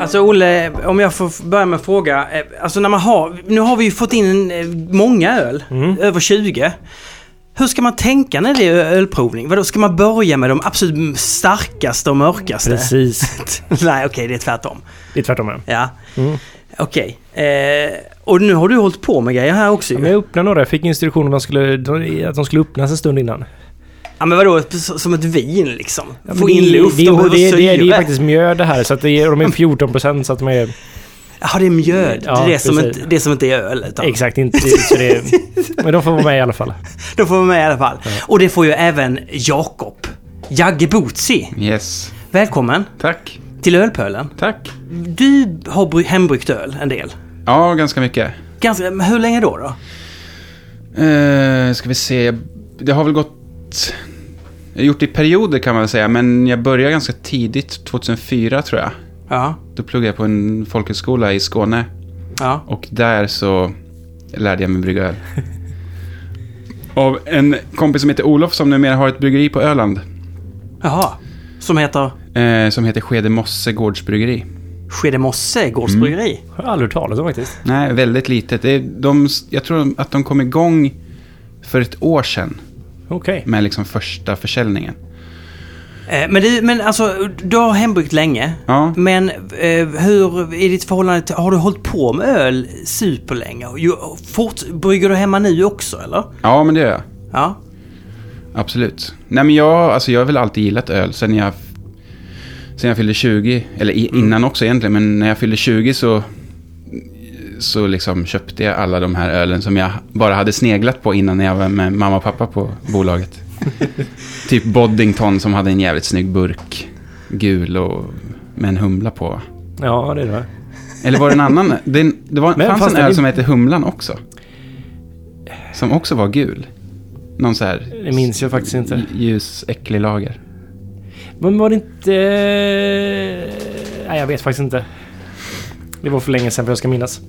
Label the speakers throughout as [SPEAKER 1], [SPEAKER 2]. [SPEAKER 1] Alltså Olle, om jag får börja med en fråga. Eh, Alltså när man har... Nu har vi ju fått in en, eh, många öl.
[SPEAKER 2] Mm.
[SPEAKER 1] Över 20. Hur ska man tänka när det är ö- ölprovning? Vadå, ska man börja med de absolut starkaste och mörkaste?
[SPEAKER 2] Precis.
[SPEAKER 1] Nej, okej, det är tvärtom.
[SPEAKER 2] Det är tvärtom. ja.
[SPEAKER 1] Ja.
[SPEAKER 2] Mm.
[SPEAKER 1] Okej. Eh, och nu har du hållit på med grejer här också
[SPEAKER 2] Ja,
[SPEAKER 1] ju.
[SPEAKER 2] men jag öppnade några. Jag fick instruktioner att de skulle, de- att de skulle öppnas en stund innan.
[SPEAKER 1] Ja men vadå, som ett vin liksom?
[SPEAKER 2] Ja,
[SPEAKER 1] Få
[SPEAKER 2] men
[SPEAKER 1] in
[SPEAKER 2] det-
[SPEAKER 1] luft,
[SPEAKER 2] det,
[SPEAKER 1] de
[SPEAKER 2] det,
[SPEAKER 1] behöver
[SPEAKER 2] det, det, det är
[SPEAKER 1] syre.
[SPEAKER 2] faktiskt mjöd det här. Så att det är, de är 14 procent så att de är
[SPEAKER 1] Jaha, det är mjöd. det,
[SPEAKER 2] Mm, Ja,
[SPEAKER 1] är det, som
[SPEAKER 2] precis.
[SPEAKER 1] inte, det som inte är öl. Utan
[SPEAKER 2] exakt inte... Så det är, men de får vara med i alla fall.
[SPEAKER 1] De får vara med i alla fall. Och det får ju även Jakob. Jagge Butzi.
[SPEAKER 3] Yes.
[SPEAKER 1] Välkommen
[SPEAKER 3] Tack.
[SPEAKER 1] till Ölpölen.
[SPEAKER 3] Tack.
[SPEAKER 1] Du har bry- hembryggt öl en del.
[SPEAKER 3] Ja, ganska mycket.
[SPEAKER 1] Ganska, men hur länge då? då?
[SPEAKER 3] Eh, ska vi se. Det har väl gått... Jag har gjort det i perioder kan man väl säga, men jag började ganska tidigt, 2004 tror jag.
[SPEAKER 1] Ja,
[SPEAKER 3] Då pluggade jag på en folkhögskola i Skåne
[SPEAKER 1] ja.
[SPEAKER 3] och där så lärde jag mig brygga öl. Av en kompis som heter Olof som numera har ett bryggeri på Öland
[SPEAKER 1] Jaha. Som heter
[SPEAKER 3] eh, som heter Skede Mosse Gårdsbryggeri.
[SPEAKER 1] Skede Mosse Gårdsbryggeri.
[SPEAKER 2] Jag har aldrig hört talas om faktiskt.
[SPEAKER 3] Nej, väldigt litet. Det är, de, jag tror att de kom igång för ett år sedan
[SPEAKER 2] Okej.
[SPEAKER 3] med liksom första försäljningen.
[SPEAKER 1] Eh, Men, du, men alltså, du har hembryggt länge.
[SPEAKER 3] Ja.
[SPEAKER 1] Men eh, hur är ditt förhållande till, har du hållit på med öl superlänge? Och ju- och Fort, brygger du hemma nu också eller?
[SPEAKER 3] Ja, men det gör jag.
[SPEAKER 1] Ja.
[SPEAKER 3] Absolut. Nej, men jag, alltså, jag har väl alltid gillat öl sen jag, sen jag fyllde 20. Eller i, innan också egentligen, men när jag fyllde 20 så, så liksom köpte jag alla de här ölen som jag bara hade sneglat på innan när jag var med mamma och pappa på bolaget. typ Boddington som hade en jävligt snygg burk. Gul och med en humla på.
[SPEAKER 2] Ja, det är det.
[SPEAKER 3] Eller var det en annan? Det, det var,
[SPEAKER 2] Men
[SPEAKER 3] fanns
[SPEAKER 2] fanns
[SPEAKER 3] en
[SPEAKER 2] det
[SPEAKER 3] öl
[SPEAKER 2] en-
[SPEAKER 3] som hette Humlan också. Som också var gul. Någon så här
[SPEAKER 2] Det minns jag faktiskt inte.
[SPEAKER 3] ljus, äcklig lager.
[SPEAKER 2] Men var det inte... Nej, jag vet faktiskt inte. Det var för länge sedan för jag ska minnas.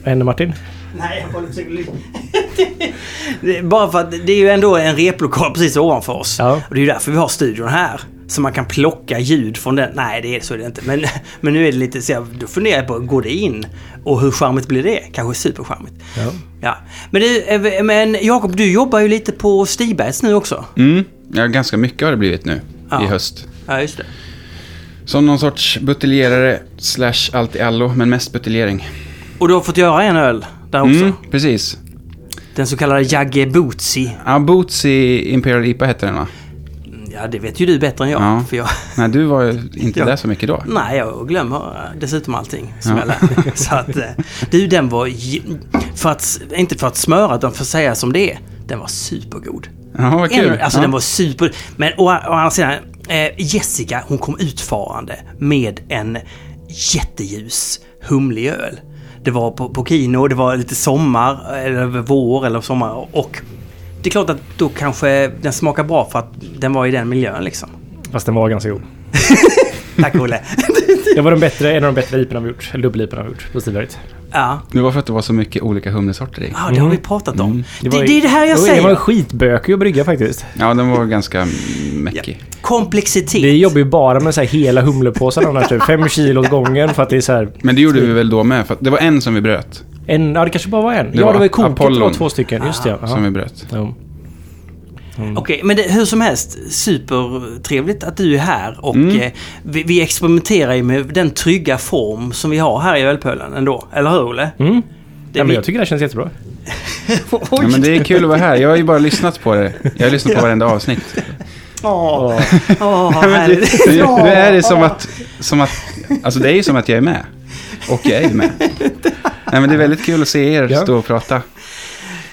[SPEAKER 2] Vad hände Martin?
[SPEAKER 1] Nej, jag försöker lyssna. Det är Bara för att det är ju ändå en replokal precis ovanför oss.
[SPEAKER 2] Ja.
[SPEAKER 1] Och det är ju därför vi har studion här. Så man kan plocka ljud från den. Nej, det är så är det inte. Men, men nu är det lite så jag, då funderar jag på, går det in? Och hur charmigt blir det? Kanske supercharmigt.
[SPEAKER 2] Ja.
[SPEAKER 1] Ja. Men, du, eh, men Jakob, du jobbar ju lite på Stigbergs nu också.
[SPEAKER 3] Mm. Ja, ganska mycket har det blivit nu
[SPEAKER 1] Ja.
[SPEAKER 3] i höst.
[SPEAKER 1] Ja, just det.
[SPEAKER 3] Som någon sorts buteljerare slash allt i allo, men mest buteljering.
[SPEAKER 1] Och du har fått göra en öl där också.
[SPEAKER 3] Mm, precis.
[SPEAKER 1] Den så kallade Jagge Bootsy.
[SPEAKER 3] Ja, Boots i Imperial IPA hette den va?
[SPEAKER 1] Ja, det vet ju du bättre än jag.
[SPEAKER 3] Ja.
[SPEAKER 1] För jag
[SPEAKER 3] Nej, du var ju inte
[SPEAKER 1] Ja.
[SPEAKER 3] där så mycket då.
[SPEAKER 1] Nej, jag glömmer eh, dessutom allting som
[SPEAKER 3] Ja.
[SPEAKER 1] jag lär mig. Så att, eh, du, den var... j- För att, inte för att smöra, utan för att säga som det är. Den var supergod.
[SPEAKER 3] Ja, vad kul.
[SPEAKER 1] En, alltså
[SPEAKER 3] ja.
[SPEAKER 1] den var super... Men å, å andra sidan, eh, Jessica hon kom utfarande med en jätteljus humlig öl. Det var på, på kino, det var lite sommar, eller vår eller sommar. Och det är klart att då kanske den smakar bra för att den var i den miljön liksom.
[SPEAKER 2] Fast den var ganska god.
[SPEAKER 1] Tack Olle!
[SPEAKER 2] Det var den bättre, en av de bättre IPorna vi gjort. Eller dubbel-IPorna vi gjort på Stiberget.
[SPEAKER 1] ja.
[SPEAKER 3] Det var för att det var så mycket olika humlesorter i.
[SPEAKER 1] Ja, Ah, det har vi pratat om. Det,
[SPEAKER 2] var
[SPEAKER 1] det,
[SPEAKER 2] ju-
[SPEAKER 1] är det här jag
[SPEAKER 2] Mm. det var-
[SPEAKER 1] säger.
[SPEAKER 2] Det var en skitbökig att brygga faktiskt.
[SPEAKER 3] Ja, den var ganska mäckig.
[SPEAKER 1] Komplexitet.
[SPEAKER 2] Vi jobbar ju bara med så här hela humlepåsar annars. Typ. Fem kilo åt gången för att det är så här...
[SPEAKER 3] Men det gjorde vi väl då med, för att det var en som vi bröt.
[SPEAKER 2] En, ja, det kanske bara var en. ja,
[SPEAKER 3] var
[SPEAKER 2] det var ju koket. Det var
[SPEAKER 3] Apollon.
[SPEAKER 2] två stycken. Just det, ja.
[SPEAKER 3] Som
[SPEAKER 2] ja.
[SPEAKER 3] vi bröt.
[SPEAKER 2] ja.
[SPEAKER 1] Mm. Okej, men det, hur som helst, supertrevligt att du är här och
[SPEAKER 2] Mm.
[SPEAKER 1] eh, vi, vi experimenterar ju med den trygga form som vi har här i Ölpölen ändå. Eller hur Olle?
[SPEAKER 2] Mm.
[SPEAKER 1] Det,
[SPEAKER 2] ja, men
[SPEAKER 1] vi-
[SPEAKER 2] jag tycker det här känns jättebra.
[SPEAKER 1] Oj.
[SPEAKER 3] Ja, men det är kul att vara här. Jag har ju bara lyssnat på det. Jag har lyssnat på varenda avsnitt.
[SPEAKER 1] Åh, åh,
[SPEAKER 3] Nej, men
[SPEAKER 1] härligt.
[SPEAKER 3] det- Nu nu är det som att, som att... Alltså det är ju som att jag är med. Och jag är ju med. Nej, men det är väldigt kul att se er
[SPEAKER 2] Ja.
[SPEAKER 3] stå och prata.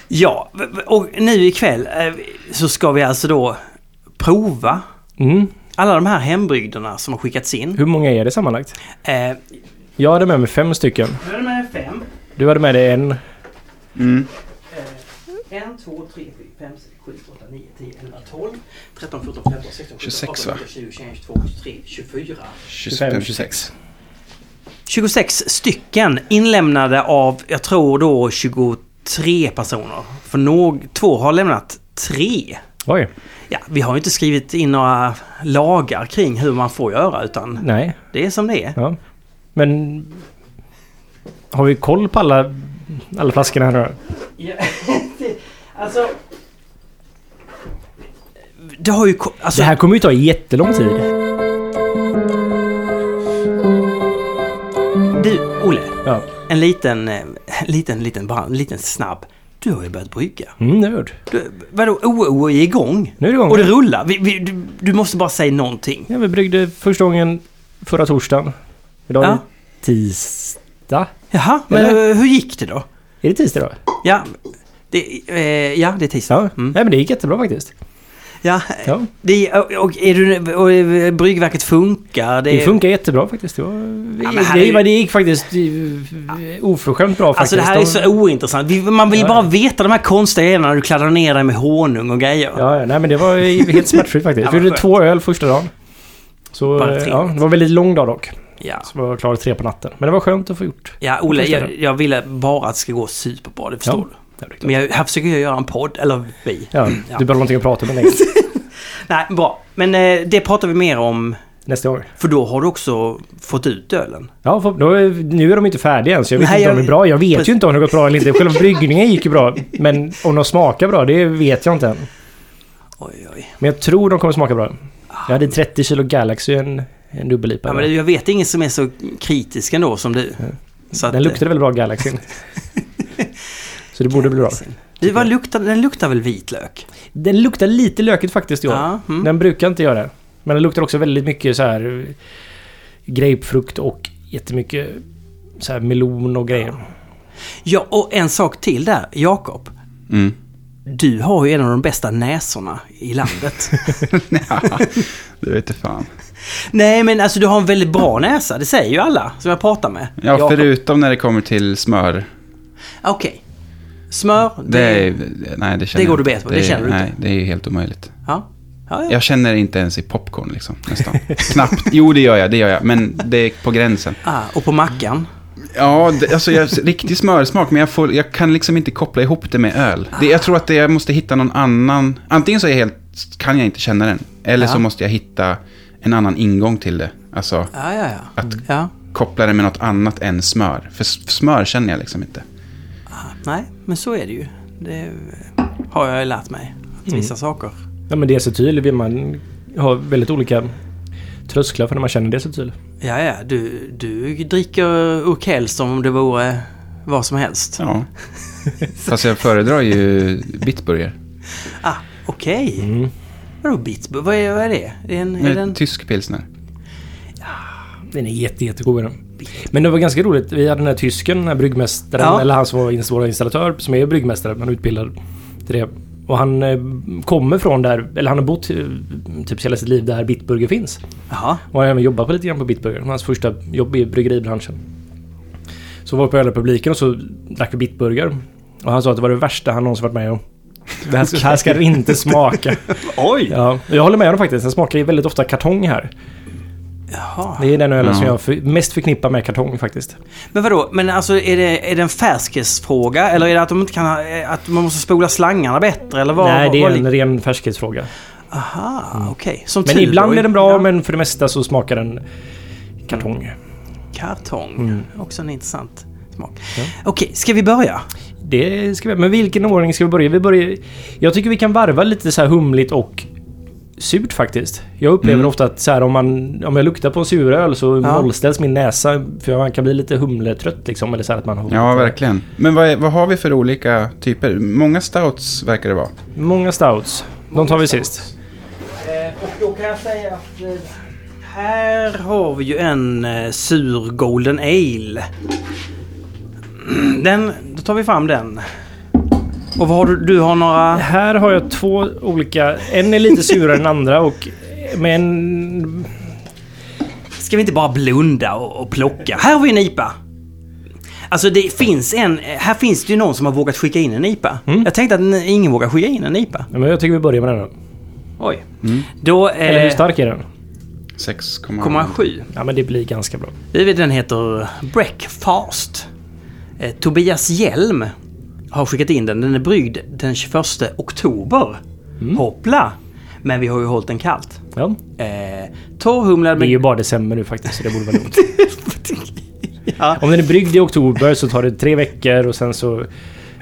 [SPEAKER 1] Ja, v- v- och nu ikväll eh, så ska vi alltså då prova
[SPEAKER 2] Mm.
[SPEAKER 1] alla de här hembrygderna som har skickats in.
[SPEAKER 2] Hur många är det sammanlagt?
[SPEAKER 1] Eh,
[SPEAKER 2] Jag hade med mig fem stycken.
[SPEAKER 1] nu är det med fem.
[SPEAKER 2] Du hade med dig en.
[SPEAKER 1] En, två, tre, fyra, fem, sex, sju, åtta, nio, tio, elva, tolv, tretton, fjorton, femton, sexton, sjutton,
[SPEAKER 3] 26,
[SPEAKER 1] arton,
[SPEAKER 3] va?
[SPEAKER 1] nitton, tjugo, tjugoett, tjugotvå, tjugotre, tjugofyra.
[SPEAKER 2] 25, 26.
[SPEAKER 1] 26 stycken inlämnade av, jag tror då 23 personer. För någ, två har lämnat tre.
[SPEAKER 2] Oj,
[SPEAKER 1] Ja, vi har ju inte skrivit in några lagar kring hur man får göra utan
[SPEAKER 2] nej.
[SPEAKER 1] det är som det är.
[SPEAKER 2] Ja. Men har vi koll på alla, alla flaskorna här nu?
[SPEAKER 1] Ja, det- alltså... Det har ju... ko- Alltså,
[SPEAKER 2] Det här kommer ju ta jättelång tid.
[SPEAKER 1] du, Olle.
[SPEAKER 2] Ja.
[SPEAKER 1] En liten, eh, liten, liten brand, liten snabb. Du har ju börjat brygga.
[SPEAKER 2] Mm, nörd.
[SPEAKER 1] Du, vadå, OO är igång?
[SPEAKER 2] Nu är det igång.
[SPEAKER 1] Och det rullar. Vi, vi, du, du måste bara säga någonting.
[SPEAKER 2] Ja, vi bryggde första gången förra torsdagen. Idag är
[SPEAKER 1] Ja.
[SPEAKER 2] det tisdag.
[SPEAKER 1] Jaha, men
[SPEAKER 2] Eller?
[SPEAKER 1] eh, hur gick det då?
[SPEAKER 2] Är det tisdag då?
[SPEAKER 1] Ja, det, eh, ja, det är tisdag.
[SPEAKER 2] Ja.
[SPEAKER 1] Mm. Eh,
[SPEAKER 2] Nej, men det gick jättebra faktiskt.
[SPEAKER 1] Ja,
[SPEAKER 2] Ja.
[SPEAKER 1] det, och, och, är du, och eh, bryggverket funkar. Det,
[SPEAKER 2] Det funkar jättebra faktiskt. Det, var,
[SPEAKER 1] men här
[SPEAKER 2] det,
[SPEAKER 1] är ju-
[SPEAKER 2] det gick faktiskt eh, oförskämt bra
[SPEAKER 1] Alltså
[SPEAKER 2] faktiskt.
[SPEAKER 1] det här är så ointressant. Vi- Man vill
[SPEAKER 2] Ja,
[SPEAKER 1] bara
[SPEAKER 2] ja.
[SPEAKER 1] veta de här konstiga grejerna när du kladdar ner dig med honung och grejer.
[SPEAKER 2] Ja, ja, nej men det var ju helt smärtfritt
[SPEAKER 1] Ja,
[SPEAKER 2] faktiskt. Vi
[SPEAKER 1] vad
[SPEAKER 2] gjorde
[SPEAKER 1] skönt.
[SPEAKER 2] två öl första dagen. Så
[SPEAKER 1] Vad
[SPEAKER 2] eh,
[SPEAKER 1] trevligt.
[SPEAKER 2] ja, det var en väldigt lång dag dock.
[SPEAKER 1] Ja.
[SPEAKER 2] Så var jag klar tre på natten. Men det var skönt att få gjort.
[SPEAKER 1] Ja, Olle,
[SPEAKER 2] Jag
[SPEAKER 1] jag,
[SPEAKER 2] förstår.
[SPEAKER 1] jag ville bara att det ska gå superbra, det förstår du.
[SPEAKER 2] Ja, det är klart.
[SPEAKER 1] Men jag, här försöker jag göra en podd, eller vi.
[SPEAKER 2] ja,
[SPEAKER 1] ja.
[SPEAKER 2] Du behöver någonting att prata med längre.
[SPEAKER 1] Nej, bra. Men eh, det pratar vi mer om,
[SPEAKER 2] nästa år.
[SPEAKER 1] för då har du också fått ut ölen.
[SPEAKER 2] Ja, för, då, är- nu är de inte färdiga än så jag vet
[SPEAKER 1] Nej,
[SPEAKER 2] inte om
[SPEAKER 1] jag-
[SPEAKER 2] de är bra. Jag vet
[SPEAKER 1] Precis.
[SPEAKER 2] ju inte om det gått bra eller inte. Själva bryggningen gick ju bra. Men om de smakar bra, det vet jag inte än.
[SPEAKER 1] Oj, oj.
[SPEAKER 2] Men jag tror de kommer smaka bra. Jag hade 30 kilo Galaxy i en, en dubbel-IPA.
[SPEAKER 1] Ja, men jag vet ingen som är så kritisk ändå som du. Så att,
[SPEAKER 2] den luktade väl bra, Galaxyn. så det borde bli bra.
[SPEAKER 1] eh, Du, vad luktar, den luktar väl vitlök?
[SPEAKER 2] Den luktar lite lökigt faktiskt i år.
[SPEAKER 1] mm.
[SPEAKER 2] Den brukar inte göra det. Men den luktar också väldigt mycket så här eh, grapefrukt och jättemycket så här melon och grejer.
[SPEAKER 1] Ja, och en sak till där, Jakob.
[SPEAKER 3] Mm.
[SPEAKER 1] Du har ju en av de bästa näsorna i landet.
[SPEAKER 3] Ja, det vet inte fan.
[SPEAKER 1] Nej, men alltså du har en väldigt bra näsa, det säger ju alla som jag pratar med.
[SPEAKER 3] Ja,
[SPEAKER 1] Jakob.
[SPEAKER 3] förutom när det kommer till smör.
[SPEAKER 1] Okej. Smör,
[SPEAKER 3] Det, är, nej, det, känner
[SPEAKER 1] går
[SPEAKER 3] jag
[SPEAKER 1] du
[SPEAKER 3] inte.
[SPEAKER 1] bet på, det
[SPEAKER 3] är-
[SPEAKER 1] känner du inte.
[SPEAKER 3] Nej, det är ju helt omöjligt.
[SPEAKER 1] Ja. Ja, ja.
[SPEAKER 3] Jag känner inte ens i popcorn liksom, nästan. Knappt. Jo, det gör jag, det gör jag. Men det är på gränsen.
[SPEAKER 1] Ah, och på mackan.
[SPEAKER 3] Ja, det, alltså jag, riktig smörsmak, men jag, får, jag kan liksom inte koppla ihop det med öl. Det, jag tror att det, jag måste hitta någon annan. Antingen så är jag helt, kan jag inte känna den, eller
[SPEAKER 1] Ja.
[SPEAKER 3] så måste jag hitta en annan ingång till det. Alltså
[SPEAKER 1] Ja, ja, ja.
[SPEAKER 3] Att-
[SPEAKER 1] ja.
[SPEAKER 3] koppla det med något annat än smör. För s- smör känner jag liksom inte.
[SPEAKER 1] Nej, men så är det ju. Det har jag ju lärt mig. Att
[SPEAKER 2] Mm.
[SPEAKER 1] vissa saker.
[SPEAKER 2] Ja, men diacetyl vill man ha väldigt olika trösklar för när man känner diacetyl.
[SPEAKER 1] Ja, ja. Du, du dricker Urkel som om det vore vad som helst.
[SPEAKER 3] Ja. Fast jag föredrar ju Bitburger.
[SPEAKER 1] Ah, okej.
[SPEAKER 2] Mm.
[SPEAKER 1] Vadå Bitsburg? Vad är, vad är det? Är en, är
[SPEAKER 3] Nej,
[SPEAKER 1] den...
[SPEAKER 3] Tysk pilsner.
[SPEAKER 2] Den är jätte, jättegod. är den. Men det var ganska roligt. Vi hade den här tysken, den här bryggmästaren,
[SPEAKER 1] Ja.
[SPEAKER 2] eller han som var ins- vår installatör, som är bryggmästare, men utbildad till det. Och han eh, kommer från där, eller han har bott eh, typ hela sitt liv där Bitburger finns.
[SPEAKER 1] Jaha.
[SPEAKER 2] Och har även jobbat på lite grann på Bitburger. Hans första jobb i bryggeribranschen. Så var vi på ölrepubliken och så drack vi Bitburger. Och han sa att det var det värsta han någonsin varit med om. Det här, det här ska det inte smaka.
[SPEAKER 1] Oj!
[SPEAKER 2] Ja, jag håller med honom faktiskt. Den smakar ju väldigt ofta kartong här.
[SPEAKER 1] Jaha.
[SPEAKER 2] Det är den ölen som
[SPEAKER 1] Mm.
[SPEAKER 3] Ja.
[SPEAKER 2] jag för, mest förknippar med kartong faktiskt.
[SPEAKER 1] Men vadå? Men alltså är det, är det en färskhetsfråga? Eller är det att de inte kan ha, eh, Att man måste spola slangarna bättre? Eller vad?
[SPEAKER 2] Nej, det är
[SPEAKER 1] vad,
[SPEAKER 2] en ren färskhetsfråga.
[SPEAKER 1] Aha, okej. Som
[SPEAKER 2] Men
[SPEAKER 1] Tudor,
[SPEAKER 2] ibland är den bra,
[SPEAKER 1] ja.
[SPEAKER 2] men för det mesta så smakar den kartong.
[SPEAKER 1] Kartong. Också en intressant smak.
[SPEAKER 2] Mm. Ja.
[SPEAKER 1] Okej, ska vi börja?
[SPEAKER 2] Det ska vi, men vilken ordning ska vi börja? Vi börjar... Jag tycker vi kan varva lite så här humligt och surt faktiskt. Jag upplever
[SPEAKER 3] Mm.
[SPEAKER 2] ofta att så här, om, man, om jag luktar på en suröl så
[SPEAKER 1] Ja.
[SPEAKER 2] nollställs min näsa för man kan bli lite humletrött liksom. Eller så här att man har
[SPEAKER 3] Ja, verkligen. Men vad, är, vad har vi för olika typer? Många stouts verkar det vara.
[SPEAKER 2] Många stouts. De tar vi sist.
[SPEAKER 1] Eh, Och då kan jag säga att eh, här har vi ju en eh, sur Golden Ale. Den, då tar vi fram den. Och vad har du? Du har några...
[SPEAKER 2] Här har jag två olika. En är lite surare än andra och... Men...
[SPEAKER 1] Ska vi inte bara blunda och, och plocka? Här har vi en IPA! Alltså det finns en... eh, Här finns det ju någon som har vågat skicka in en IPA. Jag tänkte att n- ingen vågar skicka in en IPA.
[SPEAKER 2] men jag tycker vi börjar med den då.
[SPEAKER 1] Oj. Då... Eh,
[SPEAKER 2] Eller hur stark är den?
[SPEAKER 3] 6,7.
[SPEAKER 1] 6,7.
[SPEAKER 2] Ja men det blir ganska bra.
[SPEAKER 1] Vi vet Den heter Breakfast. Eh, Tobias Hjelm har skickat in den. Den är bryggd den 21 oktober.
[SPEAKER 3] Mm.
[SPEAKER 1] Hoppla! Men vi har ju hållit den kallt.
[SPEAKER 2] Ja.
[SPEAKER 1] Eh, Torrhumlad
[SPEAKER 2] Det är
[SPEAKER 1] med...
[SPEAKER 2] ju bara december nu faktiskt, så det borde vara lugnt.
[SPEAKER 1] Ja.
[SPEAKER 2] Om den är bryggd i oktober så tar det tre veckor och sen så...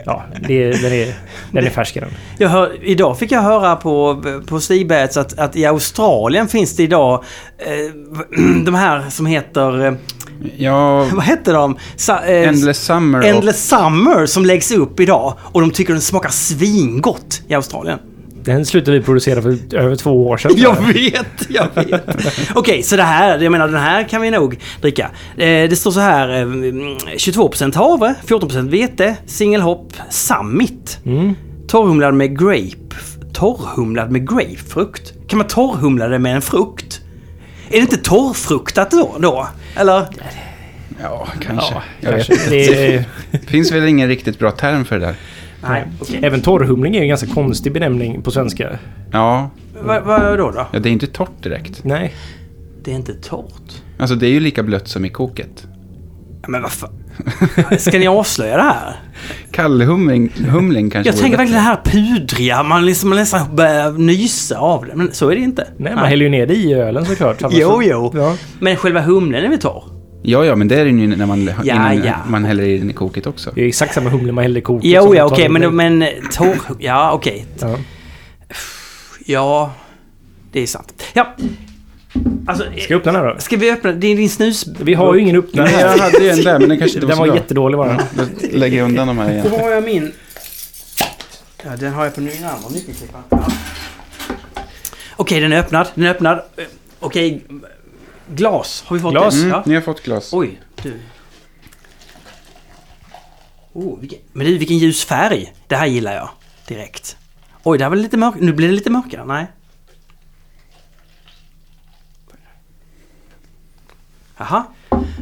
[SPEAKER 2] Ja, det, den, är, den är färsk i den.
[SPEAKER 1] Jag hör, idag fick jag höra på, på Stigbäts att, att i Australien finns det idag eh, de här som heter... eh,
[SPEAKER 3] Ja,
[SPEAKER 1] Vad heter de? Sa, eh,
[SPEAKER 3] Endless Summer och-
[SPEAKER 1] Endless Summer som läggs upp idag. Och de tycker den smakar svingott i Australien.
[SPEAKER 2] Den slutade vi producera för över två år sedan.
[SPEAKER 1] Jag vet, jag vet. Okej, så det här, jag menar den här kan vi nog dricka. Eh, det står så här, eh, 22% havre, 14% vete, singelhopp, summit. Torrhumlad med grape. Torrhumlad med grapefrukt? Kan man torrhumla det med en frukt? Är det inte torrfruktat då? då? Eller?
[SPEAKER 3] ja kanske.
[SPEAKER 2] Ja,
[SPEAKER 3] jag
[SPEAKER 2] kanske.
[SPEAKER 3] vet inte.
[SPEAKER 2] Det är,
[SPEAKER 3] Det finns väl ingen riktigt bra term för det där.
[SPEAKER 1] Nej, okej.
[SPEAKER 2] även torrhumling är ju en ganska konstig benämning på svenska.
[SPEAKER 3] Ja,
[SPEAKER 1] Vad vad då då?
[SPEAKER 3] ja, det är inte torrt direkt.
[SPEAKER 2] Nej.
[SPEAKER 1] Det är inte torrt.
[SPEAKER 3] Alltså det är ju lika blött som i koket.
[SPEAKER 1] Ja, Men vad fan? Ska ni avslöja det här?
[SPEAKER 3] Kallhumling humling kanske
[SPEAKER 1] Jag
[SPEAKER 3] vore
[SPEAKER 1] tänker
[SPEAKER 3] bättre.
[SPEAKER 1] verkligen det här pudriga, man, liksom, man nästan börjar nysa av det. Men så är det inte.
[SPEAKER 2] Nej, man häller ju ner det i ölen såklart. Annars
[SPEAKER 1] Jo,
[SPEAKER 2] så-
[SPEAKER 1] jo.
[SPEAKER 2] Ja.
[SPEAKER 1] Men själva humlen är väl torr?
[SPEAKER 3] Ja, ja, men det är den ju när man, innan
[SPEAKER 1] ja.
[SPEAKER 3] man häller i den i koket också.
[SPEAKER 2] Det är exakt samma humle man häller i koket. som
[SPEAKER 1] Jo,
[SPEAKER 2] man
[SPEAKER 1] ja,
[SPEAKER 2] tar
[SPEAKER 1] okej,
[SPEAKER 2] ur det.
[SPEAKER 1] men, men torr... Ja, okej.
[SPEAKER 2] Ja.
[SPEAKER 1] Ja, det är sant. Ja. Alltså,
[SPEAKER 2] Ska jag öppna den här då?
[SPEAKER 1] ska vi öppna? Det är din snus...
[SPEAKER 2] Vi har ju ingen öppnare.
[SPEAKER 3] Nej, jag hade ju en där, men den kanske inte var
[SPEAKER 2] Den
[SPEAKER 3] så
[SPEAKER 2] var Mm.
[SPEAKER 3] bra.
[SPEAKER 2] jättedålig bara.
[SPEAKER 3] Då lägger jag undan de här igen.
[SPEAKER 1] Då har jag min... Ja, den har jag på min andra nyckelklippa. Ja. Okej, den är öppnad. Den är öppnad. Eh, Okej. Glas. Har vi fått
[SPEAKER 2] Glas?
[SPEAKER 1] det?
[SPEAKER 3] Mm,
[SPEAKER 1] Ja.
[SPEAKER 3] ni har fått glas.
[SPEAKER 1] Oj, du. Oh, vilken, men du, vilken ljus färg. Det här gillar jag direkt. Oj, det här var lite mörkt. Nu blir det lite mörkare. Nej. Jaha,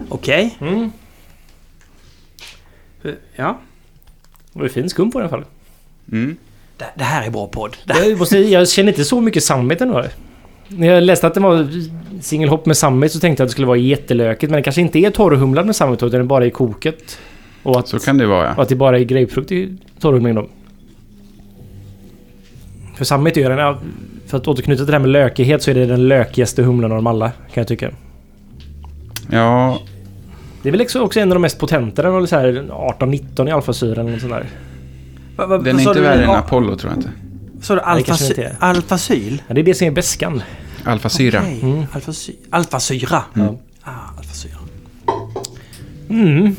[SPEAKER 1] okej.
[SPEAKER 2] Mm.
[SPEAKER 1] Ja.
[SPEAKER 2] Det var ju fin skum på den i alla fall.
[SPEAKER 3] Mm.
[SPEAKER 1] Det, det här är bra podd. Det här,
[SPEAKER 2] Jag, måste, säga, jag känner inte så mycket sammet ändå. När jag läste att den var singelhopp med sammet så tänkte jag att det skulle vara jättelökigt. Men det kanske inte är torrhumlad med sammet utan den är bara i koket. Och att,
[SPEAKER 3] Så kan det vara,
[SPEAKER 2] och
[SPEAKER 3] ja.
[SPEAKER 2] att det bara är grapefrukt i torrhumlingen då. För sammet är ju den... ja, För att återknyta till det här med lökighet så är det den lökigaste humlen av dem alla. Kan jag tycka.
[SPEAKER 3] Ja,
[SPEAKER 2] Det är väl också också en av de mest potenta. Den har väl så här 18-19 i alfasyra eller något sånt där.
[SPEAKER 1] va, va,
[SPEAKER 3] den är
[SPEAKER 1] sa du?
[SPEAKER 3] inte värre än
[SPEAKER 1] Ja,
[SPEAKER 3] Apollo, tror jag inte.
[SPEAKER 1] Sa du
[SPEAKER 2] Nej, kanske inte
[SPEAKER 1] alfasyl?
[SPEAKER 2] är.
[SPEAKER 1] Alfasyl?
[SPEAKER 2] Ja, det är det som är beskan.
[SPEAKER 3] Mm. Alfasyra.
[SPEAKER 1] Okej, alfasy- Alfasyra.
[SPEAKER 2] Mm.
[SPEAKER 1] Ah, alfasyra.
[SPEAKER 2] Mm.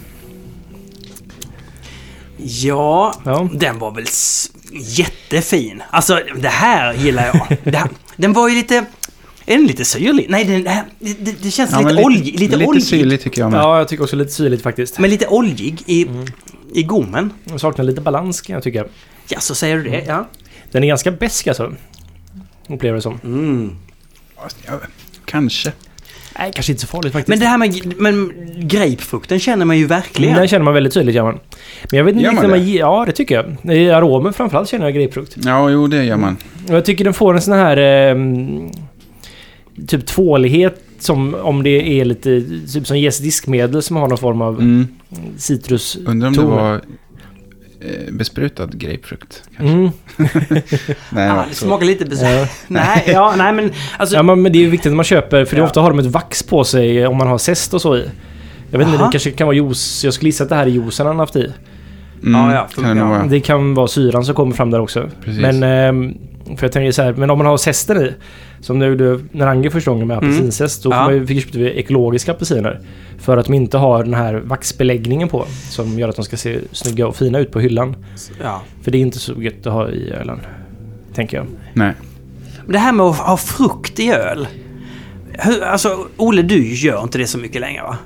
[SPEAKER 1] Ja,
[SPEAKER 2] Ja.
[SPEAKER 1] den var väl s- jättefin. Alltså, det här gillar jag. det här, den var ju lite... Är den lite syrlig? Nej, den, det här- det, det, det känns
[SPEAKER 3] Ja, men
[SPEAKER 1] lite, olj, lite,
[SPEAKER 3] lite
[SPEAKER 1] oljig.
[SPEAKER 3] syrlig tycker jag med.
[SPEAKER 2] Ja, jag tycker också lite syrligt faktiskt.
[SPEAKER 1] Men lite oljig i, i gommen.
[SPEAKER 2] Den saknar lite balans kan jag tycka.
[SPEAKER 1] Ja, så säger du det. Ja.
[SPEAKER 2] Den är ganska besk alltså. Upplever det som.
[SPEAKER 1] Mm.
[SPEAKER 3] Ja, kanske.
[SPEAKER 2] Nej, kanske inte så farligt faktiskt.
[SPEAKER 1] Men det här med men grapefrukten känner man ju verkligen.
[SPEAKER 2] Den känner man väldigt tydligt, gör man. Men jag vet inte
[SPEAKER 3] Gör man
[SPEAKER 2] riktigt om man...
[SPEAKER 3] det?
[SPEAKER 2] ge- Ja, det tycker jag. I aromen framförallt känner jag grapefrukt.
[SPEAKER 3] Ja, jo, det gör man.
[SPEAKER 2] Och jag tycker den får en sån här... ehm, typ tvålighet som om det är lite... Typ som Jes diskmedel som har någon form av
[SPEAKER 3] Mm.
[SPEAKER 2] citrus...
[SPEAKER 3] Undrar om det
[SPEAKER 2] Tonen.
[SPEAKER 3] var eh, besprutad grapefrukt. kanske.
[SPEAKER 2] Mm. Ah,
[SPEAKER 3] Nej,
[SPEAKER 1] Ja,
[SPEAKER 3] ja,
[SPEAKER 1] Ah, det
[SPEAKER 3] så.
[SPEAKER 1] smakar lite besvär.
[SPEAKER 2] Ja.
[SPEAKER 1] Nej, ja, nej men alltså...
[SPEAKER 2] Ja, men men det är ju viktigt att man köper, för det är
[SPEAKER 1] Ja.
[SPEAKER 2] ofta har de ett vax på sig eh, om man har zest och så i. Jag vet inte,
[SPEAKER 1] Aha.
[SPEAKER 2] det kanske kan vara juice. Jag skulle gissa att det här är juicen han haft i.
[SPEAKER 3] Mm,
[SPEAKER 1] Ja, ja,
[SPEAKER 3] kan det nog
[SPEAKER 1] ja.
[SPEAKER 3] vara.
[SPEAKER 2] Det kan vara syran som kommer fram där också.
[SPEAKER 3] Precis.
[SPEAKER 2] Men, ehm, för jag tänker så här, men om man har zesten i. Som nu du, när Ange första gången med
[SPEAKER 1] Mm.
[SPEAKER 2] apelsinzest. Då
[SPEAKER 1] Ja.
[SPEAKER 2] får man ju- fick- köpte vi ekologiska apelsiner. För att de inte har den här vaxbeläggningen på. Som gör att de ska se snygga och fina ut på hyllan.
[SPEAKER 1] Ja.
[SPEAKER 2] För det är inte så gött att ha i ölen. Tänker jag.
[SPEAKER 3] Nej.
[SPEAKER 1] Men Det här med att ha frukt i öl. Hur, alltså, Olle, du gör inte det så mycket längre va?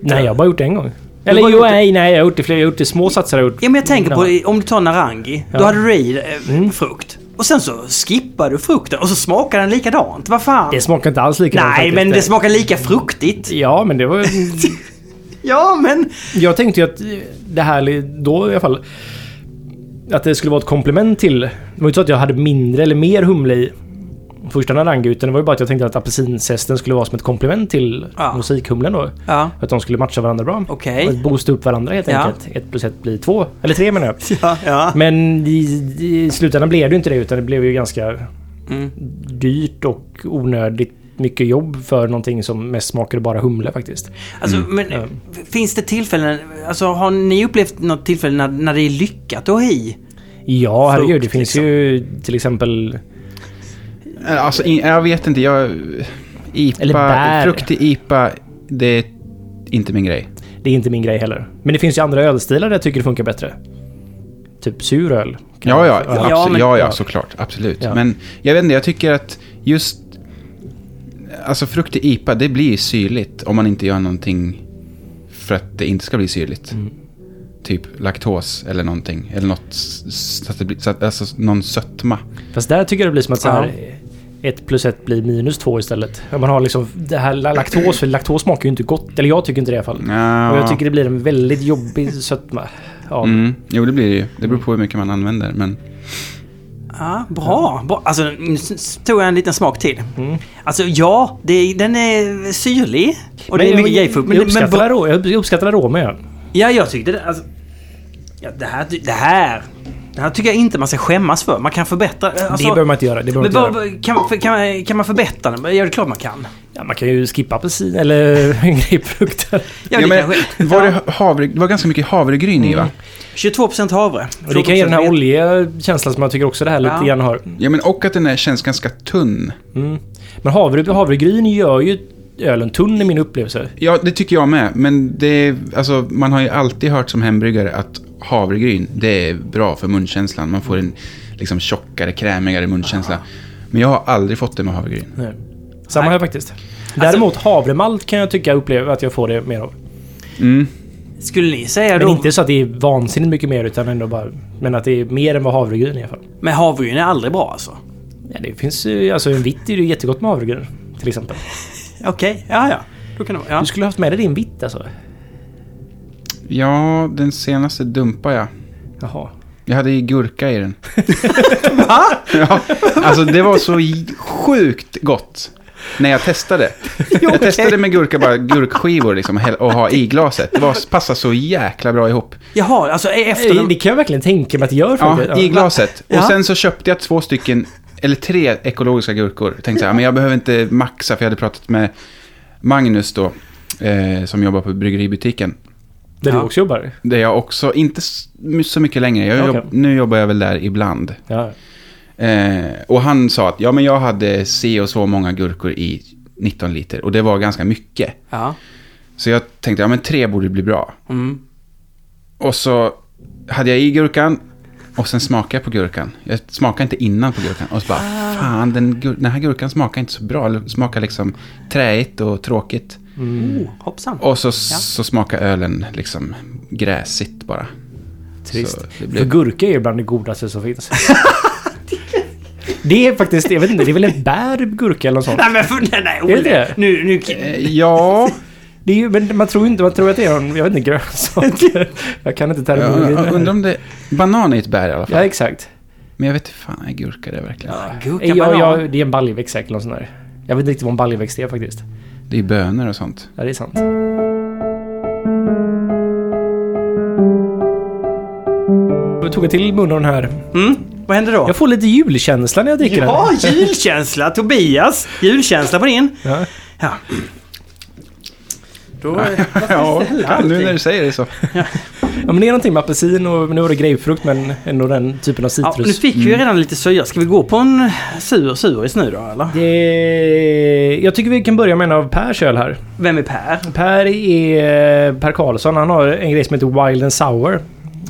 [SPEAKER 2] Nej, jag har bara gjort det en gång.
[SPEAKER 1] Du
[SPEAKER 2] Eller
[SPEAKER 1] har
[SPEAKER 2] jo,
[SPEAKER 1] gjort det-
[SPEAKER 2] nej, nej, jag har gjort det flera. Jag har gjort det i små satser. Jag har gjort
[SPEAKER 1] Ja, men jag tänker på om du tar Narangi. Då
[SPEAKER 2] Ja. Mm.
[SPEAKER 1] hade du i eh, frukt. Och sen så skippar du frukten och så smakar den likadant. Vad fan?
[SPEAKER 2] Det smakar inte alls likadant
[SPEAKER 1] Nej,
[SPEAKER 2] faktiskt.
[SPEAKER 1] men det smakar lika fruktigt.
[SPEAKER 2] Ja, men det var...
[SPEAKER 1] Ja, men...
[SPEAKER 2] Jag tänkte ju att det här då i alla fall... Att det skulle vara ett komplement till... Det var ju inte så att jag hade mindre eller mer humle i. första naranguten, det var ju bara att jag tänkte att apelsinzesten skulle vara som ett komplement till
[SPEAKER 1] Ja.
[SPEAKER 2] musikhumlen då.
[SPEAKER 1] Ja,
[SPEAKER 2] Att de skulle matcha varandra bra.
[SPEAKER 1] okej.
[SPEAKER 2] Och boosta upp varandra helt
[SPEAKER 1] Ja.
[SPEAKER 2] enkelt. Ett plus ett blir två. Eller tre menar jag.
[SPEAKER 1] Ja, ja.
[SPEAKER 2] Men i, i slutändan blev det ju inte det utan det blev ju ganska
[SPEAKER 1] Mm.
[SPEAKER 2] dyrt och onödigt mycket jobb för någonting som mest smakade bara humle faktiskt.
[SPEAKER 1] Alltså, men
[SPEAKER 2] Mm. Ja.
[SPEAKER 1] f- finns det tillfällen, alltså har ni upplevt något tillfälle när, när det är lyckat att ha i?
[SPEAKER 2] Ja, herregud. Det
[SPEAKER 1] Frukt,
[SPEAKER 2] finns
[SPEAKER 1] liksom.
[SPEAKER 2] ju till exempel...
[SPEAKER 3] Alltså, i- jag vet inte. Jag, IPA,
[SPEAKER 2] Eller bär.
[SPEAKER 3] Frukt i IPA, det är inte min grej.
[SPEAKER 2] Det är inte min grej heller. Men det finns ju andra ölstilar där jag tycker det funkar bättre. Typ suröl. kan
[SPEAKER 3] Ja, ja,
[SPEAKER 2] jag-
[SPEAKER 1] Ja,
[SPEAKER 3] absolut, ja,
[SPEAKER 1] men-
[SPEAKER 3] ja,
[SPEAKER 2] ja.
[SPEAKER 3] såklart. Absolut.
[SPEAKER 2] Ja.
[SPEAKER 3] Men jag vet inte, jag tycker att just... Alltså frukt i IPA, det blir syrligt om man inte gör någonting för att det inte ska bli syrligt.
[SPEAKER 2] Mm.
[SPEAKER 3] Typ laktos eller någonting. Eller något s- s- så att det blir, så att, alltså någon sötma.
[SPEAKER 2] Fast där tycker jag det blir som att så här... Ett plus ett blir minus två istället. Om Man har liksom det här la- laktos, för laktos smakar ju inte gott. Eller jag tycker inte det i alla fall.
[SPEAKER 3] Ja.
[SPEAKER 2] Och jag tycker det blir en väldigt jobbig sötma. Ja.
[SPEAKER 3] Mm. Jo, det blir det ju. Det beror på hur mycket man använder. Men
[SPEAKER 1] Ja, bra. bra. Alltså, nu s- s- tog jag en liten smak till.
[SPEAKER 2] Mm.
[SPEAKER 1] Alltså ja, det, är- den är syrlig. Och det är mycket
[SPEAKER 2] jag,
[SPEAKER 1] grapefrukt.
[SPEAKER 2] jag,
[SPEAKER 1] Men, men
[SPEAKER 2] uppskattar aroma- jag uppskattar aromen. ja.
[SPEAKER 1] Ja, jag tyckte det. Alltså, ja, det, här, ty- det här... Det här tycker jag inte man ska skämmas för. Man kan förbättra. eh,
[SPEAKER 2] Det
[SPEAKER 1] Alltså,
[SPEAKER 2] behöver man inte göra. Det behöver man
[SPEAKER 1] men
[SPEAKER 2] inte
[SPEAKER 1] vad-
[SPEAKER 2] göra.
[SPEAKER 1] vad- kan, man- för- kan, man- kan man förbättra den? Ja, det är klart man kan.
[SPEAKER 2] Ja, man kan ju skippa apelsin eller grapefrukter.
[SPEAKER 1] Ja,
[SPEAKER 3] Ja,
[SPEAKER 1] det
[SPEAKER 3] men
[SPEAKER 1] kanske-
[SPEAKER 3] var det, havre, det var ganska mycket havregryn i va?
[SPEAKER 1] 22% havre.
[SPEAKER 2] Och det kan ge den här
[SPEAKER 1] 14%
[SPEAKER 2] oljiga känslan som jag tycker också det här lite
[SPEAKER 1] Ja.
[SPEAKER 2] grann har.
[SPEAKER 3] Ja, men och att den här känns ganska tunn.
[SPEAKER 2] Mm. Men havre, havregryn gör ju ölen tunn i min upplevelse.
[SPEAKER 3] Ja, det tycker jag med. Men det är, alltså, man har ju alltid hört som hembryggare att havregryn, det är bra för munkänslan. Man får en liksom, tjockare, krämigare munkänsla. Men jag har aldrig fått det med havregryn.
[SPEAKER 2] Nej. Alltså- Samma
[SPEAKER 1] Nej.
[SPEAKER 2] här faktiskt. Däremot havremalt kan jag tycka jag upplever att jag får det mer av.
[SPEAKER 3] Mm.
[SPEAKER 1] Skulle ni säga
[SPEAKER 2] Men
[SPEAKER 1] då...
[SPEAKER 2] inte så att det är vansinnigt mycket mer utan ändå bara... Men att det är mer än vad havregryn är i alla fall.
[SPEAKER 1] Men havregryn är aldrig bra alltså?
[SPEAKER 2] Ja, det finns ju... Alltså en vitt är ju jättegott med havregryn. Till exempel.
[SPEAKER 1] Okej, ja ja. Då kan det vara. Ja.
[SPEAKER 2] Du skulle haft med dig din vitt alltså?
[SPEAKER 3] Ja, den senaste dumpade jag.
[SPEAKER 2] Jaha.
[SPEAKER 3] Jag hade ju gurka i den. ja, alltså det var så j- sjukt gott när jag testade. Jag testade med gurka, bara gurkskivor liksom, och häll- och ha i glaset. Det var, passade så jäkla bra ihop.
[SPEAKER 1] Jaha, alltså e- efter...
[SPEAKER 2] Det,
[SPEAKER 1] De...
[SPEAKER 2] det kan jag verkligen tänka mig att det gör faktiskt.
[SPEAKER 3] Ja, i glaset.
[SPEAKER 1] Ja.
[SPEAKER 3] Och sen så köpte jag två stycken, eller tre ekologiska gurkor. Jag tänkte så här, men jag behöver inte maxa, för jag hade pratat med Magnus då, eh, som jobbar på bryggeributiken.
[SPEAKER 2] Där du
[SPEAKER 1] Ja.
[SPEAKER 2] också jobbar?
[SPEAKER 3] Där jag också, inte s- så mycket längre, jag jobb,
[SPEAKER 2] Okej.
[SPEAKER 3] nu jobbar jag väl där ibland.
[SPEAKER 2] Ja.
[SPEAKER 3] Eh, och han sa att, ja men jag hade si och så många gurkor i 19 liter, och det var ganska mycket.
[SPEAKER 1] Ja.
[SPEAKER 3] Så jag tänkte, ja men tre borde bli bra.
[SPEAKER 1] Mm.
[SPEAKER 3] Och så hade jag i gurkan och sen smakade jag på gurkan. Jag smakade inte innan på gurkan. Och så bara, fan, den, gur- den här gurkan smakar inte så bra. Den smakar liksom träigt och tråkigt.
[SPEAKER 2] Mm.
[SPEAKER 1] Oh, hoppsan.
[SPEAKER 3] Och så, så smakar ölen liksom gräsigt bara.
[SPEAKER 2] Trist.
[SPEAKER 3] Så det
[SPEAKER 2] För
[SPEAKER 3] blev,
[SPEAKER 2] gurka är ju bland det godaste som finns. det är faktiskt, jag vet inte, det är väl ett bär gurka eller något sånt?
[SPEAKER 1] Nej men för, nej, nej
[SPEAKER 2] Är det
[SPEAKER 1] Olle.
[SPEAKER 2] det?
[SPEAKER 1] Nu, nu...
[SPEAKER 3] Eh, ja,
[SPEAKER 2] Det är ju, men man tror ju inte, man tror att det är någon, jag vet inte, grönsak. jag kan inte
[SPEAKER 3] jag, jag
[SPEAKER 2] terminologin.
[SPEAKER 3] undrar om det... Banan är ett bär i alla fall.
[SPEAKER 2] Ja, exakt.
[SPEAKER 3] Men jag vet inte fan, är gurka det verkligen?
[SPEAKER 1] Ah, Gurka,
[SPEAKER 2] Jag,
[SPEAKER 1] banan.
[SPEAKER 2] jag, det är en baljväxt säkert, någon sån där. Jag vet inte riktigt vad en baljväxt är faktiskt.
[SPEAKER 3] Det är bönor och sånt.
[SPEAKER 2] Ja, det är sant. Jag tog till munnen den här.
[SPEAKER 1] Mm. Vad händer då?
[SPEAKER 2] Jag får lite julkänsla när jag dricker
[SPEAKER 1] Ja,
[SPEAKER 2] den.
[SPEAKER 1] julkänsla! Tobias! Julkänsla på din.
[SPEAKER 2] Ja.
[SPEAKER 1] Ja. Då...
[SPEAKER 3] ja, kan du när du säger det så.
[SPEAKER 2] Ja men det är någonting med apelsin och nu var det grapefrukt men ändå den typen av
[SPEAKER 1] Ja, nu
[SPEAKER 2] citrus.
[SPEAKER 1] fick vi ju redan lite syra. Ska vi gå på en sur suris nu då eller?
[SPEAKER 2] det... Jag tycker vi kan börja med en av Pers öl här.
[SPEAKER 1] Vem är Per?
[SPEAKER 2] Per är Per Karlsson. Han har en grej som heter Wild and Sour.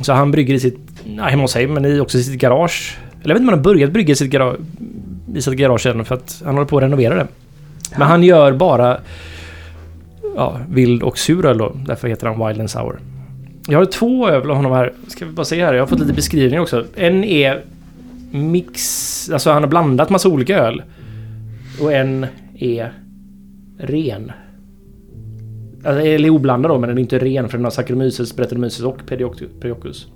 [SPEAKER 2] Så han brygger i sitt, nej, hemma hos sig, men i också i sitt garage. Eller jag vet inte om han har börjat brygga i sitt, gara... i sitt garage än för att han håller på att renovera det. Men han gör bara ja, vild och sur öl då. Därför heter han Wild and Sour. Jag har två öl av honom här. Ska vi bara se här. Jag har fått lite beskrivningar också. En är mix... Alltså han har blandat massa olika öl. Och en är ren. Alltså, eller oblandad då, men den är inte ren för den har Saccharomyces, Brettanomyces och Pedioct- Pedioccus.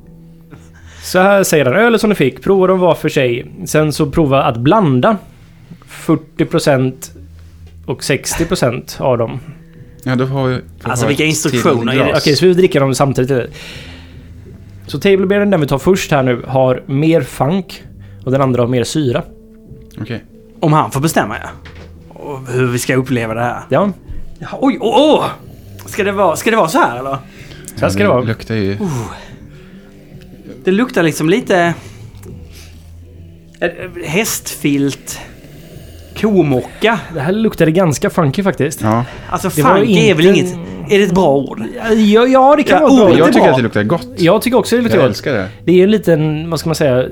[SPEAKER 2] Så här säger han. Ölen som ni fick, prova dem var för sig. Sen så prova att blanda. 40% och 60% av dem.
[SPEAKER 3] Ja, då har vi... får
[SPEAKER 1] Alltså,
[SPEAKER 3] ha
[SPEAKER 1] vilka
[SPEAKER 3] ett
[SPEAKER 1] instruktioner
[SPEAKER 3] till
[SPEAKER 1] är det?
[SPEAKER 3] glas.
[SPEAKER 2] Okej, så vi dricker dem samtidigt. eller? Så tablebeeren, den vi tar först här nu, har mer funk och den andra har mer syra.
[SPEAKER 3] Okej.
[SPEAKER 1] Om han får bestämma ja. Och hur vi ska uppleva det här.
[SPEAKER 2] Ja,
[SPEAKER 1] Ja, oj, åh! Oh, oh. ska, det vara, ska det vara så här eller?
[SPEAKER 2] så här ska det vara.
[SPEAKER 3] luktar ju...
[SPEAKER 1] Oh. Det luktar liksom lite... eh, Hästfilt. Komocka.
[SPEAKER 2] Det här luktade ganska funky faktiskt.
[SPEAKER 3] Ja.
[SPEAKER 1] Alltså
[SPEAKER 2] var
[SPEAKER 1] funk
[SPEAKER 2] inte-
[SPEAKER 1] är väl inget... Är det ett bra ord?
[SPEAKER 2] Ja, ja det kan
[SPEAKER 1] Ja,
[SPEAKER 2] vara
[SPEAKER 1] ordet
[SPEAKER 2] bra.
[SPEAKER 3] oh, Jag
[SPEAKER 1] är
[SPEAKER 3] tycker
[SPEAKER 1] bra.
[SPEAKER 3] att det luktar gott.
[SPEAKER 2] Jag tycker också det luktar
[SPEAKER 3] Jag
[SPEAKER 2] gott.
[SPEAKER 3] älskar det.
[SPEAKER 2] Det är ju en liten, vad ska man säga,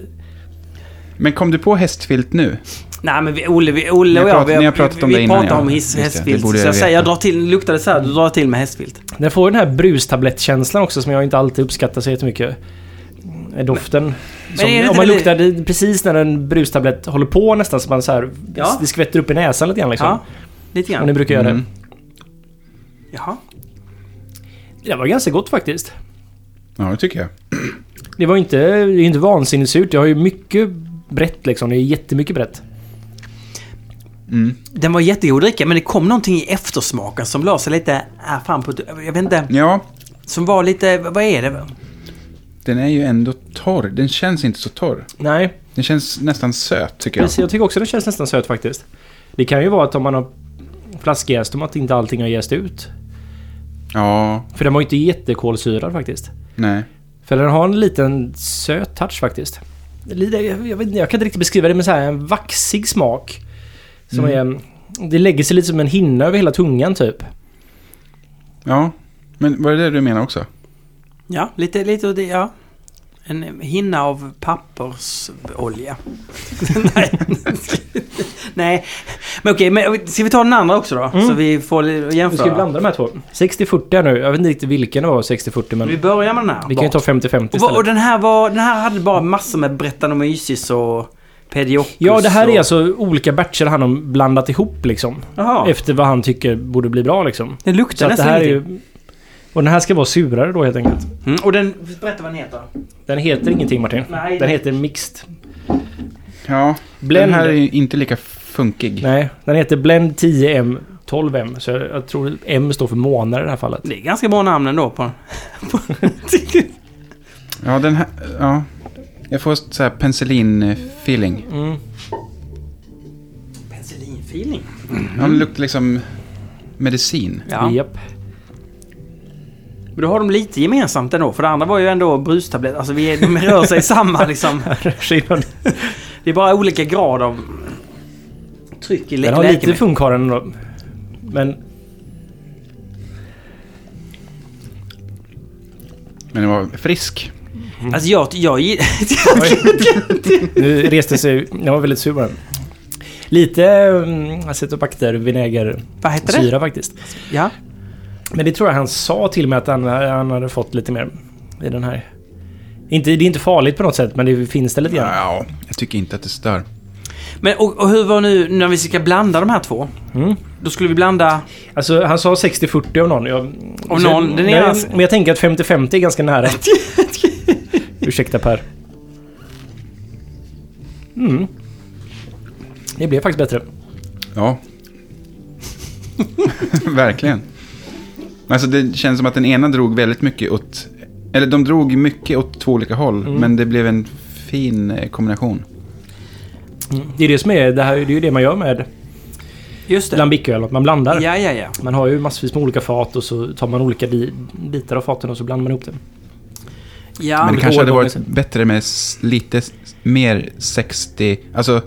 [SPEAKER 3] Men kom du på hästfilt nu?
[SPEAKER 1] Nej men vi, Olle, vi, Olle
[SPEAKER 3] Ni har
[SPEAKER 1] och jag,
[SPEAKER 3] pratat-
[SPEAKER 1] vi,
[SPEAKER 3] ni har pratat om
[SPEAKER 1] vi,
[SPEAKER 3] det
[SPEAKER 1] vi
[SPEAKER 3] innan,
[SPEAKER 1] pratar
[SPEAKER 3] ja.
[SPEAKER 1] om
[SPEAKER 3] Just
[SPEAKER 1] hiss,
[SPEAKER 3] det, det
[SPEAKER 1] hästfilt. Så
[SPEAKER 3] borde jag
[SPEAKER 1] jag säger, jag
[SPEAKER 3] veta.
[SPEAKER 1] drar till, luktar det så här, du drar till med hästfilt.
[SPEAKER 2] Den får ju den här brustablettkänslan också som jag inte alltid uppskattar så jättemycket. Eh, Doften. Som,
[SPEAKER 1] är det inte
[SPEAKER 2] om man
[SPEAKER 1] det-
[SPEAKER 2] luktar det precis när en brustablett håller på nästan så man så här,
[SPEAKER 1] Ja.
[SPEAKER 2] det skvätter upp i näsan lite grann liksom.
[SPEAKER 1] Ja, lite
[SPEAKER 2] Om ni
[SPEAKER 1] grann.
[SPEAKER 2] brukar göra
[SPEAKER 3] Mm.
[SPEAKER 1] Jaha.
[SPEAKER 2] det. Det var ganska gott faktiskt.
[SPEAKER 3] Ja, det tycker jag.
[SPEAKER 2] Det var ju inte, det är ju inte vansinnigt surt. Jag har ju mycket brett liksom. Det är jättemycket brett.
[SPEAKER 3] Mm.
[SPEAKER 1] Den var jättegod att dricka men det kom någonting i eftersmaken som la sig lite här fram på... Jag vet inte.
[SPEAKER 3] Ja,
[SPEAKER 1] Som var lite... Vad är det?
[SPEAKER 3] den är ju ändå torr. Den känns inte så torr.
[SPEAKER 2] Nej,
[SPEAKER 3] Den känns nästan söt, tycker jag.
[SPEAKER 2] precis. Jag tycker också den känns nästan söt faktiskt. Det kan ju vara att om man har flaskjäst, om att inte allting har jäst ut.
[SPEAKER 3] Ja,
[SPEAKER 2] För den var ju inte jättekolsyrad faktiskt.
[SPEAKER 3] nej.
[SPEAKER 2] För den har en liten söt touch faktiskt. Lite, jag, jag, vet inte, jag kan inte riktigt beskriva det men så här en vaxig smak. Som
[SPEAKER 1] Mm.
[SPEAKER 2] är... Det lägger sig lite som en hinna över hela tungan typ.
[SPEAKER 3] Ja, men var det det du menar också?
[SPEAKER 1] Ja, lite... lite åt det- ja. En hinna av pappersolja. Nej. Nej. Men okej, men ska vi ta den andra också då? Så vi får li-
[SPEAKER 2] Mm. Vi ska ju
[SPEAKER 1] jämföra.
[SPEAKER 2] blanda de här två. 60-40 är nu. Jag vet inte riktigt vilken det var 60-40 men...
[SPEAKER 1] Vi börjar med den här.
[SPEAKER 2] Vi kan ju
[SPEAKER 1] bak.
[SPEAKER 2] ta 50-50
[SPEAKER 1] och, vad- och
[SPEAKER 2] istället.
[SPEAKER 1] den här var... Den här hade bara massor med Brettanomyces och Pedioccus
[SPEAKER 2] Ja, det här
[SPEAKER 1] och,
[SPEAKER 2] är alltså olika batcher han har blandat ihop liksom.
[SPEAKER 1] Jaha.
[SPEAKER 2] Efter vad han tycker borde bli bra liksom.
[SPEAKER 1] Den
[SPEAKER 2] Så
[SPEAKER 1] luktar
[SPEAKER 2] att det
[SPEAKER 1] nästan
[SPEAKER 2] här är
[SPEAKER 1] ingenting.
[SPEAKER 2] ju... Och den här ska vara surare då helt enkelt.
[SPEAKER 1] Mm, och den... Berätta vad den heter.
[SPEAKER 2] Den heter ingenting Martin.
[SPEAKER 1] Nej.
[SPEAKER 2] Den heter Mixed.
[SPEAKER 3] Ja,
[SPEAKER 2] Blend.
[SPEAKER 3] den här är ju inte lika funkig.
[SPEAKER 2] Nej, den heter Blend 10M 12M. Så jag, jag tror M står för månader i det här fallet.
[SPEAKER 1] Det är ganska bra namn ändå på den.
[SPEAKER 3] Ja, den här... Ja. Jag får så här penicillin-feeling.
[SPEAKER 2] Mm.
[SPEAKER 1] Penicillinfeeling.
[SPEAKER 3] Ja, den luktar liksom medicin.
[SPEAKER 1] Ja.
[SPEAKER 2] Japp.
[SPEAKER 1] Men då har de lite gemensamt ändå. För det andra var ju ändå brustablett. Alltså vi är, de rör sig i samma liksom.
[SPEAKER 2] Skillnad.
[SPEAKER 1] Det är bara olika grad av tryck i lä-
[SPEAKER 2] Den har lite
[SPEAKER 1] läkemedel.
[SPEAKER 2] funk har den då. Men
[SPEAKER 3] Men den var frisk.
[SPEAKER 1] Alltså jag... jag gi-
[SPEAKER 2] nu reste sig... Den var väldigt sur var den. Lite mm, acetobacter, vinägersyra
[SPEAKER 1] Vad heter det?
[SPEAKER 2] faktiskt.
[SPEAKER 1] Ja.
[SPEAKER 2] Men det tror jag han sa till mig att han, han hade fått lite mer i den här. Inte, det är inte farligt på något sätt men det finns det lite grann.
[SPEAKER 3] Ja, jag tycker inte att det stör.
[SPEAKER 1] Men och, och hur var nu när vi ska blanda de här två?
[SPEAKER 2] Mm.
[SPEAKER 1] Då skulle vi blanda...
[SPEAKER 2] Alltså han sa 60-40 av någon. Jag,
[SPEAKER 1] Av
[SPEAKER 2] så-
[SPEAKER 1] någon, den
[SPEAKER 2] nej,
[SPEAKER 1] ena-
[SPEAKER 2] Men jag tänker att 50-50 är ganska nära. Ursäkta Per. Mm. Det blev faktiskt bättre.
[SPEAKER 3] Ja. Verkligen. Alltså det känns som att den ena drog väldigt mycket åt... Eller de drog mycket åt två olika håll.
[SPEAKER 2] Mm.
[SPEAKER 3] Men det blev en fin eh, kombination.
[SPEAKER 2] Mm. Det är det som är det här, det är ju det man gör med
[SPEAKER 1] Just det.
[SPEAKER 2] lambiköl, att man blandar.
[SPEAKER 1] Ja, ja, ja.
[SPEAKER 2] Man har ju massvis med olika fat och så tar man olika bi- bitar av faten och så blandar man ihop det.
[SPEAKER 1] ja
[SPEAKER 3] Men det
[SPEAKER 1] men-
[SPEAKER 3] kanske hade
[SPEAKER 2] årgången
[SPEAKER 3] varit bättre med s- lite s- mer 60... Alltså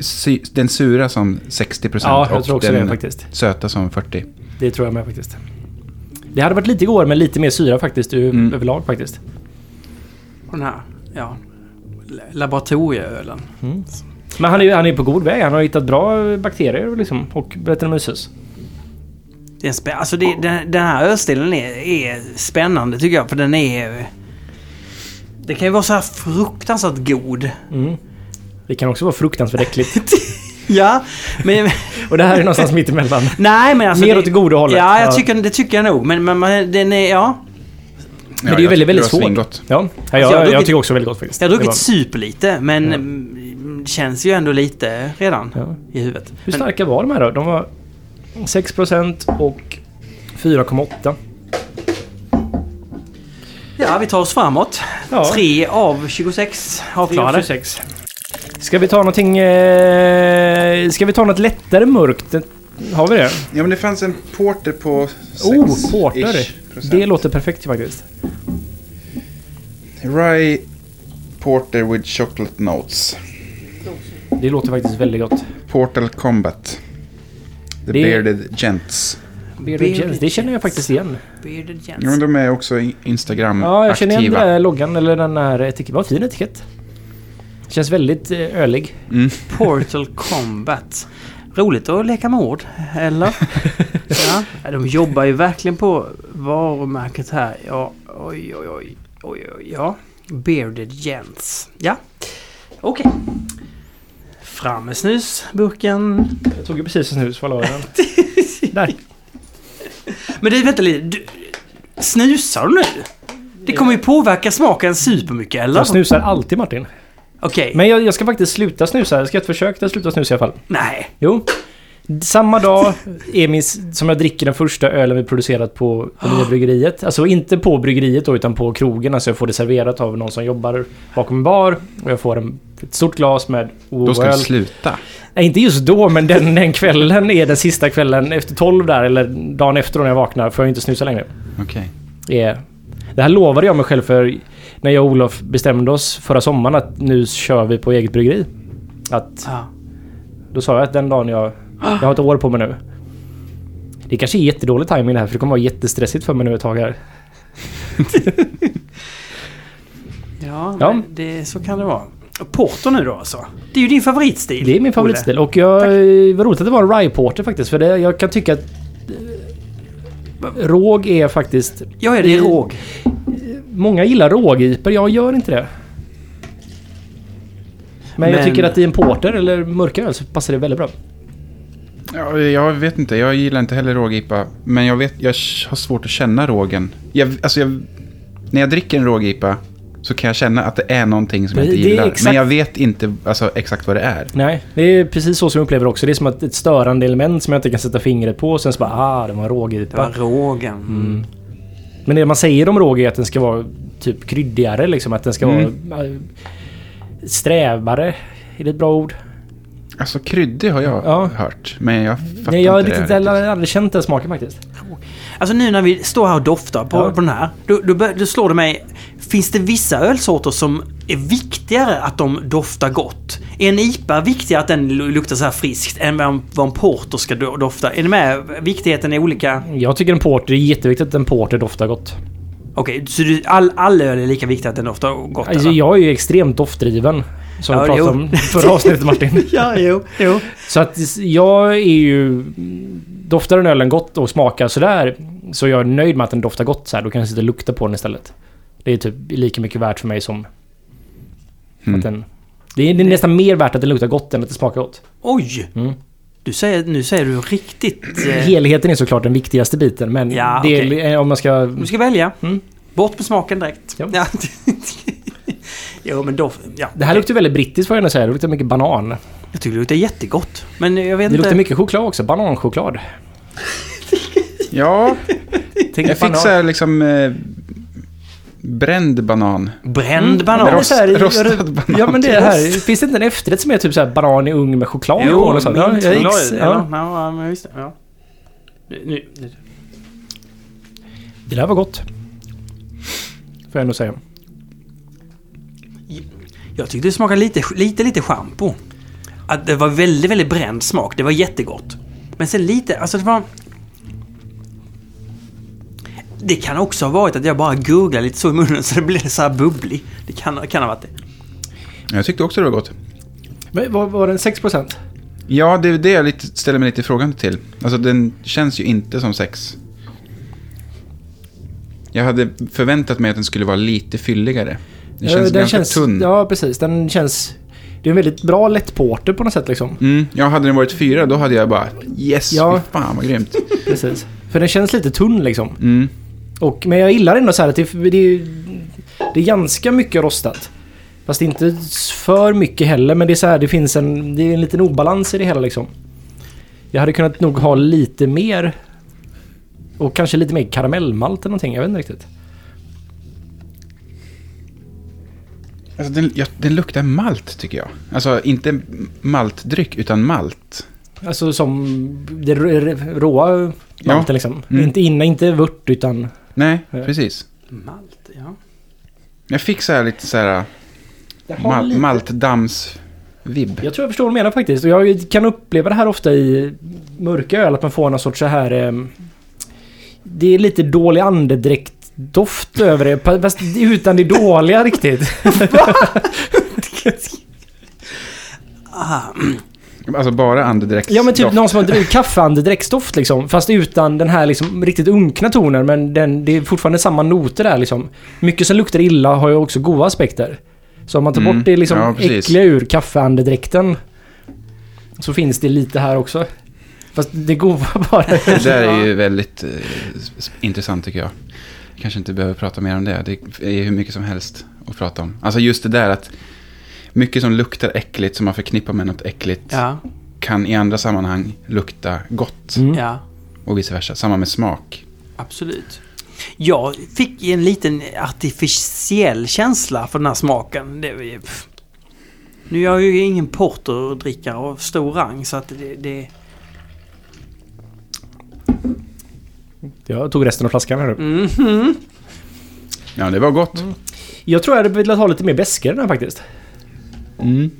[SPEAKER 3] sy, den sura som 60 procent
[SPEAKER 2] Ja, jag tror
[SPEAKER 3] och
[SPEAKER 2] också
[SPEAKER 3] den
[SPEAKER 2] det faktiskt.
[SPEAKER 3] söta som 40.
[SPEAKER 2] Det tror jag med faktiskt. Det hade varit lite godare med lite mer syra faktiskt ur-
[SPEAKER 1] Mm.
[SPEAKER 2] överlag faktiskt.
[SPEAKER 1] Och den här. Ja. L- Laboratorieölen.
[SPEAKER 2] Men han är ju han är på god väg. Han har hittat bra bakterier liksom, och Brettanomyces.
[SPEAKER 1] Det är spä- alltså det, den, den här ölstilen är, är spännande tycker jag för den är... Det kan ju vara så här fruktansvärt god.
[SPEAKER 2] Det kan också vara fruktansvärt äckligt.
[SPEAKER 1] Ja, men...
[SPEAKER 2] Och det här är någonstans mitt emellan.
[SPEAKER 1] nej men alltså...
[SPEAKER 2] Mer
[SPEAKER 1] det-
[SPEAKER 2] åt det goda hållet.
[SPEAKER 1] Ja,
[SPEAKER 2] Ja.
[SPEAKER 1] jag tycker, det tycker jag nog. Men, men man- den är... Ja.
[SPEAKER 2] Men det är ju väldigt, väldigt svårt.
[SPEAKER 3] svårt.
[SPEAKER 2] Ja, ja,
[SPEAKER 1] jag har
[SPEAKER 2] jag, jag
[SPEAKER 1] druckit-
[SPEAKER 2] tycker också väldigt gott faktiskt.
[SPEAKER 1] Jag har
[SPEAKER 2] Det
[SPEAKER 1] druckit superlite men... mm, det känns ju ändå lite redan
[SPEAKER 2] Ja.
[SPEAKER 1] i huvudet.
[SPEAKER 2] Hur
[SPEAKER 1] Men-
[SPEAKER 2] starka var de här då? De var 6% och 4,8.
[SPEAKER 1] Ja, vi tar oss framåt.
[SPEAKER 2] Ja.
[SPEAKER 1] 3 av 26 avklarade.
[SPEAKER 2] 26. Ska vi ta någonting... Eh, ska vi ta något lättare mörkt? Har vi det?
[SPEAKER 4] Ja, men det fanns en porter på 6
[SPEAKER 2] Oh, porter! Det
[SPEAKER 4] Det
[SPEAKER 2] låter perfekt faktiskt.
[SPEAKER 4] Rye Porter with chocolate notes.
[SPEAKER 2] Det låter faktiskt väldigt gott.
[SPEAKER 4] Portal Combat. The
[SPEAKER 2] Det-
[SPEAKER 4] Bearded Gents.
[SPEAKER 2] Bearded Gents, det känner jag faktiskt igen.
[SPEAKER 1] Bearded
[SPEAKER 4] Ja, men
[SPEAKER 1] Gents.
[SPEAKER 4] de är också i- Instagram-aktiva.
[SPEAKER 2] Ja, jag känner igen den där loggan eller den här etiketten. Vad fin etikett. Känns väldigt eh, ölig.
[SPEAKER 1] Portal Combat. Roligt att leka med ord, eller? ja. De jobbar ju verkligen på varumärket här. Ja, oj, oj, oj. oj, oj ja. Bearded Gents. Ja, okej. Fram med snusburken.
[SPEAKER 2] Jag tog ju precis en snus för alla öronen. Där.
[SPEAKER 1] Men du, vänta lite. Du, snusar du nu? Det kommer ju påverka smaken supermycket, eller?
[SPEAKER 2] Jag snusar alltid Martin.
[SPEAKER 1] Okej.
[SPEAKER 2] Men jag, jag ska faktiskt sluta snusa. Jag ska göra ett försök att sluta snusa i alla fall.
[SPEAKER 1] Nej.
[SPEAKER 2] Jo. Samma dag är min, som jag dricker den första ölen vi producerat på det nya bryggeriet. Alltså inte på bryggeriet då, utan på krogen. Alltså jag får det serverat av någon som jobbar bakom en bar. Och jag får en, ett stort glas med
[SPEAKER 3] Då ska du
[SPEAKER 2] OO-öl.
[SPEAKER 3] sluta.
[SPEAKER 2] Nej, inte just då, men den, den kvällen är den sista kvällen efter 12 där, eller dagen efter när jag vaknar, får jag inte snusa längre.
[SPEAKER 3] Okej.
[SPEAKER 2] Det är- Det här lovade jag mig själv för när jag och Olof bestämde oss förra sommaren att nu kör vi på eget bryggeri. Att
[SPEAKER 1] Ja.
[SPEAKER 2] då sa jag att den dagen jag... Jag har ett år på mig nu. Det kanske är jättedålig timing det här för det kommer vara jättestressigt för mig nu ett tag här.
[SPEAKER 1] Ja,
[SPEAKER 2] Ja.
[SPEAKER 1] men Det, så kan det vara. Porter nu då alltså. Det är ju din favoritstil.
[SPEAKER 2] Det är min
[SPEAKER 1] Olle.
[SPEAKER 2] favoritstil och jag... Vad roligt att det var en rye porter faktiskt för det, jag kan tycka att... eh, Råg är faktiskt...
[SPEAKER 1] Ja, ja, det är råg.
[SPEAKER 2] Många gillar rågiper, jag gör inte det. Men, jag
[SPEAKER 1] Men-
[SPEAKER 2] tycker att i en porter eller mörkare öl så passar det väldigt bra.
[SPEAKER 3] Ja, jag vet inte, jag gillar inte heller rågipa. Men jag, vet, jag k- har svårt att känna rågen. Jag, alltså jag, när jag dricker en rågipa så kan jag känna att det är någonting som jag
[SPEAKER 2] Det-
[SPEAKER 3] inte
[SPEAKER 2] det är
[SPEAKER 3] gillar.
[SPEAKER 2] exakt-
[SPEAKER 3] Men jag vet inte alltså, exakt vad det är.
[SPEAKER 2] Nej, det är precis så som jag upplever det också. Det är som att ett störande element som jag inte kan sätta fingret på och sen så bara ah, det var en
[SPEAKER 1] Det
[SPEAKER 2] rågipa.
[SPEAKER 1] var rågen.
[SPEAKER 2] Men det man säger om råg är att den ska vara typ kryddigare liksom. Att den ska vara eh, strävare. Är det ett bra ord?
[SPEAKER 3] Alltså kryddig har jag
[SPEAKER 2] Ja.
[SPEAKER 3] hört. Men jag fattar
[SPEAKER 2] Nej, jag har
[SPEAKER 3] inte
[SPEAKER 2] riktigt,
[SPEAKER 3] det. här
[SPEAKER 2] jag har aldrig känt den smaken faktiskt.
[SPEAKER 1] Alltså nu när vi står här och doftar på,
[SPEAKER 2] Ja.
[SPEAKER 1] på den här. Då, då, bör- då slår det mig. Finns det vissa ölsorter som är viktigare att de doftar gott? Är en IPA viktigare att den lu- luktar så här friskt än vad en, vad en porter ska do- dofta? Är ni med? Viktigheten är olika.
[SPEAKER 2] Jag tycker en porter, det är jätteviktigt att en porter doftar gott.
[SPEAKER 1] Okej, så du, all, all öl är lika viktig att den doftar gott?
[SPEAKER 2] Alltså,
[SPEAKER 1] eller?
[SPEAKER 2] jag är ju extremt doftdriven. Som
[SPEAKER 1] Ja,
[SPEAKER 2] vi pratade
[SPEAKER 1] jo.
[SPEAKER 2] om förra avsnittet Martin.
[SPEAKER 1] Ja, jo. jo.
[SPEAKER 2] Så att jag är ju... Doftar den ölen gott och smakar sådär så jag är nöjd med att den doftar gott så här. Då kan jag sitta och lukta på den istället. Det är typ lika mycket värt för mig som...
[SPEAKER 3] Mm.
[SPEAKER 2] Att den, det, är, det är nästan mer värt att den luktar gott än att det smakar gott.
[SPEAKER 1] Oj!
[SPEAKER 2] Mm.
[SPEAKER 1] Du säger, nu säger du riktigt... eh,
[SPEAKER 2] Helheten är såklart den viktigaste biten men
[SPEAKER 1] Ja,
[SPEAKER 2] det är,
[SPEAKER 1] okej.
[SPEAKER 2] eh, om man ska...
[SPEAKER 1] Du ska välja.
[SPEAKER 2] Mm.
[SPEAKER 1] Bort med smaken direkt.
[SPEAKER 2] Ja.
[SPEAKER 1] Ja. jo, men då... Ja.
[SPEAKER 2] Det här luktar väldigt brittiskt får jag ändå säga. Det luktar mycket banan.
[SPEAKER 1] Jag tycker det luktar jättegott. Men jag vet
[SPEAKER 2] Det
[SPEAKER 1] inte...
[SPEAKER 2] luktar mycket choklad också. Bananchoklad.
[SPEAKER 3] Ja,
[SPEAKER 2] Tänk
[SPEAKER 3] jag fick så här liksom eh, bränd banan.
[SPEAKER 1] Bränd
[SPEAKER 2] Ja, Mm. men det är
[SPEAKER 1] banan.
[SPEAKER 2] så här-
[SPEAKER 3] Rost- rostad banan
[SPEAKER 2] Ja men det är
[SPEAKER 1] till
[SPEAKER 2] här. Finns det inte en efterrätt som är typ så här banan i ugn med choklad på? eller så? Ja,
[SPEAKER 1] mint
[SPEAKER 2] ja,
[SPEAKER 1] choklad,
[SPEAKER 2] ex-
[SPEAKER 1] eller?
[SPEAKER 2] ja.
[SPEAKER 1] Ja, men just det. Ja. Nu, nu, nu.
[SPEAKER 2] Det där var gott. Får jag ändå säga.
[SPEAKER 1] Jag tyckte det smakade lite, lite, lite schampo. Att det var väldigt, väldigt bränd smak. Det var jättegott. Men sen lite, alltså det var... Det kan också ha varit att jag bara gurglade lite så i munnen så det blev så här bubblig. Det kan, kan ha varit det.
[SPEAKER 3] Jag tyckte också det var gott.
[SPEAKER 2] Men, var, var den 6%?
[SPEAKER 3] Ja, det är det jag lite, ställer mig lite frågande till. Alltså den känns ju inte som sex. Jag hade förväntat mig att den skulle vara lite fylligare. Den känns
[SPEAKER 2] Eh, den
[SPEAKER 3] ganska
[SPEAKER 2] känns,
[SPEAKER 3] tunn.
[SPEAKER 2] Ja precis. Den känns... Det är en väldigt bra lättporter på något sätt liksom.
[SPEAKER 3] Mm, ja, hade den varit fyra då hade jag bara yes,
[SPEAKER 2] Ja.
[SPEAKER 3] fy fan vad grymt.
[SPEAKER 2] Precis. För den känns lite tunn liksom.
[SPEAKER 3] Mm.
[SPEAKER 2] Och, men jag gillar ändå så här att det, det, är- det är ganska mycket rostat. Fast inte för mycket heller, men det är så här, det finns en, det är en liten obalans i det hela liksom. Jag hade kunnat nog ha lite mer och kanske lite mer karamellmalt eller någonting, jag vet inte riktigt.
[SPEAKER 3] Alltså, den, ja, den luktar malt tycker jag. Alltså inte maltdryck utan malt.
[SPEAKER 2] Alltså som det r- r- råa malten
[SPEAKER 3] Ja.
[SPEAKER 2] liksom.
[SPEAKER 3] Mm.
[SPEAKER 2] Inte inne, inte vört utan...
[SPEAKER 3] Nej,
[SPEAKER 2] Ja.
[SPEAKER 3] precis.
[SPEAKER 1] Malt, ja.
[SPEAKER 3] Jag fick så här lite så här mal, maltdamms-vibb.
[SPEAKER 2] Jag tror jag förstår vad du menar faktiskt. Och jag kan uppleva det här ofta i mörka öl, att man får någon sorts så här... ehm, det är lite dålig andedräkt doft över det, pa- fast utan det dåliga riktigt.
[SPEAKER 3] Alltså bara andedräkt.
[SPEAKER 2] Ja men typ någon som har druckit kaffeandedräktsdoft liksom. Fast utan den här liksom riktigt unkna tonen. Men den, det är fortfarande samma noter där liksom. Mycket som luktar illa har ju också goda aspekter. Så om man tar
[SPEAKER 3] Mm,
[SPEAKER 2] bort det liksom
[SPEAKER 3] ja, precis.
[SPEAKER 2] äckliga ur kaffeandedräkten. Så finns det lite här också. Fast det goda bara.
[SPEAKER 3] Det där är ju väldigt eh, s- intressant tycker jag. Jag kanske inte behöver prata mer om det. Det är ju hur mycket som helst att prata om. Alltså just det där att mycket som luktar äckligt, som man förknippar med något äckligt,
[SPEAKER 1] Ja,
[SPEAKER 3] kan i andra sammanhang lukta gott.
[SPEAKER 2] Mm.
[SPEAKER 1] ja.
[SPEAKER 3] Och vice versa. Samma med smak.
[SPEAKER 1] Absolut. Jag fick en liten artificiell känsla för den här smaken. Det, är- pff. nu är jag ju ingen porterdrickare av stor rang så att det... det
[SPEAKER 2] Jag tog resten av flaskan här nu.
[SPEAKER 1] Mhm.
[SPEAKER 3] Ja, det var gott.
[SPEAKER 2] Jag tror jag hade velat ha lite mer beska i den här faktiskt. Mm.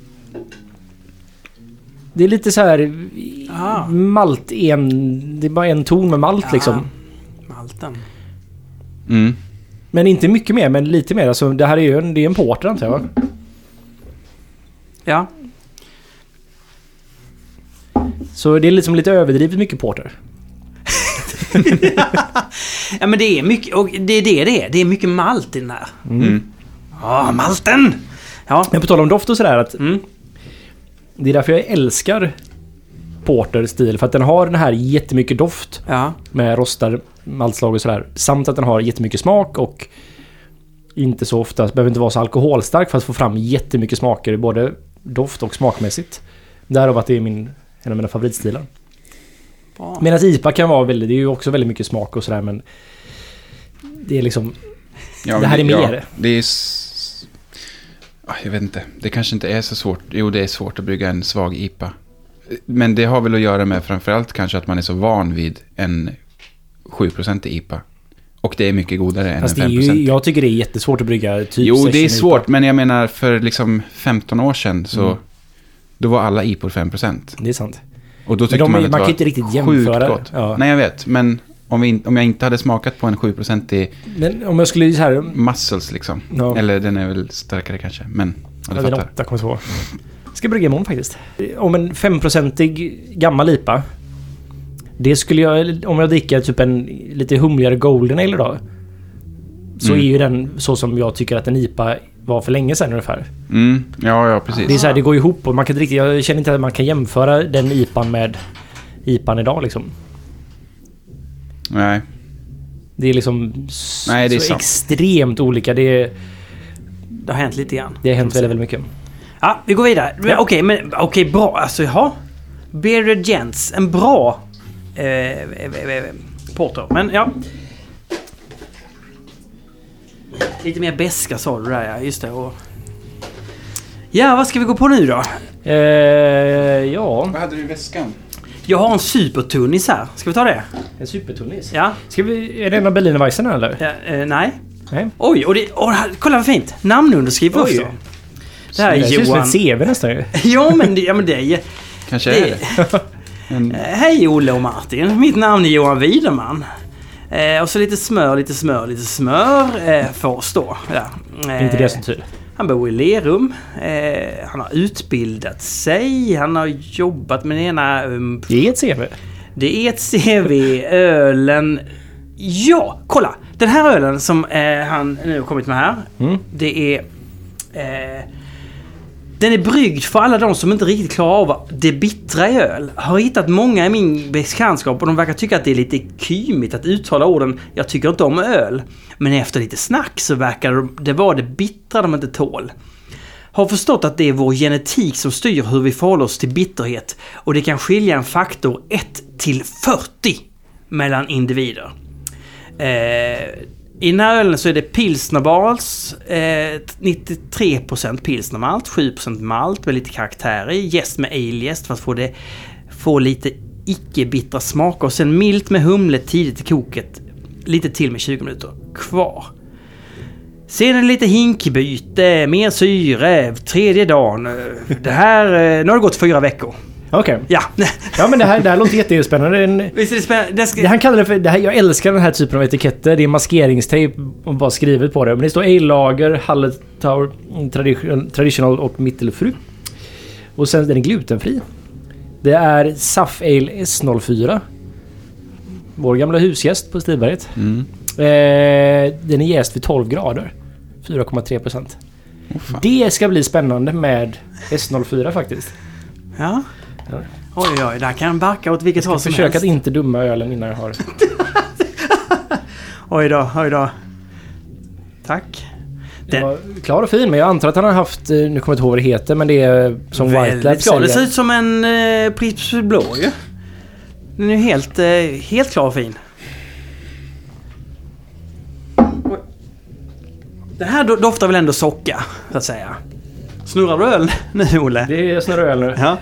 [SPEAKER 2] Det är lite så här
[SPEAKER 1] Ah.
[SPEAKER 2] malt en... Det är bara en ton med malt
[SPEAKER 1] Ja.
[SPEAKER 2] liksom.
[SPEAKER 1] Malten.
[SPEAKER 3] Mm.
[SPEAKER 2] Men inte mycket mer, men lite mer. Alltså, det här är ju en, det är en porter antar jag va?
[SPEAKER 1] Ja.
[SPEAKER 2] Så det är liksom lite överdrivet mycket porter.
[SPEAKER 1] ja, men det är mycket... Och det är det det är. Det är mycket malt i den här. Mm. Ja, malten! Ja.
[SPEAKER 2] Men på tal om doft och sådär att
[SPEAKER 1] Mm.
[SPEAKER 2] det är därför jag älskar porter-stil. För att den har den här jättemycket doft
[SPEAKER 1] Ja.
[SPEAKER 2] med rostad maltslag och sådär. Samt att den har jättemycket smak och inte så ofta, behöver inte vara så alkoholstark för att få fram jättemycket smaker både doft och smakmässigt. Därav att det är min, en av mina favoritstilar.
[SPEAKER 1] Bra.
[SPEAKER 2] Medan IPA kan vara väldigt, det är ju också väldigt mycket smak och sådär men det är liksom
[SPEAKER 3] Ja,
[SPEAKER 2] Det här
[SPEAKER 3] men-
[SPEAKER 2] är
[SPEAKER 3] ja,
[SPEAKER 2] mer.
[SPEAKER 3] det är... s- Ah, Jag vet inte. Det kanske inte är så svårt. Jo, det är svårt att brygga en svag IPA. Men det har väl att göra med framförallt kanske att man är så van vid en 7% IPA. Och det är mycket godare än
[SPEAKER 2] Fast det är
[SPEAKER 3] en 5%.
[SPEAKER 2] ju, jag tycker det är jättesvårt att brygga typ
[SPEAKER 3] jo, det
[SPEAKER 2] session
[SPEAKER 3] är
[SPEAKER 2] IPA. Mm.
[SPEAKER 3] svårt, men jag menar för liksom 15 år sedan så... Då var alla IPOR 5%.
[SPEAKER 2] Det är sant.
[SPEAKER 3] Och då
[SPEAKER 2] Men
[SPEAKER 3] tyckte
[SPEAKER 2] de,
[SPEAKER 3] man
[SPEAKER 2] man
[SPEAKER 3] att det
[SPEAKER 2] kan
[SPEAKER 3] var
[SPEAKER 2] ju inte riktigt
[SPEAKER 3] sjukt
[SPEAKER 2] jämföra.
[SPEAKER 3] gott.
[SPEAKER 2] Ja.
[SPEAKER 3] Nej, jag vet. Men om, vi, in- om jag inte hade smakat på en 7% i
[SPEAKER 2] Men om jag skulle så här...
[SPEAKER 3] muscles liksom.
[SPEAKER 2] Ja,
[SPEAKER 3] Eller den är väl starkare kanske, men... Ja,
[SPEAKER 2] ja,
[SPEAKER 3] du
[SPEAKER 2] den
[SPEAKER 3] fattar.
[SPEAKER 2] 8,2. Ska brygga imorgon faktiskt. Om en 5-procentig gammal IPA. Det skulle jag... Om jag dricker typ en lite humligare Golden Ale idag. Så
[SPEAKER 3] Mm.
[SPEAKER 2] är ju den så som jag tycker att en IPA var för länge sedan ungefär.
[SPEAKER 3] Mm, ja, ja, precis.
[SPEAKER 2] Det är så här, det går ihop och man kan inte riktigt... Jag känner inte att man kan jämföra den IPAn med IPAn idag liksom.
[SPEAKER 3] Nej.
[SPEAKER 2] Det är liksom s-
[SPEAKER 3] Nej, det är
[SPEAKER 2] så
[SPEAKER 3] sant.
[SPEAKER 2] extremt olika. Det, är-
[SPEAKER 1] Det har hänt lite grann.
[SPEAKER 2] det har hänt väldigt, väldigt mycket.
[SPEAKER 1] Ja, vi går vidare. Men, Okej, men okej, bra. Alltså, jaha. Bearded Gents. En bra eh, eh, eh, eh, porter. Men ja. Lite mer beska sa du där ja. Just det. Och... Ja, vad ska vi gå på nu då?
[SPEAKER 2] Eh, ja,
[SPEAKER 3] Vad hade du i väskan?
[SPEAKER 1] Jag har en supertunnis här. Ska vi ta det?
[SPEAKER 2] en supertunnis.
[SPEAKER 1] Ja.
[SPEAKER 2] Ska vi, är det en av Berlinerweissern här, eller?
[SPEAKER 1] ja eh, nej.
[SPEAKER 2] Nej.
[SPEAKER 1] Oj, och det, och, här- kolla vad fint. Namnunderskrift
[SPEAKER 2] Oj.
[SPEAKER 1] också. Det här är
[SPEAKER 2] Det ser ut som
[SPEAKER 1] Johan. Eh.
[SPEAKER 2] ett CV nästan ju.
[SPEAKER 1] Ja, men det, ja, men det är
[SPEAKER 3] Kanske är
[SPEAKER 1] Det,
[SPEAKER 3] det. En,
[SPEAKER 1] Eh, Hej Olle och Martin, mitt namn är Johan Widerman. Eh, och så lite smör, lite smör, lite smör eh, får stå. Ja. Eh,
[SPEAKER 2] Inte det som tur.
[SPEAKER 1] han bor i Lerum. Eh, han har utbildat sig. Han har jobbat med den ena... Um,
[SPEAKER 2] Det är ett CV.
[SPEAKER 1] det är ett CV, ölen... Ja, kolla! Den här ölen som eh, han nu har kommit med här.
[SPEAKER 2] Mm.
[SPEAKER 1] Det är... Eh, den är bryggd för alla de som inte riktigt klarar av det bittra i öl. Har hittat många i min bekantskap och de verkar tycka att det är lite kymigt att uttala orden “jag tycker inte om öl”. Men efter lite snack så verkar det vara det bittra de inte tål. har förstått att det är vår genetik som styr hur vi förhåller oss till bitterhet och det kan skilja en faktor 1 till 40 mellan individer. Eh, I den här ölen så är det pilsnerbals, eh, 93% pilsnermalt, 7% malt med lite karaktär i, jäst med aljäst för att få, det, få lite icke-bittra smaker och sen milt med humle tidigt i koket, lite till med 20 minuter kvar. Sen är det lite hinkbyte, mer syre, tredje dagen. eh, Det här, eh, nu har det gått fyra veckor.
[SPEAKER 2] Okej.
[SPEAKER 1] Ja,
[SPEAKER 2] Ja men det här, det här låter jättespännande. En,
[SPEAKER 1] visst är det spännande? Det ska...
[SPEAKER 2] det han kallar det för, det här, jag älskar den här typen av etiketter. Det är maskeringstejp och bara skrivet på det. Men det står A-lager, Hallertau, mm, tradition, traditional och mittelfru. Och sen den är glutenfri. Det är SAF Ale S04. Vår gamla husgäst på Stiberget.
[SPEAKER 3] Mm.
[SPEAKER 2] Eh, den är jäst vid 12 grader. 4,3 procent.
[SPEAKER 3] fan.
[SPEAKER 2] det ska bli spännande med S04 faktiskt.
[SPEAKER 1] Ja. Oj, oj, oj. Där kan barka åt vilket håll som
[SPEAKER 2] Försök att
[SPEAKER 1] helst.
[SPEAKER 2] inte dumma ölen innan jag har...
[SPEAKER 1] Oj då, oj då. Tack.
[SPEAKER 2] Den
[SPEAKER 1] Den-
[SPEAKER 2] var klar och fin, men jag antar att han har haft... eh, Nu kommer jag inte ihåg vad det heter, men det är eh, som White Lab
[SPEAKER 1] Väldigt bra. Det ser
[SPEAKER 2] säger.
[SPEAKER 1] ut som en eh, Pripps blå ju. Den är ju helt, eh, helt klar och fin. Oj. Den här do- doftar väl ändå socka, så att säga. Snurrar du öl nu, Olle?
[SPEAKER 2] Det är snurrar öl nu.
[SPEAKER 1] Ja.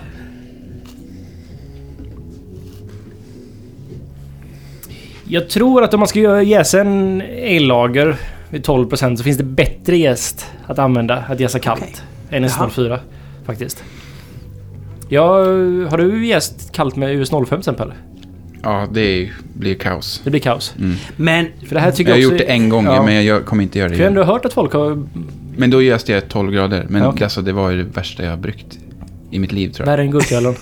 [SPEAKER 2] Jag tror att om man ska göra jäsa en ellager vid 12% så finns det bättre jäst att använda, att jäsa kallt. Än S04 faktiskt. Ja, har du jäst kallt med US05 sen Pelle?
[SPEAKER 3] Ja, det är, ju- blir kaos.
[SPEAKER 2] Det blir kaos.
[SPEAKER 1] Men
[SPEAKER 2] För det här tycker
[SPEAKER 3] Mm. Jag har
[SPEAKER 2] jag,
[SPEAKER 3] gjort
[SPEAKER 2] också,
[SPEAKER 3] det en gång,
[SPEAKER 2] Ja.
[SPEAKER 3] men jag gör- kommer inte göra det
[SPEAKER 2] För jag har
[SPEAKER 3] igen.
[SPEAKER 2] ändå hört att folk har...
[SPEAKER 3] Men då görs det 12 grader. Men
[SPEAKER 2] Ja, okej.
[SPEAKER 3] alltså, det var ju det värsta jag har bryggt i mitt liv, tror jag.
[SPEAKER 2] Värre än gurkölen.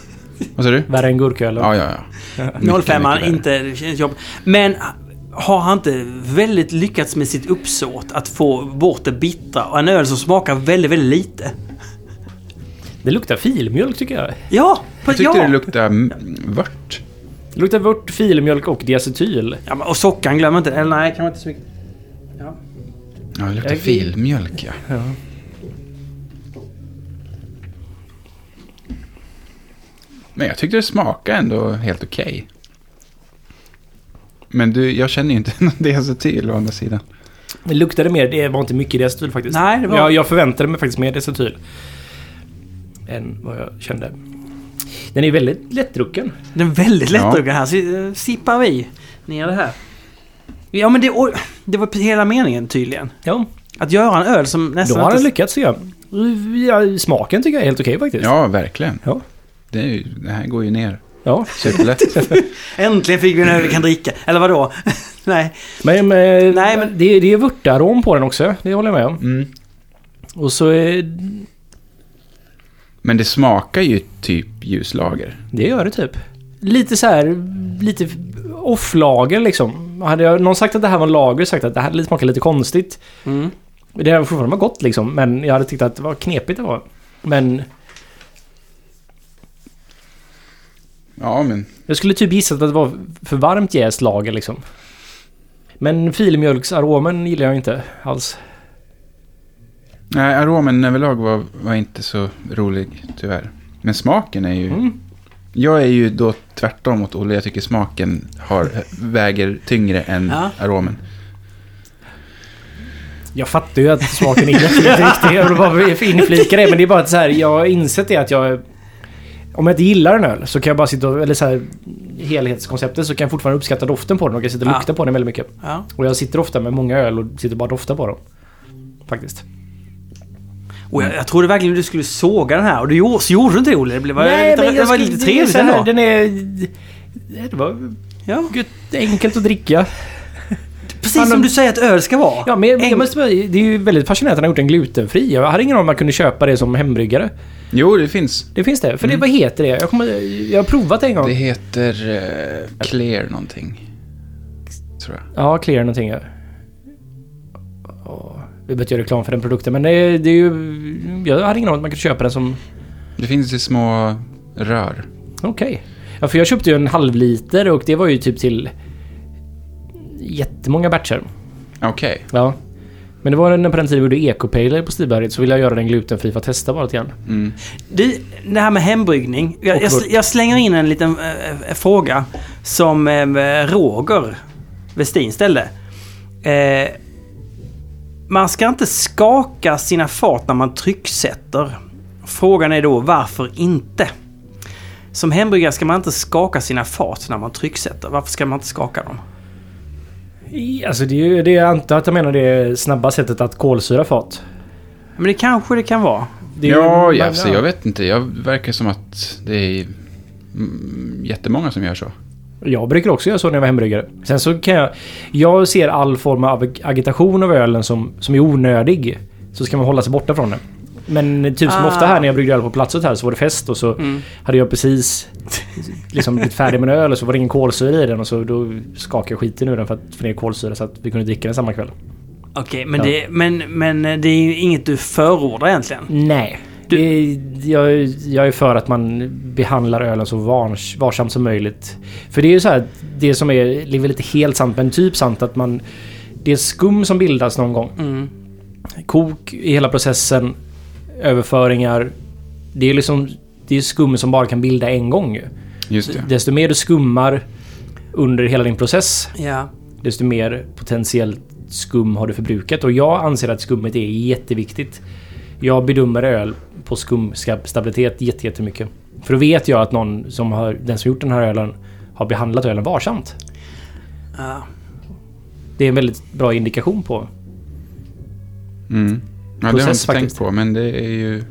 [SPEAKER 3] Vad sa du?
[SPEAKER 2] Värre än gurkölen.
[SPEAKER 3] Ja, ja, ja. Mycket,
[SPEAKER 1] 05
[SPEAKER 3] mycket värre.
[SPEAKER 1] inte, det känns jobb. Men har han inte väldigt lyckats med sitt uppsåt att få bort det bittra och en öl som smakar väldigt, väldigt lite?
[SPEAKER 2] Det luktar filmjölk tycker jag.
[SPEAKER 1] Ja! på-
[SPEAKER 3] Jag tyckte
[SPEAKER 1] ja.
[SPEAKER 3] det luktade mm, vört.
[SPEAKER 2] Det luktar vört, filmjölk och diacetyl.
[SPEAKER 1] ja men, och sockan glöm inte. Eller nej, kanske inte så mycket.
[SPEAKER 3] Ja, det luktar
[SPEAKER 2] Jag-
[SPEAKER 3] filmjölk, ja. Men jag tyckte det smakade ändå helt okej. Men du, jag känner ju inte någon diacetyl å andra sidan.
[SPEAKER 2] Det luktade mer, det var inte mycket diacetyl faktiskt.
[SPEAKER 1] Nej, det var-
[SPEAKER 2] jag, jag förväntade mig faktiskt mer diacetyl. Än vad jag kände. Den är väldigt lättdrucken.
[SPEAKER 1] Den är väldigt
[SPEAKER 3] Ja.
[SPEAKER 1] lättdrucken här. Så eh, sippar vi ner det här. Ja men det, oj, det var hela meningen tydligen.
[SPEAKER 2] Ja,
[SPEAKER 1] Att göra en öl som
[SPEAKER 2] då
[SPEAKER 1] nästan
[SPEAKER 2] har den
[SPEAKER 1] Alltså, inte...
[SPEAKER 2] lyckats tycker jag. Ja, smaken tycker jag är helt okej faktiskt.
[SPEAKER 3] Ja, verkligen.
[SPEAKER 2] Ja.
[SPEAKER 3] Det, är ju, det här går ju ner
[SPEAKER 2] ja.
[SPEAKER 3] superlätt.
[SPEAKER 1] Äntligen fick vi en öl vi kan dricka. Eller vadå? nej.
[SPEAKER 2] Men, men,
[SPEAKER 1] Nej, men-
[SPEAKER 2] det, är- det är vörtarom på den också. Det håller jag med om.
[SPEAKER 3] Mm.
[SPEAKER 2] Och så är,
[SPEAKER 3] Men det smakar ju typ ljuslager.
[SPEAKER 2] Det gör det typ. Lite så här, lite off-lager liksom. Hade jag någon sagt att det här var en lager sagt att det här smakar lite konstigt.
[SPEAKER 1] Mm.
[SPEAKER 2] Det hade fortfarande varit gott liksom, men jag hade tyckt att det var knepigt det var. Men
[SPEAKER 3] Ja, men
[SPEAKER 2] jag skulle typ gissat att det var för varmt jäst lager liksom. Men filmjölksaromen gillar jag inte alls.
[SPEAKER 3] nej, aromen överlag var, var inte så rolig, tyvärr. Men smaken är ju...
[SPEAKER 2] Mm.
[SPEAKER 3] Jag är ju då tvärtom mot Olle. Jag tycker smaken har, väger tyngre än
[SPEAKER 1] Ja.
[SPEAKER 3] aromen.
[SPEAKER 2] Jag fattar ju att smaken är jätteviktig. Jag vill bara inflika det. Men det är bara att så här, jag har insett det att jag... Om jag inte gillar en öl så kan jag bara sitta och... Eller så här, helhetskonceptet så kan jag fortfarande uppskatta doften på den. Och jag sitter och
[SPEAKER 1] Ja.
[SPEAKER 2] luktar på den väldigt mycket.
[SPEAKER 1] Ja.
[SPEAKER 2] Och jag sitter ofta med många öl och sitter bara och doftar på dem. Faktiskt.
[SPEAKER 1] Och jag, jag trodde verkligen du skulle såga den här och du gjorde, så gjorde du inte det Olle. Det blev, lite, det var lite trevligt ändå.
[SPEAKER 2] Den är... Det var
[SPEAKER 1] Ja,
[SPEAKER 2] gött, enkelt att dricka.
[SPEAKER 1] precis
[SPEAKER 2] Annan-
[SPEAKER 1] som du säger att öl ska vara.
[SPEAKER 2] Ja, men jag
[SPEAKER 1] Enk-
[SPEAKER 2] måste, bara- det är ju väldigt fascinerande att han har gjort en glutenfri. Jag hade ingen aning om man kunde köpa det som hembryggare.
[SPEAKER 3] Jo, det finns.
[SPEAKER 2] Det finns det. För det, vad heter det? Jag, kommer, jag har provat det en gång.
[SPEAKER 3] Det heter eh, Clear någonting. Tror jag.
[SPEAKER 2] Ja, Clear någonting ja. Ja, Vi behöver inte göra reklam för den produkten men det är, det är ju... Jag hade ingen aning om att man kunde köpa den som...
[SPEAKER 3] Det finns i små rör.
[SPEAKER 2] Okej. Ja, för jag köpte ju en halv liter och det var ju typ till jättemånga batcher.
[SPEAKER 3] Okej.
[SPEAKER 2] Ja. Men det var när på den tiden vi gjorde ekopaler på Stiberget så ville jag göra den glutenfri för att testa bara lite grann.
[SPEAKER 3] Mm.
[SPEAKER 1] Du, det här med hembryggning. Jag,
[SPEAKER 2] Och
[SPEAKER 1] jag,
[SPEAKER 2] vår-
[SPEAKER 1] jag slänger in en liten eh, eh, fråga som eh, Roger Westin ställde. Eh, man ska inte skaka sina fat när man trycksätter. Frågan är då varför inte? Som hembryggare ska man inte skaka sina fat när man trycksätter. Varför ska man inte skaka dem?
[SPEAKER 2] I- Alltså det är ju det jag antar att jag menar det snabba sättet att kolsyra fat.
[SPEAKER 1] Men det kanske det kan vara.
[SPEAKER 2] Det är ju-
[SPEAKER 3] ja,
[SPEAKER 2] man-
[SPEAKER 3] ja, alltså, jag vet inte. Jag verkar som att det är mm, jättemånga som gör så.
[SPEAKER 2] Jag brukar också göra så när jag var hembryggare. Sen så kan jag... Jag ser all form av ag- agitation av ölen som, som är onödig. Så ska man hålla sig borta från den. Men typ som
[SPEAKER 1] Ah.
[SPEAKER 2] ofta här när jag bryggde öl på platset här så var det fest och så hade jag precis liksom blivit färdig med en öl och så var det ingen kolsyra i den och så då skakade jag skiten ur den för att få ner kolsyra så att vi kunde dricka den samma kväll.
[SPEAKER 1] Okej, men,
[SPEAKER 2] Ja.
[SPEAKER 1] det, men, men eh, det är ju inget du förordar egentligen.
[SPEAKER 2] Nej. Det, jag, jag är för att man behandlar ölen så vars, varsamt som möjligt. För det är ju så här, det som är, det är väl inte helt sant, men typ sant att man... Det är skum som bildas någon gång.
[SPEAKER 1] Mm.
[SPEAKER 2] Kok i hela processen, överföringar. Det är liksom... Det är skum som bara kan bilda en gång ju.
[SPEAKER 3] Just det.
[SPEAKER 2] Desto mer du skummar under hela din process,
[SPEAKER 1] Ja.
[SPEAKER 2] desto mer potentiellt skum har du förbrukat. Och jag anser att skummet är jätteviktigt. Jag bedömer öl på skumstabilitet jätte- jättemycket. För då vet jag att någon som har, den som gjort den här ölen har behandlat ölen varsamt.
[SPEAKER 1] ja.
[SPEAKER 2] Det är en väldigt bra indikation på.
[SPEAKER 3] Mm. Ja, det har jag
[SPEAKER 2] Process
[SPEAKER 3] inte tänkt
[SPEAKER 2] faktiskt.
[SPEAKER 3] på, men det är ju...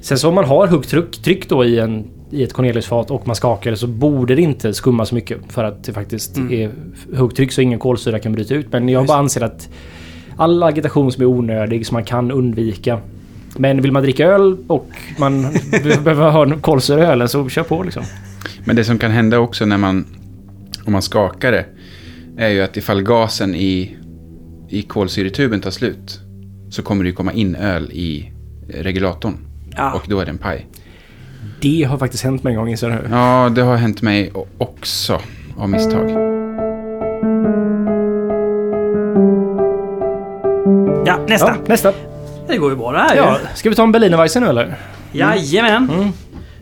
[SPEAKER 2] Sen så om man har högt tryck, tryck då i, en, i ett Corneliusfat och man skakar det så borde det inte skumma så mycket för att det faktiskt är högt tryck så ingen kolsyra kan bryta ut. Men jag bara anser att all agitation som är onödig som man kan undvika. Men vill man dricka öl och man be- behöver ha en kolsyra i ölen så kör på liksom.
[SPEAKER 3] Men det som kan hända också när man, om man skakar det, är ju att ifall gasen i, i kolsyretuben tar slut så kommer det ju komma in öl i regulatorn.
[SPEAKER 2] Ah.
[SPEAKER 1] Ja.
[SPEAKER 3] Och då är det en paj.
[SPEAKER 2] Det har faktiskt hänt mig en gång inser jag nu.
[SPEAKER 3] Ja, det har hänt mig o- också av
[SPEAKER 2] Mm.
[SPEAKER 3] misstag.
[SPEAKER 1] ja, nästa.
[SPEAKER 2] Ja, nästa.
[SPEAKER 1] Det går ju bra det här
[SPEAKER 2] Ja,
[SPEAKER 1] ju.
[SPEAKER 2] ska vi ta en Berlinerweisse nu eller?
[SPEAKER 1] Jajamän.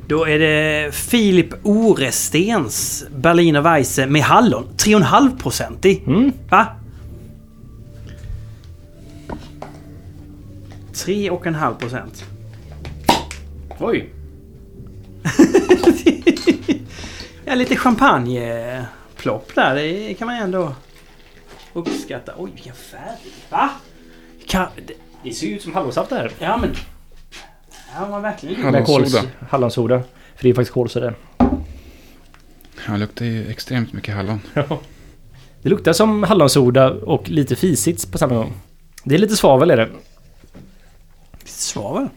[SPEAKER 1] Då är det Filip Orestens Berliner Weisse med hallon. 3,5-procentig. Va? 3,5 procent.
[SPEAKER 2] Oj.
[SPEAKER 1] Ja, lite champagneplopp där. Det kan man ändå uppskatta. Oj, vilken färg. Va? Kan...
[SPEAKER 2] Det ser ju ut som hallonsaft det här.
[SPEAKER 1] Ja, men... Ja, man verkligen...
[SPEAKER 2] Med kols-
[SPEAKER 3] Hallonsoda.
[SPEAKER 2] Hallonsoda. För det är faktiskt kolsyra.
[SPEAKER 3] Ja, det luktar ju extremt mycket hallon.
[SPEAKER 2] Det luktar som hallonsoda och lite fisits på samma gång. Det är lite svavel är det.
[SPEAKER 1] Svavel.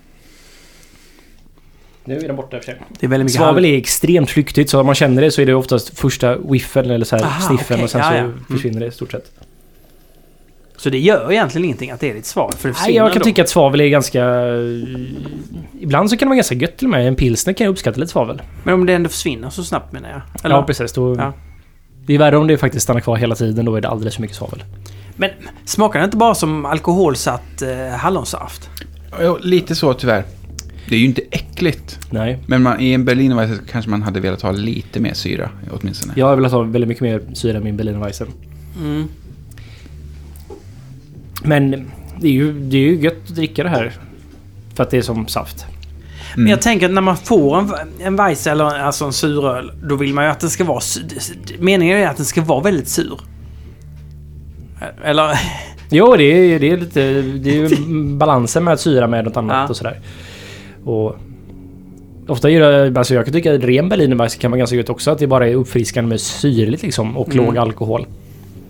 [SPEAKER 2] Nu är den borta i och för sig.
[SPEAKER 1] Det är väldigt mycket
[SPEAKER 2] Svavel är extremt flyktigt så om man känner det så är det oftast första whiffen eller så här
[SPEAKER 1] Aha,
[SPEAKER 2] sniffen
[SPEAKER 1] okej.
[SPEAKER 2] och sen
[SPEAKER 1] Ja,
[SPEAKER 2] så
[SPEAKER 1] ja. Mm.
[SPEAKER 2] försvinner det i stort sett.
[SPEAKER 1] Så det gör egentligen ingenting att det är lite svagt för det
[SPEAKER 2] Nej,
[SPEAKER 1] försvinner
[SPEAKER 2] jag kan
[SPEAKER 1] ändå.
[SPEAKER 2] tycka att svavel är ganska... Ibland så kan det vara ganska gött till och med. En pilsner kan jag uppskatta lite svavel.
[SPEAKER 1] Men om det ändå försvinner så snabbt menar jag.
[SPEAKER 2] ja, precis. Då...
[SPEAKER 1] Ja.
[SPEAKER 2] Det är värre om det faktiskt stannar kvar hela tiden. Då är det alldeles för mycket svavel.
[SPEAKER 1] Men smakar det inte bara som alkoholsatt eh, hallonsaft?
[SPEAKER 3] Ja, lite så tyvärr. Det är ju inte äckligt.
[SPEAKER 2] Nej.
[SPEAKER 3] Men man, i en berlinerweisse kanske man hade velat ha lite mer syra åtminstone.
[SPEAKER 2] Jag har velat ha väldigt mycket mer syra i min Berlinerweisse.
[SPEAKER 1] Mm.
[SPEAKER 2] Men det är, ju, det är ju gött att dricka det här. För att det är som saft.
[SPEAKER 1] Men jag tänker att när man får en, en Weisse eller en- alltså en suröl, då vill man ju att den ska vara... su- Meningen är att den ska vara väldigt sur. Eller...
[SPEAKER 2] Jo, det är, det är lite... Det är ju balansen med att syra med något annat
[SPEAKER 1] Ja.
[SPEAKER 2] och sådär. Och... Ofta gör jag, alltså jag kan tycka att ren berlinerweisse kan vara ganska gött också. Att det bara är uppfriskande med syrligt liksom och låg alkohol.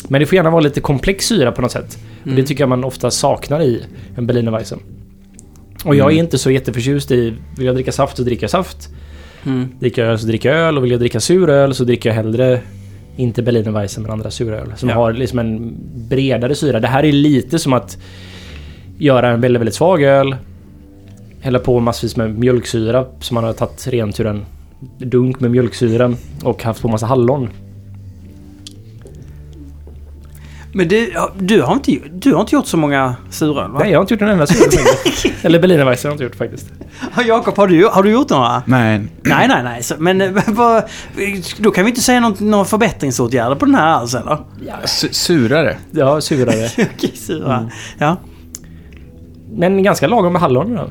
[SPEAKER 2] Men det får gärna vara lite komplex syra på något sätt. Och det tycker jag man ofta saknar i en berlinerweisse. Och jag är inte så jätteförtjust i... Vill jag dricka saft så dricker jag saft.
[SPEAKER 1] Mm.
[SPEAKER 2] Dricker jag öl så dricker jag öl och vill jag dricka sur öl så dricker jag hellre inte Berlinerweisse men andra sura öl. Som
[SPEAKER 1] Ja.
[SPEAKER 2] har liksom en bredare syra. Det här är lite som att göra en väldigt, väldigt svag öl. Hälla på massvis med mjölksyra som man har tagit rent ur en dunk med mjölksyra och haft på massa hallon.
[SPEAKER 1] Men du, ja, du, har inte, du har inte gjort så många suröl va?
[SPEAKER 2] Nej, jag har inte gjort en enda suröl. Eller berlinerweisse har jag inte gjort faktiskt.
[SPEAKER 1] Ja, Jakob, har du, har du gjort några?
[SPEAKER 3] Nej,
[SPEAKER 1] Nej, nej, nej. Så, men eh, vad- då kan vi inte säga någon, någon förbättringsåtgärder på den här alls eller?
[SPEAKER 3] su- surare.
[SPEAKER 2] Ja, surare.
[SPEAKER 1] Okej, sura. Ja.
[SPEAKER 2] Men ganska lagom med hallon. då.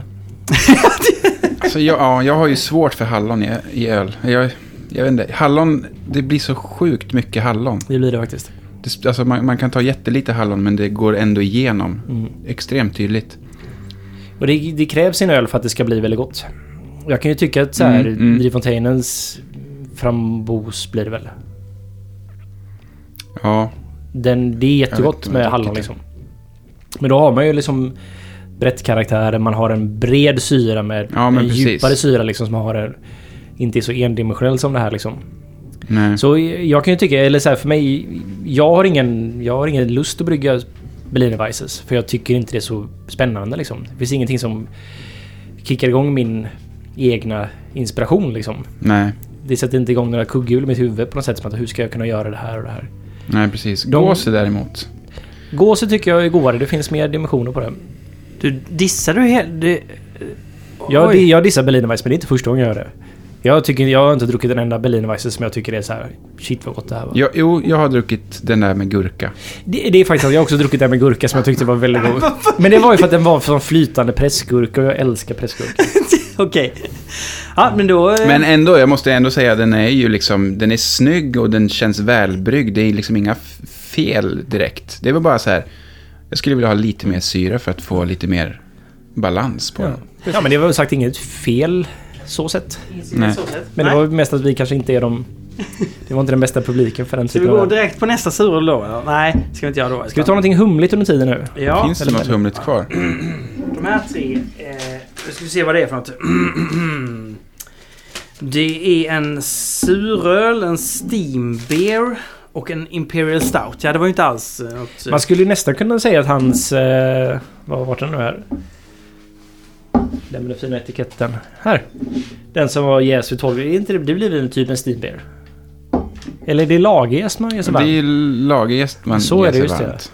[SPEAKER 3] Alltså, jag, ja, jag har ju svårt för hallon i, i öl. Jag, jag vet inte, hallon, det blir så sjukt mycket hallon.
[SPEAKER 2] Det blir det faktiskt.
[SPEAKER 3] Det, sp- alltså, man, man kan ta jättelite hallon men det går ändå igenom.
[SPEAKER 2] Mm.
[SPEAKER 3] Extremt tydligt.
[SPEAKER 2] Och det, det krävs en öl för att det ska bli väldigt gott. Jag kan ju tycka att så här,
[SPEAKER 3] Mm, mm.
[SPEAKER 2] Drivfontainens frambos blir det väl.
[SPEAKER 3] Ja,
[SPEAKER 2] Den, det är
[SPEAKER 3] Jag vet
[SPEAKER 2] jättegott
[SPEAKER 3] inte, jag
[SPEAKER 2] med
[SPEAKER 3] tycker
[SPEAKER 2] hallon
[SPEAKER 3] inte.
[SPEAKER 2] liksom. Men då har man ju liksom brett karaktär, man har en bred syra med
[SPEAKER 3] Ja, men
[SPEAKER 2] en
[SPEAKER 3] precis.
[SPEAKER 2] djupare syra liksom som har en, inte är så endimensionell som det här liksom.
[SPEAKER 3] nej.
[SPEAKER 2] Så eh, jag kan ju tycka, eller så här för mig, jag har ingen, jag har ingen lust att brygga Berliner Weisses. För jag tycker inte det är så spännande liksom. Det finns ingenting som kickar igång min egna inspiration liksom.
[SPEAKER 3] nej.
[SPEAKER 2] Det sätter inte igång några kugghjul i mitt huvud på något sätt. Som att hur ska jag kunna göra det här och det här.
[SPEAKER 3] Nej, precis.
[SPEAKER 2] De-
[SPEAKER 3] Gåse däremot.
[SPEAKER 2] Gåse tycker jag är godare, det finns mer dimensioner på det.
[SPEAKER 1] Du, dissar du helt... Du,
[SPEAKER 2] Jag,
[SPEAKER 1] Oj.
[SPEAKER 2] jag dissar Berlinerweiss men det är inte första gången jag gör det. Jag, tycker, jag har inte druckit en enda Berlinerweisse som jag tycker är så här. shit vad gott det här var.
[SPEAKER 3] Jag, jo, jag har druckit den där med gurka.
[SPEAKER 2] Det, det är faktiskt att jag har också druckit det här med gurka som jag tyckte var väldigt god. Men det var ju för att den var som flytande pressgurka och jag älskar pressgurka.
[SPEAKER 1] Okej. Ja, men då... eh,
[SPEAKER 3] Men ändå, jag måste ändå säga den är ju liksom, den är snygg och den känns välbryggd. Det är liksom inga f- fel direkt. Det var bara så här, jag skulle vilja ha lite mer syra för att få lite mer balans på den.
[SPEAKER 2] Ja men det var väl sagt inget fel så sett.
[SPEAKER 3] Nej.
[SPEAKER 2] Men
[SPEAKER 1] Nej.
[SPEAKER 2] det var ju mest att vi kanske inte är de... Det var inte den bästa publiken för den
[SPEAKER 1] Ska vi
[SPEAKER 2] typen
[SPEAKER 1] gå
[SPEAKER 2] Typ av... Ska
[SPEAKER 1] direkt på nästa suröl då? eller? Nej, ska vi inte göra då.
[SPEAKER 2] vi ta någonting humligt under tiden nu?
[SPEAKER 1] Ja,
[SPEAKER 3] Finns det något humligt kvar?
[SPEAKER 1] de här tre... Eh, nu ska vi se vad det är för något. Det är en suröl, en steam beer och en imperial stout. Ja, det var ju inte alls eh, något...
[SPEAKER 2] Man skulle ju nästan kunna säga att hans... Eh, vad var den nu här? Den med den fina etiketten. Här! Den som var jäst vid 12. Är inte det, det blir väl typ en Steam Beer? Eller är det lagerjäst man jäser
[SPEAKER 3] Det är
[SPEAKER 2] varm?
[SPEAKER 3] ju lagerjäst man
[SPEAKER 2] Så är det,
[SPEAKER 3] jäser
[SPEAKER 2] just det.
[SPEAKER 3] varmt.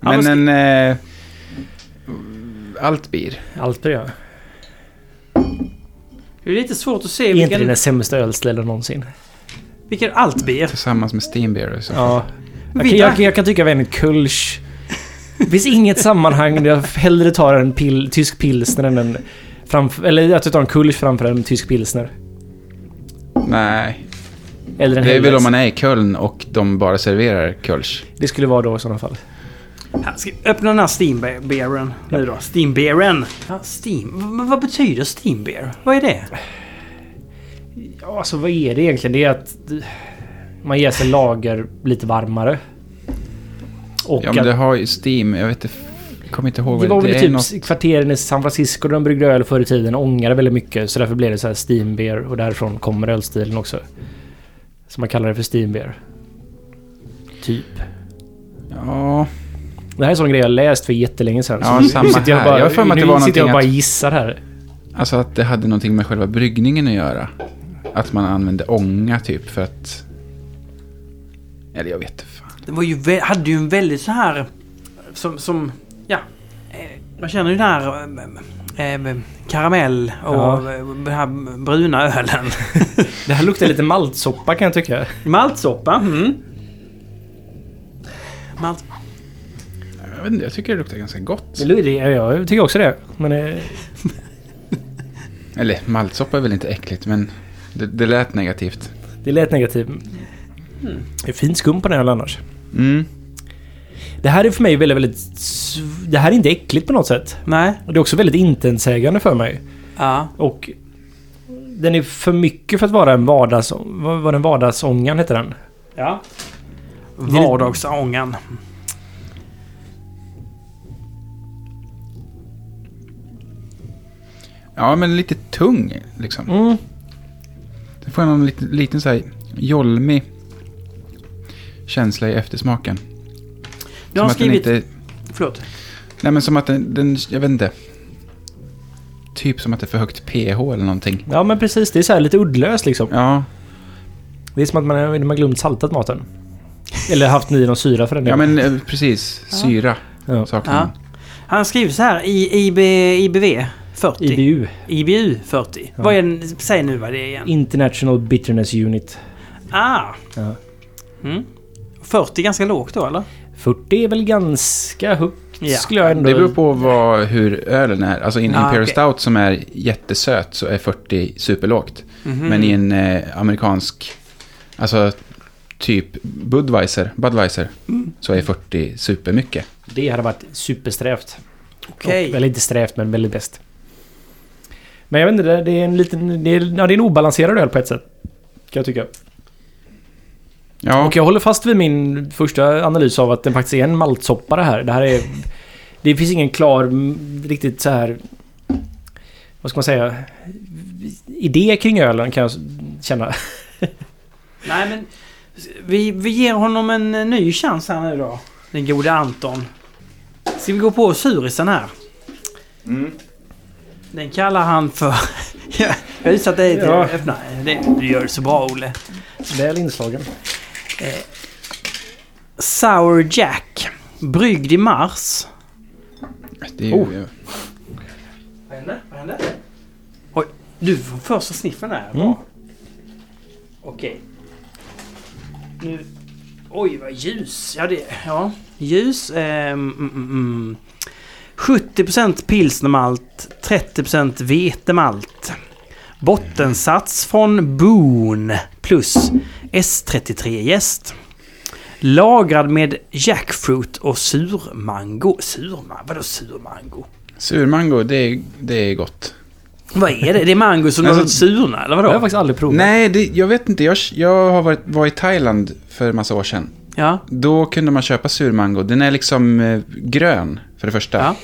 [SPEAKER 2] Ja,
[SPEAKER 3] Men
[SPEAKER 2] vad
[SPEAKER 3] en... Eh, allt blir.
[SPEAKER 2] Allt det gör.
[SPEAKER 1] Det är lite svårt att se
[SPEAKER 2] Är inte det
[SPEAKER 1] vilken,
[SPEAKER 2] den sämsta ölställen någonsin?
[SPEAKER 1] vilken allt beer.
[SPEAKER 3] Tillsammans med Steam Beer och så.
[SPEAKER 2] Ja. Jag,
[SPEAKER 1] Vi
[SPEAKER 2] kan- jag,
[SPEAKER 1] drack-
[SPEAKER 2] jag kan tycka väl en kulsch. Det finns inget sammanhang där jag hellre tar en pil, tysk pilsner än en... Framför, eller att jag tar en kulsch framför en tysk pilsner.
[SPEAKER 3] Nej,
[SPEAKER 2] Eller en
[SPEAKER 3] det är väl om
[SPEAKER 2] Helles.
[SPEAKER 3] man är i Köln och de bara serverar Kölsch.
[SPEAKER 2] Det skulle vara då i sådana fall.
[SPEAKER 1] Här, ska vi öppna den här steambeeren nu då. Steambeeren. Ja, steam. V- vad betyder steambeer? Vad är det?
[SPEAKER 2] Ja, alltså vad är det egentligen? Det är att man jäser lager lite varmare. Och
[SPEAKER 3] Ja, men det
[SPEAKER 2] att
[SPEAKER 3] har ju Steam, jag vet inte, jag kommer inte ihåg
[SPEAKER 2] det var
[SPEAKER 3] vad
[SPEAKER 2] väl
[SPEAKER 3] det, det är.
[SPEAKER 2] typ
[SPEAKER 3] något-
[SPEAKER 2] kvarteren i San Francisco där de bryggde öl förr i tiden och ångade väldigt mycket. Så därför blev det så här steam beer och därifrån kommer ölstilen också. Så man kallar det för steam beer. Typ.
[SPEAKER 3] Ja,
[SPEAKER 2] Det här är en sån grej jag läst för jättelänge sedan.
[SPEAKER 3] Ja,
[SPEAKER 2] så nu
[SPEAKER 3] samma
[SPEAKER 2] sitter jag
[SPEAKER 3] här.
[SPEAKER 2] bara,
[SPEAKER 3] Jag har för mig att
[SPEAKER 2] nu
[SPEAKER 3] det var
[SPEAKER 2] sitter jag
[SPEAKER 3] någonting
[SPEAKER 2] bara
[SPEAKER 3] att-
[SPEAKER 2] gissar här.
[SPEAKER 3] alltså att det hade någonting med själva bryggningen att göra. Att man använde ånga typ för att... Eller jag vet inte fan.
[SPEAKER 1] Det var ju, vä- hade ju en väldigt så här... Som... som ja. eh, Man känner ju den här... eh, eh, karamell och
[SPEAKER 2] Ja.
[SPEAKER 1] eh, den här bruna ölen.
[SPEAKER 2] Det här luktar lite maltsoppa kan jag tycka.
[SPEAKER 1] Maltsoppa. Mm. Malt.
[SPEAKER 3] Jag vet inte, jag tycker det luktar ganska gott.
[SPEAKER 2] Det- det- Jag tycker också det. Men eh,
[SPEAKER 3] Eller maltsoppa är väl inte äckligt, men det, det lät negativt.
[SPEAKER 2] Det lät negativt.
[SPEAKER 3] Hmm.
[SPEAKER 2] Det är fint skum på den här ölen annars.
[SPEAKER 3] Mm.
[SPEAKER 2] Det här är för mig väldigt, väldigt... sv- Det här är inte äckligt på något sätt.
[SPEAKER 1] Nej.
[SPEAKER 2] Och det är också väldigt intetsägande för mig.
[SPEAKER 1] Ja.
[SPEAKER 2] Och den är för mycket för att vara en vardags... Vad var den? Vardagsångan heter den.
[SPEAKER 1] ja. Vardagsångan.
[SPEAKER 3] Ja, men lite tung liksom.
[SPEAKER 2] Mm.
[SPEAKER 3] Det får jag någon liten, liten så här jolmig känsla i eftersmaken.
[SPEAKER 1] Du har
[SPEAKER 3] Som att den
[SPEAKER 1] skrivit...
[SPEAKER 3] inte
[SPEAKER 1] Förlåt.
[SPEAKER 3] Nej men som att den, den, jag vet inte. Typ som att det är för högt pH eller någonting.
[SPEAKER 2] Ja men precis, det är så här lite uddlöst liksom.
[SPEAKER 3] Ja,
[SPEAKER 2] Det är som att man, man har glömt saltat maten. Eller haft i någon syra för den
[SPEAKER 3] Ja,
[SPEAKER 2] delen.
[SPEAKER 3] men eh, precis. Syra
[SPEAKER 2] Ja.
[SPEAKER 3] saknar
[SPEAKER 1] Ja.
[SPEAKER 3] man.
[SPEAKER 1] Han skriver så här i IB, IBV 40.
[SPEAKER 2] IBU,
[SPEAKER 1] IBU 40. Vad är den? Säg nu vad det är igen.
[SPEAKER 2] International Bitterness Unit.
[SPEAKER 1] Ah!
[SPEAKER 2] Ja.
[SPEAKER 1] Mm. 40 ganska lågt då eller?
[SPEAKER 2] 40 är väl ganska högt
[SPEAKER 1] Ja.
[SPEAKER 2] skulle jag ändå...
[SPEAKER 3] Det beror på vad, hur ölen är. Alltså i en
[SPEAKER 1] Ah,
[SPEAKER 3] Imperial
[SPEAKER 1] okej.
[SPEAKER 3] Stout som är jättesöt så är 40 superlågt.
[SPEAKER 1] Mhm.
[SPEAKER 3] Men i en eh, amerikansk, alltså typ Budweiser, Budweiser så är 40 supermycket.
[SPEAKER 2] Det hade varit supersträvt.
[SPEAKER 1] Okej.
[SPEAKER 2] Och, eller inte strävt men väldigt bäst. Men jag vet inte, det det är en liten... Det är, ja, det är en obalanserad öl på ett sätt. Kan jag tycka.
[SPEAKER 3] Ja,
[SPEAKER 2] Och jag håller fast vid min första analys av att den faktiskt är en maltsoppa det här. Det här är... Det finns ingen klar mm, riktigt så här... Vad ska man säga? Idé kring ölen kan jag s- känna.
[SPEAKER 1] Nej men vi, vi ger honom en eh, ny chans här nu då. Den gode Anton. Ska vi gå på surisen här? Den kallar han för... jag har utsatt dig till
[SPEAKER 2] Ja.
[SPEAKER 1] att öppna. Det, du gör det så bra Olle.
[SPEAKER 2] Väl inslagen.
[SPEAKER 1] Sour Jack. Bryggd i mars.
[SPEAKER 3] det är ju...
[SPEAKER 2] Oh.
[SPEAKER 1] Vad hände? Vad hände? Oj, du får första sniffen där.
[SPEAKER 2] Mm.
[SPEAKER 1] Okej. Nu... Oj, vad ljus. Ja, det... Ja. Ljus. ehm, mm, mm, mm. 70% pilsnermalt, 30% vetemalt. Bottensats från Boone plus S33 jäst. Lagrad med jackfruit och surmango. Surmango? Vadå surmango?
[SPEAKER 3] Surmango, det är, det är gott.
[SPEAKER 1] Vad är det? Det är mango som
[SPEAKER 3] Alltså-
[SPEAKER 1] har surna, eller
[SPEAKER 2] Det
[SPEAKER 1] vadå?
[SPEAKER 2] har jag faktiskt aldrig provat.
[SPEAKER 3] Nej, det, jag vet inte. Jag, jag har varit, var i Thailand för en massa år sedan.
[SPEAKER 1] Ja.
[SPEAKER 3] Då kunde man köpa surmango. Den är liksom eh, grön, för det första.
[SPEAKER 1] Ja.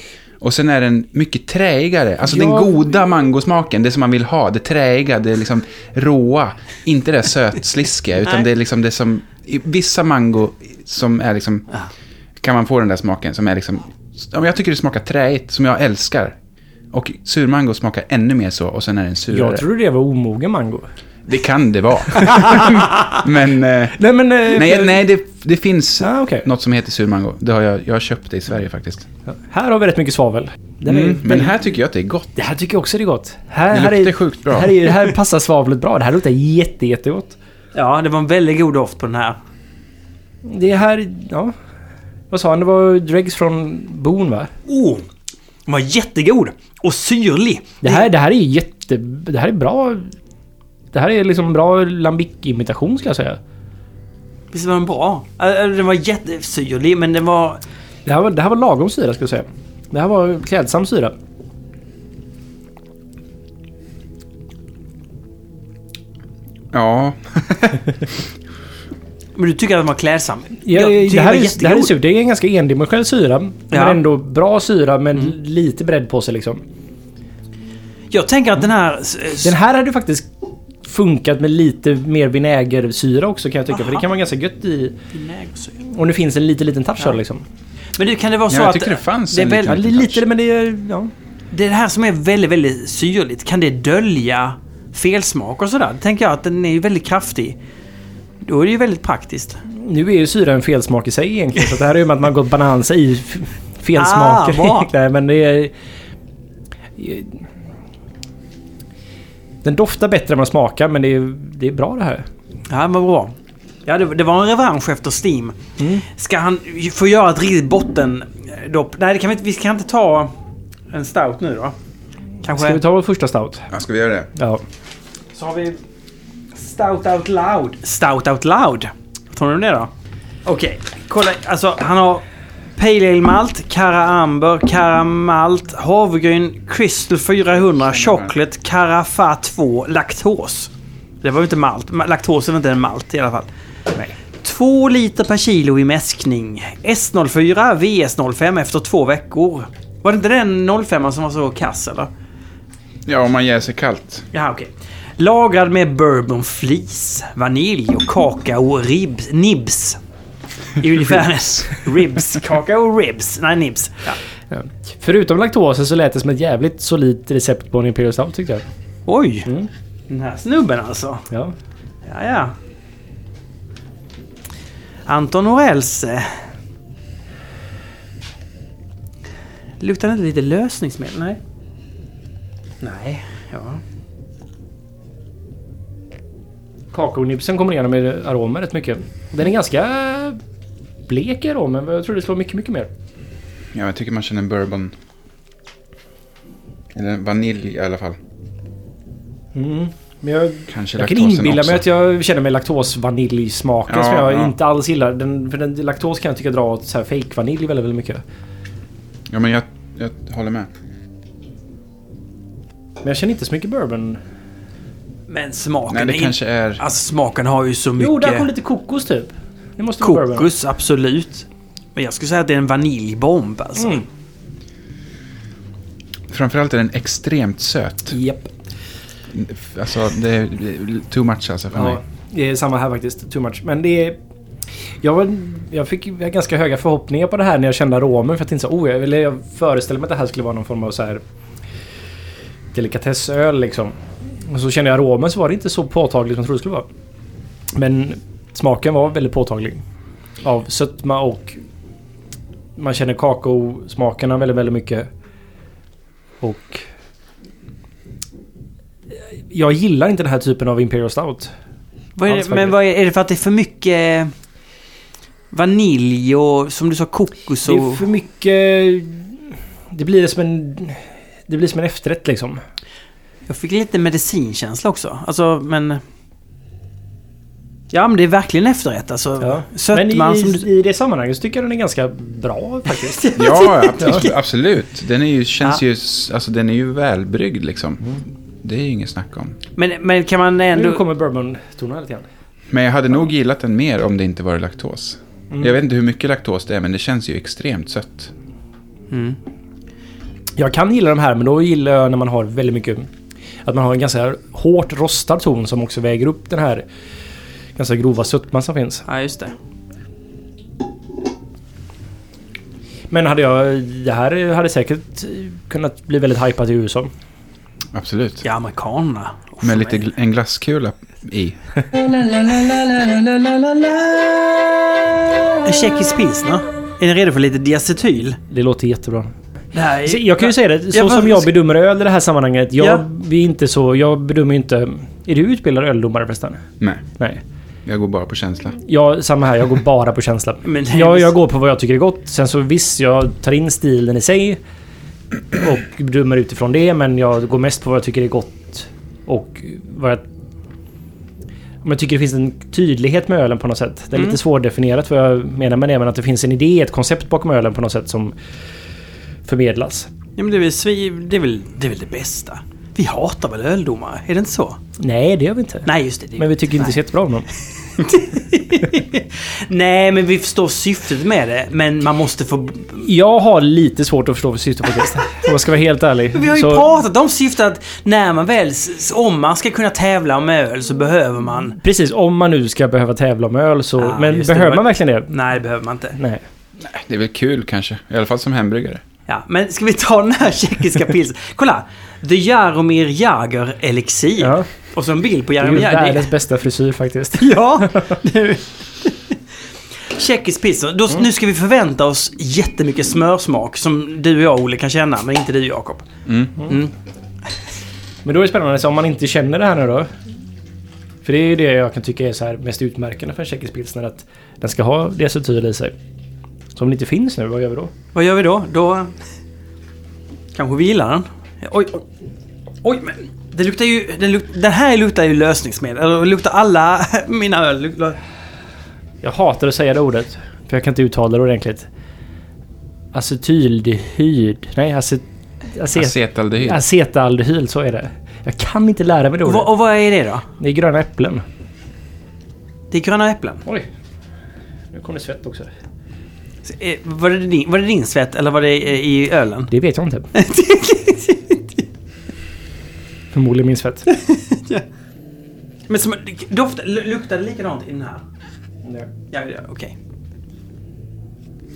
[SPEAKER 3] Och sen är den mycket träigare. Alltså den
[SPEAKER 2] Ja.
[SPEAKER 3] goda mangosmaken, det som man vill ha. Det träiga, det liksom råa. Inte det sötsliskiga,
[SPEAKER 1] Nej.
[SPEAKER 3] utan det är liksom det som... i Vissa mango som är liksom...
[SPEAKER 1] Ja.
[SPEAKER 3] Kan man få den där smaken som är liksom... ja, men Jag tycker det smakar träigt, som jag älskar. Och surmango smakar ännu mer så, och sen är den surare.
[SPEAKER 2] Jag trodde det var omogen mango.
[SPEAKER 3] Det kan det vara. men... Eh,
[SPEAKER 2] Nej men... eh,
[SPEAKER 3] nej, nej det, det finns
[SPEAKER 2] Ah, okej.
[SPEAKER 3] något som heter surmango. Det har jag, jag har köpt det i Sverige faktiskt.
[SPEAKER 2] Här har vi rätt mycket svavel. Den
[SPEAKER 3] Mm,
[SPEAKER 2] är,
[SPEAKER 3] men här tycker jag att det är gott.
[SPEAKER 2] Det här tycker jag också är gott. Här,
[SPEAKER 3] Det
[SPEAKER 2] här är,
[SPEAKER 3] luktar sjukt bra.
[SPEAKER 2] Det här, är, det här passar svavlet bra. Det här luktar jätte, jättegott.
[SPEAKER 1] ja, det var en väldigt god doft på den här.
[SPEAKER 2] Det här... Ja. Vad sa han? Det var dregs från bon va?
[SPEAKER 1] Oh, den var jättegod och syrlig.
[SPEAKER 2] Det här, det här är jätte... Det här är bra... Det här är liksom bra lambic-imitation ska jag säga.
[SPEAKER 1] Visst var den bra? Äh, äh, Den var jättesyrlig, men den var...
[SPEAKER 2] Det här var, det här var lagom syra ska jag säga. Det här var klädsam syra.
[SPEAKER 3] Ja,
[SPEAKER 1] Men du tycker att den var klädsam?
[SPEAKER 2] Ja,
[SPEAKER 1] Jag tycker
[SPEAKER 2] det, här
[SPEAKER 1] den var
[SPEAKER 2] är, det här är surt. Det är en ganska endimensionell syra.
[SPEAKER 1] Ja.
[SPEAKER 2] Men ändå bra syra men lite bredd på sig liksom.
[SPEAKER 1] Jag tänker att den här... s- s-
[SPEAKER 2] Den här hade ju faktiskt funkat med lite mer vinägersyra också kan jag tycka. För det kan vara ganska gött i...
[SPEAKER 1] vinägersyra.
[SPEAKER 2] Och nu finns en liten, liten touch här liksom.
[SPEAKER 1] Men du, kan det vara så
[SPEAKER 3] jag
[SPEAKER 1] att...
[SPEAKER 3] tycker det fanns
[SPEAKER 1] det är
[SPEAKER 3] en
[SPEAKER 1] väl-
[SPEAKER 2] Ja,
[SPEAKER 3] liten
[SPEAKER 2] li-
[SPEAKER 3] touch.
[SPEAKER 2] lite men det är... Ja.
[SPEAKER 1] Det här som är väldigt, väldigt syrligt, kan det dölja felsmak och sådär? Det tänker jag att den är ju väldigt kraftig. Då är det ju väldigt praktiskt.
[SPEAKER 2] Nu är ju syra en felsmak i sig egentligen. Så det här är ju med att man har gått balans i f-
[SPEAKER 1] Ah,
[SPEAKER 2] felsmaker.
[SPEAKER 1] bra.
[SPEAKER 2] Nej, men det är... Den doftar bättre än man smakar men det är, det är bra det här.
[SPEAKER 1] Ja, men vad bra. Ja, det, det var en revansch efter Steam.
[SPEAKER 2] Mm.
[SPEAKER 1] Ska han ju få göra ett riktigt bottendopp? Nej, det kan vi inte. Vi ska inte ta en stout nu då. Kanske.
[SPEAKER 2] Ska vi ta vår första stout?
[SPEAKER 3] ja ska vi göra det?
[SPEAKER 2] Ja.
[SPEAKER 1] Så har vi Stout Out Loud. Stout Out Loud. Vad tror ni om det då? Okej, kolla. Alltså, han har Pale Ale Malt, Cara Amber, Cara Malt, Havregryn, Crystal 400, Chocolate, Carafa 2, Laktos. Det var ju inte malt. Ma- Laktos är väl inte en malt i alla fall.
[SPEAKER 2] Nej.
[SPEAKER 1] Två liter per kilo i mäskning. S04, VS05 efter två veckor. Var det inte den 05 som var så kass eller?
[SPEAKER 3] Ja, om man jäser kallt.
[SPEAKER 1] Jaha, okej. Lagrad med bourbonflis, vanilj och kakao ribs, nibs. I ungefär... ribs. Kakao ribs. Nej, nibs. Ja.
[SPEAKER 2] Ja. Förutom laktosen så lät det som ett jävligt solidt recept på en Imperial Stout tyckte jag.
[SPEAKER 1] Oj!
[SPEAKER 2] Mm.
[SPEAKER 1] Den här snubben alltså.
[SPEAKER 2] Ja.
[SPEAKER 1] Ja, ja. Anton Norells... eh, Luktar det inte lite lösningsmedel? Nej. Nej, ja.
[SPEAKER 2] Kakaonipsen kommer igenom i aromen rätt mycket. Den är ganska blek i aromen. men Jag tror det slår mycket, mycket mer.
[SPEAKER 3] Ja, jag tycker man känner bourbon. Eller vanilj i alla fall.
[SPEAKER 2] Men jag,
[SPEAKER 3] Kanske
[SPEAKER 2] jag kan
[SPEAKER 3] laktosen
[SPEAKER 2] inbilla
[SPEAKER 3] också.
[SPEAKER 2] mig att jag känner mig laktosvaniljsmaken
[SPEAKER 3] Ja,
[SPEAKER 2] som jag
[SPEAKER 3] ja.
[SPEAKER 2] inte alls gillar. Den, för den, laktos kan jag tycka drar åt så här fake vanilj väldigt, väldigt mycket.
[SPEAKER 3] Ja, men jag, jag håller med.
[SPEAKER 2] Men jag känner inte så mycket bourbon.
[SPEAKER 1] Men smaken
[SPEAKER 3] Nej, det
[SPEAKER 1] är
[SPEAKER 3] kanske är...
[SPEAKER 1] Alltså smaken har ju så mycket...
[SPEAKER 2] Jo, där kom lite kokos typ. Det måste vara bourbon.
[SPEAKER 1] Kokos, absolut. Men jag skulle säga att det är en vaniljbomb alltså.
[SPEAKER 2] Mm.
[SPEAKER 3] Framförallt är den extremt söt.
[SPEAKER 2] Japp.
[SPEAKER 3] Alltså, det är too much alltså för
[SPEAKER 2] Ja,
[SPEAKER 3] mig.
[SPEAKER 2] det är samma här faktiskt. Too much. Men det är... Jag, var, jag fick ju ganska höga förhoppningar på det här när jag kände aromen. För att inte så, oh, jag, ville, jag föreställde mig att det här skulle vara någon form av så här delikatessöl liksom. Och så kände jag aromen så var det inte så påtagligt som jag trodde det skulle vara. Men smaken var väldigt påtaglig. Av sötma och... Man känner kakao-smakerna väldigt, väldigt mycket. Och... Jag gillar inte den här typen av Imperial Stout.
[SPEAKER 1] Vad är
[SPEAKER 2] Alls
[SPEAKER 1] det, men
[SPEAKER 2] faktiskt.
[SPEAKER 1] vad är, är det för att det är för mycket eh, vanilj och som du sa kokos
[SPEAKER 2] Det är
[SPEAKER 1] och...
[SPEAKER 2] för mycket... Det blir som en... Det blir som en efterrätt liksom.
[SPEAKER 1] Jag fick lite medicinkänsla också. Alltså men... Ja men det är verkligen efterrätt alltså. Sötman
[SPEAKER 2] Men i,
[SPEAKER 1] som du...
[SPEAKER 2] i det sammanhanget så tycker jag den är ganska bra faktiskt.
[SPEAKER 3] Ja, absolut. absolut. Den är ju, känns
[SPEAKER 1] Ja.
[SPEAKER 3] ju, alltså den är ju välbryggd liksom. Det är ju inget snack om.
[SPEAKER 1] Men, men kan man
[SPEAKER 2] nu
[SPEAKER 1] ändå...
[SPEAKER 2] kommer bourbon-tonerna lite grann.
[SPEAKER 3] Men jag hade nog gillat den mer om det inte var laktos.
[SPEAKER 2] Mm.
[SPEAKER 3] Jag vet inte hur mycket laktos det är, men det känns ju extremt sött.
[SPEAKER 1] Mm.
[SPEAKER 2] Jag kan gilla de här men då gillar jag när man har väldigt mycket... Att man har en ganska hårt rostad ton som också väger upp den här ganska grova sötman som finns.
[SPEAKER 1] Ja just det.
[SPEAKER 2] Men hade jag... Det här hade säkert kunnat bli väldigt hypat i USA.
[SPEAKER 3] Absolut.
[SPEAKER 1] Ja amerikanerna. Oh,
[SPEAKER 3] Med
[SPEAKER 1] men-
[SPEAKER 3] lite gl- en glasskula i.
[SPEAKER 1] En tjeckisk pilsner. Är ni redo för lite diacetyl?
[SPEAKER 2] Det låter jättebra.
[SPEAKER 1] Det här är-
[SPEAKER 2] Så Jag kan ju säga det, så
[SPEAKER 1] Ja, men-
[SPEAKER 2] som jag bedömer öl i det här sammanhanget. Jag,
[SPEAKER 1] Ja.
[SPEAKER 2] vi är inte så, jag bedömer ju inte... Är du utbildad öldomare förresten?
[SPEAKER 3] Nej,
[SPEAKER 2] Nej.
[SPEAKER 3] jag går bara på känsla.
[SPEAKER 2] Jag, samma här, jag går bara på känsla.
[SPEAKER 1] Men det är
[SPEAKER 2] jag,
[SPEAKER 1] ju-
[SPEAKER 2] jag går på vad jag tycker är gott. Sen så visst, jag tar in stilen i sig. Och bedömer utifrån det, men jag går mest på vad jag tycker är gott. Och vad jag... Men jag tycker det finns en tydlighet med ölen på något sätt.
[SPEAKER 1] Mm.
[SPEAKER 2] Det är lite svårdefinierat vad jag menar med det, men att det finns en idé, ett koncept bakom ölen på något sätt som förmedlas.
[SPEAKER 1] Ja, men det, är väl, svi- det, är väl, det är väl det bästa. Vi hatar väl öldomare? Är det inte så?
[SPEAKER 2] Nej, det gör vi inte.
[SPEAKER 1] Nej, just det. det är-
[SPEAKER 2] Men vi tycker inte så jättebra om dem.
[SPEAKER 1] Nej, men vi förstår syftet med det. Men man måste få...
[SPEAKER 2] Jag har lite svårt att förstå vad syftet faktiskt. Om jag ska vara helt ärlig.
[SPEAKER 1] Vi har ju
[SPEAKER 2] Så-
[SPEAKER 1] pratat om syftet att när man väl... Om man ska kunna tävla om öl så behöver man...
[SPEAKER 2] Precis, om man nu ska behöva tävla om öl så...
[SPEAKER 1] Ja,
[SPEAKER 2] men
[SPEAKER 1] just det.
[SPEAKER 2] behöver
[SPEAKER 1] Det var-
[SPEAKER 2] man verkligen det?
[SPEAKER 1] Nej, det behöver man inte.
[SPEAKER 2] Nej.
[SPEAKER 3] Det är väl kul kanske. I alla fall som hembryggare.
[SPEAKER 1] Ja, men ska vi ta den här tjeckiska pilsen? Kolla! The Jaromir Jagr Elixir.
[SPEAKER 2] Ja.
[SPEAKER 1] Och så en bild på
[SPEAKER 2] Det är
[SPEAKER 1] Jaromir
[SPEAKER 2] ju
[SPEAKER 1] Jagr. Det-
[SPEAKER 2] världens bästa frisyr faktiskt.
[SPEAKER 1] Ja! nu- Tjeckisk pizza. Då, Nu ska vi förvänta oss jättemycket smörsmak som du och jag, Olle, kan känna, men inte du, Jakob.
[SPEAKER 2] Men då är det spännande, så om man inte känner det här nu då? För det är ju det jag kan tycka är så här mest utmärkande för en tjeckisk pilsner, att den ska ha diacetyl i sig. Så om det inte finns nu, vad gör vi då?
[SPEAKER 1] Vad gör vi då? Då eh, kanske vi gillar den. Oj, oj. Oj, men det luktar ju... Den, luk, den här luktar ju lösningsmedel. Eller det luktar alla mina öl. luktar-
[SPEAKER 2] Jag hatar att säga det ordet, för jag kan inte uttala det ordentligt. Acetyldehyd. Nej, acet... acet
[SPEAKER 3] Acetaldehyd.
[SPEAKER 2] Acetaldehyl, så är det. Jag kan inte lära mig det
[SPEAKER 1] Och,
[SPEAKER 2] ordet.
[SPEAKER 1] vad- och vad är det då?
[SPEAKER 2] Det är gröna äpplen.
[SPEAKER 1] Det är gröna äpplen.
[SPEAKER 2] Oj. Nu kom det svett också.
[SPEAKER 1] Så, eh, Var det din, var det din svett eller var det eh, i ölen?
[SPEAKER 2] Det vet jag inte. Förmodligen min svett.
[SPEAKER 1] Men som, doft, luktar det likadant i den här? Ja, ja okej.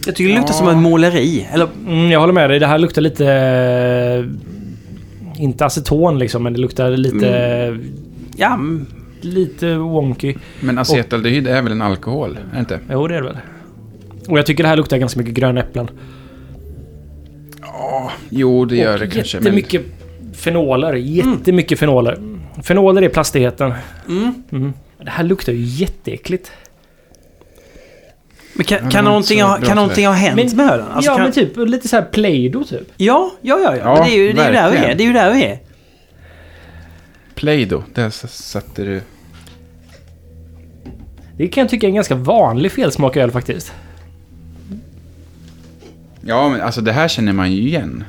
[SPEAKER 1] Jag tycker det luktar som ett måleri. Eller,
[SPEAKER 2] Mm, jag håller med dig. Det här luktar lite... eh, Inte aceton liksom, men det luktar lite...
[SPEAKER 1] ja, mm,
[SPEAKER 2] lite wonky.
[SPEAKER 3] Men acetaldehyd är väl en alkohol? Är det inte?
[SPEAKER 2] Jo, det är det väl. Och jag tycker det här luktar ganska mycket gröna äpplen.
[SPEAKER 3] Ja, jo det gör
[SPEAKER 2] Och
[SPEAKER 3] det kanske. Men
[SPEAKER 2] Jättemycket fenoler. Jättemycket fenoler. Fenoler är plastigheten.
[SPEAKER 1] Mm.
[SPEAKER 2] Mm. Det här luktar ju jätteäckligt.
[SPEAKER 1] Men kan,
[SPEAKER 3] det
[SPEAKER 1] kan,
[SPEAKER 3] var
[SPEAKER 1] någonting,
[SPEAKER 3] inte så
[SPEAKER 1] ha,
[SPEAKER 3] bra
[SPEAKER 1] kan någonting ha hänt
[SPEAKER 2] Men-
[SPEAKER 1] med ölen? Alltså,
[SPEAKER 2] ja,
[SPEAKER 1] kan,
[SPEAKER 2] men typ lite så här Play-Doh typ.
[SPEAKER 1] ja, ja, ja, ja.
[SPEAKER 3] Ja,
[SPEAKER 1] Men det är ju, det är ju där vi är.
[SPEAKER 3] verkligen.
[SPEAKER 1] Det är ju där vi är.
[SPEAKER 3] Play-Doh, där s- satte du...
[SPEAKER 2] Det kan jag tycka är en ganska vanlig felsmak i öl faktiskt.
[SPEAKER 3] Ja, men alltså det här känner man ju igen.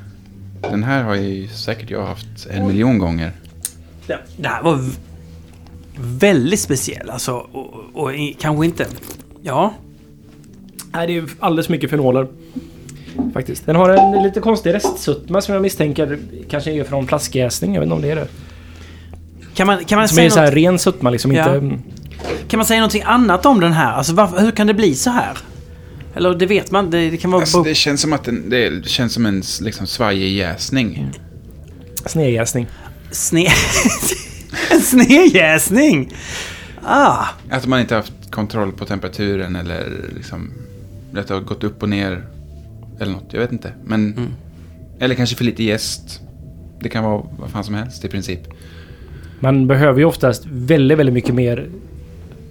[SPEAKER 3] Den här har ju säkert jag haft en miljon gånger.
[SPEAKER 1] Det, det här var v- väldigt speciell alltså. Och, och, och i- kanske inte... Ja.
[SPEAKER 2] Nej, det är ju alldeles för mycket fenoler. Faktiskt. Den har en lite konstig restsötma som jag misstänker kanske är från flaskjäsning. Jag vet inte om det är det.
[SPEAKER 1] Kan man, kan, man
[SPEAKER 2] Som är
[SPEAKER 1] säga
[SPEAKER 2] så här
[SPEAKER 1] något,
[SPEAKER 2] ren sötma liksom.
[SPEAKER 1] Ja.
[SPEAKER 2] Inte...
[SPEAKER 1] kan man säga någonting annat om den här? Alltså, varför, hur kan det bli så här? Eller det vet man. Det, det kan vara...
[SPEAKER 3] Alltså, det känns som att den, det känns som en s- liksom, svajig
[SPEAKER 2] Mm.
[SPEAKER 3] jäsning.
[SPEAKER 2] Snedjäsning.
[SPEAKER 1] Sne... en snedjäsning! Ah,
[SPEAKER 3] Att man inte haft kontroll på temperaturen eller liksom... Att det har gått upp och ner. Eller något, jag vet inte. Men... Eller kanske för lite jäst. Det kan vara vad fan som helst i princip.
[SPEAKER 2] Man behöver ju oftast väldigt, väldigt mycket mer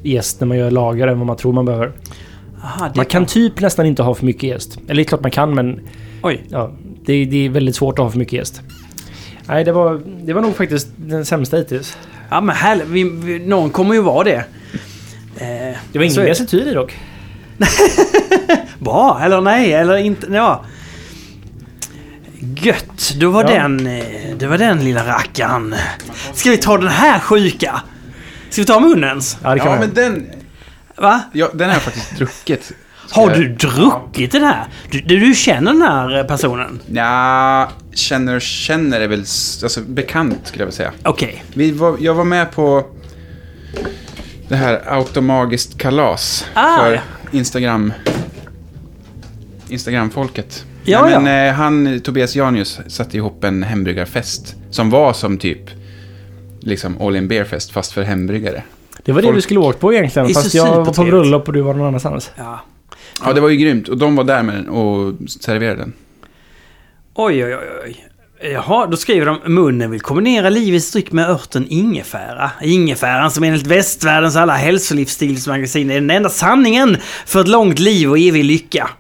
[SPEAKER 2] jäst när man gör lager än vad man tror man behöver.
[SPEAKER 1] aha, det,
[SPEAKER 2] Man kan typ nästan inte ha för mycket jäst. Eller det är klart man kan men
[SPEAKER 1] Oj.
[SPEAKER 2] ja, det, det är väldigt svårt att ha för mycket jäst. Nej, det var, det var nog faktiskt den sämsta hittills.
[SPEAKER 1] Ja men här, vi, vi, någon kommer ju vara det. Eh,
[SPEAKER 2] Det
[SPEAKER 1] så
[SPEAKER 2] var ingen
[SPEAKER 1] är det.
[SPEAKER 2] acetyl i dock.
[SPEAKER 1] Bra, eller nej, eller inte. Ja. Gött, då var
[SPEAKER 2] Ja.
[SPEAKER 1] den eh, det var den lilla rackaren. Ska vi ta den här sjuka? Ska vi ta munnens?
[SPEAKER 2] Ja, det kan
[SPEAKER 3] Ja,
[SPEAKER 2] man.
[SPEAKER 3] men den...
[SPEAKER 1] Va?
[SPEAKER 3] Ja, den har jag faktiskt druckit. Ska
[SPEAKER 1] Har
[SPEAKER 3] jag-
[SPEAKER 1] du druckit den här? Du, du, du känner den här eh, personen?
[SPEAKER 3] Ja, känner och känner är väl s- alltså, bekant skulle jag vilja säga.
[SPEAKER 1] Okej.
[SPEAKER 3] Vi var, jag var med på det här automagiskt kalas
[SPEAKER 1] Ah,
[SPEAKER 3] för
[SPEAKER 1] ja.
[SPEAKER 3] Instagram. Instagramfolket.
[SPEAKER 1] Ja,
[SPEAKER 3] Nej, men, eh, han, Tobias Janius, satte ihop en hembryggarfest som var som typ liksom All In Beer Fest fast för hembryggare.
[SPEAKER 2] Det var det
[SPEAKER 3] Folk-
[SPEAKER 2] du skulle åkt på egentligen.
[SPEAKER 1] Det är
[SPEAKER 2] Fast
[SPEAKER 1] så
[SPEAKER 2] jag var på
[SPEAKER 1] supertrevligt.
[SPEAKER 2] bröllop och du var någon annanstans.
[SPEAKER 1] Ja.
[SPEAKER 3] Ja, det var ju grymt. Och de var där med den och serverade den.
[SPEAKER 1] Oj, oj, oj, oj. Jaha, då skriver de munnen vill kombinera livets dryck med örten ingefära. Ingefäran som enligt västvärldens alla hälsolivsstilsmagasin är den enda sanningen för ett långt liv och evig lycka.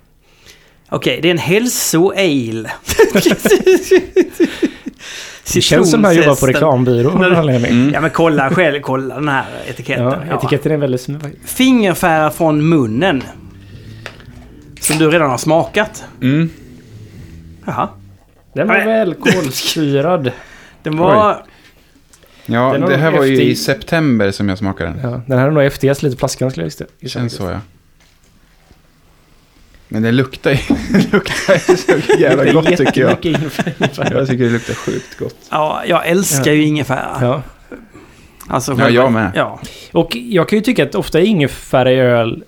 [SPEAKER 1] Okej, det är en hälso-ale.
[SPEAKER 2] Det känns som att jag jobbar på reklambyrå. av
[SPEAKER 1] Nej,
[SPEAKER 2] någon anledning.
[SPEAKER 1] Ja men kolla själv, kolla den här etiketten.
[SPEAKER 2] Ja,
[SPEAKER 1] Ja.
[SPEAKER 2] etiketten är väldigt sm-
[SPEAKER 1] Fingerfära från munnen. Som du redan har smakat.
[SPEAKER 3] Mm.
[SPEAKER 1] Jaha.
[SPEAKER 2] Den var
[SPEAKER 1] Nej.
[SPEAKER 2] väl kolsyrad.
[SPEAKER 1] Den var...
[SPEAKER 3] Ja,
[SPEAKER 2] Den har
[SPEAKER 3] det här var ju
[SPEAKER 2] efter-
[SPEAKER 3] i september som jag smakade den.
[SPEAKER 2] Ja, den här är nog FTS lite flaskan skulle jag gissa.
[SPEAKER 3] Det känns så ja. Men det luktar ju, det luktar ju så jävla gott tycker jag. Jag tycker det luktar sjukt gott.
[SPEAKER 1] Ja, jag älskar ju ingefära.
[SPEAKER 2] Ja.
[SPEAKER 1] Alltså,
[SPEAKER 3] Ja, jag med.
[SPEAKER 1] Ja.
[SPEAKER 2] Och jag kan ju tycka att ofta ingefära i öl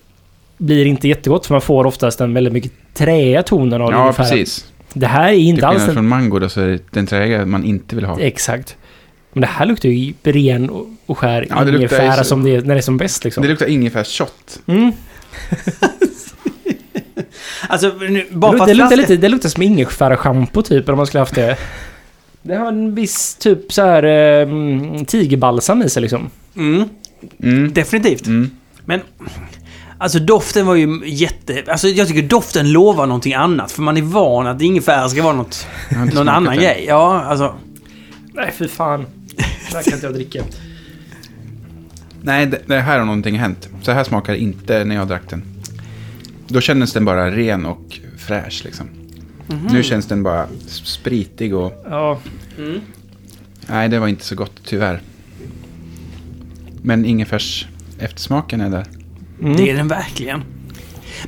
[SPEAKER 2] blir inte jättegott för man får oftast den väldigt mycket träiga tonen av
[SPEAKER 3] Ja,
[SPEAKER 2] ingefära.
[SPEAKER 3] precis.
[SPEAKER 2] Det här är
[SPEAKER 3] Till
[SPEAKER 2] inte alls
[SPEAKER 3] skillnad
[SPEAKER 2] den...
[SPEAKER 3] från mango då så är det den träiga man inte vill ha.
[SPEAKER 2] Exakt. Men det här luktar ju ren och- och skär
[SPEAKER 3] Ja, det luktar
[SPEAKER 2] ingefära
[SPEAKER 3] ju så-
[SPEAKER 2] som det är, när det är som bäst liksom.
[SPEAKER 3] Det luktar ingefärsshot.
[SPEAKER 2] Mm.
[SPEAKER 1] Alltså, nu,
[SPEAKER 2] Det,
[SPEAKER 1] bara för
[SPEAKER 2] luk-
[SPEAKER 1] att
[SPEAKER 2] det, luktar
[SPEAKER 1] flaskan-
[SPEAKER 2] lite, det luktar som ingefära-schampo typ, om man skulle haft det. Det har en viss typ så här eh, mm, tigerbalsam i sig liksom.
[SPEAKER 1] Mm,
[SPEAKER 3] Mm.
[SPEAKER 1] definitivt.
[SPEAKER 3] Mm.
[SPEAKER 1] Men... Alltså doften var ju jätte... Alltså jag tycker doften lovar någonting annat. För man är van att ingefära ska vara något,
[SPEAKER 3] Jag har inte
[SPEAKER 1] någon
[SPEAKER 3] smakat
[SPEAKER 1] annan
[SPEAKER 3] den.
[SPEAKER 1] grej. Ja, alltså...
[SPEAKER 2] Mm. Nej, fy fan. Det här kan inte jag dricka.
[SPEAKER 3] Nej, det, det här har någonting hänt. Så här smakar det inte när jag drack den. Då kändes den bara ren och fräsch liksom. Nu känns den bara spritig och...
[SPEAKER 2] Ja,
[SPEAKER 3] Nej, det var inte så gott tyvärr. Men ingefärs eftersmaken är där.
[SPEAKER 1] Det är den verkligen.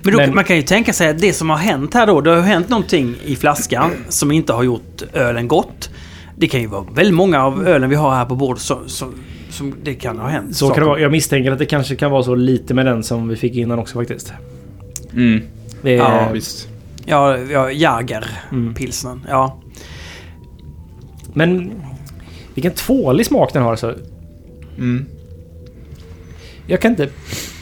[SPEAKER 1] Men, då,
[SPEAKER 2] Men-
[SPEAKER 1] man kan ju tänka sig att det som har hänt här då, det har ju hänt någonting i flaskan som inte har gjort ölen gott. Det kan ju vara väldigt många av ölen vi har här på bordet som, som, som det kan ha hänt.
[SPEAKER 2] så kan
[SPEAKER 1] saker.
[SPEAKER 2] det vara. Jag misstänker att det kanske kan vara så lite med den som vi fick innan också faktiskt.
[SPEAKER 3] Mm.
[SPEAKER 2] Det är,
[SPEAKER 1] Ja,
[SPEAKER 3] visst.
[SPEAKER 1] Ja, ja
[SPEAKER 2] Mm.
[SPEAKER 1] Jägerpilsnern. Ja.
[SPEAKER 2] Men vilken tvålig smak den har alltså.
[SPEAKER 3] Mm.
[SPEAKER 2] Jag kan inte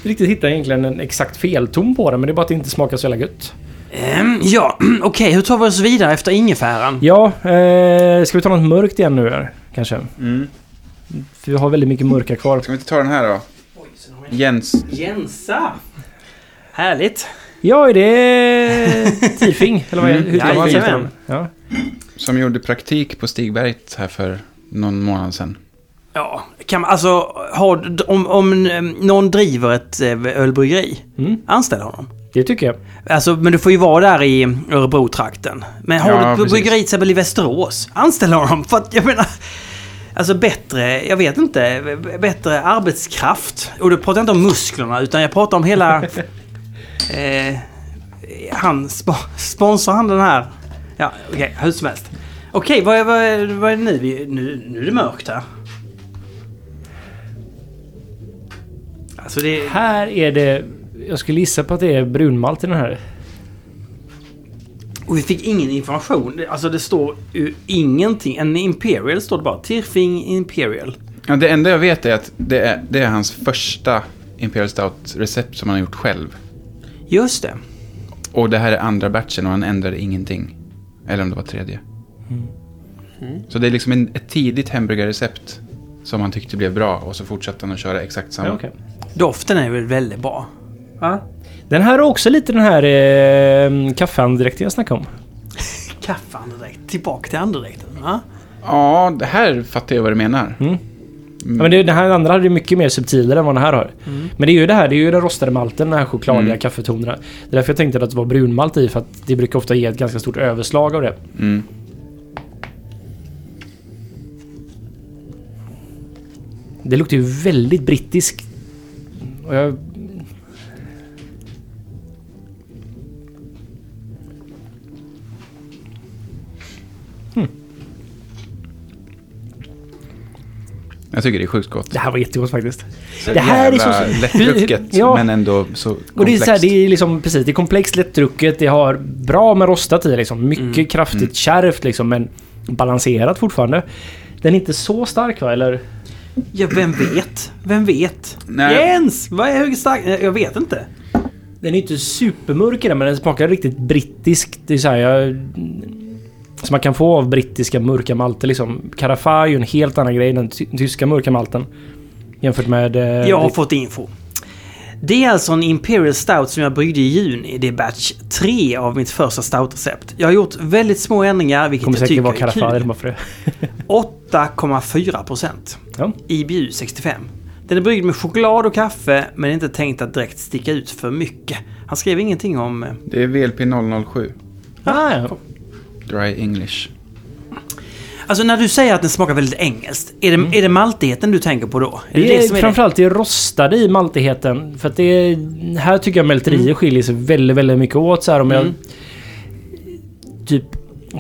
[SPEAKER 2] riktigt hitta egentligen en exakt felton på den, men det är bara att det inte smakar så jävla gött.
[SPEAKER 1] Ehm, ja, okej. Hur tar vi oss vidare efter ingefäran?
[SPEAKER 2] Ja, eh, ska vi ta något mörkt igen nu här, kanske?
[SPEAKER 3] Mm.
[SPEAKER 2] För vi har väldigt mycket mörka kvar.
[SPEAKER 3] Ska vi inte ta den här då? Jens.
[SPEAKER 1] Jensa! Härligt.
[SPEAKER 2] Ja, är det Tifing? Eller vad är, hur ska man säga?
[SPEAKER 1] Jajamän.
[SPEAKER 2] Ja.
[SPEAKER 3] Som gjorde praktik på Stigberget här för någon månad sedan.
[SPEAKER 1] Ja, kan man, alltså har, om, om eh, någon driver ett eh, ölbryggeri,
[SPEAKER 2] Mm,
[SPEAKER 1] anställ honom.
[SPEAKER 2] det tycker jag.
[SPEAKER 1] Alltså, men du får ju vara där i Örebro-trakten. Men har
[SPEAKER 3] Ja,
[SPEAKER 1] du ett
[SPEAKER 3] precis.
[SPEAKER 1] bryggeri till exempel i Västerås, anställ honom. För att, jag menar... Alltså bättre, jag vet inte, b- bättre arbetskraft. Och då pratar jag inte om musklerna, utan jag pratar om hela... eh, han, sp sponsrar han den här? Ja, okej, hur som helst. Okej, vad, är- vad, är- vad är det nu? vi- nu? Nu är det mörkt här. Alltså det...
[SPEAKER 2] Här är det... Jag skulle gissa på att det är brunmalt i den här.
[SPEAKER 1] Och vi fick ingen information. Det- Alltså det står ju ingenting. En Imperial står det bara. Tirfing Imperial.
[SPEAKER 3] Ja, det enda jag vet är att det är, det är hans första Imperial Stout-recept som han har gjort själv.
[SPEAKER 1] Just det.
[SPEAKER 3] Och det här är andra batchen och han ändrade ingenting. Eller om det var tredje.
[SPEAKER 2] Mm.
[SPEAKER 3] Så det är liksom en, ett tidigt hamburgerrecept som han tyckte blev bra och så fortsatte han att köra exakt samma.
[SPEAKER 2] Ja, okej.
[SPEAKER 1] Doften är väl väldigt bra. Va?
[SPEAKER 2] Den här har också lite den här eh, kaffeandräkten jag snackade om.
[SPEAKER 1] Kaffeandedräkt. Tillbaka till andedräkten. Va?
[SPEAKER 3] Ja, det här fattar jag vad du menar.
[SPEAKER 2] Ja, men det, den här andra hade ju mycket mer subtilare än vad den här har.
[SPEAKER 3] Mm.
[SPEAKER 2] Men det är ju det här, det är ju den rostade malten, den här chokladiga kaffetonerna. Det är därför jag tänkte att det var brunmalt i, för att det brukar ofta ge ett ganska stort överslag av det.
[SPEAKER 3] Mm.
[SPEAKER 2] Det luktar ju väldigt brittisk. Och jag...
[SPEAKER 3] Jag tycker det är sjukt gott.
[SPEAKER 2] Det här var jättegott faktiskt.
[SPEAKER 3] Så
[SPEAKER 2] det här är så-
[SPEAKER 3] jävla lättdrucket,
[SPEAKER 2] Ja.
[SPEAKER 3] men ändå så
[SPEAKER 2] Och det är,
[SPEAKER 3] komplext.
[SPEAKER 2] så här, det är liksom precis, det är komplext, lättdrucket, det har bra med rostat i liksom. Mycket kraftigt kärvt liksom, men balanserat fortfarande. Den är inte så stark va, eller?
[SPEAKER 1] Ja, vem vet? Vem vet?
[SPEAKER 3] Nej.
[SPEAKER 1] Jens! Vad är högstark? Eh, Jag vet inte.
[SPEAKER 2] Den är inte supermörk i den, men den smakar riktigt brittisk. Det är så här, jag, som man kan få av brittiska mörka malter liksom. Carafa är ju en helt annan grej, den ty- tyska mörka malten. Jämfört med... eh,
[SPEAKER 1] Jag har
[SPEAKER 2] det-
[SPEAKER 1] fått info. Det är alltså en Imperial Stout som jag bryggde i juni. Det är batch 3 av mitt första stoutrecept. Jag har gjort väldigt små ändringar, vilket
[SPEAKER 2] kommer
[SPEAKER 1] jag
[SPEAKER 2] säkert vara
[SPEAKER 1] tycker
[SPEAKER 2] Carafa,
[SPEAKER 1] är
[SPEAKER 2] eller
[SPEAKER 1] kul.
[SPEAKER 2] bara för det.
[SPEAKER 1] 8,4 procent.
[SPEAKER 2] Ja.
[SPEAKER 1] IBU 65. Den är bryggd med choklad och kaffe men är inte tänkt att direkt sticka ut för mycket. Han skrev ingenting om... eh,
[SPEAKER 3] det är VLP 007,
[SPEAKER 2] Ah, ja.
[SPEAKER 3] Dry English.
[SPEAKER 1] Alltså när du säger att den smakar väldigt engelskt, är det, är det maltigheten du tänker på då? Är det
[SPEAKER 2] Det Mm. är,
[SPEAKER 1] det som är det?
[SPEAKER 2] framförallt det rostade i maltigheten. För att det är, här tycker jag melterier skiljer sig väldigt, väldigt mycket åt. Så här, om
[SPEAKER 1] Mm.
[SPEAKER 2] jag, typ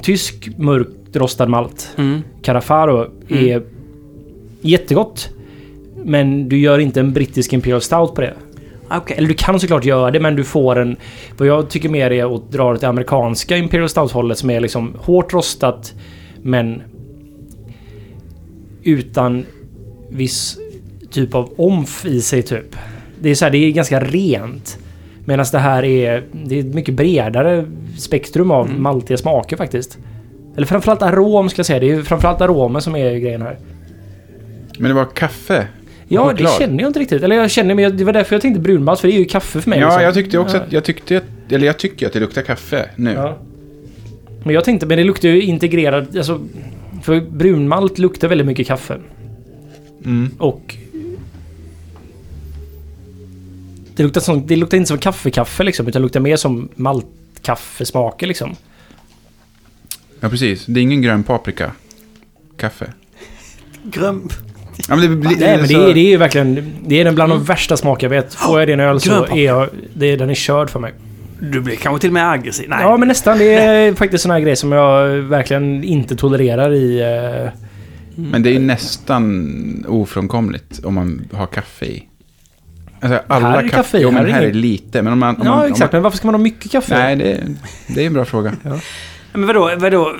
[SPEAKER 2] tysk mörkt rostad malt,
[SPEAKER 1] Mm.
[SPEAKER 2] Carafaro, är jättegott. Men du gör inte en brittisk Imperial Stout på det.
[SPEAKER 1] Okej.
[SPEAKER 2] Eller du kan såklart göra det, men du får en... Vad jag tycker mer är att dra åt det amerikanska Imperial Stout-hållet som är liksom hårt rostat, men... Utan viss typ av omf i sig, typ. Det är så här, det är ganska rent. Medan det här är... Det är ett mycket bredare spektrum av
[SPEAKER 3] Mm.
[SPEAKER 2] maltiga smaker faktiskt. Eller framförallt arom ska jag säga. Det är framförallt aromen som är grejen här.
[SPEAKER 3] Men det var kaffe och
[SPEAKER 2] Ja, det
[SPEAKER 3] choklad.
[SPEAKER 2] känner jag inte riktigt. Eller jag känner, men jag- det var därför jag tänkte brunmalt, för det är ju kaffe för mig.
[SPEAKER 3] Ja,
[SPEAKER 2] liksom.
[SPEAKER 3] jag tyckte också
[SPEAKER 2] Ja.
[SPEAKER 3] att, jag tyckte att, eller jag tycker att det luktar kaffe nu.
[SPEAKER 2] Ja. Men jag tänkte, men det luktar ju integrerad, alltså... För brunmalt luktar väldigt mycket kaffe.
[SPEAKER 3] Mm.
[SPEAKER 2] Och... Det luktar, som, det luktar inte som kaffekaffe liksom, utan det luktar mer som maltkaffesmaker liksom.
[SPEAKER 3] Ja, precis. Det är ingen grön paprika. Kaffe.
[SPEAKER 1] Grön,
[SPEAKER 3] Ja, men det, blir-
[SPEAKER 2] Nej, men det
[SPEAKER 3] så-
[SPEAKER 2] är, Mm. det är ju verkligen... Det är den bland de värsta smaker jag vet. Får jag det i en öl så
[SPEAKER 1] Grönpapper.
[SPEAKER 2] är jag... Det, är- den är körd för mig.
[SPEAKER 1] du blir kanske till och med aggressiv. Nej.
[SPEAKER 2] Ja, men nästan. Det är faktiskt såna här grejer som jag verkligen inte tolererar i... eh,
[SPEAKER 3] Men det är ju nästan ofrånkomligt om man har kaffe i. Alltså alla
[SPEAKER 2] Här är det
[SPEAKER 3] kaffe.
[SPEAKER 2] kaffe i,
[SPEAKER 3] Jo,
[SPEAKER 2] här
[SPEAKER 3] men
[SPEAKER 2] är
[SPEAKER 3] här är
[SPEAKER 2] ingen-
[SPEAKER 3] lite. Men om man... Om man,
[SPEAKER 2] ja,
[SPEAKER 3] om
[SPEAKER 2] exakt.
[SPEAKER 3] Man,
[SPEAKER 2] Men varför ska man ha mycket kaffe?
[SPEAKER 3] nej, det är, det är en bra fråga.
[SPEAKER 1] Men vadå, vadå?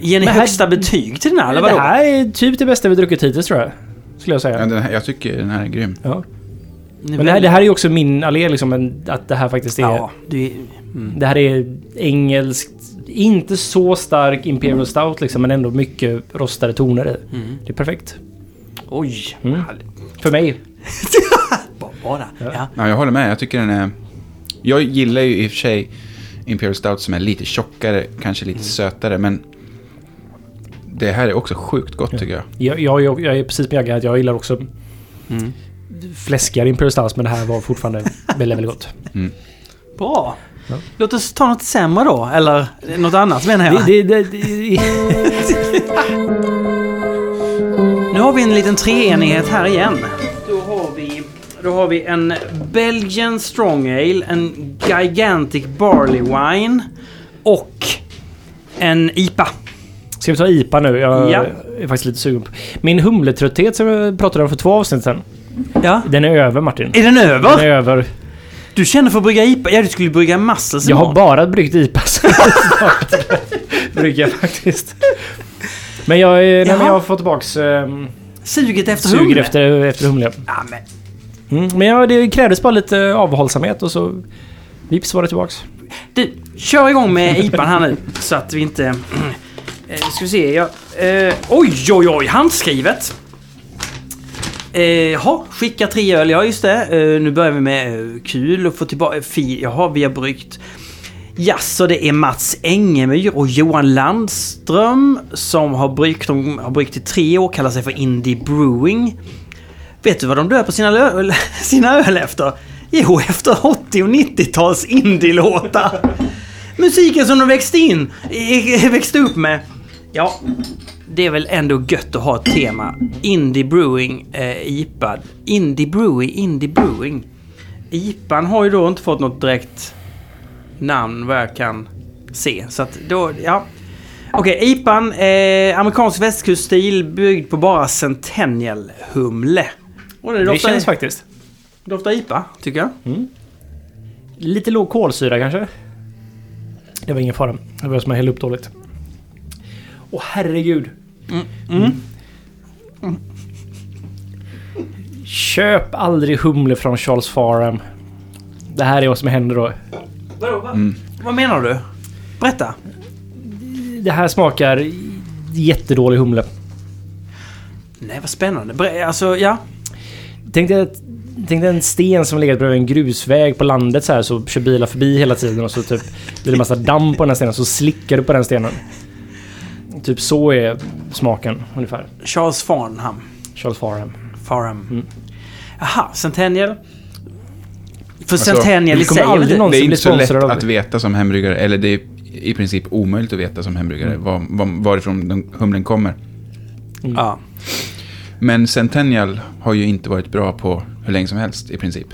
[SPEAKER 1] Ger ni
[SPEAKER 2] Men här-
[SPEAKER 1] högsta betyg till den här eller
[SPEAKER 2] det
[SPEAKER 1] vadå?
[SPEAKER 2] här är typ det bästa vi druckit hittills tror jag. Skulle jag
[SPEAKER 3] Ja,
[SPEAKER 2] säga.
[SPEAKER 3] den här, jag tycker den här är grym.
[SPEAKER 2] Ja. Men det här, det här är ju också min allé liksom, men att det här faktiskt är...
[SPEAKER 1] Ja, mm. du är...
[SPEAKER 2] Det här är engelskt. Inte så stark Imperial Stout liksom, men ändå mycket rostade toner i.
[SPEAKER 1] Mm.
[SPEAKER 2] Det är perfekt.
[SPEAKER 1] Oj!
[SPEAKER 2] Mm.
[SPEAKER 1] härligt.
[SPEAKER 2] För mig.
[SPEAKER 1] Ba- Bara. Ja.
[SPEAKER 3] Ja, jag håller med. Jag tycker den är... Jag gillar ju i och för sig Imperial Stout som är lite tjockare, kanske
[SPEAKER 2] Mm.
[SPEAKER 3] lite sötare, men det här är också sjukt gott tycker jag.
[SPEAKER 2] Jag, jag, jag, jag är precis med Jagge att jag gillar också
[SPEAKER 1] Mm.
[SPEAKER 2] fläskigare Imperial Stout, men det här var fortfarande väldigt, väldigt gott.
[SPEAKER 1] Bra.
[SPEAKER 2] Ja.
[SPEAKER 1] Låt oss ta något sämre då, eller något annat menar jag.
[SPEAKER 2] Det, det, det, det,
[SPEAKER 1] Nu har vi en liten treenighet här igen. Då har vi, då har vi en Belgian Strong Ale, en Gigantic Barley Wine och en IPA.
[SPEAKER 2] Ska vi ta IPA nu? Jag
[SPEAKER 1] Ja.
[SPEAKER 2] är faktiskt lite sugen på... Min humletrötthet som jag pratade om för två avsnitt sedan,
[SPEAKER 1] Ja.
[SPEAKER 2] den är över Martin.
[SPEAKER 1] Är den
[SPEAKER 2] Den är
[SPEAKER 1] över?
[SPEAKER 2] över.
[SPEAKER 1] Du känner för att brygga IPA? Ja, du skulle brygga Muscles
[SPEAKER 2] Jag har
[SPEAKER 1] imorgon.
[SPEAKER 2] bara bryggt IPA sen jag startade. Brygger jag faktiskt. Men jag, eh, nej,
[SPEAKER 1] Jaha.
[SPEAKER 2] men jag har fått tillbaks ehm,
[SPEAKER 1] Suget efter
[SPEAKER 2] suger
[SPEAKER 1] humle.
[SPEAKER 2] efter, efter humle.
[SPEAKER 1] Ja, men
[SPEAKER 2] Mm. Men ja, det krävdes bara lite avhållsamhet och så vips var det tillbaks.
[SPEAKER 1] Du, kör igång med IPAn här nu. Så att vi inte... Eh, ska vi se, jag... Eh, oj, oj, oj! Handskrivet! Eh, Jaha, skicka tre öl. Ja, just det. Eh, nu börjar vi med eh, kul och få tillbaka... eh, Fi, jaha, vi har bryggt... Jaså, det är Mats Engemyr och Johan Landström som har bryggt, de har bryggt i tre år, kallar sig för Indie Brewing. Vet du vad de döper sina öl, sina öl efter? Jo, efter 80 och 90-tals indielåtar. Musiken som de växte in, i- växte upp med. Ja, det är väl ändå gött att ha ett tema. Indie Brewing eh, IPA. Indie Brewing, Indie Brewing. IPAn har ju då inte fått något direkt namn vad jag kan se. Så att då, ja. Okej, IPAn, eh, amerikansk västkuststil byggd på bara Centennial-humle. Och det
[SPEAKER 2] Det
[SPEAKER 1] doftar,
[SPEAKER 2] känns faktiskt.
[SPEAKER 1] doftar IPA, tycker jag.
[SPEAKER 2] Lite låg kolsyra kanske? Det var ingen fara. Det var jag som hällde upp dåligt. Åh herregud. Mm, Köp aldrig humle från Charles Farham. Det här är vad som händer då.
[SPEAKER 1] Vadå, va?
[SPEAKER 2] Mm.
[SPEAKER 1] Vad menar du? Berätta.
[SPEAKER 2] Det här smakar jättedålig humle.
[SPEAKER 1] Nej, vad spännande. Ber- alltså, ja.
[SPEAKER 2] Tänk dig, att- tänk dig en sten som legat bredvid en grusväg på landet så här så kör bilar förbi hela tiden och så typ blir det massa damm på den här stenen så slickar du på den stenen. Typ så är smaken ungefär.
[SPEAKER 1] Charles Farnham.
[SPEAKER 2] Charles Farham.
[SPEAKER 1] Farham.
[SPEAKER 2] Mm.
[SPEAKER 1] Jaha, Centennial. För
[SPEAKER 3] Alltså,
[SPEAKER 1] Centennial i
[SPEAKER 2] vi kommer
[SPEAKER 1] sig... är väl
[SPEAKER 2] aldrig
[SPEAKER 1] det-
[SPEAKER 2] någon-
[SPEAKER 3] Det är
[SPEAKER 2] som
[SPEAKER 3] inte
[SPEAKER 2] blir
[SPEAKER 3] så lätt
[SPEAKER 2] sponsrad av-
[SPEAKER 3] att veta som hembryggare, eller det är i princip omöjligt att veta som hembryggare
[SPEAKER 2] Mm.
[SPEAKER 3] var, var, varifrån den, humlen kommer.
[SPEAKER 1] Ja.
[SPEAKER 3] Men Centennial har ju inte varit bra på hur länge som helst i princip.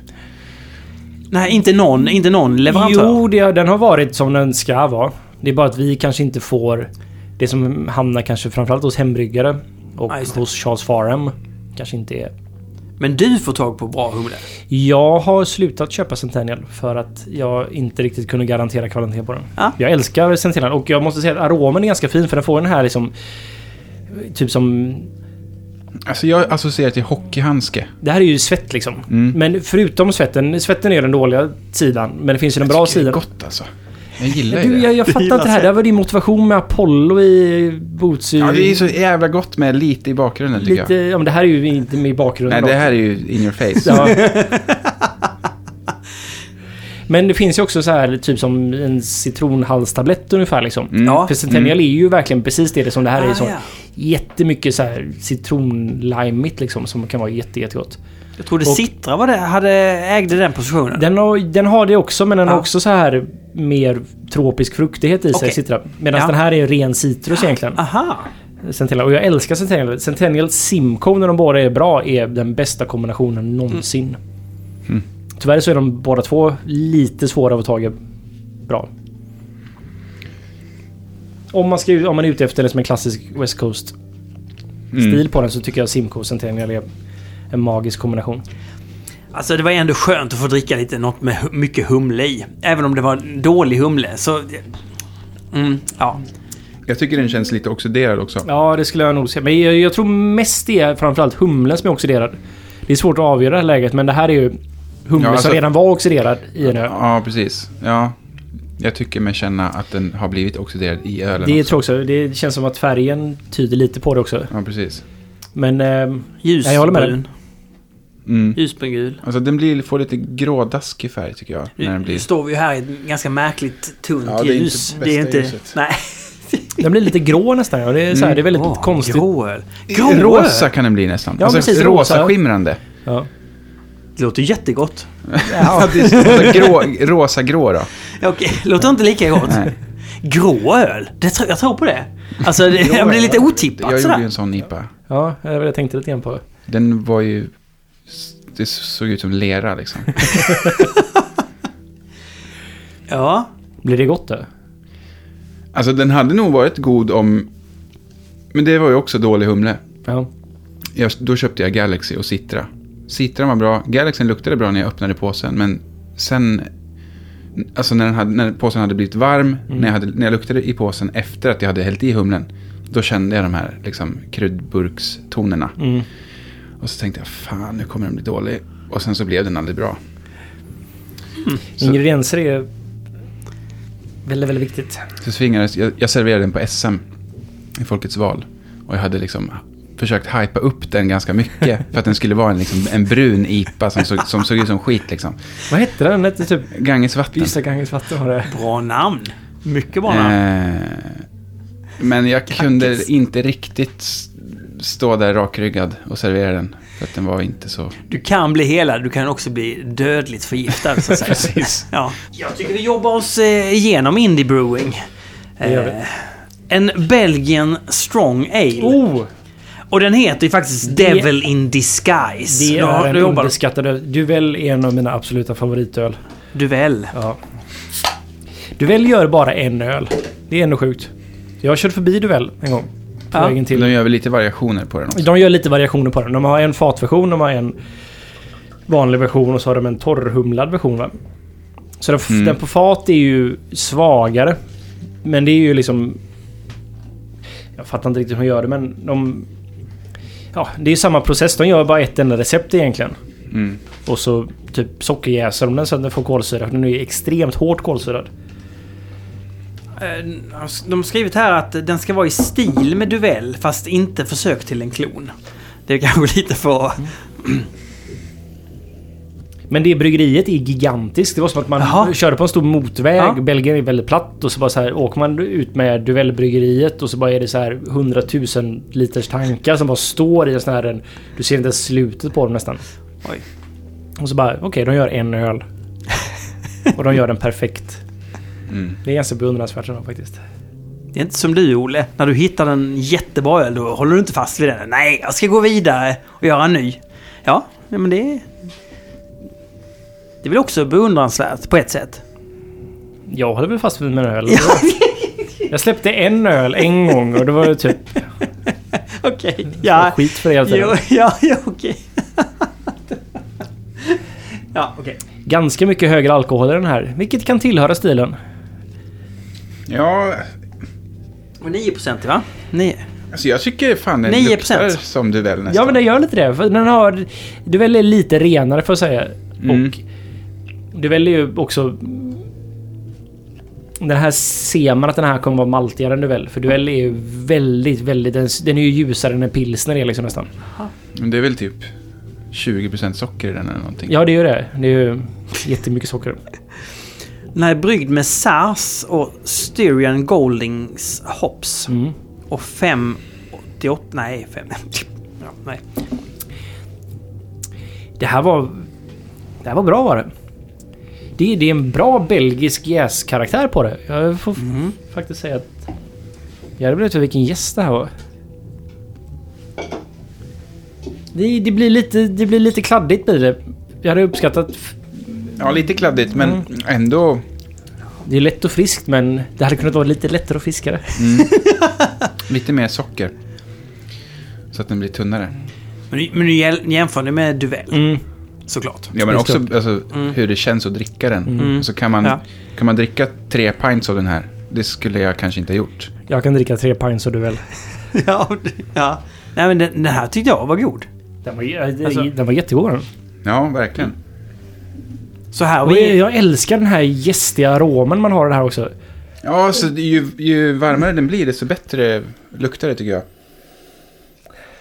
[SPEAKER 1] Nej, inte någon, inte någon leverantör.
[SPEAKER 2] Jo, det, den har varit som den ska vara. Det är bara att vi kanske inte får det som hamnar kanske framförallt hos hembryggare och
[SPEAKER 1] Ja, just det.
[SPEAKER 2] hos Charles Farham. Kanske inte är
[SPEAKER 1] Men du får tag på bra humle.
[SPEAKER 2] Jag har slutat köpa Centennial för att jag inte riktigt kunde garantera kvaliteten på den.
[SPEAKER 1] Ja.
[SPEAKER 2] Jag älskar Centennial och jag måste säga att aromen är ganska fin för den får den här liksom... Typ som...
[SPEAKER 3] Alltså jag associerar till hockeyhandske.
[SPEAKER 2] Det här är ju svett liksom.
[SPEAKER 3] Mm.
[SPEAKER 2] Men förutom svetten, svetten är den dåliga sidan. Men det finns ju den bra
[SPEAKER 3] Jag tycker det är
[SPEAKER 2] sidan.
[SPEAKER 3] Gott alltså. Jag gillar ju
[SPEAKER 2] Du,
[SPEAKER 3] det.
[SPEAKER 2] jag, jag fattar inte det här. Det här var din motivation med Apollo i Bootsy.
[SPEAKER 3] Ja, det är så jävla gott med lite i bakgrunden tycker
[SPEAKER 2] lite,
[SPEAKER 3] jag.
[SPEAKER 2] ja, men det här är ju inte med i bakgrunden.
[SPEAKER 3] Nej, det
[SPEAKER 2] också.
[SPEAKER 3] här är ju in your face.
[SPEAKER 2] Ja. Men det finns ju också så här typ som en citronhalstablett ungefär liksom.
[SPEAKER 1] Mm. Ja.
[SPEAKER 2] För Centennial är ju verkligen precis det som det här
[SPEAKER 1] Ah,
[SPEAKER 2] är. Så
[SPEAKER 1] ja.
[SPEAKER 2] Jättemycket så här citronlimigt liksom som kan vara jätte, jättegott.
[SPEAKER 1] Jag trodde
[SPEAKER 2] Och-
[SPEAKER 1] Citra var det, hade, ägde den positionen.
[SPEAKER 2] Den har, den har det också men den
[SPEAKER 1] Ja.
[SPEAKER 2] har också så här mer tropisk fruktighet i sig.
[SPEAKER 1] Okej.
[SPEAKER 2] Citra. Medan
[SPEAKER 1] Ja.
[SPEAKER 2] den här är ren citrus egentligen.
[SPEAKER 1] Aha!
[SPEAKER 2] Centennial. Och jag älskar Centennial. Centennial Simco när de båda är bra är den bästa kombinationen någonsin.
[SPEAKER 3] Mm.
[SPEAKER 2] Tyvärr så är de båda två lite svåra att få tag i bra. Om man, ska, ju- om man är ute efter liksom en klassisk West Coast-stil
[SPEAKER 3] Mm.
[SPEAKER 2] på den så tycker jag Simco och Centennial är en magisk kombination.
[SPEAKER 1] Alltså det var ändå skönt att få dricka lite något med hu- mycket humle i. Även om det var en dålig humle så... Mm, ja.
[SPEAKER 3] Jag tycker den känns lite oxiderad också.
[SPEAKER 2] Ja, det skulle jag nog säga. Men jag, jag tror mest det är framförallt humlen som är oxiderad. Det är svårt att avgöra det här läget, men det här är ju humle
[SPEAKER 3] Ja, alltså-
[SPEAKER 2] som redan var oxiderad i en öl.
[SPEAKER 3] Ja, precis. Ja. Jag tycker mig känna att den har blivit oxiderad i ölen
[SPEAKER 2] Det
[SPEAKER 3] också.
[SPEAKER 2] tror jag också. Det känns som att färgen tyder lite på det också.
[SPEAKER 3] Ja, precis.
[SPEAKER 2] Men ehm,
[SPEAKER 1] Ljus,
[SPEAKER 2] Ja, jag håller med dig.
[SPEAKER 1] brun.
[SPEAKER 3] Mm.
[SPEAKER 1] Ljusbrungul.
[SPEAKER 3] Alltså den blir, får lite grådaskig färg tycker jag. När den
[SPEAKER 1] Nu
[SPEAKER 3] blir...
[SPEAKER 1] står vi ju här i ett ganska märkligt tunt
[SPEAKER 4] Ja, det är inte
[SPEAKER 1] ljus.
[SPEAKER 4] bästa ljuset.
[SPEAKER 1] Nej.
[SPEAKER 2] den blir lite grå nästan. Ja. Det, är så här, det är väldigt
[SPEAKER 1] Åh,
[SPEAKER 2] konstigt.
[SPEAKER 1] Gråöl. Gråöl!
[SPEAKER 3] Rosa kan den bli nästan.
[SPEAKER 2] Ja,
[SPEAKER 3] alltså,
[SPEAKER 2] precis,
[SPEAKER 3] rosa,
[SPEAKER 2] rosa.
[SPEAKER 3] skimrande.
[SPEAKER 2] Ja.
[SPEAKER 1] Det låter jättegott.
[SPEAKER 2] Ja.
[SPEAKER 3] Det är alltså, grå, rosa grå då.
[SPEAKER 1] Ja, Okej, låter inte lika gott.
[SPEAKER 3] Nej.
[SPEAKER 1] Grå öl? Det tror, jag tror på det. Alltså, det, det blir lite
[SPEAKER 3] Jag
[SPEAKER 1] otippat
[SPEAKER 3] gjorde ju
[SPEAKER 1] sådär.
[SPEAKER 3] en sån IPA.
[SPEAKER 2] ja, det var det jag tänkte lite grann på.
[SPEAKER 3] Den var ju... Det såg ut som lera liksom.
[SPEAKER 1] Ja.
[SPEAKER 2] Blir det gott då?
[SPEAKER 3] Alltså den hade nog varit god om... Men det var ju också dålig humle.
[SPEAKER 2] Ja.
[SPEAKER 3] Jag, då köpte jag Galaxy och Citra. Citra var bra. Galaxyn luktade bra när jag öppnade påsen, men sen... Alltså när, den hade, när påsen hade blivit varm, när, jag hade, när jag luktade i påsen efter att jag hade hällt i humlen, då kände jag de här liksom, kryddburkstonerna.
[SPEAKER 2] Mm.
[SPEAKER 3] Och så tänkte jag, fan nu kommer den bli dålig. Och sen så blev den aldrig bra. Så-
[SPEAKER 2] Ingredienser är väldigt, väldigt viktigt.
[SPEAKER 3] Så svingades, jag, jag serverade den på SM i Folkets val. Och jag hade liksom försökt hypa upp den ganska mycket. för att den skulle vara en, liksom, en brun IPA som, såg- som såg ut som skit liksom.
[SPEAKER 2] Vad hette den? Den hette typ...
[SPEAKER 3] Ganges vatten.
[SPEAKER 2] Vissa Ganges vatten har det.
[SPEAKER 1] Bra namn. Mycket bra namn.
[SPEAKER 3] Eh, men jag kunde inte riktigt s- stå där rakryggad och servera den. För att den var inte så...
[SPEAKER 1] Du kan bli helad, du kan också bli dödligt förgiftad så att säga.
[SPEAKER 3] Precis.
[SPEAKER 1] Ja. Jag tycker vi jobbar oss eh, igenom Indie Brewing.
[SPEAKER 2] Det gör vi.
[SPEAKER 1] Eh, en Belgian Strong Ale.
[SPEAKER 2] Oh!
[SPEAKER 1] Och den heter ju faktiskt
[SPEAKER 2] Det-
[SPEAKER 1] Devil in Disguise.
[SPEAKER 2] Det
[SPEAKER 1] Då har-
[SPEAKER 2] är en
[SPEAKER 1] då jobbar du
[SPEAKER 2] underskattad öl. Duvel är en av mina absoluta favoritöl.
[SPEAKER 1] Duell.
[SPEAKER 2] Ja. Duvel gör bara en öl. Det är ändå sjukt. Jag har kört förbi Duvel en gång. På
[SPEAKER 1] Ja.
[SPEAKER 2] vägen till.
[SPEAKER 3] De gör väl lite variationer på den också.
[SPEAKER 2] De gör lite variationer på den. De har en fatversion, de har en vanlig version och så har de en torrhumlad version. Va? Så den,
[SPEAKER 3] Mm.
[SPEAKER 2] den på fat är ju svagare. Men det är ju liksom... Jag fattar inte riktigt hur de gör det, men de... Ja, det är ju samma process. De gör bara ett enda recept egentligen.
[SPEAKER 3] Mm.
[SPEAKER 2] Och så typ sockerjäser de den så att den får kolsyra. Den är ju extremt hårt kolsyrad.
[SPEAKER 1] Eh, De har skrivit här att den ska vara i stil med Duell fast inte försök till en klon. Det är kanske lite för...
[SPEAKER 2] Men det bryggeriet är gigantiskt. Det var som att man
[SPEAKER 1] Jaha.
[SPEAKER 2] körde på en stor motorväg.
[SPEAKER 1] Ja.
[SPEAKER 2] Belgien är väldigt platt och så bara så här åker man ut med duellbryggeriet och så bara är det så här 100 000 liters tankar som bara står i en sån här... En, du ser inte ens slutet på dem nästan.
[SPEAKER 1] Oj.
[SPEAKER 2] Och så bara, okej, de gör en öl. och de gör den perfekt.
[SPEAKER 3] Mm.
[SPEAKER 2] Det är ganska beundransvärt ändå faktiskt.
[SPEAKER 1] Det är inte som du Olle. När du hittar en jättebra öl då håller du inte fast vid den. Nej, jag ska gå vidare och göra en ny. Ja, ja, men det... är- Det är väl också beundransvärt på ett sätt.
[SPEAKER 2] Jag håller väl fast vid min öl. Jag släppte en öl en gång och det var typ
[SPEAKER 1] Okej. Ja.
[SPEAKER 2] skit för det hela tiden.
[SPEAKER 1] Jo, ja, ja, okej. ja, okej.
[SPEAKER 2] Ganska mycket högre alkohol i den här, vilket kan tillhöra stilen.
[SPEAKER 3] Ja,
[SPEAKER 1] Och 9% va? 9.
[SPEAKER 3] alltså jag tycker fan den
[SPEAKER 1] 9%.
[SPEAKER 3] luktar som du väl nästan.
[SPEAKER 2] Ja men den gör lite det. För den har... Du väljer lite renare får jag säga.
[SPEAKER 3] Mm.
[SPEAKER 2] Och du väljer ju också... Den här ser man att den här kommer vara maltigare än Duell. För Duell är ju väldigt, väldigt... Den, den är ju ljusare än en pilsner är liksom nästan.
[SPEAKER 3] Men det är väl typ 20% socker i den eller någonting.
[SPEAKER 2] Ja, det är ju det. Det är ju jättemycket socker.
[SPEAKER 1] Den här är bryggd med Sars och Styrian Goldings hops.
[SPEAKER 2] Mm.
[SPEAKER 1] Och 588... Nej, 5... Ja, nej.
[SPEAKER 2] Det här var... Det här var bra var det. Det, det är en bra belgisk jäskaraktär på det. Jag får f- faktiskt säga att... Jag hade blivit vilken gäst det här var. Det, det, blir lite, det blir lite kladdigt blir det. Jag hade uppskattat... f-
[SPEAKER 3] Ja, lite kladdigt men
[SPEAKER 2] Mm.
[SPEAKER 3] ändå.
[SPEAKER 2] Det är lätt och friskt men det hade kunnat vara lite lättare och friskare.
[SPEAKER 3] Lite mer socker. Så att den blir tunnare.
[SPEAKER 1] Men, men nu jäl- jämför det med Duell,
[SPEAKER 2] Mm.
[SPEAKER 1] såklart.
[SPEAKER 3] Ja, men
[SPEAKER 2] Just Mm.
[SPEAKER 3] också alltså, hur det känns att dricka den. Så kan man,
[SPEAKER 1] Ja.
[SPEAKER 3] kan man dricka tre pints av den här. Det skulle jag kanske inte ha gjort.
[SPEAKER 2] Jag kan dricka tre pints och du väl.
[SPEAKER 1] ja, det- ja. Nej, men den, den här tyckte jag var god.
[SPEAKER 2] Den var,
[SPEAKER 1] Alltså-
[SPEAKER 2] den var jättegod den.
[SPEAKER 3] Ja, verkligen.
[SPEAKER 1] Så här har
[SPEAKER 2] Och jag,
[SPEAKER 1] vi...
[SPEAKER 2] jag älskar den här gästiga aromen man har i det här också.
[SPEAKER 3] Ja, så det- ju, ju varmare den blir desto bättre luktar det tycker jag.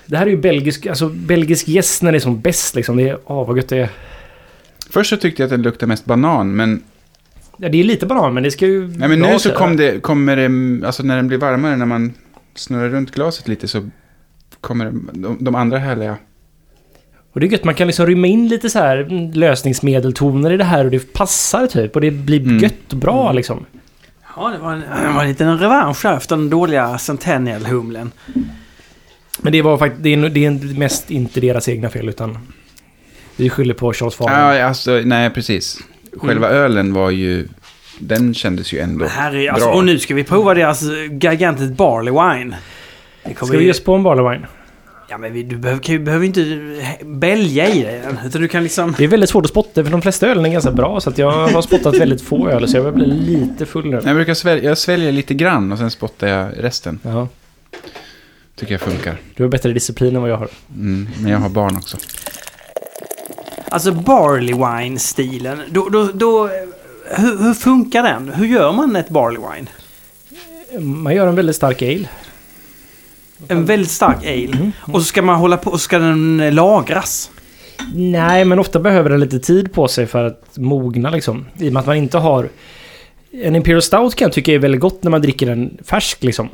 [SPEAKER 2] Det här är ju belgisk, alltså belgisk gäst när det är som bäst liksom. Det är, ah vad gött det är.
[SPEAKER 3] Först så tyckte jag att den luktade mest banan, men,
[SPEAKER 2] Ja, det är lite banan men det ska ju...
[SPEAKER 3] nej, men nu
[SPEAKER 2] dras
[SPEAKER 3] så
[SPEAKER 2] där.
[SPEAKER 3] kom det, kommer det, alltså när den blir varmare, när man snurrar runt glaset lite så kommer det- de, de andra härliga.
[SPEAKER 2] Och det är gött, man kan liksom rymma in lite så här mm, lösningsmedeltoner i det här och det passar typ. Och det blir
[SPEAKER 3] Mm.
[SPEAKER 2] gött och bra liksom.
[SPEAKER 1] Ja, det var en, det var en liten revansch här efter den dåliga Centennial-humlen.
[SPEAKER 2] Men det var faktiskt, det är, nog- det är mest inte deras egna fel utan... Vi skyller på Charles Farmer.
[SPEAKER 3] Ja, alltså, nej, precis. Själva ölen var ju, den kändes ju ändå
[SPEAKER 1] Här är, alltså,
[SPEAKER 3] bra.
[SPEAKER 1] och nu ska vi prova deras gigantet Barley Wine. Det kommer
[SPEAKER 2] Ska vi
[SPEAKER 1] ju-
[SPEAKER 2] ge oss på en Barley Wine?
[SPEAKER 1] Ja, men vi, du behöver, kan, ju- behöver inte eh, bälja i det. Utan du kan liksom...
[SPEAKER 2] Det är väldigt svårt att spotta för de flesta ölen är ganska bra så att jag har spottat väldigt få öl så jag börjar bli lite full nu.
[SPEAKER 3] Jag brukar svälja, jag sväljer lite grann och sen spottar jag resten.
[SPEAKER 2] Ja,
[SPEAKER 3] Tycker jag funkar.
[SPEAKER 2] du har bättre disciplin än vad jag har.
[SPEAKER 3] Mm, men jag har barn också.
[SPEAKER 1] Alltså Barley Wine-stilen. Då, då, då, eh, hur, hur funkar den? Hur gör man ett Barley Wine?
[SPEAKER 2] Man gör en väldigt stark ale.
[SPEAKER 1] En väldigt stark
[SPEAKER 2] Mm.
[SPEAKER 1] ale. Och så ska man hålla på och så ska den eh, lagras.
[SPEAKER 2] Nej, men ofta behöver den lite tid på sig för att mogna liksom. I och med att man inte har... En Imperial Stout kan jag tycka är väldigt gott när man dricker den färsk liksom.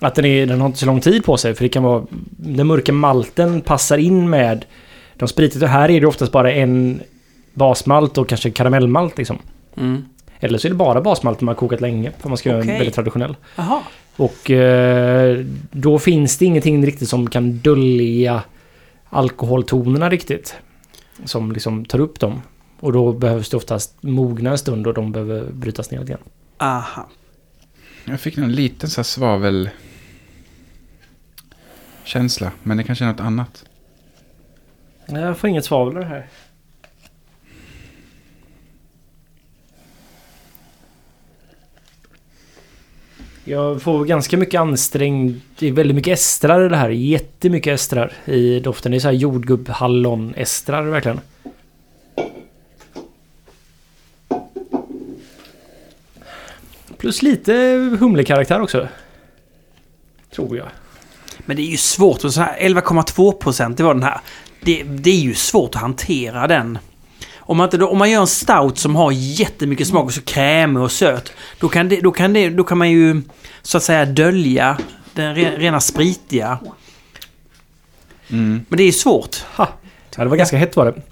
[SPEAKER 2] Att den, är, den har inte så lång tid på sig för det kan vara... Den mörka malten passar in med de spritiga. Här är det oftast bara en basmalt och kanske karamellmalt liksom. Eller så är det bara basmalt när man har kokat länge. Om man ska göra
[SPEAKER 1] Okej.
[SPEAKER 2] en väldigt traditionell.
[SPEAKER 1] Jaha.
[SPEAKER 2] Och eh, då finns det ingenting riktigt som kan dölja alkoholtonerna riktigt. Som liksom tar upp dem. Och då behövs det oftast mogna en stund och de behöver brytas ner lite grann.
[SPEAKER 1] Aha.
[SPEAKER 3] Jag fick någon liten så här svavel... Känsla, men det kanske är något annat.
[SPEAKER 2] Nej, Jag får inget svavel av det här. Jag får ganska mycket ansträngd... Det är väldigt mycket estrar i det här. Jättemycket estrar i doften. Det är så här jordgubb-hallon-estrar verkligen. Plus lite humlekaraktär också. Tror jag.
[SPEAKER 1] Men det är ju svårt. Och så här 11,2 procent, det var den här. Det, det är ju svårt att hantera den. Om man, inte, då- om man gör en stout som har jättemycket smak och så krämig och söt. Då kan, det, då, kan det, då kan man ju så att säga dölja den re, rena spritiga. Men det är ju svårt.
[SPEAKER 2] Ha! Ja, det var ganska hett var det.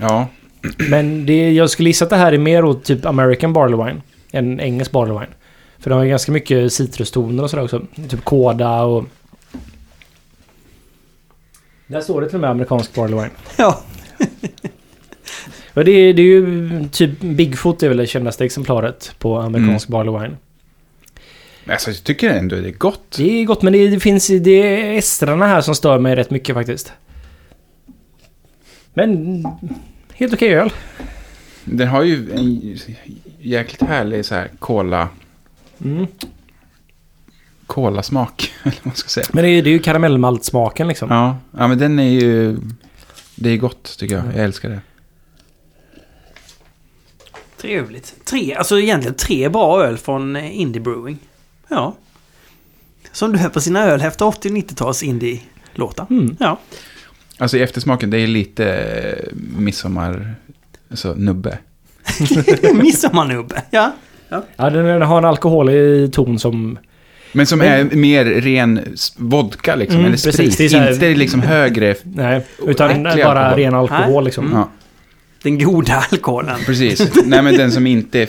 [SPEAKER 3] Ja,
[SPEAKER 2] Men det, jag skulle gissa att det här är mer åt typ American Barley Wine. Än engelsk Barley Wine. För de har ju ganska mycket citrustoner och sådär också. Typ kåda och... Där står det till och med amerikansk Barley Wine.
[SPEAKER 1] Ja.
[SPEAKER 2] Men det, är- det är ju typ Bigfoot är väl det kändaste exemplaret på amerikansk Barley Wine.
[SPEAKER 3] alltså jag tycker ändå det är gott.
[SPEAKER 2] Det är gott men det, det finns... Det är estrarna här som stör mig rätt mycket faktiskt. Men... Helt okej öl.
[SPEAKER 3] Den har ju en jäkligt härlig så här kola...
[SPEAKER 2] Mm.
[SPEAKER 3] Kolasmak, eller vad man ska säga.
[SPEAKER 2] Men det är, det är ju karamellmaltsmaken liksom.
[SPEAKER 3] Ja, ja, men den är ju... Det är gott tycker jag. Jag älskar det.
[SPEAKER 1] Trevligt. Tre, alltså egentligen tre bra öl från eh, Indie Brewing. Ja. Som du på sina öl efter 80 och 90-tals indie-låtar.
[SPEAKER 2] Mm.
[SPEAKER 1] Ja.
[SPEAKER 3] Alltså i eftersmaken, det är lite eh, midsommar... Alltså nubbe.
[SPEAKER 1] Midsommarnubbe. Ja.
[SPEAKER 2] Ja, den, den har en alkoholig ton som...
[SPEAKER 3] Men som
[SPEAKER 2] Men-
[SPEAKER 3] är mer ren s- vodka liksom,
[SPEAKER 2] Mm,
[SPEAKER 3] eller
[SPEAKER 2] precis.
[SPEAKER 3] sprit.
[SPEAKER 2] Det är så här-
[SPEAKER 3] Inte liksom högre...
[SPEAKER 2] Nej, utan
[SPEAKER 3] Äcklig
[SPEAKER 2] bara
[SPEAKER 3] alkohol. Mm.
[SPEAKER 2] ren alkohol
[SPEAKER 1] Nej.
[SPEAKER 2] liksom.
[SPEAKER 3] Ja.
[SPEAKER 1] Den goda alkoholen.
[SPEAKER 3] Precis. Nej, men den som inte... är-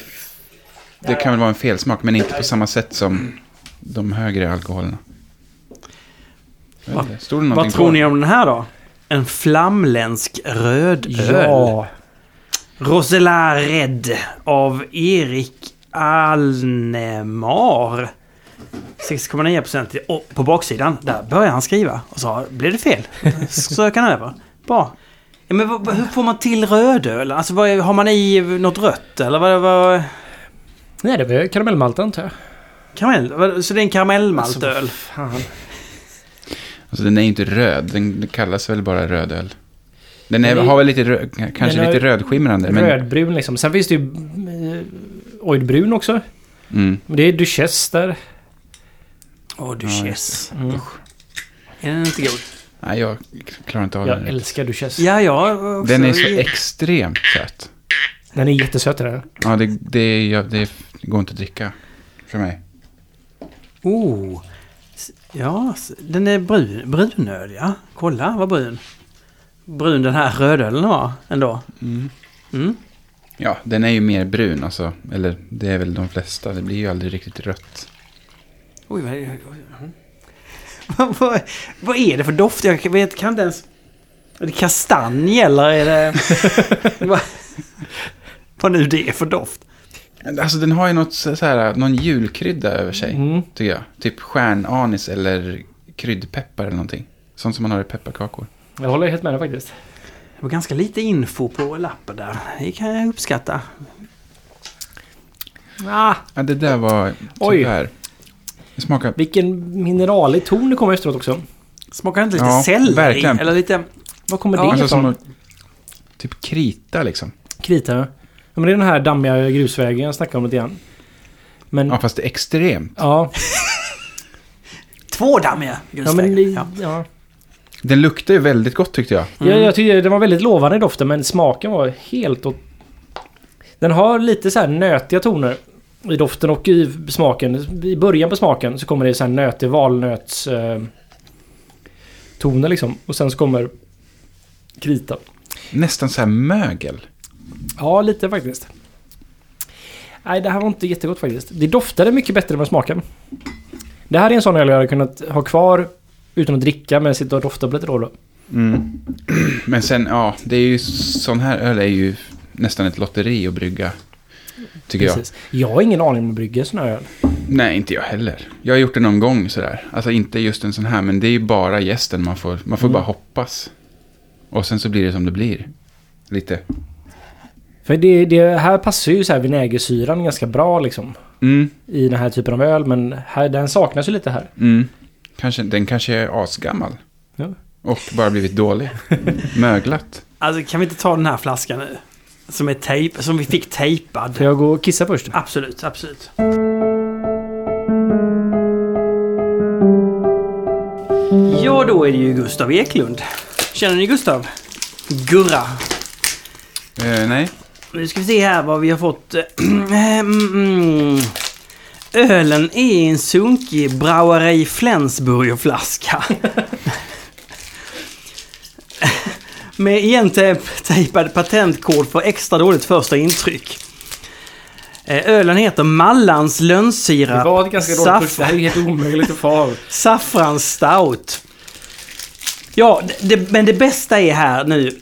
[SPEAKER 3] Det kan väl vara en felsmak, men inte på samma sätt som de högre alkoholerna. Jag vet
[SPEAKER 1] Va-
[SPEAKER 3] inte. Stod det någonting
[SPEAKER 1] Vad tror
[SPEAKER 3] på?
[SPEAKER 1] ni om den här då? En flamländsk rödöl.
[SPEAKER 2] Ja.
[SPEAKER 1] Rosella Red av Erik Alnemar. 6,9 procent. Och på baksidan, där börjar han skriva. Och så blev det fel. Sök han över. Bra. Ja, men vad, vad- hur får man till rödöl? Alltså vad, är- har man i något rött eller vad... vad
[SPEAKER 2] Nej, det var karamellmalt antar jag.
[SPEAKER 1] karamell? Vad- Så det är en karamellmaltöl?
[SPEAKER 2] Alltså, fan.
[SPEAKER 3] Alltså, den är ju inte röd, den den kallas väl bara rödöl. Den är,
[SPEAKER 2] Men det-
[SPEAKER 3] har väl lite, rö- kanske
[SPEAKER 2] den har
[SPEAKER 3] lite
[SPEAKER 2] ju-
[SPEAKER 3] rödskimrande. Men,
[SPEAKER 2] Rödbrun liksom. Sen finns det ju eh, ojdbrun också.
[SPEAKER 3] mm.
[SPEAKER 2] Men Det är Duchess där.
[SPEAKER 1] Åh, duchess.
[SPEAKER 2] Mm.
[SPEAKER 1] Är den inte god?
[SPEAKER 3] Nej, jag klarar inte av
[SPEAKER 2] Jag
[SPEAKER 3] den.
[SPEAKER 2] älskar Duchess.
[SPEAKER 1] Ja, jag också.
[SPEAKER 3] Den är så extremt söt.
[SPEAKER 2] Den är jättesöt den här.
[SPEAKER 3] Ja, det, det, jag- det går inte att dricka för mig.
[SPEAKER 1] Oh. S- Ja, s- den är brun, brunöl, ja. Kolla vad brun. Brun den här rödölen var ändå. Mm.
[SPEAKER 3] Ja, den är ju mer brun alltså. Eller det är väl de flesta. Det blir ju aldrig riktigt rött.
[SPEAKER 1] Oj, vad, oj, oj. Mm. vad, vad, vad är det för doft? Jag vet, kan inte ens... Är det kastanj eller är det... vad, vad nu det är för doft.
[SPEAKER 3] Alltså den har ju något så så här, någon julkrydda över sig.
[SPEAKER 2] Mm.
[SPEAKER 3] Tycker jag. Typ stjärnanis eller kryddpeppar eller någonting. Sånt som man har i pepparkakor.
[SPEAKER 2] Jag håller helt med dig faktiskt.
[SPEAKER 1] Det var ganska lite info på lappen där. Det kan jag uppskatta.
[SPEAKER 2] Ah,
[SPEAKER 3] Ja, det där var
[SPEAKER 2] Oj.
[SPEAKER 3] tyvärr. Det smakar...
[SPEAKER 2] vilken mineralig ton det kommer efteråt också.
[SPEAKER 1] Smakar inte lite
[SPEAKER 3] Ja,
[SPEAKER 1] selleri?
[SPEAKER 3] verkligen.
[SPEAKER 1] Eller lite...
[SPEAKER 2] Var kommer
[SPEAKER 1] Ja.
[SPEAKER 2] det
[SPEAKER 3] Alltså som
[SPEAKER 2] ifrån?
[SPEAKER 3] att, typ krita liksom.
[SPEAKER 2] Krita. Ja, men det är den här dammiga grusvägen jag snackade om lite grann. Men...
[SPEAKER 3] Ja,
[SPEAKER 2] Ja.
[SPEAKER 3] fast det är extremt.
[SPEAKER 2] Ja,
[SPEAKER 1] Två dammiga
[SPEAKER 2] men...
[SPEAKER 1] grusvägar.
[SPEAKER 2] det-
[SPEAKER 1] Ja.
[SPEAKER 2] Ja.
[SPEAKER 3] Den luktar ju väldigt gott tyckte jag.
[SPEAKER 2] Ja, Jag, tyckte den var väldigt lovande i doften men smaken var helt åt... Den har lite så här nötiga toner i doften och i smaken. I början på smaken så kommer det så här nötig valnöts... Eh, toner liksom. Och sen så kommer krita.
[SPEAKER 3] Nästan så här mögel.
[SPEAKER 2] Ja, lite faktiskt. Nej, det här var inte jättegott faktiskt. Det doftade mycket bättre än vad det smakade. Det här är en sån öl jag hade kunnat ha kvar utan att dricka men sitta och dofta på lite då och då.
[SPEAKER 3] Mm. Men sen, ja, det är ju sån här öl är ju nästan ett lotteri att brygga. Tycker
[SPEAKER 2] Precis. Jag har ingen aning om att brygga sån här öl.
[SPEAKER 3] jag. Nej, inte jag heller. Jag har gjort det någon gång sådär. Alltså inte just en sån här, men det är ju bara gästen man får. Man får bara hoppas. Och sen så blir det som det blir. Lite.
[SPEAKER 2] För det, det här passar ju så här vinägersyran ganska bra liksom.
[SPEAKER 3] Mm,
[SPEAKER 2] I den här typen av öl men här, den saknas ju lite här.
[SPEAKER 3] mm. Kanske, den kanske är asgammal.
[SPEAKER 2] Ja.
[SPEAKER 3] Och bara blivit dålig. Möglat.
[SPEAKER 1] Alltså kan vi inte ta den här flaskan nu? Som, är tejp, som vi fick
[SPEAKER 2] Får
[SPEAKER 1] tejpad.
[SPEAKER 2] jag gå och kissa först?
[SPEAKER 1] Absolut, absolut. Ja, då är det ju Gustav Eklund. Känner ni Gustav? Gurra.
[SPEAKER 3] Eh, nej.
[SPEAKER 1] Nu ska vi se här vad vi har fått. eh, Mm. Ölen är en sunkig Brauerei Flensburgerflaska. Med igentejpad patentkod för extra dåligt första intryck. Eh, Ölen heter Mallans lönnsirap. saffran-
[SPEAKER 2] här är ju helt omöjligt att få av.
[SPEAKER 1] Saffran Stout. Ja, det, det- men det bästa är här nu.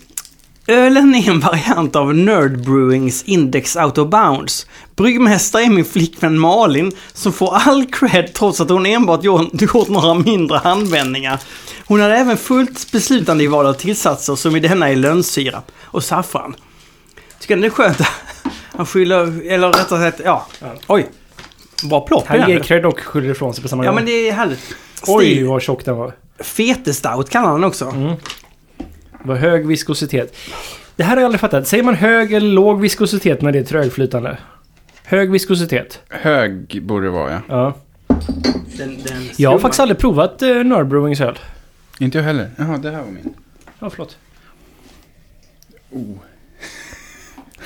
[SPEAKER 1] Ölen är en variant av Nerd Brewings Index Out of Bounds. Bryggmästare är min flickvän Malin som får all cred trots att hon enbart gjort, gjort några mindre handvändningar. Hon hade även fullt beslutande i val av tillsatser som i denna är lönnsirap och saffran. Tycker ni det är skönt? Han skyller, eller rättare sagt, ja. Oj. Bra plopp i
[SPEAKER 2] Han ger
[SPEAKER 1] den.
[SPEAKER 2] cred och skyller ifrån sig på samma
[SPEAKER 1] Ja
[SPEAKER 2] gång.
[SPEAKER 1] men det är härligt.
[SPEAKER 2] Oj
[SPEAKER 1] Stil.
[SPEAKER 2] vad tjock den var.
[SPEAKER 1] Fetestout kallar han också.
[SPEAKER 2] Det var hög viskositet. Det här har jag aldrig fattat. Säger man hög eller låg viskositet när det är trögflytande? Hög viskositet.
[SPEAKER 3] Hög borde det vara, ja.
[SPEAKER 2] Ja.
[SPEAKER 1] Den, den
[SPEAKER 2] Jag har faktiskt aldrig provat eh, Nörbrewings öl.
[SPEAKER 3] Inte jag heller. Jaha, det här var min.
[SPEAKER 2] Ja, förlåt.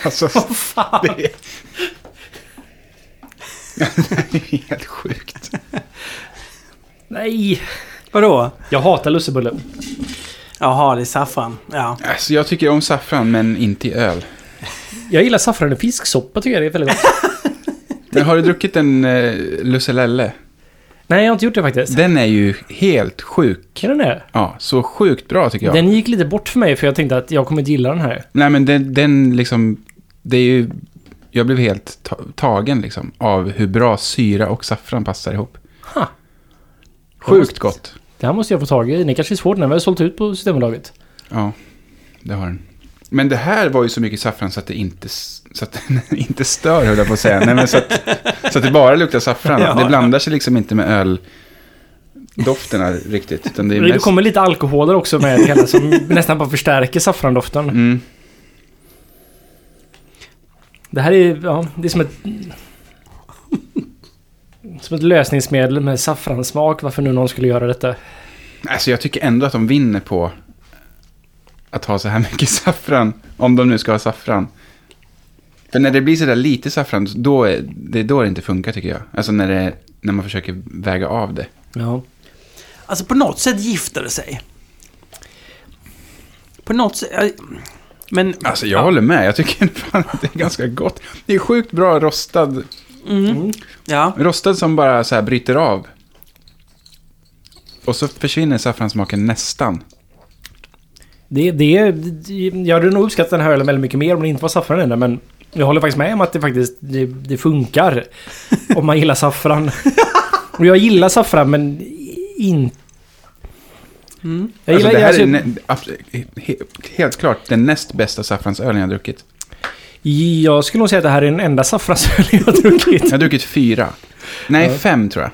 [SPEAKER 3] Alltså, Vad fan? Det är... det är helt sjukt.
[SPEAKER 2] Nej!
[SPEAKER 1] Vadå?
[SPEAKER 2] Jag hatar lussebulle.
[SPEAKER 1] Jaha, det är saffran. Ja.
[SPEAKER 3] Alltså, jag tycker om saffran, men inte i öl.
[SPEAKER 2] Jag gillar saffran i fisksoppa tycker jag det är väldigt gott.
[SPEAKER 3] Men har du druckit en eh, Lusselelle?
[SPEAKER 2] Nej, jag har inte gjort det faktiskt.
[SPEAKER 3] Den är ju helt sjuk.
[SPEAKER 2] Kan den det?
[SPEAKER 3] Ja, så sjukt bra tycker jag.
[SPEAKER 2] Den gick lite bort för mig för jag tänkte att jag kommer inte gilla den här.
[SPEAKER 3] Nej, men den, den liksom... Det är ju... Jag blev helt ta- tagen liksom av hur bra syra och saffran passar ihop.
[SPEAKER 2] Ha.
[SPEAKER 3] Sjukt gott.
[SPEAKER 2] Det här måste jag få tag i. Den kanske är svår. Den har väl sålt ut på Systembolaget.
[SPEAKER 3] Ja, det har den. Men det här var ju så mycket saffran så att det inte, s- så att den inte stör, höll jag på att säga. Nej, men så, att, så att det bara luktar saffran.
[SPEAKER 1] Ja.
[SPEAKER 3] Det blandar sig liksom inte med öl. dofterna riktigt. Utan det är
[SPEAKER 2] Det
[SPEAKER 3] mest...
[SPEAKER 2] kommer lite alkoholer också med det hela som nästan bara förstärker saffrandoften.
[SPEAKER 3] mm.
[SPEAKER 2] Det här är, ja, det är som ett... Som ett lösningsmedel med saffransmak. Varför nu någon skulle göra detta?
[SPEAKER 3] Alltså jag tycker ändå att de vinner på att ha så här mycket saffran. Om de nu ska ha saffran. För när det blir så där lite saffran, då är det är då det inte funkar tycker jag. Alltså när, det, när man försöker väga av det.
[SPEAKER 2] Ja.
[SPEAKER 1] Alltså på något sätt gifter det sig. På något sätt... eh, Men...
[SPEAKER 3] Alltså jag håller med, jag tycker fan att det är ganska gott. Det är sjukt bra rostad,
[SPEAKER 1] Ja.
[SPEAKER 3] rostad som bara så här bryter av. Och så försvinner saffransmaken nästan.
[SPEAKER 2] Det, det, jag hade nog uppskattat den här ölen väldigt mycket mer om det inte var saffran i den. Men jag håller faktiskt med om att det faktiskt det, det funkar. om man gillar saffran. Och jag gillar saffran men inte... Jag
[SPEAKER 3] Alltså,
[SPEAKER 2] gillar,
[SPEAKER 3] det här
[SPEAKER 2] alltså,
[SPEAKER 3] är nä- abs- he- helt klart den näst bästa saffransölen jag har druckit.
[SPEAKER 2] jag skulle nog säga att det här är den enda saffransöl jag har druckit.
[SPEAKER 3] Jag har druckit fyra. Nej, fem tror jag.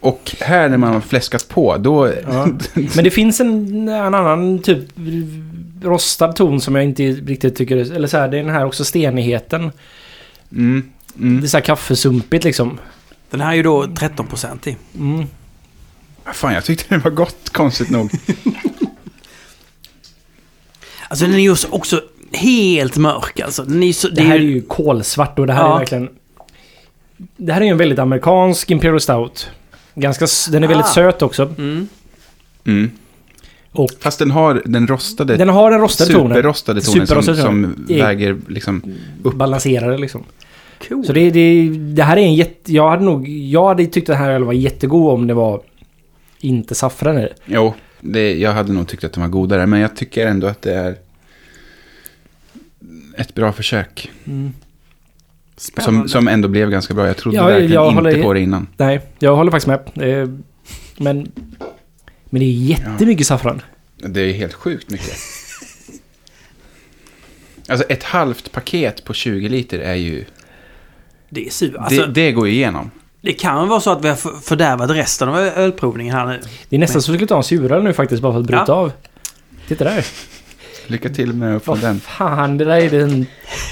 [SPEAKER 3] Och här när man har fläskat på, då...
[SPEAKER 2] Ja. Men det finns en, en annan typ rostad ton som jag inte riktigt tycker... Eller så här, det är den här också stenigheten.
[SPEAKER 3] Mm, mm.
[SPEAKER 2] Det är så här kaffesumpigt liksom.
[SPEAKER 1] Den här är ju då 13% i.
[SPEAKER 2] Mm.
[SPEAKER 3] Fan, jag tyckte det var gott, konstigt nog.
[SPEAKER 1] Alltså den är ju också helt mörk alltså. Den är ju så,
[SPEAKER 2] Det här är ju kolsvart och det här
[SPEAKER 1] Ja.
[SPEAKER 2] är verkligen... Det här är ju en väldigt amerikansk Imperial Stout. Ganska, s- den är väldigt
[SPEAKER 1] Ah.
[SPEAKER 2] söt också.
[SPEAKER 1] Mm.
[SPEAKER 3] Mm.
[SPEAKER 2] Och
[SPEAKER 3] Fast den har den rostade,
[SPEAKER 2] den har en rostad ton.
[SPEAKER 3] superrostade tonen som,
[SPEAKER 2] Superrostade tonen. E-
[SPEAKER 3] som
[SPEAKER 2] Det är-
[SPEAKER 3] väger liksom...
[SPEAKER 2] Balanserade liksom.
[SPEAKER 1] Cool.
[SPEAKER 2] Så det, det, det här är en jätte... Jag hade nog... Jag hade tyckt att den här ölen var jättegod om det var... Inte saffran i det.
[SPEAKER 3] Jo, det, jag hade nog tyckt att den var godare, men jag tycker ändå att det är ett bra försök. Som,
[SPEAKER 1] Spännande.
[SPEAKER 3] som ändå blev ganska bra. Jag trodde
[SPEAKER 2] Ja,
[SPEAKER 3] verkligen
[SPEAKER 2] jag
[SPEAKER 3] inte
[SPEAKER 2] håller-
[SPEAKER 3] på det innan.
[SPEAKER 2] Nej, jag håller faktiskt med. Eh, Men... Men det är jättemycket saffran.
[SPEAKER 3] Det är helt sjukt mycket. Alltså ett halvt paket på 20 liter är ju...
[SPEAKER 1] Det är sur. Alltså,
[SPEAKER 3] det,
[SPEAKER 1] det,
[SPEAKER 3] det går ju igenom.
[SPEAKER 1] kan vara så att vi har för- fördärvat resten av ö- ölprovningen här nu.
[SPEAKER 2] Det är nästan så att vi skulle ta en suröl nu faktiskt bara för att bryta
[SPEAKER 1] Ja.
[SPEAKER 2] av. Titta där.
[SPEAKER 3] Lycka till med att få
[SPEAKER 2] Vad
[SPEAKER 3] den.
[SPEAKER 2] fan, det där är den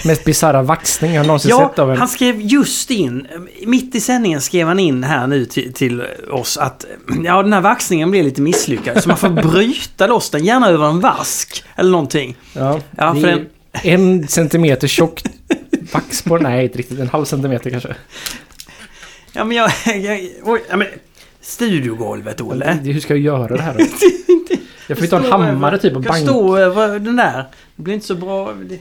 [SPEAKER 2] mest bisarra vaxning jag någonsin
[SPEAKER 1] Ja,
[SPEAKER 2] sett av en...
[SPEAKER 1] han skrev just in, eh, mitt i sändningen skrev han in här nu till, till oss att eh, ja, den här vaxningen blev lite misslyckad så man får bryta loss den, gärna över en vask eller någonting.
[SPEAKER 2] Ja,
[SPEAKER 1] Ja,
[SPEAKER 2] det
[SPEAKER 1] för
[SPEAKER 2] är
[SPEAKER 1] den-
[SPEAKER 2] En centimeter tjock vax på den. Nej, inte riktigt. En halv centimeter kanske.
[SPEAKER 1] Ja men jag... jag oj, ja, men, studiogolvet Olle.
[SPEAKER 2] Det- Hur ska jag göra det här då? Jag får ju ta en
[SPEAKER 1] Stå över-
[SPEAKER 2] hammare typ och
[SPEAKER 1] kan
[SPEAKER 2] banka.
[SPEAKER 1] stå över den där. Det blir inte så bra. Det-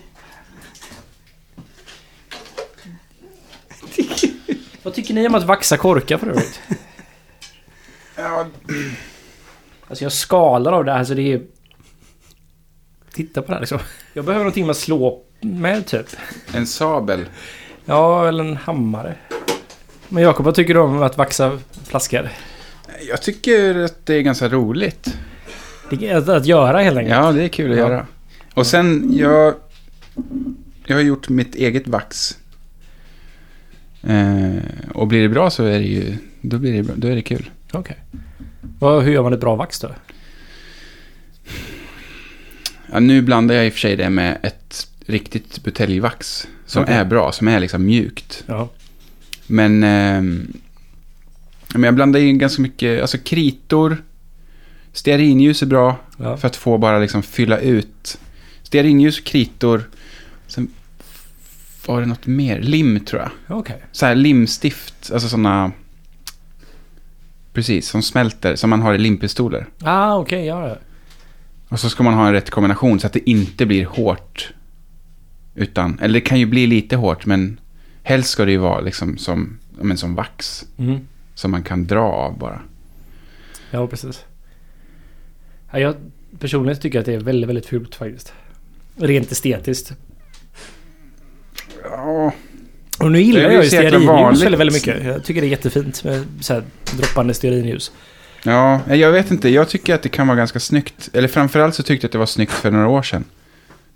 [SPEAKER 2] Vad tycker ni om att vaxa korkar för övrigt?
[SPEAKER 3] Ja,
[SPEAKER 2] Alltså jag skalar av det här så det är... Titta på det här liksom. Jag behöver någonting med att slå med typ.
[SPEAKER 3] en sabel.
[SPEAKER 2] Ja, eller en hammare. Men Jakob, vad tycker du om att vaxa flaskor?
[SPEAKER 3] Jag tycker att det är ganska roligt.
[SPEAKER 2] Det är att, att göra helt enkelt.
[SPEAKER 3] Ja, det är kul att
[SPEAKER 2] Ja.
[SPEAKER 3] göra. Och sen, jag... Jag har gjort mitt eget vax. Eh, och blir det bra så är det ju... Då, blir det, bra- då är det kul.
[SPEAKER 2] Okej. Vad- Hur gör man ett bra vax då?
[SPEAKER 3] Ja, nu blandar jag i och för sig det med ett riktigt buteljvax. Som
[SPEAKER 2] Okej.
[SPEAKER 3] är bra, som är liksom mjukt.
[SPEAKER 2] Ja.
[SPEAKER 3] Men, ehm, men jag blandar in ganska mycket, alltså kritor, stearinljus är bra
[SPEAKER 2] ja.
[SPEAKER 3] för att få bara liksom fylla ut. Stearinljus, kritor, sen var det något mer, lim tror jag.
[SPEAKER 2] Okej.
[SPEAKER 3] Så här limstift, alltså sådana, precis, som smälter, som man har i limpistoler.
[SPEAKER 2] Ah, okej. ja, ja.
[SPEAKER 3] Och så ska man ha en rätt kombination så att det inte blir hårt. Utan, eller det kan ju bli lite hårt men helst ska det ju vara liksom som, ja, men som vax.
[SPEAKER 2] Mm.
[SPEAKER 3] Som man kan dra av bara.
[SPEAKER 2] Ja, precis. Ja, jag personligen tycker att det är väldigt, väldigt fult faktiskt. Rent estetiskt.
[SPEAKER 3] Ja,
[SPEAKER 2] Och nu gillar
[SPEAKER 3] Det är ju
[SPEAKER 2] jag ju
[SPEAKER 3] så jäkla
[SPEAKER 2] stearinljus
[SPEAKER 3] vanligt.
[SPEAKER 2] väldigt, väldigt mycket. Jag tycker det är jättefint med så här droppande stearinljus.
[SPEAKER 3] ja, jag vet inte. Jag tycker att det kan vara ganska snyggt. Eller framförallt så tyckte jag att det var snyggt för några år sedan.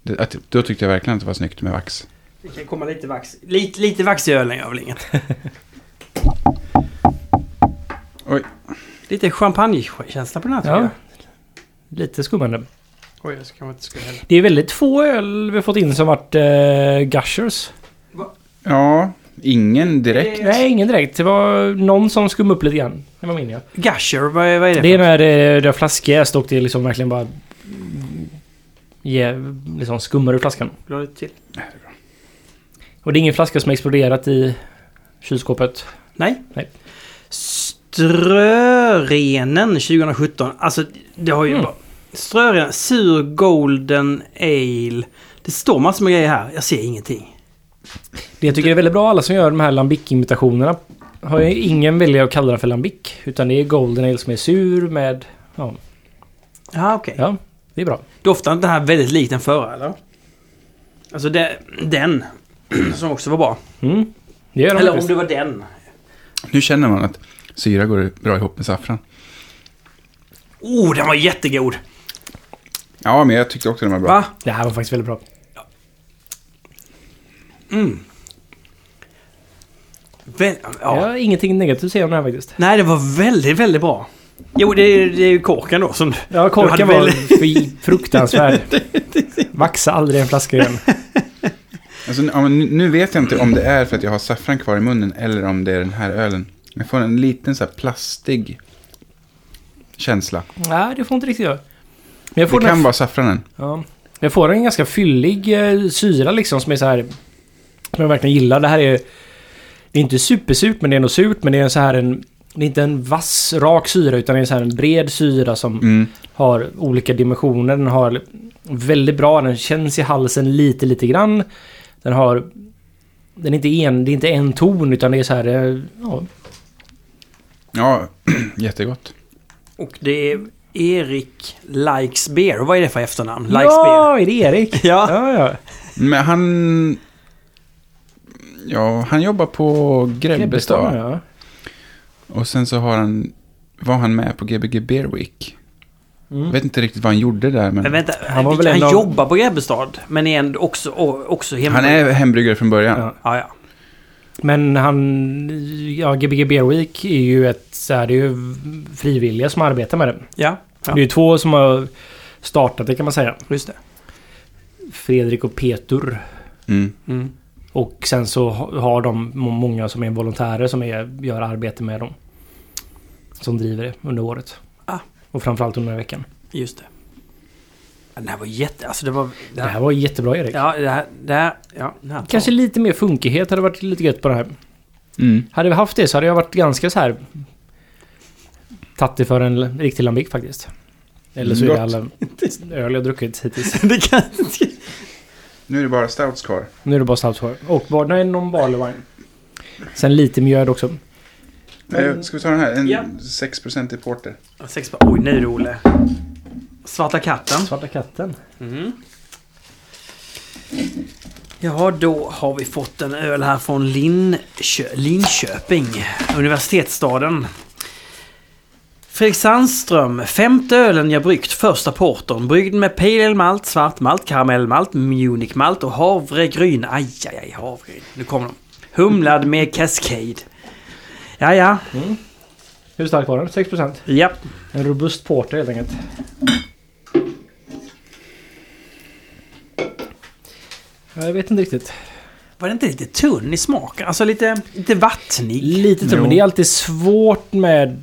[SPEAKER 3] Det, att, då tyckte jag verkligen att det var snyggt med vax.
[SPEAKER 1] Det kan komma lite vax. Lite, lite vax i ölen gör väl inget.
[SPEAKER 3] Oj.
[SPEAKER 1] Lite champagnekänsla på den här tycker
[SPEAKER 2] Ja.
[SPEAKER 1] jag.
[SPEAKER 2] Lite skummande.
[SPEAKER 5] Oj, jag kanske inte skulle hälla.
[SPEAKER 2] Det är väldigt få öl vi har fått in som varit eh, gushers.
[SPEAKER 3] Ja, ingen direkt.
[SPEAKER 2] Nej, ingen direkt. Det var någon som skum upp lite grann. Det var min ja.
[SPEAKER 1] Gusher, vad, vad är det?
[SPEAKER 2] Det är
[SPEAKER 1] för?
[SPEAKER 2] när eh, det är flaskjäst och det är liksom verkligen bara... Ge, liksom skummar ur flaskan.
[SPEAKER 1] Dra lite till.
[SPEAKER 2] Och det är ingen flaska som har exploderat i kylskåpet.
[SPEAKER 1] Nej.
[SPEAKER 2] Nej.
[SPEAKER 1] Strörenen 2017. Alltså, det har ju...
[SPEAKER 2] Mm.
[SPEAKER 1] bara- Strörenen. Sur Golden Ale. Det står massor med grejer här. Jag ser ingenting.
[SPEAKER 2] Det jag tycker är väldigt bra, alla som gör de här lambic-imitationerna har ju ingen vilja att kalla den för lambic. Utan det är golden ale som är sur med... Ja,
[SPEAKER 1] Ja, okej.
[SPEAKER 2] ja det är bra.
[SPEAKER 1] Doftar inte den här väldigt lik den förra, eller? Alltså, det, den. Som också var bra.
[SPEAKER 2] Mm. Det gör de
[SPEAKER 1] Eller om
[SPEAKER 2] faktiskt.
[SPEAKER 1] det var den.
[SPEAKER 3] Nu känner man att syra går bra ihop med saffran.
[SPEAKER 1] Oh, den var jättegod!
[SPEAKER 3] Ja, men jag tyckte också den var bra.
[SPEAKER 1] Va?
[SPEAKER 2] Det här var faktiskt väldigt bra.
[SPEAKER 1] Vä- ja.
[SPEAKER 2] Jag har ingenting negativt att säga om den här faktiskt.
[SPEAKER 1] Nej, det var väldigt, väldigt bra. Jo, det är, det är ju korken då som...
[SPEAKER 2] Ja,
[SPEAKER 1] Du
[SPEAKER 2] korken
[SPEAKER 1] hade
[SPEAKER 2] var
[SPEAKER 1] väldigt-
[SPEAKER 2] fri- fruktansvärd. Vaxa aldrig en flaska igen.
[SPEAKER 3] Alltså, ja, men nu- nu vet jag inte om det är för att jag har saffran kvar i munnen eller om det är den här ölen. Jag får en liten så här plastig känsla.
[SPEAKER 2] Nej, det får inte riktigt göra. Men jag får,
[SPEAKER 3] Det
[SPEAKER 2] den,
[SPEAKER 3] kan vara saffranen.
[SPEAKER 2] ja, jag får en ganska fyllig eh, syra liksom som är så här... Som jag verkligen gillar. Det här är... Det är inte supersurt men det är ändå surt. Men det är en så här en... Det är inte en vass, rak syra utan det är så här en bred syra som
[SPEAKER 3] Mm.
[SPEAKER 2] har olika dimensioner. Den har väldigt bra, den känns i halsen lite, lite grann. Den har... Den är inte en, det är inte en ton utan det är så här... eh, Ja,
[SPEAKER 3] Ja, jättegott.
[SPEAKER 1] Och det är Erik Likes Beer. Vad är det för efternamn? Likes Beer?
[SPEAKER 2] ja är det Erik?
[SPEAKER 1] Ja.
[SPEAKER 2] ja, ja.
[SPEAKER 3] Men han... Ja, han jobbar på Grebbestad.
[SPEAKER 2] ja.
[SPEAKER 3] Och sen så har han... Var han med på Gbg Beer Week?
[SPEAKER 2] Mm.
[SPEAKER 3] Jag vet inte riktigt vad han gjorde där, men...
[SPEAKER 1] Men vänta,
[SPEAKER 2] Han
[SPEAKER 1] han,
[SPEAKER 2] var väl en av-
[SPEAKER 1] jobbar på Grebbestad men är ändå också, och- också hemma.
[SPEAKER 3] Han är hembryggare från början.
[SPEAKER 2] Ja.
[SPEAKER 1] Ja, ja.
[SPEAKER 2] Men han... Ja, Gbg Beer Week är ju ett... Så här, det är ju frivilliga som arbetar med det.
[SPEAKER 1] Ja, ja.
[SPEAKER 2] Det är ju två som har startat det kan man säga.
[SPEAKER 1] just det.
[SPEAKER 2] Fredrik och Petur.
[SPEAKER 3] Mm.
[SPEAKER 1] Mm.
[SPEAKER 2] Och sen så ha- har de må- många som är volontärer som är, gör arbete med dem. Som driver det under året.
[SPEAKER 1] Ah.
[SPEAKER 2] Och framförallt under den här veckan.
[SPEAKER 1] Just det. Ja, Den här var jätte... Alltså det var... Det
[SPEAKER 2] Det
[SPEAKER 1] här,
[SPEAKER 2] här var jättebra Erik.
[SPEAKER 1] ja, det här... Det här ja, den här
[SPEAKER 2] Kanske lite mer funkighet hade varit lite gött på det här.
[SPEAKER 3] Mm.
[SPEAKER 2] Hade vi haft det så hade jag varit ganska så här... Tagit det för en l- riktig lambic faktiskt. Eller så är det
[SPEAKER 3] Gott.
[SPEAKER 2] alla öl jag druckit hittills.
[SPEAKER 1] det kan...
[SPEAKER 3] Nu är det bara stouts kvar.
[SPEAKER 2] Nu är det bara stout sour. Och bara nej, någon barley wine. Sen lite mjöd också.
[SPEAKER 3] Eh, Ska vi ta den här? En
[SPEAKER 1] Ja.
[SPEAKER 3] 6% i porter.
[SPEAKER 1] Sex på... Oj, nu är det Olle. Svarta katten.
[SPEAKER 2] Svarta katten.
[SPEAKER 1] Mm. Ja, då har vi fått en öl här från Linkö- Linköping, universitetsstaden. Fredrik Sandström, femte ölen jag bryggt, första portern. Bryggd med pale ale malt, svart malt, karamellmalt, munich malt och havregryn. Aj, aj, aj, havregryn. Nu kommer de. Humlad med cascade. Ja, ja,
[SPEAKER 2] Hur stark var den? 6%?
[SPEAKER 1] ja.
[SPEAKER 2] En robust porter helt enkelt. Ja, Jag vet inte riktigt.
[SPEAKER 1] Var det inte lite tunn i smaken? Alltså lite, lite vattnig.
[SPEAKER 2] Lite tunn,
[SPEAKER 3] Jo.
[SPEAKER 2] men det är alltid svårt med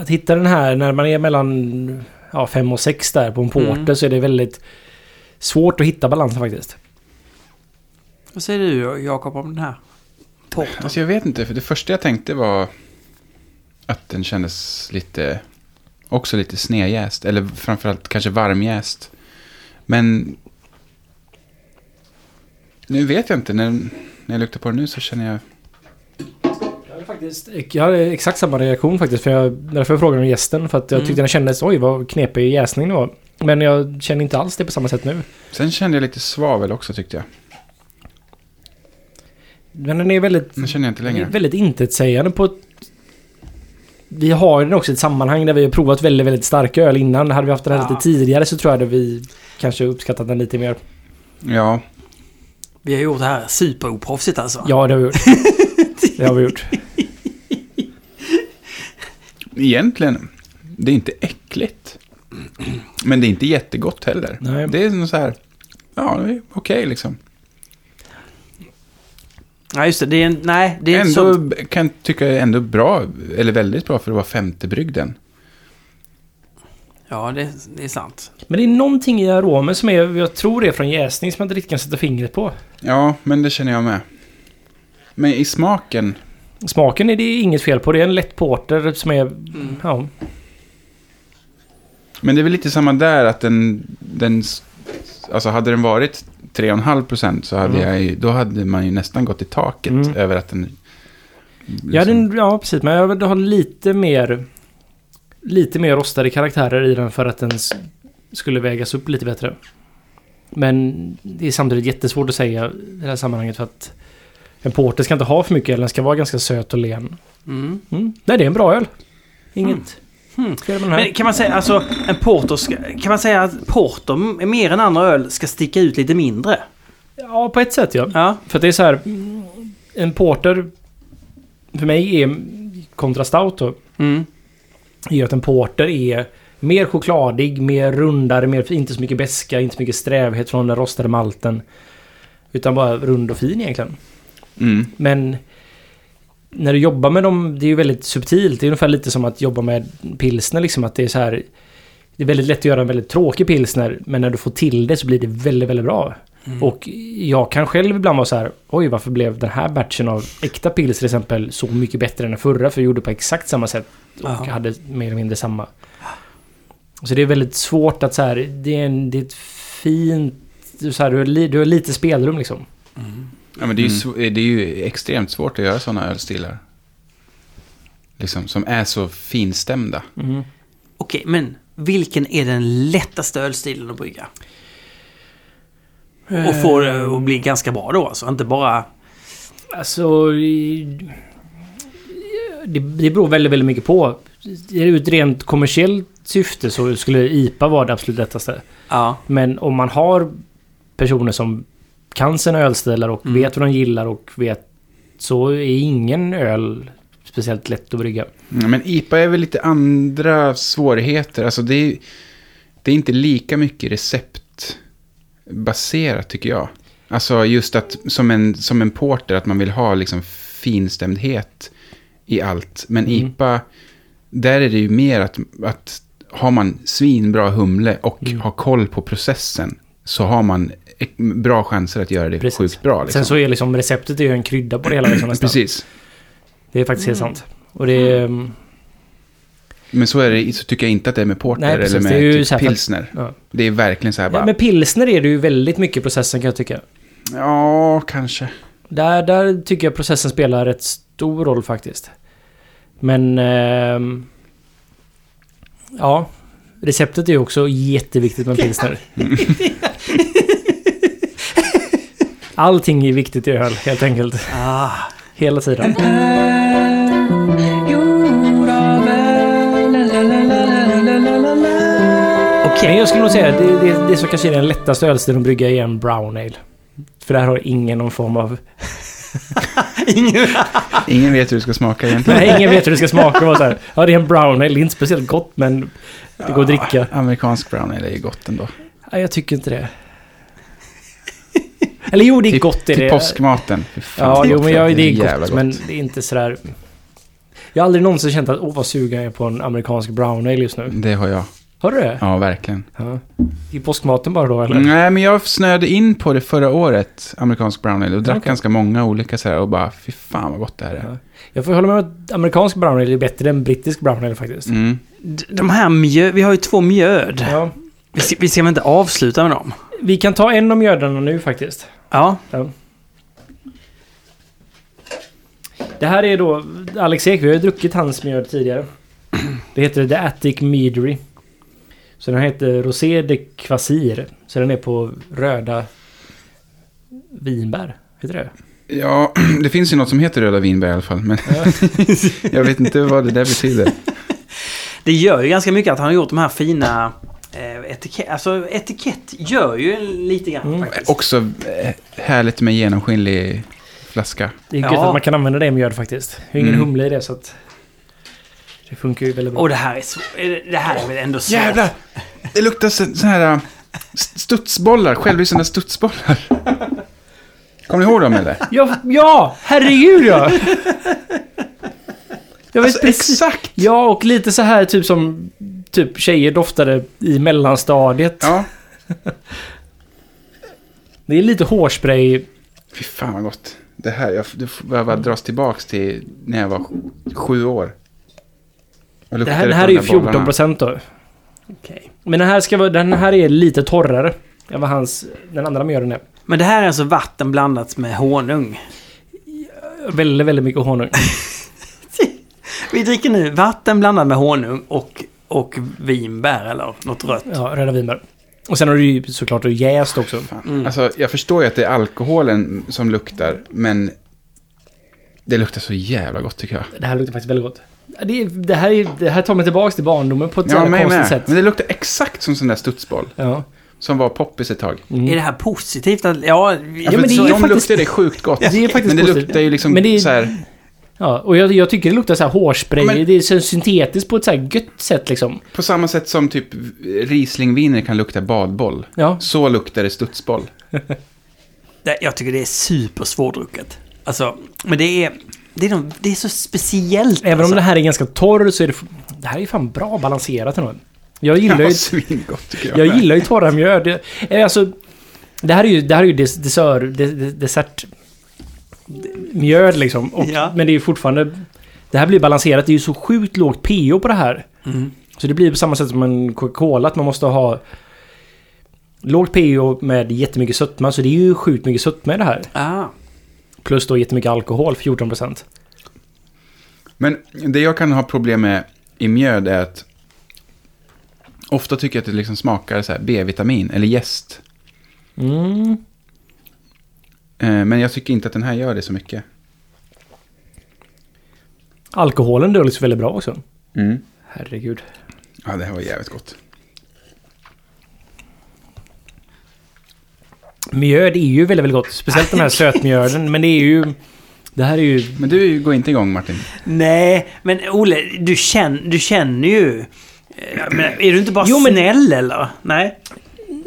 [SPEAKER 2] att hitta den här när man är mellan 5 och 6 där på en porter
[SPEAKER 1] Mm.
[SPEAKER 2] så är det väldigt svårt att hitta balansen faktiskt.
[SPEAKER 1] Vad säger du Jakob om den här? Porten?
[SPEAKER 3] Alltså jag vet inte, för det första jag tänkte var att den kändes lite, också lite snedjäst, eller framförallt kanske varmjäst. Men nu vet jag inte, när, när jag luktar på den nu så känner jag,
[SPEAKER 2] Jag hade, faktiskt, jag hade exakt samma reaktion faktiskt. För jag, därför jag frågade om gästen. För att jag
[SPEAKER 1] Mm.
[SPEAKER 2] tyckte den kändes, oj vad knepig jäsning det var. Men jag känner inte alls det på samma sätt nu.
[SPEAKER 3] sen kände jag lite svavel också tyckte jag.
[SPEAKER 2] Men den är väldigt
[SPEAKER 3] Nu känner jag inte
[SPEAKER 2] Det är
[SPEAKER 3] längre.
[SPEAKER 2] Väldigt intetsägande på ett... Vi har den också i ett sammanhang där vi har provat väldigt, väldigt starka öl innan. Hade vi haft den här
[SPEAKER 1] Ja.
[SPEAKER 2] lite tidigare så tror jag att vi kanske uppskattat den lite mer.
[SPEAKER 3] Ja,
[SPEAKER 1] Vi har gjort det här superoproffsigt alltså.
[SPEAKER 2] Ja, det har vi gjort. det har vi gjort.
[SPEAKER 3] egentligen, det är inte äckligt. Men det är inte jättegott heller.
[SPEAKER 2] Nej.
[SPEAKER 3] Det är nog så här, ja, det är okej liksom.
[SPEAKER 1] Nej, just det. det är en, nej, det är en
[SPEAKER 3] ändå,
[SPEAKER 1] sån-
[SPEAKER 3] kan jag tycka är ändå bra, eller väldigt bra för att vara femte brygden.
[SPEAKER 1] Ja, det, det är sant.
[SPEAKER 2] Men det är någonting i aromen som är, jag tror det är från jäsning som jag inte riktigt kan sätta fingret på.
[SPEAKER 3] Ja, men det känner jag med. Men i smaken,
[SPEAKER 2] Smaken är det inget fel på. Det är en lätt porter som är...
[SPEAKER 1] Mm.
[SPEAKER 2] Ja.
[SPEAKER 3] men det är väl lite samma där att den, den s- alltså hade den varit 3,5 procent så hade
[SPEAKER 2] Mm.
[SPEAKER 3] jag ju, då hade man ju nästan gått i taket
[SPEAKER 2] Mm.
[SPEAKER 3] över att den...
[SPEAKER 2] Jag hade
[SPEAKER 3] liksom-
[SPEAKER 2] en, ja, precis. Men jag vill ha lite mer... Lite mer rostade karaktärer i den för att den s- skulle vägas upp lite bättre. Men det är samtidigt jättesvårt att säga i det här sammanhanget för att en porter ska inte ha för mycket öl. Den ska vara ganska söt och len.
[SPEAKER 1] Mm.
[SPEAKER 2] Mm. Nej, det är en bra öl. Inget
[SPEAKER 1] Mm.
[SPEAKER 2] fel med den här.
[SPEAKER 1] Men kan man säga alltså, en porter ska, kan man säga att porter m- mer än andra öl ska sticka ut lite mindre?
[SPEAKER 2] Ja, på ett sätt ja.
[SPEAKER 1] Ja.
[SPEAKER 2] För att det är så här. mm, En porter för mig är kontra stout då.
[SPEAKER 1] Mm.
[SPEAKER 2] är ju att en porter är mer chokladig, mer rundare, mer, inte så mycket beska, inte så mycket strävhet från den rostade malten. Utan bara rund och fin egentligen.
[SPEAKER 3] Mm.
[SPEAKER 2] Men när du jobbar med dem, det är ju väldigt subtilt. Det är ungefär lite som att jobba med pilsner liksom. Att det är så här... Det är väldigt lätt att göra en väldigt tråkig pilsner. Men när du får till det så blir det väldigt, väldigt bra. Och jag kan själv ibland vara så här. Oj, varför blev den här batchen av äkta pils till exempel så mycket bättre än den förra? För jag gjorde på exakt samma sätt. Och
[SPEAKER 1] Ja.
[SPEAKER 2] hade mer eller mindre samma. Så det är väldigt svårt att så här. Det är, en, det är ett fint... Du, så här, du, har li, du har lite spelrum liksom.
[SPEAKER 3] Ja, men det är,
[SPEAKER 2] Mm.
[SPEAKER 3] ju, sv- det är ju extremt svårt att göra sådana ölstilar. Liksom, som är så finstämda.
[SPEAKER 1] Okej, men vilken är den lättaste ölstilen att brygga? Och få det att bli ganska bra då alltså, inte bara...
[SPEAKER 2] Alltså... i- Det, det beror väldigt, väldigt mycket på. Ur ett rent kommersiellt syfte så skulle IPA vara det absolut lättaste.
[SPEAKER 1] Ja.
[SPEAKER 2] Men om man har personer som kan sina ölstilar och
[SPEAKER 1] Mm.
[SPEAKER 2] vet vad de gillar och vet... Så är ingen öl speciellt lätt att brygga.
[SPEAKER 3] Mm, Men IPA är väl lite andra svårigheter. Alltså det, är, det är inte lika mycket receptbaserat tycker jag. Alltså just att som en, som en porter att man vill ha liksom finstämdhet i allt. Men
[SPEAKER 2] Mm.
[SPEAKER 3] IPA, där är det ju mer att, att har man svinbra humle och
[SPEAKER 2] Mm.
[SPEAKER 3] har koll på processen så har man eh, bra chanser att göra det
[SPEAKER 2] Precis.
[SPEAKER 3] sjukt bra. Liksom.
[SPEAKER 2] Sen så är liksom receptet är ju en krydda på det hela liksom nästan.
[SPEAKER 3] Precis.
[SPEAKER 2] Det är faktiskt helt sant. Och det är...
[SPEAKER 3] Men så, är det, så tycker jag inte att det är med porter
[SPEAKER 2] Nej, precis.
[SPEAKER 3] eller med
[SPEAKER 2] Det är ju så
[SPEAKER 3] typ
[SPEAKER 2] här för att-
[SPEAKER 3] pilsner.
[SPEAKER 2] ja.
[SPEAKER 3] Det är verkligen så här bara,
[SPEAKER 2] Ja,
[SPEAKER 3] ja,
[SPEAKER 2] med pilsner är det ju väldigt mycket processen kan jag tycka.
[SPEAKER 3] kanske.
[SPEAKER 2] Där, där tycker jag processen spelar rätt stor roll faktiskt. Men... ehm, ja. Receptet är ju också jätteviktigt med pilsner. Allting är viktigt i öl helt enkelt.
[SPEAKER 1] Ah.
[SPEAKER 2] Hela tiden.
[SPEAKER 1] Okej.
[SPEAKER 2] Men jag skulle nog säga att det, det, det som kanske är den lättaste ölstilen att brygga är en brown ale. För där har ingen någon form av...
[SPEAKER 1] Ingen...
[SPEAKER 3] Ingen vet hur det ska smaka egentligen.
[SPEAKER 2] Nej, ingen vet hur det ska smaka och vara så här. Ja, det är en brown ale. Det är inte speciellt gott men det går att dricka.
[SPEAKER 3] Amerikansk brown ale är ju gott ändå.
[SPEAKER 2] Nej, jag tycker inte det. Eller jo, det är
[SPEAKER 3] Till-
[SPEAKER 2] gott. Är
[SPEAKER 3] Till
[SPEAKER 2] det.
[SPEAKER 3] Typ- påskmaten. Fy fan,
[SPEAKER 2] Ja,
[SPEAKER 3] vad
[SPEAKER 2] jo,
[SPEAKER 3] gott
[SPEAKER 2] men
[SPEAKER 3] det
[SPEAKER 2] jag, det är
[SPEAKER 3] jävla
[SPEAKER 2] gott, men det är inte sådär... Jag har aldrig någonsin känt att åh, vad sugen jag är på en amerikansk brown ale just nu.
[SPEAKER 3] Det har jag.
[SPEAKER 2] Har du det?
[SPEAKER 3] Ja, verkligen.
[SPEAKER 2] Ja. I påskmaten bara då, eller?
[SPEAKER 3] Nej, men jag snöade in på det förra året, amerikansk brown ale, och drack
[SPEAKER 2] Okej.
[SPEAKER 3] ganska många olika så här och bara, fy fan vad gott det här är.
[SPEAKER 2] Jag får hålla med om att amerikansk brown ale är bättre än brittisk brown ale faktiskt.
[SPEAKER 3] Mm.
[SPEAKER 1] D- De här mjöd... Vi har ju två mjöd.
[SPEAKER 2] Ja.
[SPEAKER 1] Vi ska, vi ska väl inte avsluta med dem?
[SPEAKER 2] Vi kan ta en om mjödarna nu faktiskt.
[SPEAKER 1] Ja.
[SPEAKER 2] Det här är då Alex Ek, vi har ju druckit hans mjöd tidigare. Det heter The Attic Meadery. Så den heter Rosé de Quasir. Så den är på röda vinbär. Heter det
[SPEAKER 3] Ja, det finns ju något som heter röda vinbär i alla fall, men jag vet inte vad det där betyder.
[SPEAKER 1] Det gör ju ganska mycket att han har gjort de här fina... Eh, etikett, alltså etikett gör ju lite grann
[SPEAKER 2] Mm.
[SPEAKER 1] faktiskt.
[SPEAKER 3] Också eh, härligt med genomskinlig flaska.
[SPEAKER 2] Det är
[SPEAKER 1] Ja.
[SPEAKER 2] gött att man kan använda det i mjöd faktiskt. Det är ingen
[SPEAKER 3] Mm.
[SPEAKER 2] humle i det så att... Det funkar ju väldigt bra.
[SPEAKER 1] Och det här är svårt. Det här är väl ändå svårt?
[SPEAKER 3] Jävlar! Det luktar så, så här äh, st- studsbollar, självlysande studsbollar. Kommer ni ihåg dem eller?
[SPEAKER 2] Ja, ja herregud ja! Jag vet
[SPEAKER 3] Alltså,
[SPEAKER 2] precis.
[SPEAKER 3] exakt!
[SPEAKER 2] Ja, och lite så här typ som typ tjejer doftade i mellanstadiet.
[SPEAKER 3] Ja,
[SPEAKER 2] Det är lite hårspray.
[SPEAKER 3] fy fan vad gott. Det här, jag, det f- behöver dras tillbaks till när jag var sj- sju år.
[SPEAKER 2] Det
[SPEAKER 3] Och luktade
[SPEAKER 2] här,
[SPEAKER 3] på
[SPEAKER 2] det här är
[SPEAKER 3] de
[SPEAKER 2] ju
[SPEAKER 3] där bollarna.
[SPEAKER 2] 14 procent då.
[SPEAKER 1] Okej.
[SPEAKER 2] Men den här, ska vara, den här är lite torrare än vad hans, den andra mjölen är.
[SPEAKER 1] Men det här är alltså vatten blandat med honung.
[SPEAKER 2] Väldigt, väldigt mycket honung.
[SPEAKER 1] Vi dricker nu vatten blandat med honung och, och vinbär eller något rött.
[SPEAKER 2] Ja, röda vinbär. Och sen har du ju såklart jäst också.
[SPEAKER 3] Fan. Alltså, jag förstår ju att det är alkoholen som luktar, men det luktar så jävla gott tycker jag.
[SPEAKER 2] Det här luktar faktiskt väldigt gott. Det, är- det, här, är- det här tar mig tillbaka till barndomen på ett
[SPEAKER 3] Ja,
[SPEAKER 2] ja,
[SPEAKER 3] mig
[SPEAKER 2] konstigt
[SPEAKER 3] med.
[SPEAKER 2] sätt.
[SPEAKER 3] Men det luktar exakt som sån där studsboll.
[SPEAKER 2] Ja. Mm.
[SPEAKER 3] Som var poppis ett tag.
[SPEAKER 1] Är det här positivt? Att, ja, vi-
[SPEAKER 3] Ja,
[SPEAKER 2] men
[SPEAKER 3] men
[SPEAKER 2] det
[SPEAKER 3] det
[SPEAKER 2] är ju
[SPEAKER 3] de
[SPEAKER 2] faktiskt-
[SPEAKER 3] luktar det sjukt gott.
[SPEAKER 2] Ja, det är faktiskt
[SPEAKER 3] men det
[SPEAKER 2] positivt.
[SPEAKER 3] luktar ju liksom
[SPEAKER 2] Men det är-
[SPEAKER 3] så här...
[SPEAKER 2] ja. Och jag, jag tycker det luktar så här hårspray.
[SPEAKER 3] Ja, men-
[SPEAKER 2] Det är så syntetiskt på ett så här gött sätt liksom.
[SPEAKER 3] På samma sätt som typ Rieslingviner kan lukta badboll.
[SPEAKER 2] Ja.
[SPEAKER 3] Så luktar det studsboll.
[SPEAKER 1] det- jag tycker det är supersvårdrucket. Alltså, men det är, det är, de, det är så speciellt.
[SPEAKER 2] Även
[SPEAKER 1] alltså.
[SPEAKER 2] om den här är ganska torr så är det... Det här är ju fan bra balanserat ändå. Jag gillar
[SPEAKER 3] Ja,
[SPEAKER 2] ju...
[SPEAKER 3] svingott tycker jag.
[SPEAKER 2] Jag gillar ju torra mjöl. Det, eh, alltså, det här är ju, det här är ju des, dessert, des, des, dessert... Mjöl liksom. Och,
[SPEAKER 1] Ja.
[SPEAKER 2] Men det är ju fortfarande... Det här blir balanserat. Det är ju så sjukt lågt pH på det här.
[SPEAKER 1] Mm.
[SPEAKER 2] Så det blir på samma sätt som en Coca-Cola. Att man måste ha... Lågt pH med jättemycket sötma. Så det är ju sjukt mycket sötma i det här.
[SPEAKER 1] Ah,
[SPEAKER 2] Plus då jättemycket alkohol, 14%.
[SPEAKER 3] Men det jag kan ha problem med i mjöd är att ofta tycker jag att det liksom smakar så här B-vitamin eller jäst.
[SPEAKER 2] Mm.
[SPEAKER 3] Eh, Men jag tycker inte att den här gör det så mycket.
[SPEAKER 2] Alkoholen döljs väldigt bra också.
[SPEAKER 3] Mm.
[SPEAKER 2] Herregud.
[SPEAKER 3] Ja, det här var jävligt gott.
[SPEAKER 2] Mjöd är ju väldigt, väldigt gott. Speciellt den här sötmjöden. Men det är ju... Det här är ju...
[SPEAKER 3] Men du går inte igång Martin.
[SPEAKER 1] nej, men Ole, du känner, du känner ju... eh, Men är du inte bara
[SPEAKER 2] Jo, men-
[SPEAKER 1] snäll eller? Nej.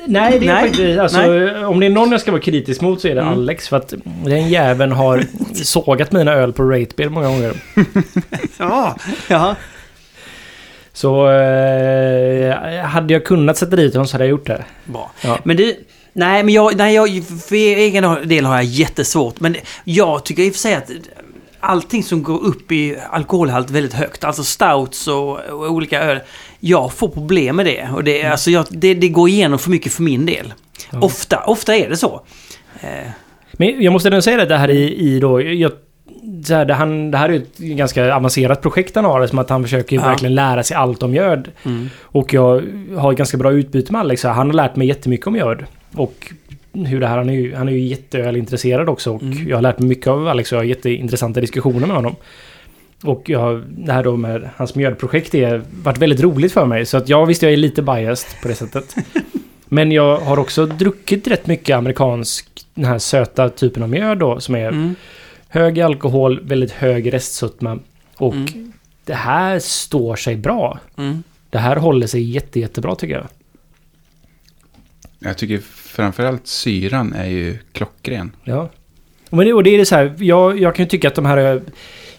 [SPEAKER 2] Nej, det är
[SPEAKER 1] Nej.
[SPEAKER 2] faktiskt... Alltså, om det är någon jag ska vara kritisk mot så är det
[SPEAKER 1] Mm.
[SPEAKER 2] Alex. För att den jäveln har sågat mina öl på Ratebeer många gånger.
[SPEAKER 1] Ja, ja.
[SPEAKER 2] Så... Eh, hade jag kunnat sätta dit honom så hade jag gjort det.
[SPEAKER 1] Bra.
[SPEAKER 2] Ja.
[SPEAKER 1] Men du, nej men jag, nej, jag, för egen del har jag jättesvårt. Men jag tycker i och för sig att allting som går upp i alkoholhalt väldigt högt, alltså stouts och, och olika öl. Jag får problem med det. Och det, är alltså, jag, det, det går igenom för mycket för min del.
[SPEAKER 2] Ja.
[SPEAKER 1] Ofta, ofta är det så. Eh,
[SPEAKER 2] Men jag måste ändå säga det, det här i, i då... Jag, så här, det, han, det här är ju ett ganska avancerat projekt han har. Som att han försöker ju
[SPEAKER 1] Ja.
[SPEAKER 2] verkligen lära sig allt om mjöd.
[SPEAKER 1] mm.
[SPEAKER 2] Och jag har ett ganska bra utbyte med Alex. Han har lärt mig jättemycket om mjöd. Och hur det här, han är ju, han är ju jätteölintresserad också. Och
[SPEAKER 1] Mm.
[SPEAKER 2] jag har lärt mig mycket av Alex och jag har jätteintressanta diskussioner med honom. Och jag, har- det här då med hans mjödprojekt är varit väldigt roligt för mig. Så att jag visst, jag är lite biased på det sättet. Men jag har också druckit rätt mycket amerikansk, den här söta typen av mjöd då. Som är
[SPEAKER 1] Mm.
[SPEAKER 2] hög i alkohol, väldigt hög restsötma. Och
[SPEAKER 1] Mm.
[SPEAKER 2] det här står sig bra.
[SPEAKER 1] Mm.
[SPEAKER 2] Det här håller sig jätte, jättebra tycker jag.
[SPEAKER 3] Jag tycker framförallt syran är ju klockren.
[SPEAKER 2] Ja. Men det, och det är det så här, jag, jag kan ju tycka att de här... eh,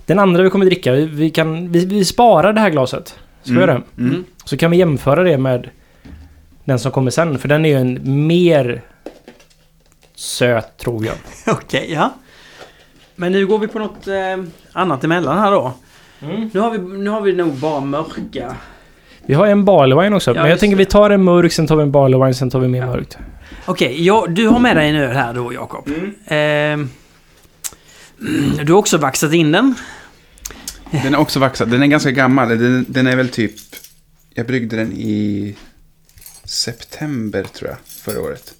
[SPEAKER 2] Den andra vi kommer dricka, vi, vi, kan, vi, vi sparar det här glaset. Ska vi göra det?
[SPEAKER 1] Mm.
[SPEAKER 2] Så kan vi jämföra det med den som kommer sen. För den är ju en mer söt tror jag.
[SPEAKER 1] Okej, ja. Men nu går vi på något eh, annat emellan här då. Nu, har vi, nu har vi nog bara mörka.
[SPEAKER 2] Vi har en barley wine också. men jag
[SPEAKER 1] just
[SPEAKER 2] tänker
[SPEAKER 1] det.
[SPEAKER 2] vi tar en mörk, sen tar vi en barley wine, sen tar vi mer mörkt.
[SPEAKER 1] Okej, ja, du har med dig en öl här då, Jakob. Ehm, mm, du har också vaxat in den.
[SPEAKER 3] Mm. Den är också vaxad. Den är ganska gammal. Den, den är väl typ... Jag bryggde den i september tror jag, förra året.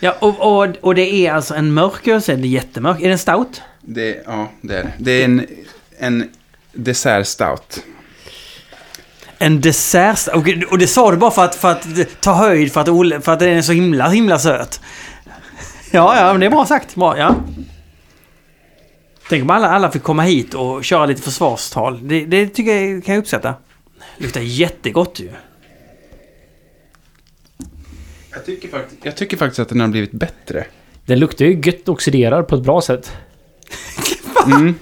[SPEAKER 1] Ja, och, och, och det är alltså en mörk öl, så är det jättemörk. Är den stout?
[SPEAKER 3] Det, ja, det är det. Det är en, en dessertstout.
[SPEAKER 1] En dessert... Och, och det sa du bara för att, för att ta höjd för att, Olle- för att den är så himla, himla söt. Ja, ja, men det är bra sagt. Bra, ja. Tänk om alla, alla fick komma hit och köra lite försvarstal. Det, det tycker jag kan jag uppsätta. Luktar jättegott ju.
[SPEAKER 3] Jag tycker, faktiskt, jag tycker faktiskt att den har blivit bättre.
[SPEAKER 2] Den luktar ju gött oxiderad på ett bra sätt.
[SPEAKER 3] Mm.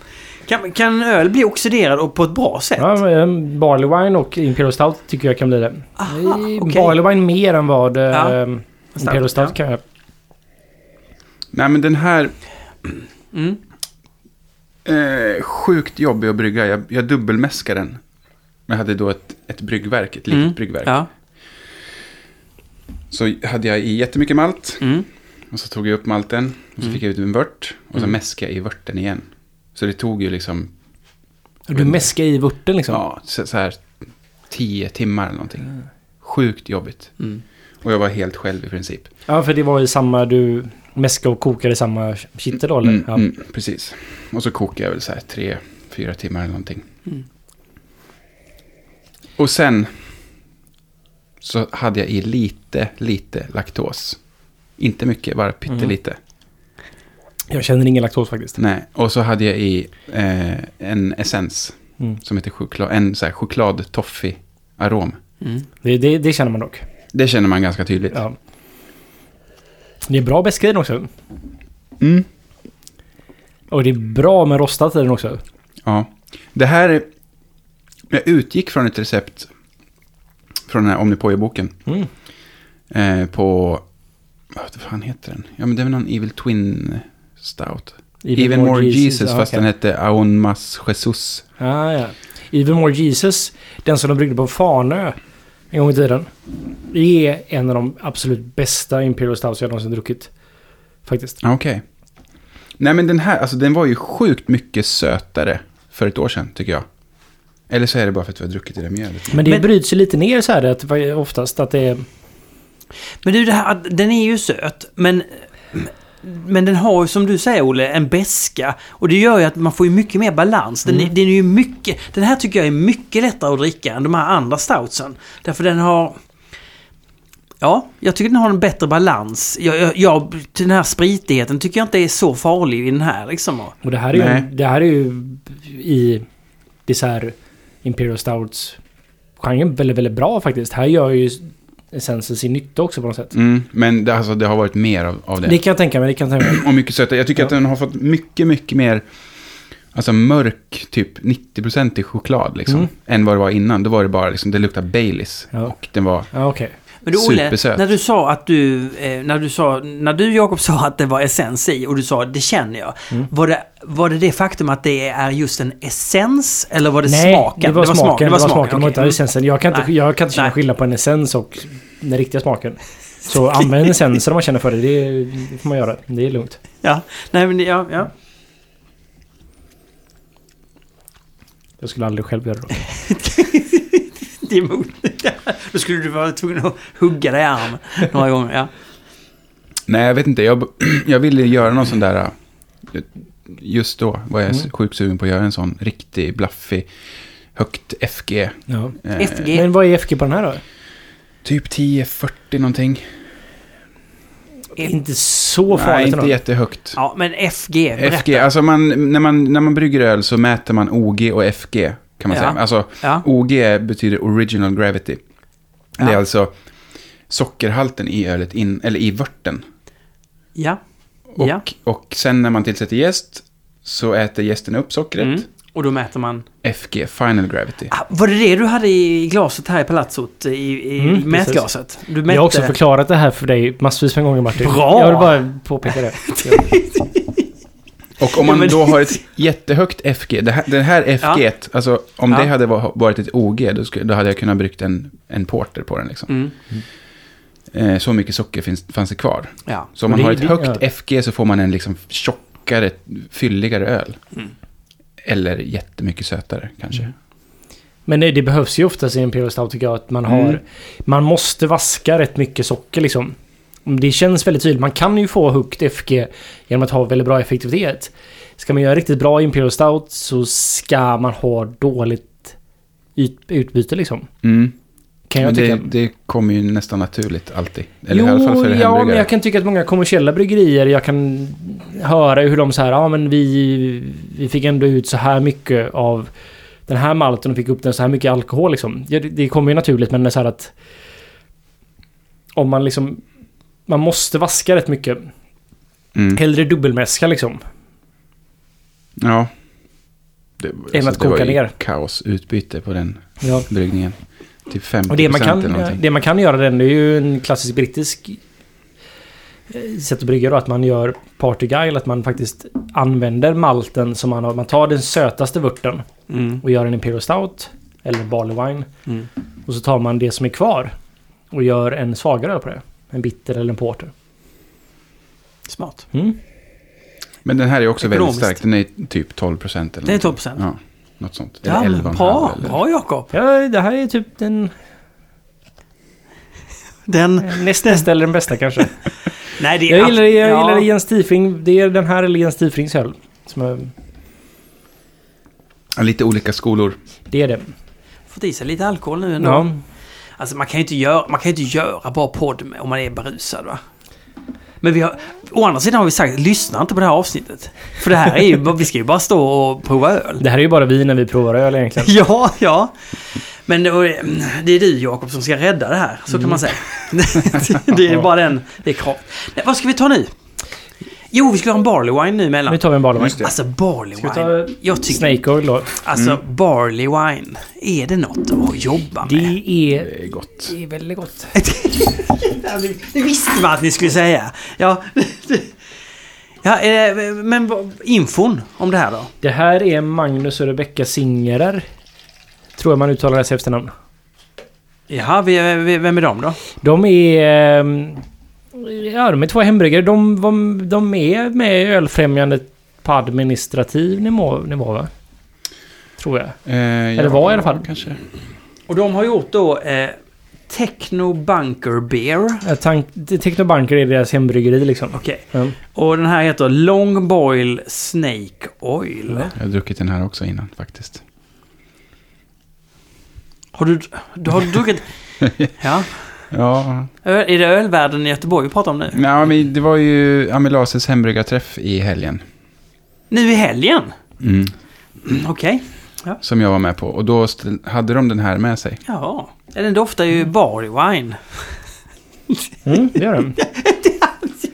[SPEAKER 1] Kan, kan öl bli oxiderad och på ett bra sätt?
[SPEAKER 2] Ja, men, eh, barley wine och Imperial Stout tycker jag kan bli det.
[SPEAKER 1] Aha,
[SPEAKER 2] Eh,
[SPEAKER 1] okej.
[SPEAKER 2] Barley wine mer än vad eh,
[SPEAKER 1] Ja.
[SPEAKER 2] Imperial Stout
[SPEAKER 1] Ja.
[SPEAKER 2] kan jag.
[SPEAKER 3] Nej, men den här...
[SPEAKER 1] Mm.
[SPEAKER 3] Eh, sjukt jobbig att brygga. Jag, jag dubbelmäskade den. Men jag hade då ett, ett bryggverk, ett litet
[SPEAKER 1] Mm.
[SPEAKER 3] bryggverk.
[SPEAKER 1] Ja.
[SPEAKER 3] Så hade jag i jättemycket malt.
[SPEAKER 1] Mm.
[SPEAKER 3] Och så tog jag upp malten. Och så fick jag ut en vört. Och så
[SPEAKER 1] Mm.
[SPEAKER 3] mäskade jag i vörten igen. Så det tog ju liksom,
[SPEAKER 2] Du mäskar i vörten liksom.
[SPEAKER 3] ja, så, så här tio timmar eller någonting. Sjukt jobbigt.
[SPEAKER 1] Mm.
[SPEAKER 3] Och jag var helt själv i princip.
[SPEAKER 2] Ja, för det var ju samma, du mäskade och kokade i samma kittel då eller?
[SPEAKER 3] Mm,
[SPEAKER 2] ja.
[SPEAKER 3] mm, precis. Och så kokade jag väl så här tre, fyra timmar eller någonting.
[SPEAKER 1] Mm.
[SPEAKER 3] Och sen så hade jag i lite, lite laktos. Inte mycket, bara pyttelite.
[SPEAKER 1] Mm.
[SPEAKER 2] Jag känner ingen laktos faktiskt.
[SPEAKER 3] Nej, och så hade jag i eh, en essens
[SPEAKER 2] Mm.
[SPEAKER 3] som heter choklad, en så här choklad-toffee-arom.
[SPEAKER 1] Mm.
[SPEAKER 2] Det, det, det känner man dock.
[SPEAKER 3] Det känner man ganska tydligt.
[SPEAKER 2] Ja. Det är bra bäska i den också.
[SPEAKER 3] Mm.
[SPEAKER 2] Och det är bra med rostat i den också.
[SPEAKER 3] Ja. Det här... är- Jag utgick från ett recept från den här Omnipojo-boken.
[SPEAKER 2] Mm.
[SPEAKER 3] Eh, på... Vad fan heter den? Ja, men det är väl någon Evil Twin Stout. Even, More, Jesus,
[SPEAKER 2] ja,
[SPEAKER 3] fast
[SPEAKER 2] okej.
[SPEAKER 3] den hette Aonmas Jesus.
[SPEAKER 2] Ah, ja. Even More Jesus, den som de bryggde på Farnö en gång i tiden. Det är en av de absolut bästa Imperial Stouts jag någonsin druckit. Faktiskt.
[SPEAKER 3] Ja, Okej. Nej, men den här, alltså den var ju sjukt mycket sötare för ett år sedan, tycker jag. Eller så är det bara för att vi har druckit det där mjölet.
[SPEAKER 2] Men det
[SPEAKER 1] Men-
[SPEAKER 2] bryts ju lite ner så här att vad- oftast att det är...
[SPEAKER 1] Men du, det här, den är ju söt, men... Men den har ju som du säger Olle, en beska Och det gör ju att man får ju mycket mer balans. Den, är- den är ju mycket... Den här tycker jag är mycket lättare att dricka än de här andra stoutsen. Därför den har... Ja, jag tycker den har en bättre balans. Jag, jag, jag, den här spritigheten tycker jag inte är så farlig i den här liksom.
[SPEAKER 2] Och det här är,
[SPEAKER 3] Nej.
[SPEAKER 2] ju, det här är ju i dessert Imperial Stouts genren väldigt, väldigt bra faktiskt. Här gör ju essensen sin nytta också på något sätt.
[SPEAKER 3] Mm, men det, alltså, det har varit mer av, av det.
[SPEAKER 2] Det kan jag tänka mig, det kan jag tänka mig.
[SPEAKER 3] Och mycket sötare. Jag tycker
[SPEAKER 2] Ja.
[SPEAKER 3] att den har fått mycket, mycket mer alltså mörk, typ 90% i choklad liksom.
[SPEAKER 2] Mm.
[SPEAKER 3] Än vad det var innan. Då var det bara liksom, det luktade Baileys.
[SPEAKER 2] Ja.
[SPEAKER 3] Och den var,
[SPEAKER 2] Ja, okej.
[SPEAKER 1] Men du Olle,
[SPEAKER 3] Supersöt.
[SPEAKER 1] när du sa att du, eh, när du sa, när du Jakob sa att det var essens i och du sa det känner jag.
[SPEAKER 2] Mm.
[SPEAKER 1] Var, det, var det det faktum att det är just en essens eller var det
[SPEAKER 2] Nej,
[SPEAKER 1] smaken?
[SPEAKER 2] det var smaken. Det var smaken. Det var
[SPEAKER 1] okej.
[SPEAKER 2] inte essensen. Jag kan inte,
[SPEAKER 1] Nej.
[SPEAKER 2] jag kan inte känna
[SPEAKER 1] Nej.
[SPEAKER 2] skillnad på en essens och den riktiga smaken. Så använd essensen om man känner för det. Det, det får man göra. Det är lugnt.
[SPEAKER 1] Ja, nej men ja, ja.
[SPEAKER 2] Jag skulle aldrig själv göra det. då.
[SPEAKER 1] Det är emot. Då skulle du vara tvungen att hugga dig i armen några gånger. Ja.
[SPEAKER 3] nej jag vet inte, jag, jag ville göra någon sån där, äh, just då var jag
[SPEAKER 2] Mm.
[SPEAKER 3] sjukt sugen på att göra en sån riktig blaffig, högt FG.
[SPEAKER 2] Ja.
[SPEAKER 3] eh,
[SPEAKER 1] FG.
[SPEAKER 2] Men vad är FG på den här då?
[SPEAKER 3] Typ 10-40 någonting.
[SPEAKER 2] Inte så farligt
[SPEAKER 3] Nej, inte
[SPEAKER 2] ändå.
[SPEAKER 3] jättehögt.
[SPEAKER 1] ja, men FG. berätta.
[SPEAKER 3] FG, alltså man, när, man, när man brygger öl så mäter man OG och FG. Kan man
[SPEAKER 1] Ja.
[SPEAKER 3] säga. Alltså,
[SPEAKER 1] Ja.
[SPEAKER 3] OG betyder original gravity.
[SPEAKER 1] Ja.
[SPEAKER 3] Det är alltså sockerhalten i ölet, in, eller i vörten.
[SPEAKER 1] ja.
[SPEAKER 3] Och,
[SPEAKER 1] Ja.
[SPEAKER 3] och sen när man tillsätter jäst så äter jästen upp sockret.
[SPEAKER 1] Mm. Och då mäter man.
[SPEAKER 3] FG, final gravity.
[SPEAKER 1] Ah, var det det du hade i glaset här i palatsot? I, i
[SPEAKER 2] Mm, precis.
[SPEAKER 1] mätglaset? Du mätte...
[SPEAKER 2] Jag har också förklarat det här för dig massvis med gånger Martin.
[SPEAKER 1] Bra!
[SPEAKER 2] Jag vill bara påpeka det.
[SPEAKER 3] Och om
[SPEAKER 1] Ja,
[SPEAKER 3] man
[SPEAKER 1] Ah, men-
[SPEAKER 3] då har ett jättehögt FG, det här, det här FG, alltså om
[SPEAKER 1] Ja.
[SPEAKER 3] det hade va- varit ett OG, då, skulle, då hade jag kunnat bryggt en, en porter på den. Liksom.
[SPEAKER 1] Mm.
[SPEAKER 3] Eh, så mycket socker finns, fanns det kvar.
[SPEAKER 1] Ja.
[SPEAKER 3] Så om man
[SPEAKER 2] Det-
[SPEAKER 3] har ett
[SPEAKER 2] det-
[SPEAKER 3] högt
[SPEAKER 2] ja.
[SPEAKER 3] FG så får man en liksom tjockare, fylligare öl.
[SPEAKER 1] Mm.
[SPEAKER 3] Eller jättemycket sötare kanske.
[SPEAKER 2] Mm. Men det, det behövs ju oftast i Imperial Stout tycker jag att man har...
[SPEAKER 3] Mm.
[SPEAKER 2] Man måste vaska rätt mycket socker liksom. Det känns väldigt tydligt. Man kan ju få högt FG genom att ha väldigt bra effektivitet. Ska man göra riktigt bra Imperial Stout så ska man ha dåligt yt- utbyte liksom.
[SPEAKER 3] Mm.
[SPEAKER 2] Kan jag
[SPEAKER 3] Men
[SPEAKER 2] tycka.
[SPEAKER 3] det, det kommer ju nästan naturligt alltid. Eller
[SPEAKER 2] jo,
[SPEAKER 3] i alla fall för
[SPEAKER 2] ja, men
[SPEAKER 3] hamburgare.
[SPEAKER 2] jag kan tycka att många kommersiella bryggerier, jag kan höra hur de så här, ja men vi, vi fick ändå ut så här mycket av den här malten och fick upp den så här mycket alkohol liksom. Ja, det, det kommer ju naturligt, men det är så här att om man liksom, man måste vaska rätt mycket.
[SPEAKER 3] Mm.
[SPEAKER 2] Hellre dubbelmäska liksom.
[SPEAKER 3] Ja. Det,
[SPEAKER 2] Än att
[SPEAKER 3] det var
[SPEAKER 2] koka
[SPEAKER 3] ju
[SPEAKER 2] ner.
[SPEAKER 3] kaosutbyte på den
[SPEAKER 2] Ja.
[SPEAKER 3] bryggningen. Typ 50%
[SPEAKER 2] Och det man, kan,
[SPEAKER 3] eller någonting.
[SPEAKER 2] det man kan göra den, det är ju en klassisk brittisk eh, sätt att brygga då, att man gör party guile, att man faktiskt använder malten som man har. Man tar den sötaste vörten
[SPEAKER 1] Mm.
[SPEAKER 2] och gör en Imperial Stout eller en Barley Wine.
[SPEAKER 1] Mm.
[SPEAKER 2] Och så tar man det som är kvar och gör en svagare öl på det. En bitter eller en porter.
[SPEAKER 1] Smart.
[SPEAKER 2] Mm.
[SPEAKER 3] Men den här är också väldigt
[SPEAKER 1] Ekonomiskt.
[SPEAKER 3] stark. Den är typ 12% eller
[SPEAKER 1] Det är
[SPEAKER 3] någonting.
[SPEAKER 1] 12%.
[SPEAKER 3] Ja, något sånt.
[SPEAKER 1] Ja,
[SPEAKER 3] eller
[SPEAKER 1] men
[SPEAKER 3] 11,5
[SPEAKER 1] bra,
[SPEAKER 3] eller-
[SPEAKER 1] bra Jakob.
[SPEAKER 2] Ja, det här är typ den
[SPEAKER 1] Den...
[SPEAKER 2] näst Eh, nästa eller den bästa kanske.
[SPEAKER 1] Nej, det är
[SPEAKER 2] Jag gillar, jag
[SPEAKER 1] ja.
[SPEAKER 2] gillar Jens Tifring. Det är den här eller Jens Tifrings öl. Som är,
[SPEAKER 3] Ja, Lite olika skolor.
[SPEAKER 2] det är det.
[SPEAKER 1] Fått i sig lite alkohol nu ändå.
[SPEAKER 2] Ja.
[SPEAKER 1] Alltså man kan ju inte göra, man kan ju inte göra bra podd med, om man är berusad va? Men vi har, å andra sidan har vi sagt, lyssna inte på det här avsnittet. För det här är ju, vi ska ju bara stå och prova öl.
[SPEAKER 2] Det här är ju bara vi när vi provar öl egentligen.
[SPEAKER 1] Ja, ja. Men det det är du Jakob som ska rädda det här, så kan man säga.
[SPEAKER 2] Mm.
[SPEAKER 1] Det är bara den, det är krav. Nej, vad ska vi ta nu? Jo, vi skulle ha en barley wine nu emellan.
[SPEAKER 2] Nu tar vi en Barley Wine.
[SPEAKER 4] Just det.
[SPEAKER 1] Alltså barley
[SPEAKER 2] Ska vi
[SPEAKER 1] wine.
[SPEAKER 2] ta
[SPEAKER 1] Jag tycker,
[SPEAKER 2] Snake Oil då?
[SPEAKER 1] alltså barley wine. Är det något att jobba med?
[SPEAKER 2] Det är,
[SPEAKER 3] Det är gott.
[SPEAKER 2] det är väldigt gott.
[SPEAKER 1] Ja, det- Det visste man att ni skulle säga. Ja, det- ja eh, men vad- infon om det här då?
[SPEAKER 2] Det här är Magnus och Rebecca Singerer. Tror jag man uttalar deras efternamn.
[SPEAKER 1] Jaha, vi, vi, vem är de då?
[SPEAKER 2] De är... ehm, Ja, de är två hembryggare. De, de, de är med i ölfrämjandet på administrativ nivå, nivå va? Tror jag.
[SPEAKER 3] Eh, Eller
[SPEAKER 2] var i alla fall.
[SPEAKER 3] Kanske.
[SPEAKER 1] Och de har gjort då eh, Techno Bunker Beer.
[SPEAKER 2] Ja, Tank, Technobanker är deras hembryggeri liksom.
[SPEAKER 1] Okej.
[SPEAKER 2] Ja.
[SPEAKER 1] Och den här heter Long Boil Snake Oil.
[SPEAKER 3] Jag har druckit den här också innan faktiskt.
[SPEAKER 1] Har du, du har druckit... Ja.
[SPEAKER 3] Ja,
[SPEAKER 1] Öl, är det ölvärlden i Göteborg vi pratar om nu?
[SPEAKER 3] ja men det var ju Amilases hembrygarträff i helgen.
[SPEAKER 1] Nu i helgen?
[SPEAKER 3] Mm.
[SPEAKER 1] Mm, Okej.
[SPEAKER 3] Som jag var med på. Och då ställ- hade de den här med sig.
[SPEAKER 1] Ja. Den doftar ju barley wine.
[SPEAKER 2] Mm, det gör den.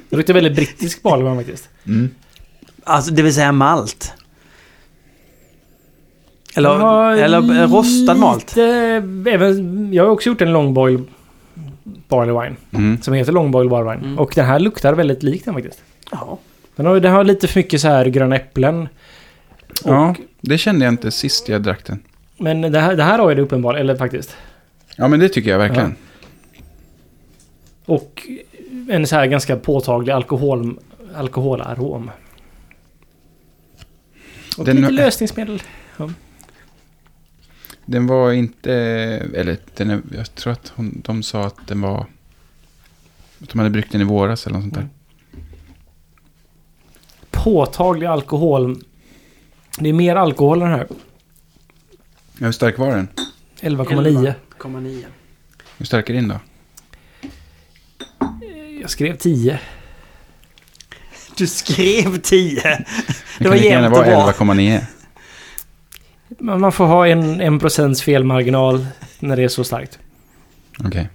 [SPEAKER 2] Det luktar väldigt brittisk barley Wine faktiskt.
[SPEAKER 3] Mm.
[SPEAKER 1] Alltså, det vill säga malt. Eller,
[SPEAKER 2] Ja,
[SPEAKER 1] eller eh, rostad malt.
[SPEAKER 2] Lite, även, jag har också gjort en longboil barley wine.
[SPEAKER 3] Mm.
[SPEAKER 2] Som heter longboil barley wine.
[SPEAKER 1] Mm.
[SPEAKER 2] Och den här luktar väldigt likt den faktiskt.
[SPEAKER 1] Ja.
[SPEAKER 2] Den har, den har lite för mycket så här gröna äpplen. Och-
[SPEAKER 3] Ja, det kände jag inte sist jag drack den.
[SPEAKER 2] Men det här, det här har ju det uppenbarligen, eller faktiskt.
[SPEAKER 3] Ja, men det tycker jag verkligen.
[SPEAKER 2] Och en så här ganska påtaglig alkohol, alkoholarom. Och
[SPEAKER 3] Den-
[SPEAKER 2] lite lösningsmedel.
[SPEAKER 3] Den var inte... Eller, den är, jag tror att hon, de sa att den var... Att de hade bryggt den i våras eller något sånt
[SPEAKER 2] Mm.
[SPEAKER 3] där.
[SPEAKER 2] Påtaglig alkohol. Det är mer alkohol än den här.
[SPEAKER 3] Ja, hur stark var den?
[SPEAKER 2] 11,9.
[SPEAKER 1] 11,9.
[SPEAKER 3] Hur stark är din då?
[SPEAKER 2] Jag skrev 10.
[SPEAKER 1] Du skrev 10.
[SPEAKER 3] Det,
[SPEAKER 1] var
[SPEAKER 3] kan lika gärna
[SPEAKER 1] jämnt och bra.
[SPEAKER 3] vara 11,9.
[SPEAKER 2] Men man får ha en, en procents felmarginal när det är så starkt.
[SPEAKER 3] Okej.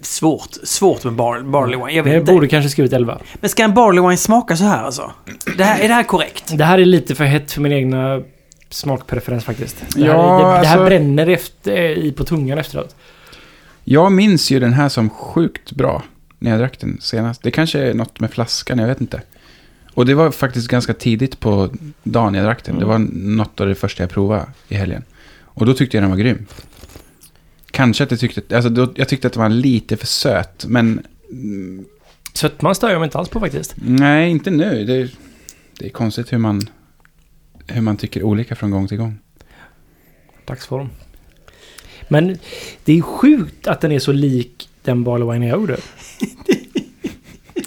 [SPEAKER 1] Svårt. Svårt med bar, barley wine. Jag
[SPEAKER 2] Men
[SPEAKER 1] vet
[SPEAKER 2] jag
[SPEAKER 1] inte.
[SPEAKER 2] borde kanske skrivit 11.
[SPEAKER 1] Men ska en barley wine smaka så här alltså? Det här, är det här korrekt?
[SPEAKER 2] Det här är lite för hett för min egna smakpreferens faktiskt. Det här,
[SPEAKER 3] Ja,
[SPEAKER 2] det, det här
[SPEAKER 3] alltså-
[SPEAKER 2] bränner efter, eh, i på tungan efteråt.
[SPEAKER 3] Jag minns ju den här som sjukt bra när jag drack den senast. Det kanske är något med flaskan, jag vet inte. Och det var faktiskt ganska tidigt på dagen jag drack den. Det var något av det första jag provade i helgen. Och då tyckte jag den var grym. Kanske att jag tyckte, alltså då, jag tyckte att den var lite för söt, men mm,
[SPEAKER 2] Sötman stör jag mig inte alls på faktiskt.
[SPEAKER 3] nej, inte nu. Det, är- det är konstigt hur man, hur man tycker olika från gång till gång.
[SPEAKER 2] Dagsform. Men det är sjukt att den är så lik den Barley Wine jag gjorde.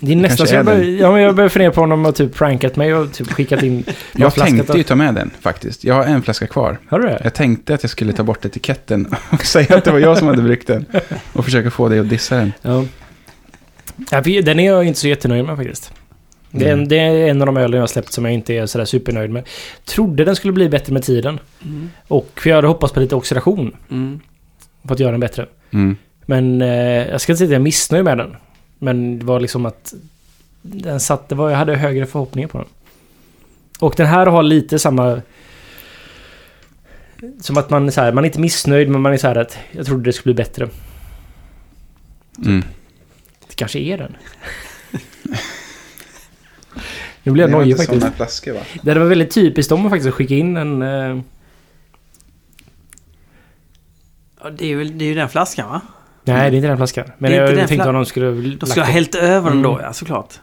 [SPEAKER 2] Det är nästan
[SPEAKER 3] kanske
[SPEAKER 2] så jag
[SPEAKER 3] är
[SPEAKER 2] börjar, ja, men jag börjar fundera på om de har typ prankat mig och typ skickat in någon
[SPEAKER 3] Jag
[SPEAKER 2] flaska
[SPEAKER 3] tänkte
[SPEAKER 2] till-
[SPEAKER 3] ju ta med den faktiskt. Jag har en flaska kvar.
[SPEAKER 2] Har du det?
[SPEAKER 3] Jag tänkte att jag skulle ta bort etiketten och säga att det var jag som hade bryggt den. Och försöka få dig att dissa den.
[SPEAKER 2] Ja. Ja, för Den är jag inte så jättenöjd med faktiskt. Det är, en,
[SPEAKER 3] Mm.
[SPEAKER 2] det är en av de ölen jag har släppt som jag inte är sådär supernöjd med. Trodde den skulle bli bättre med tiden.
[SPEAKER 1] Mm.
[SPEAKER 2] Och för jag hade hoppats på lite oxidation
[SPEAKER 1] Mm.
[SPEAKER 2] för att göra den bättre.
[SPEAKER 3] Mm.
[SPEAKER 2] Men eh, jag ska inte säga att jag är missnöjd med den. Men det var liksom att den satt, det var, jag hade högre förhoppningar på den. Och den här har lite samma... Som att man är så här, man är inte missnöjd men man är så här att jag trodde det skulle bli bättre.
[SPEAKER 3] Mm.
[SPEAKER 2] Det kanske är den. nu blir jag
[SPEAKER 4] Det var
[SPEAKER 2] nojig
[SPEAKER 4] inte
[SPEAKER 2] faktiskt.
[SPEAKER 4] sådana flaskor va?
[SPEAKER 2] Det hade varit väldigt typiskt om man faktiskt skicka in en... Eh,
[SPEAKER 1] Ja, Det är, väl, det är ju den flaskan va?
[SPEAKER 2] nej, det är inte den flaskan. Men
[SPEAKER 1] Det är
[SPEAKER 2] jag
[SPEAKER 1] inte den
[SPEAKER 2] tänkte
[SPEAKER 1] fla-
[SPEAKER 2] om de skulle...
[SPEAKER 1] Då skulle jag ha hällt över den då ja, såklart.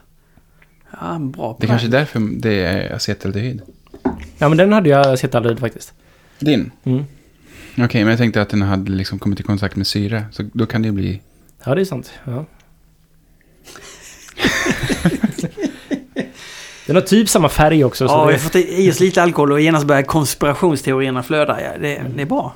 [SPEAKER 1] Ja, bra
[SPEAKER 3] Det är kanske är därför det är acetaldehyd.
[SPEAKER 2] Ja, men den hade jag sett aldrig faktiskt.
[SPEAKER 3] Din?
[SPEAKER 2] Mm.
[SPEAKER 3] Okej, men jag tänkte att den hade liksom kommit i kontakt med syre. Så då kan det ju bli...
[SPEAKER 2] Ja, det är sant. Ja. den har typ samma färg också. Så
[SPEAKER 1] Ja,
[SPEAKER 2] det-
[SPEAKER 1] vi har fått i oss lite alkohol och genast börjar konspirationsteorierna flöda. Ja, det, det är bra.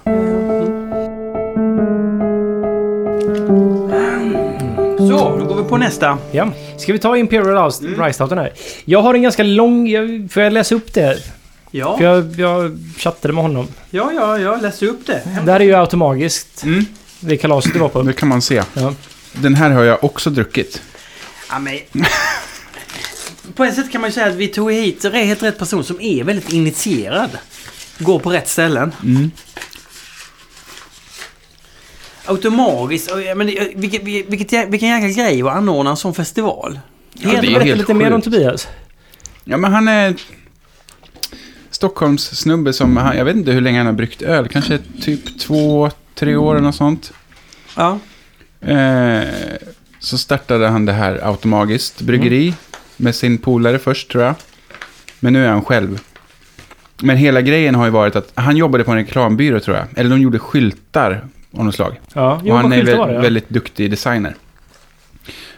[SPEAKER 1] Så, då går vi på nästa.
[SPEAKER 2] Ja. Ska vi ta Imperial House,
[SPEAKER 4] Mm.
[SPEAKER 2] Rice Town här? Jag har en ganska lång... Jag, får jag läsa upp det?
[SPEAKER 1] Ja,
[SPEAKER 2] För jag, jag chattade med honom.
[SPEAKER 1] ja, ja, jag läser upp det.
[SPEAKER 2] Det här är ju automagiskt.
[SPEAKER 3] Mm.
[SPEAKER 2] Det kalaset du var på.
[SPEAKER 3] Det kan man se.
[SPEAKER 2] Ja.
[SPEAKER 3] Den här har jag också druckit.
[SPEAKER 1] Ja, men... På ett sätt kan man ju säga att vi tog hit helt rätt person som är väldigt initierad. Går på rätt ställen. Automatiskt. och, ja, Men det- vilket, vilket, vilket, jä- vilken jäkla grej att anordna en sån festival.
[SPEAKER 3] Ja, det är
[SPEAKER 2] Berätta
[SPEAKER 3] helt
[SPEAKER 2] lite mer om
[SPEAKER 3] sjukt.
[SPEAKER 2] Tobias.
[SPEAKER 3] Ja, men han är Stockholms snubbe som, han, jag vet inte hur länge han har bryggt öl, kanske typ två, tre år eller något sånt.
[SPEAKER 1] Ja.
[SPEAKER 3] Eh, så startade han det här automatiskt bryggeri
[SPEAKER 2] Mm.
[SPEAKER 3] med sin polare först tror jag. Men nu är han själv. Men hela grejen har ju varit att han jobbade på en reklambyrå tror jag. Eller de gjorde skyltar av något slag.
[SPEAKER 2] Ja, jo,
[SPEAKER 3] och han
[SPEAKER 2] vad
[SPEAKER 3] är
[SPEAKER 2] kul det
[SPEAKER 3] vä-
[SPEAKER 2] var, ja.
[SPEAKER 3] väldigt duktig designer.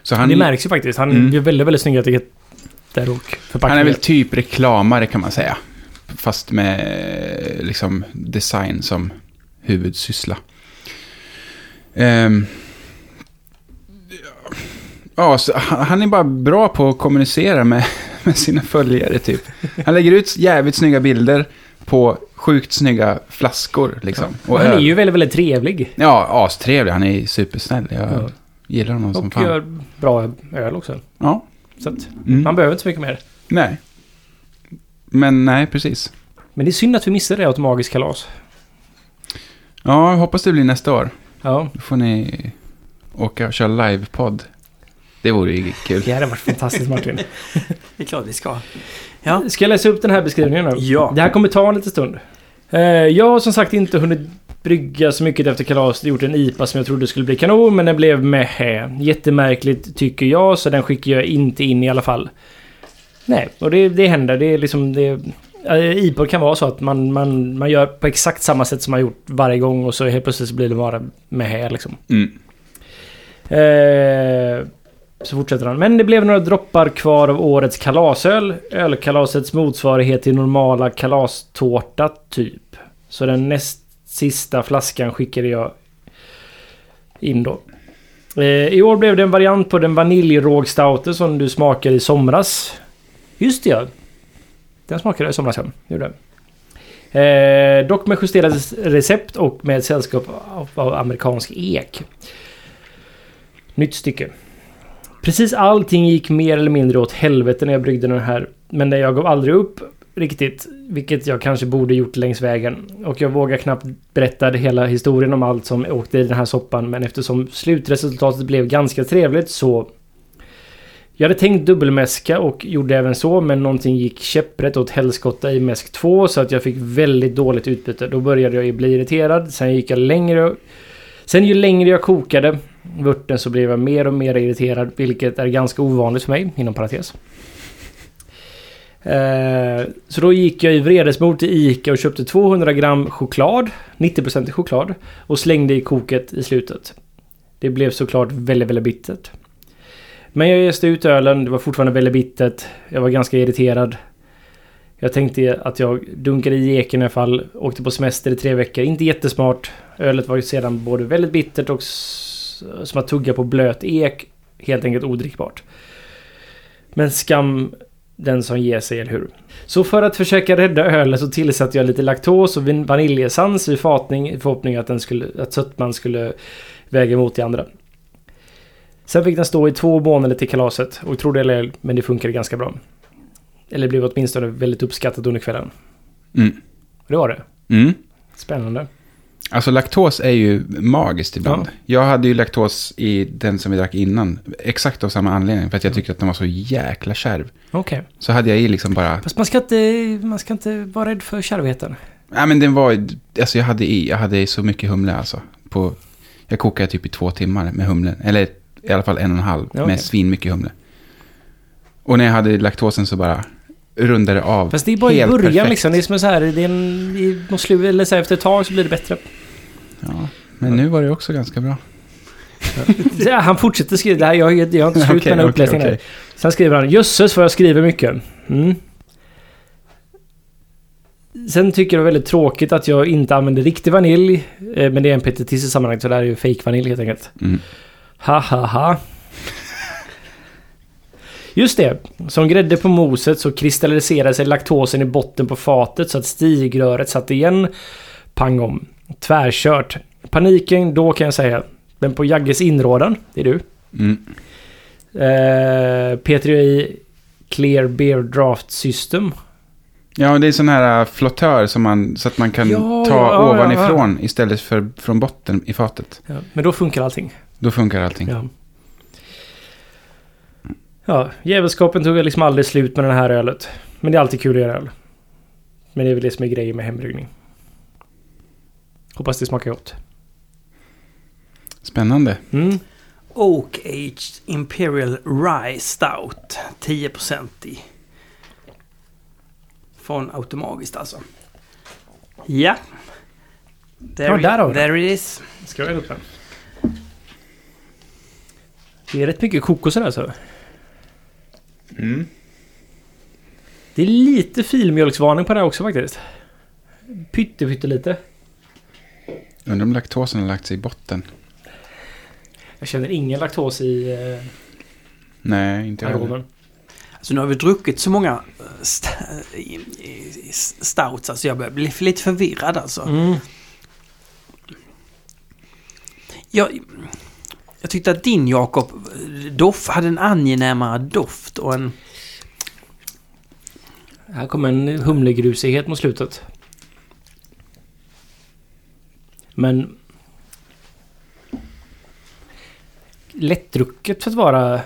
[SPEAKER 3] Så han,
[SPEAKER 2] Det märks ju faktiskt. Han
[SPEAKER 3] Mm.
[SPEAKER 2] gör väldigt, väldigt snygga etiketter och förpackningar.
[SPEAKER 3] Han är väl typ reklamare kan man säga. Fast med eh, liksom design som huvudsyssla. Ehm. Ja, så han han är bara bra på att kommunicera med, med sina följare typ. Han lägger ut jävligt snygga bilder på sjukt snygga flaskor liksom. Och
[SPEAKER 2] han är
[SPEAKER 3] öl.
[SPEAKER 2] ju väldigt, väldigt trevlig.
[SPEAKER 3] Ja, astrevlig. Han är supersnäll. Jag
[SPEAKER 2] Ja.
[SPEAKER 3] gillar honom som
[SPEAKER 2] Och
[SPEAKER 3] fan.
[SPEAKER 2] gör bra öl också.
[SPEAKER 3] Ja.
[SPEAKER 2] Så att man
[SPEAKER 3] Mm.
[SPEAKER 2] behöver inte så mycket mer.
[SPEAKER 3] Nej. Men nej, precis.
[SPEAKER 2] Men det är synd att vi missade det automatiskt kalas.
[SPEAKER 3] Ja, jag hoppas det blir nästa år.
[SPEAKER 2] Ja.
[SPEAKER 3] Då får ni åka och köra livepodd. Det vore ju
[SPEAKER 2] Det
[SPEAKER 3] kul.
[SPEAKER 2] hade varit fantastiskt Martin.
[SPEAKER 1] Det är klart vi ska.
[SPEAKER 2] Ska jag läsa upp den här beskrivningen nu?
[SPEAKER 1] Ja.
[SPEAKER 2] Det här kommer ta en liten stund. Eh, Jag har som sagt inte hunnit brygga så mycket efter kalaset. Gjort en IPA som jag trodde skulle bli kanon, men den blev mehä. Jättemärkligt tycker jag, så den skickar jag inte in i alla fall. Nej, och det, det händer. Det är liksom... Det, eh, IPA kan vara så att man, man, man gör på exakt samma sätt som man gjort varje gång och så helt plötsligt så blir det bara mehä liksom.
[SPEAKER 3] Mm.
[SPEAKER 2] Eh, så fortsätter han. Men det blev några droppar kvar av årets kalasöl. Ölkalasets motsvarighet till normala kalastårta, typ. Så den näst sista flaskan skickade jag in då. Eh, I år blev det en variant på den vaniljrågstouten som du smakade i somras. Just det ja. Den smakade jag i somras ja. Det gjorde jag. Eh, dock med justerat recept och med ett sällskap av, av amerikansk ek. Nytt stycke. Precis allting gick mer eller mindre åt helvete när jag bryggde den här. Men jag gav aldrig upp riktigt. Vilket jag kanske borde gjort längs vägen. Och jag vågar knappt berätta hela historien om allt som åkte i den här soppan. Men eftersom slutresultatet blev ganska trevligt så... Jag hade tänkt dubbelmäska och gjorde även så. Men någonting gick käpprätt åt helskotta i mäsk 2. Så att jag fick väldigt dåligt utbyte. Då började jag ju bli irriterad. Sen gick jag längre Sen ju längre jag kokade vörten så blev jag mer och mer irriterad, vilket är ganska ovanligt för mig, inom parentes. Eh, Så då gick jag i vredesmod till Ica och köpte 200 gram choklad, 90% i choklad, och slängde i koket i slutet. Det blev såklart väldigt, väldigt bittert. Men jag jäste ut ölen, det var fortfarande väldigt bittert. Jag var ganska irriterad. Jag tänkte att jag dunkade i eken i alla fall. Åkte på semester i tre veckor. Inte jättesmart. Ölet var ju sedan både väldigt bittert och s- som att tugga på blöt ek. Helt enkelt odrickbart. Men skam den som ger sig, eller hur? Så för att försöka rädda ölen så tillsatte jag lite laktos och vin- vaniljesans i fatning i förhoppning att, den skulle, att sötman skulle väga emot de andra. Sen fick den stå i två månader till kalaset och trodde eller ej, men det funkade ganska bra. Eller blev åtminstone väldigt uppskattat under kvällen.
[SPEAKER 3] Mm.
[SPEAKER 2] Och Det var det.
[SPEAKER 3] Mm.
[SPEAKER 2] Spännande.
[SPEAKER 3] Alltså laktos är ju magiskt ibland.
[SPEAKER 2] Ja.
[SPEAKER 3] Jag hade ju laktos i den som vi drack innan. Exakt av samma anledning. För att jag tyckte att den var så jäkla kärv.
[SPEAKER 2] Okej.
[SPEAKER 3] Så hade jag i liksom bara...
[SPEAKER 2] Fast man ska inte, man ska inte vara rädd för kärvheten.
[SPEAKER 3] Nej men den var ju- Alltså jag hade i, jag hade i så mycket humle alltså. På, jag kokade typ i två timmar med humlen. Eller i alla fall en och en halv.
[SPEAKER 2] Ja, okej.
[SPEAKER 3] Med svin mycket humle. Och när jag hade laktosen så bara rundade det av.
[SPEAKER 2] Fast det är bara i
[SPEAKER 3] Helt
[SPEAKER 2] början
[SPEAKER 3] perfekt.
[SPEAKER 2] liksom. Det är som en så här, det är en, i- mot slutet, eller så här, efter ett tag så blir det bättre.
[SPEAKER 3] Ja, men nu var det också ganska bra.
[SPEAKER 2] Ja, han fortsätter skriva, det här, jag, jag har inte slut
[SPEAKER 3] Okej,
[SPEAKER 2] med den här
[SPEAKER 3] okej,
[SPEAKER 2] uppläsningen här.
[SPEAKER 3] okej.
[SPEAKER 2] Sen skriver han, jösses vad jag skriver mycket. Mm. Sen tycker jag det är väldigt tråkigt att jag inte använder riktig vanilj. eh, Men det är en petitess i sammanhanget så det här är ju fake vanilj helt enkelt.
[SPEAKER 3] Mm.
[SPEAKER 2] Ha ha ha. Just det. Som grädde på moset så kristalliserade sig laktosen i botten på fatet så att stigröret satt igen. Pang om. Tvärkört. Paniken då kan jag säga. Men på Jagges inrådan, det är du.
[SPEAKER 3] Mm.
[SPEAKER 2] Eh, Peter är i Clear Beer Draft System.
[SPEAKER 3] Ja, men det är sån här äh, flottör som man, så att man kan
[SPEAKER 2] Ja,
[SPEAKER 3] ta
[SPEAKER 2] ja, ja,
[SPEAKER 3] ovanifrån istället för från botten i fatet.
[SPEAKER 2] Ja, men då funkar allting.
[SPEAKER 3] Då funkar allting.
[SPEAKER 2] Ja. Mm. Ja, djävulskapen tog liksom aldrig slut med den här ölet. Men det är alltid kul att göra öl. Men det är väl det som är grejen med hembryggning. Hoppas det smakar gott.
[SPEAKER 3] Spännande.
[SPEAKER 2] Mm.
[SPEAKER 1] Oak Aged Imperial Rye Stout. 10% i. Från Automagiskt alltså. Ja. There,
[SPEAKER 2] Ja,
[SPEAKER 1] i-
[SPEAKER 2] där har vi det.
[SPEAKER 1] there it is.
[SPEAKER 2] Ska jag upp den? Det är rätt mycket kokos i den här, så.
[SPEAKER 4] Mm.
[SPEAKER 2] Det är lite filmjölksvarning på den här också faktiskt. Pytte, pytte lite.
[SPEAKER 3] Undrar om laktosen har lagt sig i botten.
[SPEAKER 2] Jag känner ingen laktos i eh,
[SPEAKER 3] Nej, inte jag heller.
[SPEAKER 2] aromen.
[SPEAKER 1] Alltså nu har vi druckit så många eh, st- i- i- i- stouts. Alltså jag börjar bli lite förvirrad alltså.
[SPEAKER 2] Mm.
[SPEAKER 1] Jag, jag tyckte att din Jakob doft hade en angenämare doft och en...
[SPEAKER 2] Här kommer en humlegrusighet mot slutet. Men... Lättdrucket för att vara...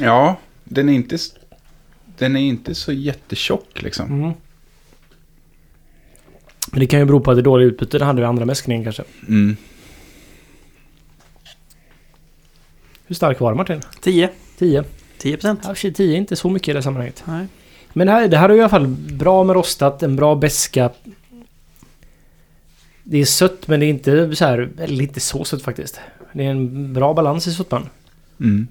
[SPEAKER 3] Ja, den är inte, s- den är inte så jättetjock liksom.
[SPEAKER 2] Men det kan ju bero på att det dåliga utbytet hade vid andra mäskningen kanske.
[SPEAKER 3] Mm.
[SPEAKER 2] Hur stark var den Martin?
[SPEAKER 1] 10.
[SPEAKER 2] 10?
[SPEAKER 1] 10 procent.
[SPEAKER 2] Ja, 10 är inte så mycket i det sammanhanget.
[SPEAKER 1] Nej.
[SPEAKER 2] Men det här, det här är i alla fall bra med rostat, en bra beska. Det är sött men det är inte så här... Eller inte så sött faktiskt. Det är en bra balans i sötman.
[SPEAKER 3] Mm.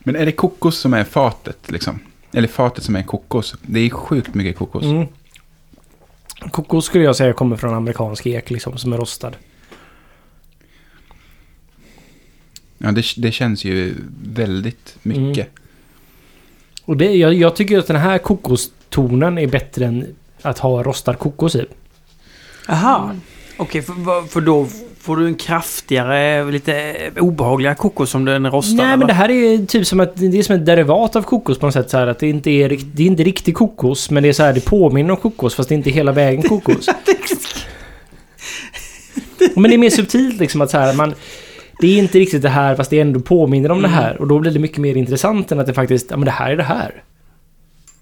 [SPEAKER 3] Men är det kokos som är fatet liksom? Eller fatet som är kokos? Det är sjukt mycket kokos.
[SPEAKER 2] Mm. Kokos skulle jag säga kommer från amerikansk ek liksom som är rostad.
[SPEAKER 3] Ja, det, det känns ju väldigt mycket.
[SPEAKER 2] Och det, jag, jag tycker att den här kokostonen är bättre än att ha rostad kokos i.
[SPEAKER 1] Aha. Okej, för, vad- för då får du en kraftigare, lite obehagligare kokos som den rostar?
[SPEAKER 2] Nej men
[SPEAKER 1] eller?
[SPEAKER 2] det här är typ som att det är som ett derivat av kokos på något sätt. Så här, att det, inte är, rikt- det är inte riktig kokos men det är så här det påminner om kokos fast det är inte hela vägen kokos. men det är mer subtilt liksom att så här man... Det är inte riktigt det här fast det ändå påminner om det här och då blir det mycket mer intressant än att det faktiskt, ja men det här är det här.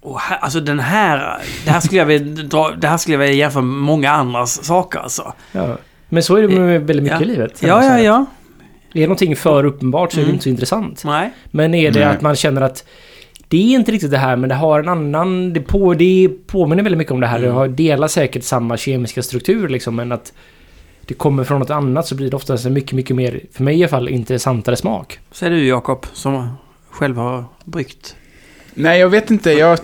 [SPEAKER 1] Och här, alltså den här... Det här skulle jag vilja dra... Det här skulle jag vilja jämföra med många andra saker alltså.
[SPEAKER 2] Ja. Men så är det med väldigt mycket
[SPEAKER 1] Eh, Ja.
[SPEAKER 2] i livet.
[SPEAKER 1] Ja,
[SPEAKER 2] Så
[SPEAKER 1] ja,
[SPEAKER 2] här,
[SPEAKER 1] ja.
[SPEAKER 2] Är någonting för uppenbart så är det
[SPEAKER 1] Mm.
[SPEAKER 2] inte så intressant.
[SPEAKER 1] Nej.
[SPEAKER 2] Men är det
[SPEAKER 3] Nej.
[SPEAKER 2] att man känner att det är inte riktigt det här men det har en annan... Det, på,
[SPEAKER 1] Mm.
[SPEAKER 2] det påminner väldigt mycket om det här. Det har, delar säkert samma kemiska struktur liksom men att det kommer från något annat så blir det oftast en mycket, mycket mer, för mig i alla fall, intressantare smak.
[SPEAKER 1] Säger du Jakob, som själv har bryggt.
[SPEAKER 3] Nej, jag vet inte. Jag,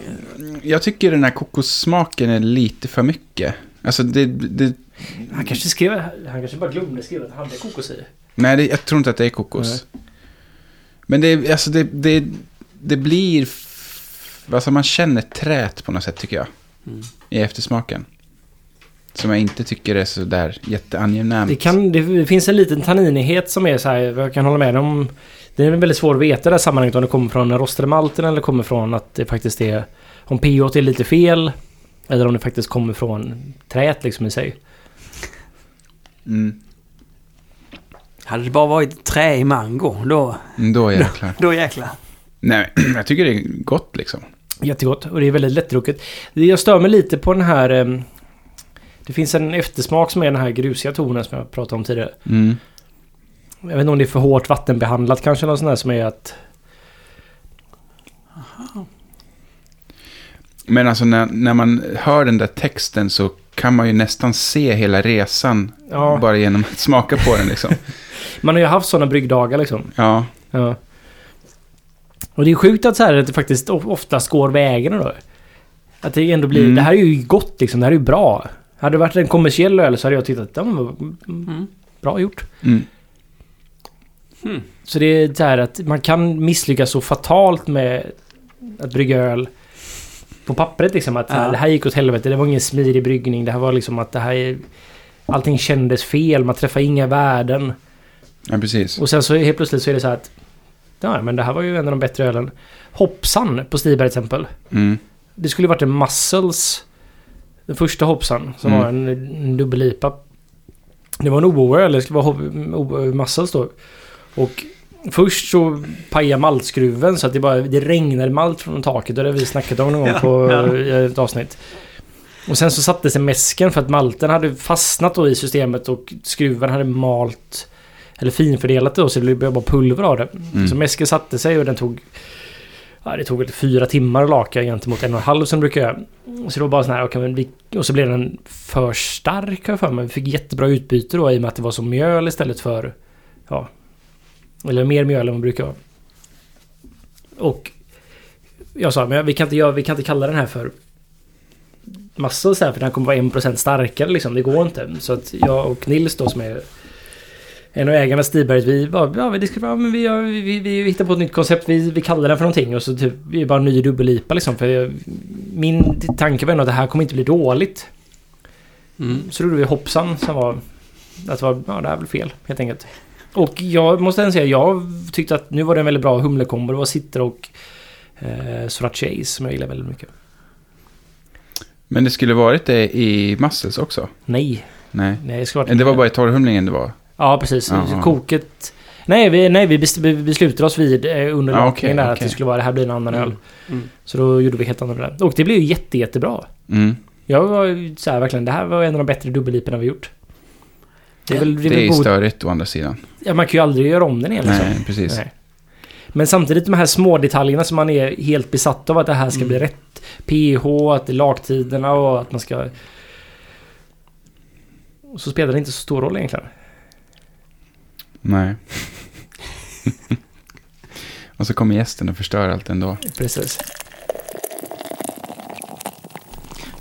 [SPEAKER 3] jag tycker den här kokossmaken är lite för mycket. Alltså, det, det,
[SPEAKER 2] Han kanske skrev, han kanske bara glömde skriva att han hade kokos i.
[SPEAKER 3] nej, det, jag tror inte att det är kokos. Men det, är- alltså, det, det, det blir... f- Alltså, man känner träet på något sätt, tycker jag.
[SPEAKER 2] Mm.
[SPEAKER 3] I eftersmaken. Som jag inte tycker är så där jätteangenämt.
[SPEAKER 2] Det, kan, det finns en liten tanninighet som är så här, jag kan hålla med om. Det är väldigt svårt att veta i det här sammanhanget om det kommer från den rostade malten eller kommer från att det faktiskt är... Om pH är lite fel. Eller om det faktiskt kommer från träet liksom i sig.
[SPEAKER 3] Mm,
[SPEAKER 1] Hade det bara varit trä i mango, då,
[SPEAKER 3] Mm, då jäklar.
[SPEAKER 1] då jäklar.
[SPEAKER 3] Nej, jag tycker det är gott liksom.
[SPEAKER 2] Jättegott och det är väldigt lättdrucket. Jag stör mig lite på den här... ehm, Det finns en eftersmak som är den här grusiga tonen som jag pratade om tidigare.
[SPEAKER 3] Mm.
[SPEAKER 2] Jag vet inte om det är för hårt vattenbehandlat kanske, eller något sånt där som är att...
[SPEAKER 3] Men alltså när, när man hör den där texten så kan man ju nästan se hela resan
[SPEAKER 2] Ja.
[SPEAKER 3] bara genom att smaka på den liksom.
[SPEAKER 2] Man har ju haft sådana bryggdagar liksom.
[SPEAKER 3] Ja,
[SPEAKER 2] Ja. Och det är sjukt att, så här, att det faktiskt of- oftast går vägen då. Att det ändå blir...
[SPEAKER 3] Mm.
[SPEAKER 2] Det här är ju gott liksom. Det här är ju bra. Hade det varit en kommersiell öl så hade jag tittat att den var
[SPEAKER 1] Mm.
[SPEAKER 2] bra gjort.
[SPEAKER 3] mm.
[SPEAKER 2] Så det är så här att man kan misslyckas så fatalt med att brygga öl på pappret liksom. Att så här,
[SPEAKER 1] Ja.
[SPEAKER 2] det här gick åt helvete. Det var ingen smidig bryggning. Det här var liksom att det här... är- Allting kändes fel. Man träffade inga värden.
[SPEAKER 3] ja precis.
[SPEAKER 2] Och sen så helt plötsligt så är det så här att... Ja, men det här var ju en av de bättre ölen. Hoppsan på Stiberg till exempel.
[SPEAKER 3] Mm.
[SPEAKER 2] Det skulle ju varit en Muscles. Den första hoppsan som
[SPEAKER 3] Mm.
[SPEAKER 2] var en, en dubbellipa. Det var en OO-öl. Det skulle vara hop- o- Muscles då. Och först så pajade maltskruven så att det bara det regnade malt från taket. Och det har vi snackat om någon gång
[SPEAKER 1] Ja,
[SPEAKER 2] på
[SPEAKER 1] ja.
[SPEAKER 2] i ett avsnitt. Och sen så satte sig mäsken för att malten hade fastnat då i systemet och skruven hade malt eller finfördelat det då så det blev bara pulver av det.
[SPEAKER 3] Mm.
[SPEAKER 2] Så mäsken satte sig och den tog... Ja, det tog väl fyra timmar att laka gentemot en och en halv som det brukar göra. Så det var bara sån här, okay, men vi, och så blev den för stark har jag för mig. Vi fick jättebra utbyte då i och med att det var som mjöl istället för... Ja. Eller mer mjöl än vad det brukar vara. Och... Jag sa, men vi kan inte, göra, vi kan inte kalla den här för... Massor så här, för den här kommer vara 1% starkare liksom. Det går inte. Så att jag och Nils då som är... En av ägarna Stiberget, vi bara, ja, vi, diskuterade, ja, men vi, gör- vi, vi, vi hittar på ett nytt koncept, vi, vi kallar den för någonting och så typ, vi är bara en ny dubbel-IPA liksom. För jag, min tanke var ändå att det här kommer inte bli dåligt.
[SPEAKER 1] Mm.
[SPEAKER 2] Så gjorde vi hoppsan som var... Att det var, ja det här är väl fel helt enkelt. Och jag måste ändå säga, jag tyckte att nu var det en väldigt bra humlekombo. Det var sitter och eh, sriracha Ace som jag gillar väldigt mycket.
[SPEAKER 3] Men det skulle varit det i Mussels också?
[SPEAKER 2] Nej,
[SPEAKER 3] Nej. Eh,
[SPEAKER 2] nej det skulle varit...
[SPEAKER 3] Det var bara i torrhumlingen det var?
[SPEAKER 2] Ja, precis.
[SPEAKER 3] Ja, ja.
[SPEAKER 2] Koket... Nej, vi, nej, vi bes- vi beslutade oss vid eh, under lakningen
[SPEAKER 3] Ja, Ah, okej,
[SPEAKER 2] där att
[SPEAKER 3] okej.
[SPEAKER 2] det skulle vara det här blir en annan
[SPEAKER 1] Mm.
[SPEAKER 2] öl.
[SPEAKER 1] Mm.
[SPEAKER 2] Så då gjorde vi helt annorlunda. där. Och det blev ju jätte, jättebra.
[SPEAKER 3] Mm.
[SPEAKER 2] Jag var ju så här, verkligen, det här var en av de bättre dubbelliporna vi gjort. Det är väl, det är
[SPEAKER 3] Det
[SPEAKER 2] väl
[SPEAKER 3] är
[SPEAKER 2] god...
[SPEAKER 3] störigt å andra sidan.
[SPEAKER 2] ja, man kan ju aldrig göra om den igen liksom.
[SPEAKER 3] Nej, precis.
[SPEAKER 2] Nej. Men samtidigt de här små detaljerna som man är helt besatt av att det här ska
[SPEAKER 3] Mm.
[SPEAKER 2] bli rätt. PH, att det är lagtiderna och att man ska... Och Så spelar det inte så stor roll egentligen.
[SPEAKER 3] Nej. och så kommer gästen och förstör allt ändå.
[SPEAKER 2] Precis.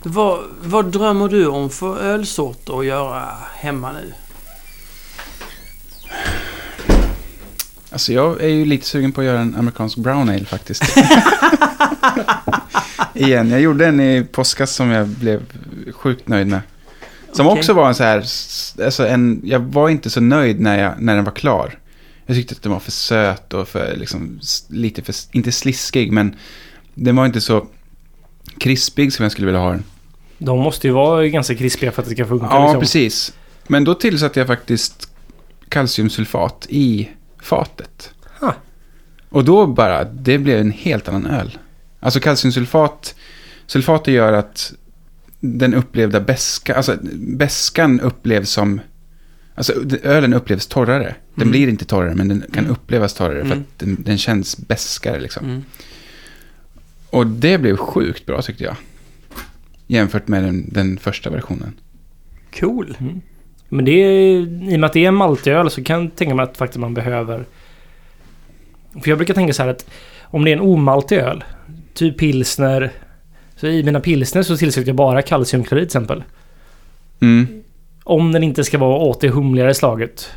[SPEAKER 1] Vad, vad drömmer du om för ölsorter att göra hemma nu?
[SPEAKER 3] Alltså jag är ju lite sugen på att göra en amerikansk brown ale faktiskt. Igen, jag gjorde en i påskas som jag blev sjukt nöjd med. Som
[SPEAKER 1] Okej.
[SPEAKER 3] också var en så här, s- alltså en, jag var inte så nöjd när, jag, när den var klar. Jag tyckte att den var för söt och för, liksom, s- lite för, s- inte sliskig men den var inte så krispig som jag skulle vilja ha den.
[SPEAKER 2] De måste ju vara ganska krispiga för att det ska funka.
[SPEAKER 3] Ja,
[SPEAKER 2] liksom.
[SPEAKER 3] precis. Men då tillsatte jag faktiskt kalciumsulfat i fatet.
[SPEAKER 2] Ha.
[SPEAKER 3] Och då bara, det blev en helt annan öl. Alltså kalciumsulfat, sulfater gör att den upplevda bäska, alltså bäskan upplevs som, alltså ölen upplevs torrare. Den
[SPEAKER 1] Mm.
[SPEAKER 3] blir inte torrare, men den kan upplevas torrare för
[SPEAKER 1] Mm.
[SPEAKER 3] att den, den känns bäskare liksom.
[SPEAKER 1] Mm.
[SPEAKER 3] Och det blev sjukt bra tyckte jag. Jämfört med den, den första versionen.
[SPEAKER 1] Cool.
[SPEAKER 2] Men det är, i och med att det är maltöl så kan jag tänka mig att faktiskt man behöver... För jag brukar tänka så här att om det är en omaltig öl, typ pilsner. Så i mina pilsner så tillsätter jag bara kalciumklorid till exempel.
[SPEAKER 3] Mm.
[SPEAKER 2] Om den inte ska vara åt det humligare slaget.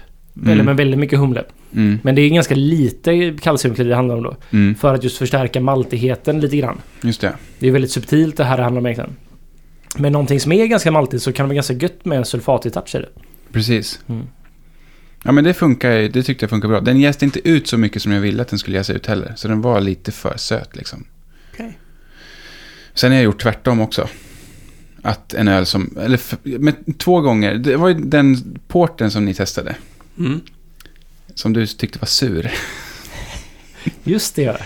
[SPEAKER 2] Eller
[SPEAKER 3] Mm.
[SPEAKER 2] med väldigt mycket humle.
[SPEAKER 3] Mm.
[SPEAKER 2] Men det är ganska lite kalciumklorid det handlar om då.
[SPEAKER 3] Mm.
[SPEAKER 2] För att just förstärka maltigheten lite grann.
[SPEAKER 3] Just det.
[SPEAKER 2] Det är väldigt subtilt det här det handlar om egentligen. Men någonting som är ganska maltigt så kan det vara ganska gött med en sulfatig touch i det.
[SPEAKER 3] Precis.
[SPEAKER 2] Mm.
[SPEAKER 3] Ja, men det funkar ju- Det tyckte jag funkar bra. Den jäste inte ut så mycket som jag ville att den skulle jäsa ut heller. Så den var lite för söt liksom.
[SPEAKER 1] Okej.
[SPEAKER 3] Sen har jag gjort tvärtom också. Att en öl som... Eller f- men två gånger. Det var ju den porten som ni testade.
[SPEAKER 1] Mm.
[SPEAKER 3] Som du tyckte var sur.
[SPEAKER 2] Just det ja.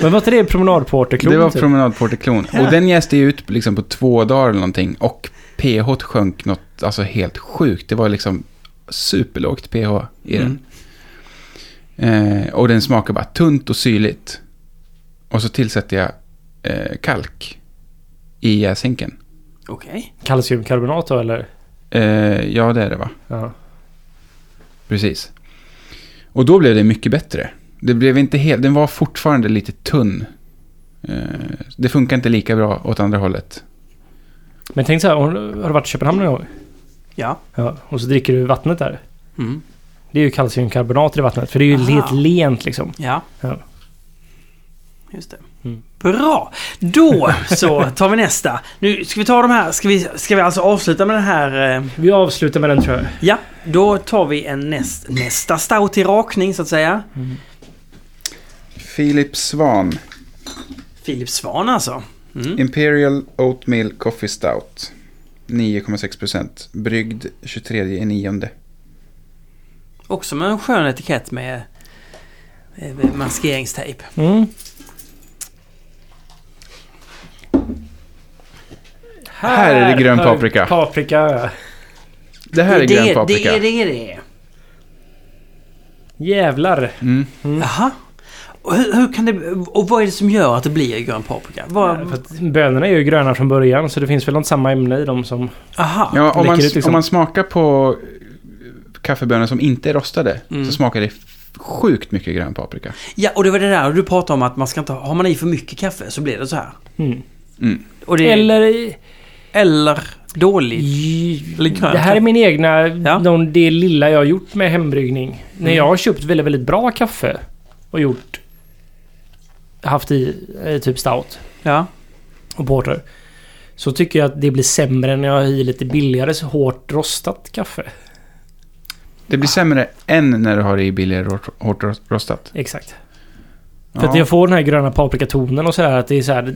[SPEAKER 2] Men var inte det promenadporterklon?
[SPEAKER 3] det var
[SPEAKER 2] typ?
[SPEAKER 3] promenadporterklon. Och den jäste ju ut liksom på två dagar eller någonting. Och pH sjönk något alltså helt sjukt. Det var liksom superlågt pH i den. Eh, och den smakar bara tunt och syrligt. Och så tillsätter jag eh, kalk i jäsinken.
[SPEAKER 1] Okej.
[SPEAKER 2] Kalciumkarbonat då eller?
[SPEAKER 3] Eh, ja, det är det va?
[SPEAKER 2] Ja.
[SPEAKER 3] Precis. Och då blev det mycket bättre. Det blev inte helt, den var fortfarande lite tunn. Eh, det funkar inte lika bra åt andra hållet.
[SPEAKER 2] Men tänk så här, har du har du varit i Köpenhamn någon gång?
[SPEAKER 1] Ja.
[SPEAKER 2] Ja. Och så dricker du vattnet där.
[SPEAKER 1] Mm.
[SPEAKER 2] Det är ju kalciumkarbonat i vattnet. För det är ju
[SPEAKER 1] Aha.
[SPEAKER 2] helt lent liksom.
[SPEAKER 1] Ja.
[SPEAKER 2] Ja.
[SPEAKER 1] Just det.
[SPEAKER 2] Mm.
[SPEAKER 1] Bra! Då så tar vi nästa. Nu ska vi ta de här. Ska vi, ska vi alltså avsluta med den här? eh,
[SPEAKER 2] Vi avslutar med den tror jag.
[SPEAKER 1] Ja, då tar vi en näst, nästa stout i rakning så att säga.
[SPEAKER 4] Filip Svan.
[SPEAKER 1] Filip Svan alltså. Mm.
[SPEAKER 4] Imperial Oatmeal Coffee Stout. 9,6%. Bryggd 23 i nionde.
[SPEAKER 1] Också med en skön etikett med eh, med maskeringstejp.
[SPEAKER 2] Mm.
[SPEAKER 3] Här är det grön
[SPEAKER 2] har vi
[SPEAKER 3] paprika.
[SPEAKER 2] Paprika.
[SPEAKER 3] Det här är
[SPEAKER 1] det,
[SPEAKER 3] grön paprika.
[SPEAKER 1] Det är det det är.
[SPEAKER 2] Jävlar.
[SPEAKER 3] Mm.
[SPEAKER 1] Jaha. Och hur, hur kan det, och vad är det som gör att det blir grön paprika?
[SPEAKER 2] För
[SPEAKER 1] Vad,
[SPEAKER 2] att bönorna är ju gröna från början så det finns väl något samma ämne i dem som...
[SPEAKER 1] aha.
[SPEAKER 3] Ja, om man,
[SPEAKER 2] Läcker ut liksom.
[SPEAKER 3] om man smakar på eh, kaffebönor som inte är rostade
[SPEAKER 1] Mm.
[SPEAKER 3] så smakar det sjukt mycket grön paprika.
[SPEAKER 1] Ja, och det var det där du pratade om att man ska inte, har man i för mycket kaffe så blir det så här.
[SPEAKER 2] Mm.
[SPEAKER 1] Och det, eller,
[SPEAKER 2] Eller... i-
[SPEAKER 1] dåligt. Eller grönt
[SPEAKER 2] Det här är min egna,
[SPEAKER 1] Ja.
[SPEAKER 2] de, det lilla jag har gjort med hembryggning.
[SPEAKER 3] Mm.
[SPEAKER 2] När jag har köpt väldigt, väldigt bra kaffe och gjort... Haft i eh, typ stout
[SPEAKER 1] Ja.
[SPEAKER 2] och porter. Så tycker jag att det blir sämre när jag har i lite billigare så hårt rostat kaffe.
[SPEAKER 3] Det
[SPEAKER 1] Ah.
[SPEAKER 3] blir sämre än när du har det i billigare ro- hårt ro- rostat.
[SPEAKER 2] Exakt. För att
[SPEAKER 3] Ja.
[SPEAKER 2] jag får den här gröna paprikatonen och sådär. Att det är så här,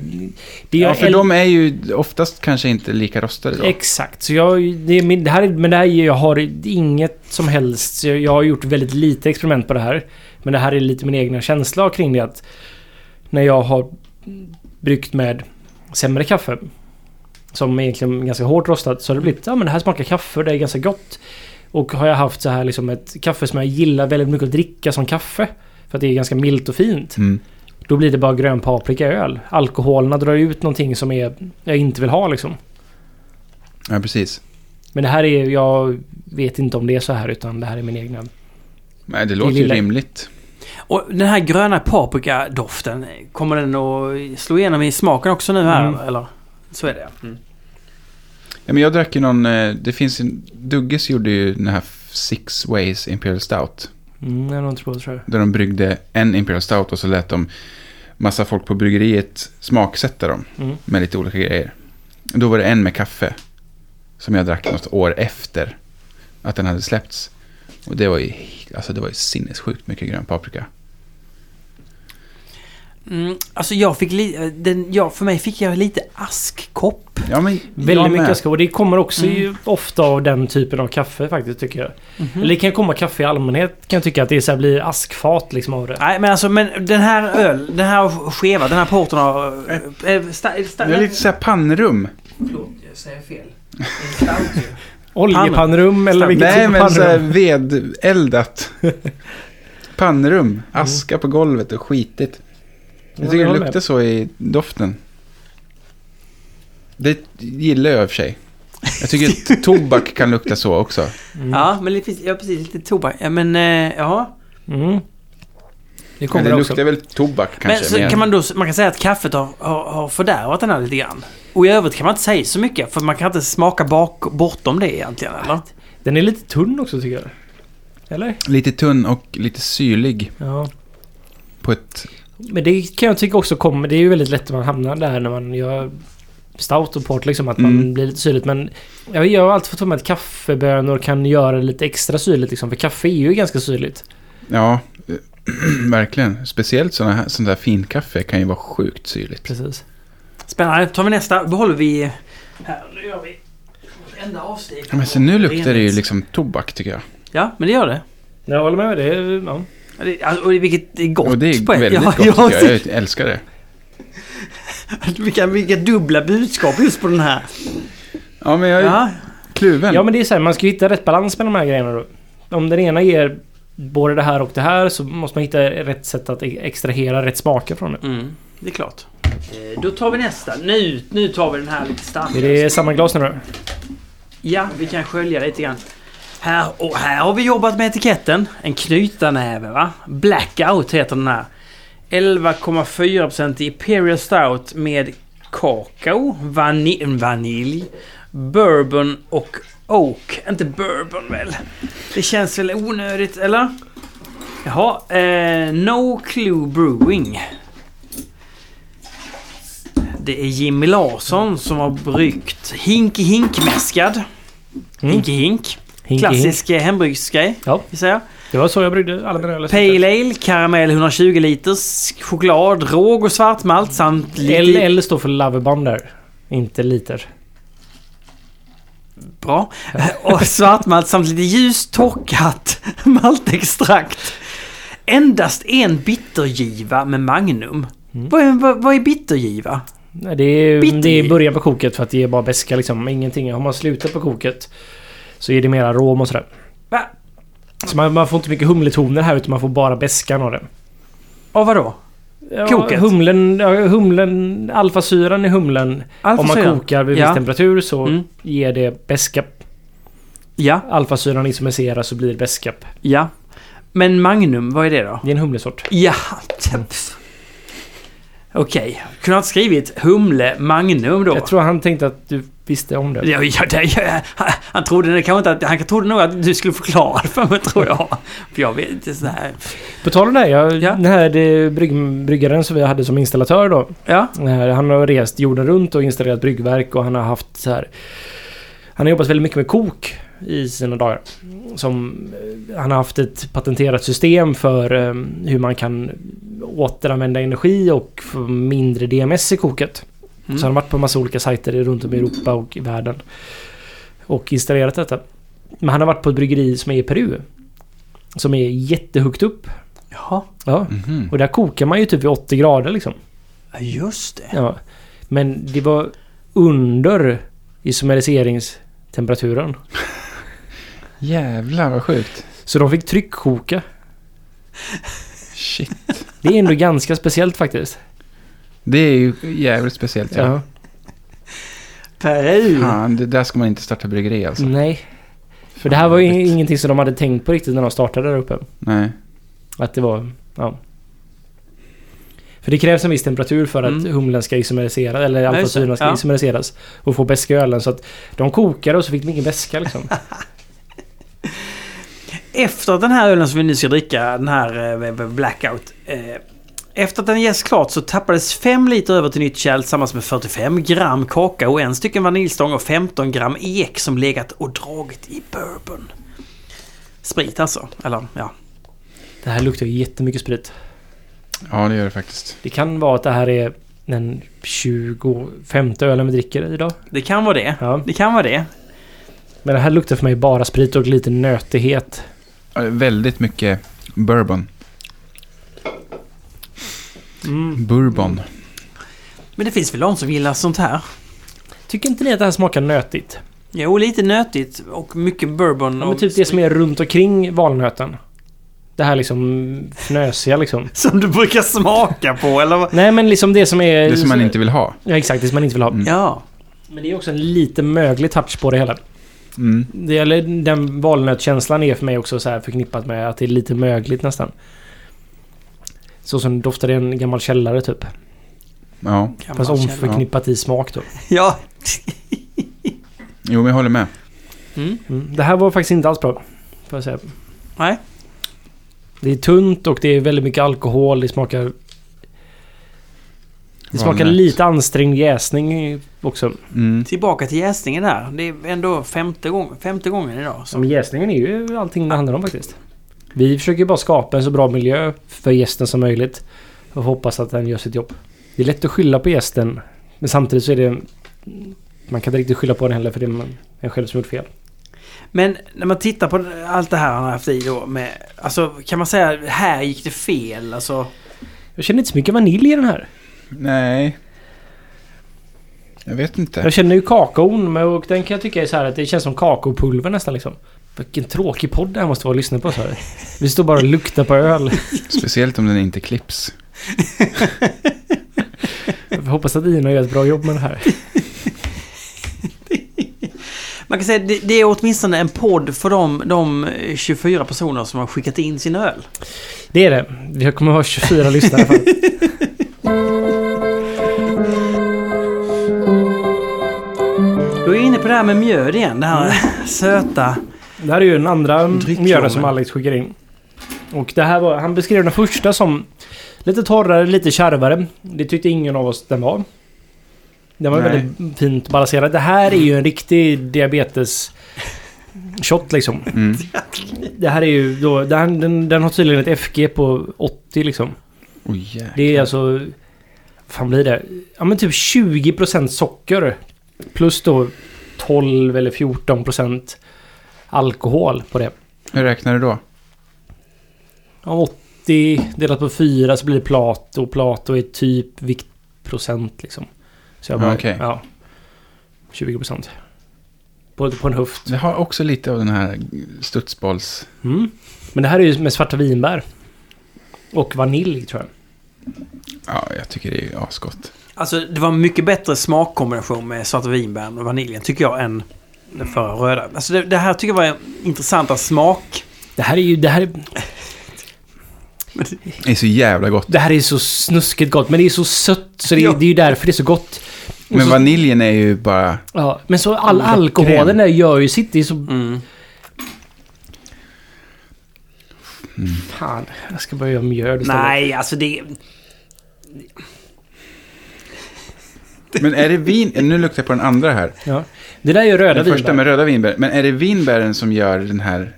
[SPEAKER 2] det är
[SPEAKER 3] Ja, för
[SPEAKER 2] äl-
[SPEAKER 3] de är ju oftast kanske inte lika rostade då.
[SPEAKER 2] Exakt. Så jag, det är min, det här, är- men det här är- jag har inget som helst. så Jag, jag har gjort väldigt lite experiment på det här. Men det här är lite min egna känsla kring det. Att när jag har bryggt med sämre kaffe. Som är egentligen ganska hårt rostat. Så har det blivit, ja men det här smakar kaffe och det är ganska gott. Och har jag haft så här liksom ett kaffe som jag gillar väldigt mycket att dricka som kaffe. För att det är ganska milt och fint.
[SPEAKER 3] Mm.
[SPEAKER 2] Då blir det bara grön paprika i öl. Alkoholerna drar ut någonting som är, jag inte vill ha liksom.
[SPEAKER 3] Ja, precis.
[SPEAKER 2] Men det här är, jag vet inte om det är så här utan det här är min egna.
[SPEAKER 3] Nej, det låter ju
[SPEAKER 2] lilla-
[SPEAKER 3] rimligt.
[SPEAKER 1] Och den här gröna paprikadoften, kommer den att slå igenom i smaken också nu här?
[SPEAKER 2] Mm.
[SPEAKER 1] Eller? Så är det. Mm.
[SPEAKER 3] Ja, men jag drack ju någon... eh, Det finns en... Dugges gjorde ju den här Six Ways Imperial Stout.
[SPEAKER 2] Mm, jag har inte provat tror jag.
[SPEAKER 3] Där de bryggde en Imperial Stout och så lät de massa folk på bryggeriet smaksätta dem.
[SPEAKER 2] Mm.
[SPEAKER 3] med lite olika grejer. Då var det en med kaffe. Som jag drack något år efter att den hade släppts. Och det var ju, alltså det var ju sinnessjukt mycket grön paprika.
[SPEAKER 1] Mm, alltså jag fick li- den, ja, för mig fick jag lite askkopp.
[SPEAKER 3] Ja, men
[SPEAKER 2] Väldigt mycket
[SPEAKER 3] ask.
[SPEAKER 2] aska och det kommer också ju ofta av den typen av kaffe faktiskt tycker jag. Eller det kan komma kaffe i allmänhet kan jag tycka att det är så här, blir askfat liksom av det.
[SPEAKER 1] Nej men alltså men den här öl, den här skeva, den här porten har... Äh, sta, sta,
[SPEAKER 3] Det är lite såhär pannrum.
[SPEAKER 1] Förlåt, jag säger fel. Det är stout ju.
[SPEAKER 2] Oljepannrum eller vilket typ
[SPEAKER 3] Nej,
[SPEAKER 2] av
[SPEAKER 3] men såhär
[SPEAKER 2] pannrum.
[SPEAKER 3] vedeldat. pannrum. Aska på golvet och skitigt. Jag tycker
[SPEAKER 2] Mm. jag
[SPEAKER 3] det
[SPEAKER 2] håller
[SPEAKER 3] luktar
[SPEAKER 2] med.
[SPEAKER 3] så i doften. Det gillar jag i och för sig. Jag tycker att tobak kan lukta så också.
[SPEAKER 1] Ja, men det finns, ja, precis, lite tobak. Ja, men eh, ja.
[SPEAKER 2] Mm. Det
[SPEAKER 3] Men
[SPEAKER 2] kommer
[SPEAKER 3] det
[SPEAKER 2] det också.
[SPEAKER 3] luktar väl tobak kanske.
[SPEAKER 1] men så
[SPEAKER 3] mer.
[SPEAKER 1] kan man då, man kan säga att kaffet har, har, har fördärvat den här lite grann. Och i övrigt kan man inte säga så mycket, för man kan inte smaka bak, bortom det egentligen, eller?
[SPEAKER 2] Den är lite tunn också tycker jag. Eller?
[SPEAKER 3] Lite tunn och lite syrlig
[SPEAKER 2] Ja.
[SPEAKER 3] på ett...
[SPEAKER 2] Men det kan jag tycka också kommer... Det är ju väldigt lätt att man hamnar där när man gör stout och port liksom. Att man
[SPEAKER 3] Mm.
[SPEAKER 2] blir lite syrligt. Men jag, vet- jag har alltid fått för mig att kaffebönor kan göra det lite extra syrligt liksom. För kaffe är ju ganska syrligt.
[SPEAKER 3] Ja, verkligen. Speciellt sådana här, sånt här finkaffe kan ju vara sjukt syrligt.
[SPEAKER 2] Precis.
[SPEAKER 1] Spännande. Tar vi nästa. behåller vi... Här, nu gör vi... Enda avsteg.
[SPEAKER 3] Ja, men så nu luktar det ju liksom tobak tycker jag.
[SPEAKER 1] Ja, men det gör det.
[SPEAKER 2] Jag håller med. Det är, ja.
[SPEAKER 1] Ja, det- alltså, Och det- vilket är gott
[SPEAKER 3] Och det är
[SPEAKER 1] på ett-
[SPEAKER 3] väldigt
[SPEAKER 1] ja,
[SPEAKER 3] gott tycker
[SPEAKER 1] ja,
[SPEAKER 3] jag. Jag älskar det.
[SPEAKER 1] vilka, vilka dubbla budskap just på den här.
[SPEAKER 3] Ja, men jag är
[SPEAKER 1] Ja,
[SPEAKER 3] kluven.
[SPEAKER 2] Ja men det är så här, man ska ju hitta rätt balans med de här grejerna då. Om den ena ger både det här och det här så måste man hitta rätt sätt att e- extrahera rätt smaker från det.
[SPEAKER 1] mm, det är klart. Eh, Då tar vi nästa. Nu, nu tar vi den här lite
[SPEAKER 2] Är
[SPEAKER 1] starkare.
[SPEAKER 2] det samma glas nu då?
[SPEAKER 1] Ja, vi kan skölja lite grann. Här, och här har vi jobbat med etiketten. En knytarnäve va? Blackout heter den här. 11,4% Imperial Stout med kakao, vani- vanilj, bourbon och oak. Inte bourbon väl? Det känns väl onödigt, eller? Jaha, eh, No Clue Brewing. Det är Jimmy Larsson som har bryggt Hinky Hink-mäskad.
[SPEAKER 2] Mm.
[SPEAKER 1] Hinky Hink.
[SPEAKER 2] Hinky hink.
[SPEAKER 1] Klassisk eh, hembryggsgrej,
[SPEAKER 2] Ja.
[SPEAKER 1] gissar jag.
[SPEAKER 2] Det var så jag bryggde alla mina öl.
[SPEAKER 1] Pale Ale, karamell 120 liters, choklad, råg och svartmalt samt lite...
[SPEAKER 2] L, L står för loverband där. Inte liter.
[SPEAKER 1] Bra. Eh, Och svartmalt samt lite ljus torkat maltextrakt. Endast en bittergiva med Magnum.
[SPEAKER 2] Mm.
[SPEAKER 1] Vad, är, vad, vad är bittergiva?
[SPEAKER 2] Nej, Det är,
[SPEAKER 1] Bitter.
[SPEAKER 2] det är början på koket för att det är bara beska liksom. Ingenting. Har man slutat på koket så är det mera rom och sådär.
[SPEAKER 1] Va?
[SPEAKER 2] Så man, man får inte mycket humletoner här utan man får bara beskan av den.
[SPEAKER 1] Och vadå?
[SPEAKER 2] Ja,
[SPEAKER 1] Koket.
[SPEAKER 2] Humlen, ja, humlen, alfasyran i humlen. Om
[SPEAKER 1] Alfasyran.
[SPEAKER 2] man kokar vid
[SPEAKER 1] Ja.
[SPEAKER 2] viss temperatur så
[SPEAKER 1] Mm.
[SPEAKER 2] ger det beska.
[SPEAKER 1] Ja,
[SPEAKER 2] Alfasyran isomeriseras så blir det beska.
[SPEAKER 1] ja. Men Magnum, vad är det då?
[SPEAKER 2] Det är en humlesort.
[SPEAKER 1] Ja, tepf. Okej, kunde ha skrivit Humle Magnum då?
[SPEAKER 2] Jag tror han tänkte att du visste om det.
[SPEAKER 1] Ja, ja, det, ja, han- han trodde det kanske inte att, han trodde nog att du skulle förklara det för mig tror jag. För jag vet inte så här.
[SPEAKER 2] På tal om det, här, jag,
[SPEAKER 1] Ja.
[SPEAKER 2] den här det, brygg, bryggaren som vi hade som installatör då.
[SPEAKER 1] Ja,
[SPEAKER 2] den här, Eh, Han har rest jorden runt och installerat bryggverk och han har haft så här. Han har jobbat väldigt mycket med kok i sina dagar. Som, eh, han har haft ett patenterat system för eh, hur man kan återanvända energi och få mindre DMS i koket.
[SPEAKER 1] Mm.
[SPEAKER 2] Så han har varit på massa olika sajter runt om i Europa och i världen. Och installerat detta. Men han har varit på ett bryggeri som är i Peru. Som är jättehögt upp.
[SPEAKER 1] jaha.
[SPEAKER 2] Ja.
[SPEAKER 3] Mhm.
[SPEAKER 2] Och där kokar man ju typ vid 80 grader liksom.
[SPEAKER 1] Ja, just det.
[SPEAKER 2] Ja. Men det var under isomeriseringstemperaturen.
[SPEAKER 3] Jävlar vad sjukt.
[SPEAKER 2] Så de fick tryckkoka.
[SPEAKER 3] Shit.
[SPEAKER 2] Det är ändå ganska speciellt faktiskt.
[SPEAKER 3] Det är ju jävligt speciellt. Ja.
[SPEAKER 2] Ja.
[SPEAKER 1] Peru.
[SPEAKER 3] Fan, det där ska man inte starta bryggeri alltså.
[SPEAKER 2] Nej. För det här var ju ingenting som de hade tänkt på riktigt när de startade där uppe.
[SPEAKER 3] Nej.
[SPEAKER 2] Att det var... Ja. För det krävs en viss temperatur för att
[SPEAKER 1] Mm.
[SPEAKER 2] humlen ska isomeriseras, eller
[SPEAKER 1] just det.
[SPEAKER 2] alfasyran ska
[SPEAKER 1] Ja.
[SPEAKER 2] isomeriseras. Och få beska i ölen. Så att de kokade och så fick de ingen beska liksom.
[SPEAKER 1] Efter att den här ölen som vi nu ska dricka, den här eh, Blackout. Eh, efter att den jäst klart så tappades 5 liter över till nytt kärl tillsammans med 45 gram kakao, en stycken vaniljstång och 15 gram ek som legat och dragit i bourbon. Sprit alltså, eller ja.
[SPEAKER 2] Det här luktar ju jättemycket sprit.
[SPEAKER 3] Ja, det gör det faktiskt.
[SPEAKER 2] Det kan vara att det här är den 25 ölen vi dricker idag.
[SPEAKER 1] Det kan vara det.
[SPEAKER 2] Ja.
[SPEAKER 1] Det kan vara det.
[SPEAKER 2] Men det här luktar för mig bara sprit och lite nötighet.
[SPEAKER 3] Ja, det är Väldigt mycket bourbon.
[SPEAKER 2] Mm.
[SPEAKER 3] Bourbon.
[SPEAKER 1] Men det finns väl de som gillar sånt här?
[SPEAKER 2] Tycker inte ni att det här smakar nötigt?
[SPEAKER 1] Jo, lite nötigt och mycket bourbon.
[SPEAKER 2] Ja,
[SPEAKER 1] och
[SPEAKER 2] men typ det som är runt omkring valnöten. Det här liksom fnösiga liksom.
[SPEAKER 1] Som du brukar smaka på, eller vad?
[SPEAKER 2] Nej men liksom det som är...
[SPEAKER 3] Det som man inte vill ha.
[SPEAKER 2] Ja exakt, det som man inte vill ha.
[SPEAKER 3] Mm.
[SPEAKER 1] Ja.
[SPEAKER 2] Men det är också en lite möglig touch på det hela.
[SPEAKER 4] Mm.
[SPEAKER 2] Det, eller den valnötkänslan är för mig också så här förknippat med att det är lite mögligt nästan. Så som doftar i en gammal källare typ.
[SPEAKER 3] Ja,
[SPEAKER 1] Gammal
[SPEAKER 2] Fast
[SPEAKER 1] källa.
[SPEAKER 2] omförknippat i smak då.
[SPEAKER 1] Ja,
[SPEAKER 3] jo men jag håller med.
[SPEAKER 2] Mm. Det här var faktiskt inte alls bra. Får jag säga.
[SPEAKER 1] nej.
[SPEAKER 2] Det är tunt och det är väldigt mycket alkohol. Det smakar... Det smakar
[SPEAKER 3] Valnöt.
[SPEAKER 2] lite ansträngd jäsning också.
[SPEAKER 3] Mm.
[SPEAKER 1] Tillbaka till jäsningen där. Det är ändå femte, gång, femte gången idag.
[SPEAKER 2] Som jäsningen är ju allting det handlar om faktiskt. Vi försöker ju bara skapa en så bra miljö för gästen som möjligt. Och hoppas att den gör sitt jobb. Det är lätt att skylla på gästen. Men samtidigt så är det... Man kan inte riktigt skylla på den heller för det är man- en själv som gjort fel.
[SPEAKER 1] Men när man tittar på allt det här han har haft i då med... Alltså kan man säga här gick det fel? Alltså...
[SPEAKER 2] Jag känner inte så mycket vanilj i den här.
[SPEAKER 4] Nej. Jag vet inte.
[SPEAKER 2] Jag känner ju kakaon men- och den kan jag tycka är så här att det känns som kakaopulver nästan liksom. Vilken tråkig podd det här måste vara att lyssna på så här. Vi står bara och luktar på öl.
[SPEAKER 3] Speciellt om den inte klipps.
[SPEAKER 2] Jag hoppas att Ina gör ett bra jobb med det här.
[SPEAKER 1] Man kan säga det, det är åtminstone en podd för de, de 24 personer som har skickat in sin öl.
[SPEAKER 2] Det är det. Jag kommer ha 24 lyssnare i alla fall.
[SPEAKER 1] Då är jag inne på det här med mjöd igen. Det här söta.
[SPEAKER 2] Det här är ju den andra
[SPEAKER 1] Dryck,
[SPEAKER 2] mjölen
[SPEAKER 1] Johnny.
[SPEAKER 2] som Alex skickar in. Och det här var, han beskrev den första som lite torrare, lite kärvare. Det tyckte ingen av oss den var. Den var
[SPEAKER 4] Nej.
[SPEAKER 2] väldigt fint balanserad. Det här är ju en riktig diabetes shot liksom.
[SPEAKER 3] Mm.
[SPEAKER 2] Det här är ju då, den, den, den har tydligen ett FG på 80 liksom.
[SPEAKER 3] Oj, jäklar.
[SPEAKER 2] Det är alltså... vad fan blir det? Ja men typ 20% socker. Plus då 12 eller 14% alkohol på det.
[SPEAKER 3] Hur räknar du då?
[SPEAKER 2] Om 80 delat på 4 så blir det plato. Plato är typ viktprocent liksom. Så jag bara...
[SPEAKER 3] Ja, okej.
[SPEAKER 2] Ja. 20%. På, på en höft.
[SPEAKER 3] Det har också lite av den här studsbolls...
[SPEAKER 2] Mm. Men det här är ju med svarta vinbär. Och vanilj tror jag.
[SPEAKER 3] Ja, jag tycker det är asgott.
[SPEAKER 1] Alltså det var en mycket bättre smakkombination med svarta vinbären och vaniljen tycker jag än den förra röda. Alltså det, det här tycker jag var intressanta smak.
[SPEAKER 2] Det här är ju... Det här är,
[SPEAKER 3] Det är så jävla gott.
[SPEAKER 2] Det här är så snuskigt gott, men det är så sött så det,
[SPEAKER 1] Ja.
[SPEAKER 2] det är ju därför det är så gott. Och
[SPEAKER 3] Men
[SPEAKER 2] så,
[SPEAKER 3] vaniljen är ju bara...
[SPEAKER 2] ja, men så all alkoholen där gör ju sitt. Det är så... Fan, jag ska börja göra mjöl istället.
[SPEAKER 1] Nej, alltså det...
[SPEAKER 3] Men är det vin... Nu luktar jag på den andra här.
[SPEAKER 2] Ja. Det där är ju röda
[SPEAKER 3] Den första
[SPEAKER 2] vinbär.
[SPEAKER 3] med röda vinbär. Men är det vinbären som gör den här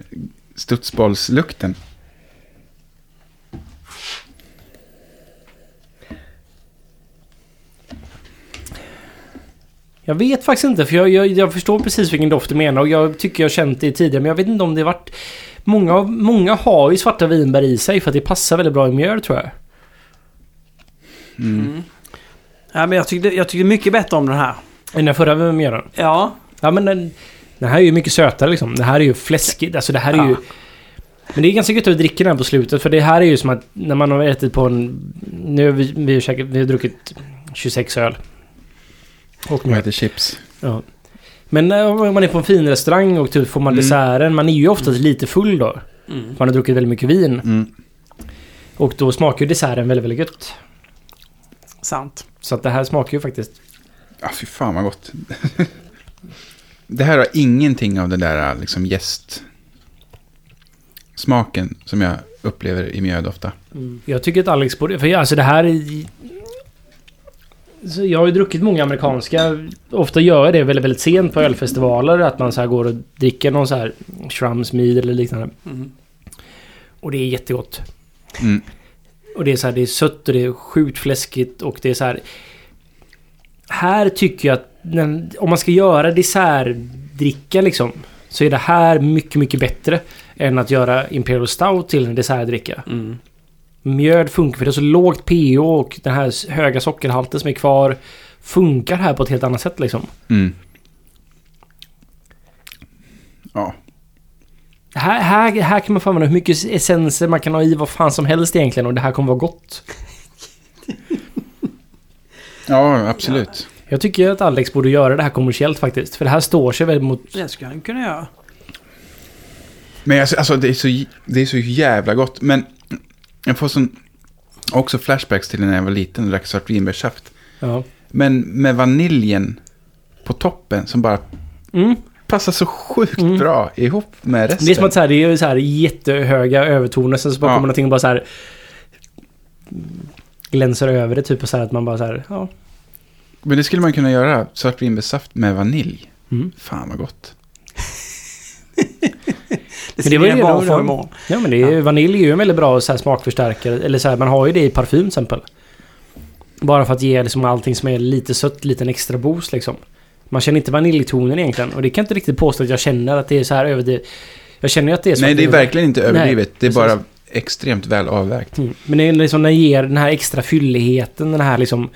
[SPEAKER 3] studsbollslukten?
[SPEAKER 2] Jag vet faktiskt inte, för jag, jag, jag förstår precis vilken doft du menar och jag tycker jag känt det tidigare, men jag vet inte om det varit... Många, av- många har ju svarta vinbär i sig för att det passar väldigt bra i mjöl tror jag.
[SPEAKER 1] Ja, men jag tyckte, jag tyckte mycket bättre om den här.
[SPEAKER 2] Än den förra mjölen.
[SPEAKER 1] Ja,
[SPEAKER 2] Ja men den, den här är ju mycket sötare liksom. Det här är ju fläskigt. Alltså det här är ju...
[SPEAKER 1] Ja.
[SPEAKER 2] Men det är ganska gött att dricka den här på slutet för det här är ju som att när man har ätit på en... Nu har vi, vi, har käkat, vi har druckit 26 öl. Och
[SPEAKER 3] Och
[SPEAKER 2] mjöl.
[SPEAKER 3] äter chips.
[SPEAKER 2] Ja. Men eh, om man är på en fin restaurang och typ får man
[SPEAKER 3] Mm.
[SPEAKER 2] desserten. Man är ju oftast lite full då. Man har druckit väldigt mycket vin.
[SPEAKER 3] Mm.
[SPEAKER 2] Och då smakar ju desserten väldigt, väldigt gött.
[SPEAKER 1] sant.
[SPEAKER 2] Så att det här smakar ju faktiskt...
[SPEAKER 3] Ja, fy fan vad gott. det här har ingenting av den där liksom gäst... Smaken som jag upplever i mjöd ofta.
[SPEAKER 2] Mm. Jag tycker att Alex borde... För jag- alltså det här är... Så jag har ju druckit många amerikanska. Ofta gör jag det väldigt, väldigt sent på ölfestivaler. Att man så här går och dricker någon så här Shrums Mead eller liknande.
[SPEAKER 1] Mm.
[SPEAKER 2] Och det är jättegott.
[SPEAKER 3] Mm.
[SPEAKER 2] Och det är så här, det är sött och det är sjukt fläskigt och det är så här... Här tycker jag att den, om man ska göra dessertdricka liksom. Så är det här mycket, mycket bättre. Än att göra Imperial Stout till en dessertdricka.
[SPEAKER 1] Mm.
[SPEAKER 2] Mjöd funkar för det är så lågt pH och den här s- höga sockerhalten som är kvar funkar här på ett helt annat sätt liksom.
[SPEAKER 3] Mm. Ja.
[SPEAKER 2] Här, här, här kan man få använda hur mycket essenser man kan ha i vad fan som helst egentligen och det här kommer vara gott.
[SPEAKER 3] ja, absolut.
[SPEAKER 2] Jag tycker att Alex borde göra det här kommersiellt faktiskt. För det här står sig väl mot...
[SPEAKER 6] Det skulle han kunna göra.
[SPEAKER 3] Men alltså, alltså det, är så, det är så jävla gott. Men jag får sån, också flashbacks till när jag var liten och drack svart vinbärssaft.
[SPEAKER 2] Ja.
[SPEAKER 3] Men med vaniljen på toppen som bara
[SPEAKER 2] Mm.
[SPEAKER 3] passar så sjukt
[SPEAKER 2] Mm.
[SPEAKER 3] bra ihop med resten.
[SPEAKER 2] Det är som att så här, det är ju så här jättehöga övertoner, sen så bara
[SPEAKER 3] Ja.
[SPEAKER 2] kommer någonting och bara så här glänser över det typ och så här att man bara så här, ja.
[SPEAKER 3] Men det skulle man kunna göra, svart vinbärssaft med vanilj.
[SPEAKER 2] Mm.
[SPEAKER 3] Fan vad gott.
[SPEAKER 1] Det
[SPEAKER 2] det
[SPEAKER 1] ser
[SPEAKER 2] var
[SPEAKER 1] mina
[SPEAKER 2] ju
[SPEAKER 1] barn
[SPEAKER 2] då-
[SPEAKER 1] få imorgon.
[SPEAKER 2] Ja men det är, vanilj är ju en väldigt bra så här smakförstärkare, eller så här, man har ju det i parfym till exempel. Bara för att ge liksom allting som är lite sött, lite en extra boost liksom. Man känner inte vaniljtonen egentligen och det kan jag inte riktigt påstå att jag känner att det är så här överdrivet. Jag känner ju att det är så
[SPEAKER 3] Nej,
[SPEAKER 2] att
[SPEAKER 3] det är verkligen inte överdrivet. det är
[SPEAKER 2] precis.
[SPEAKER 3] bara extremt väl avvägt.
[SPEAKER 2] Mm. Men det är liksom den ger den här extra fylligheten, den här liksom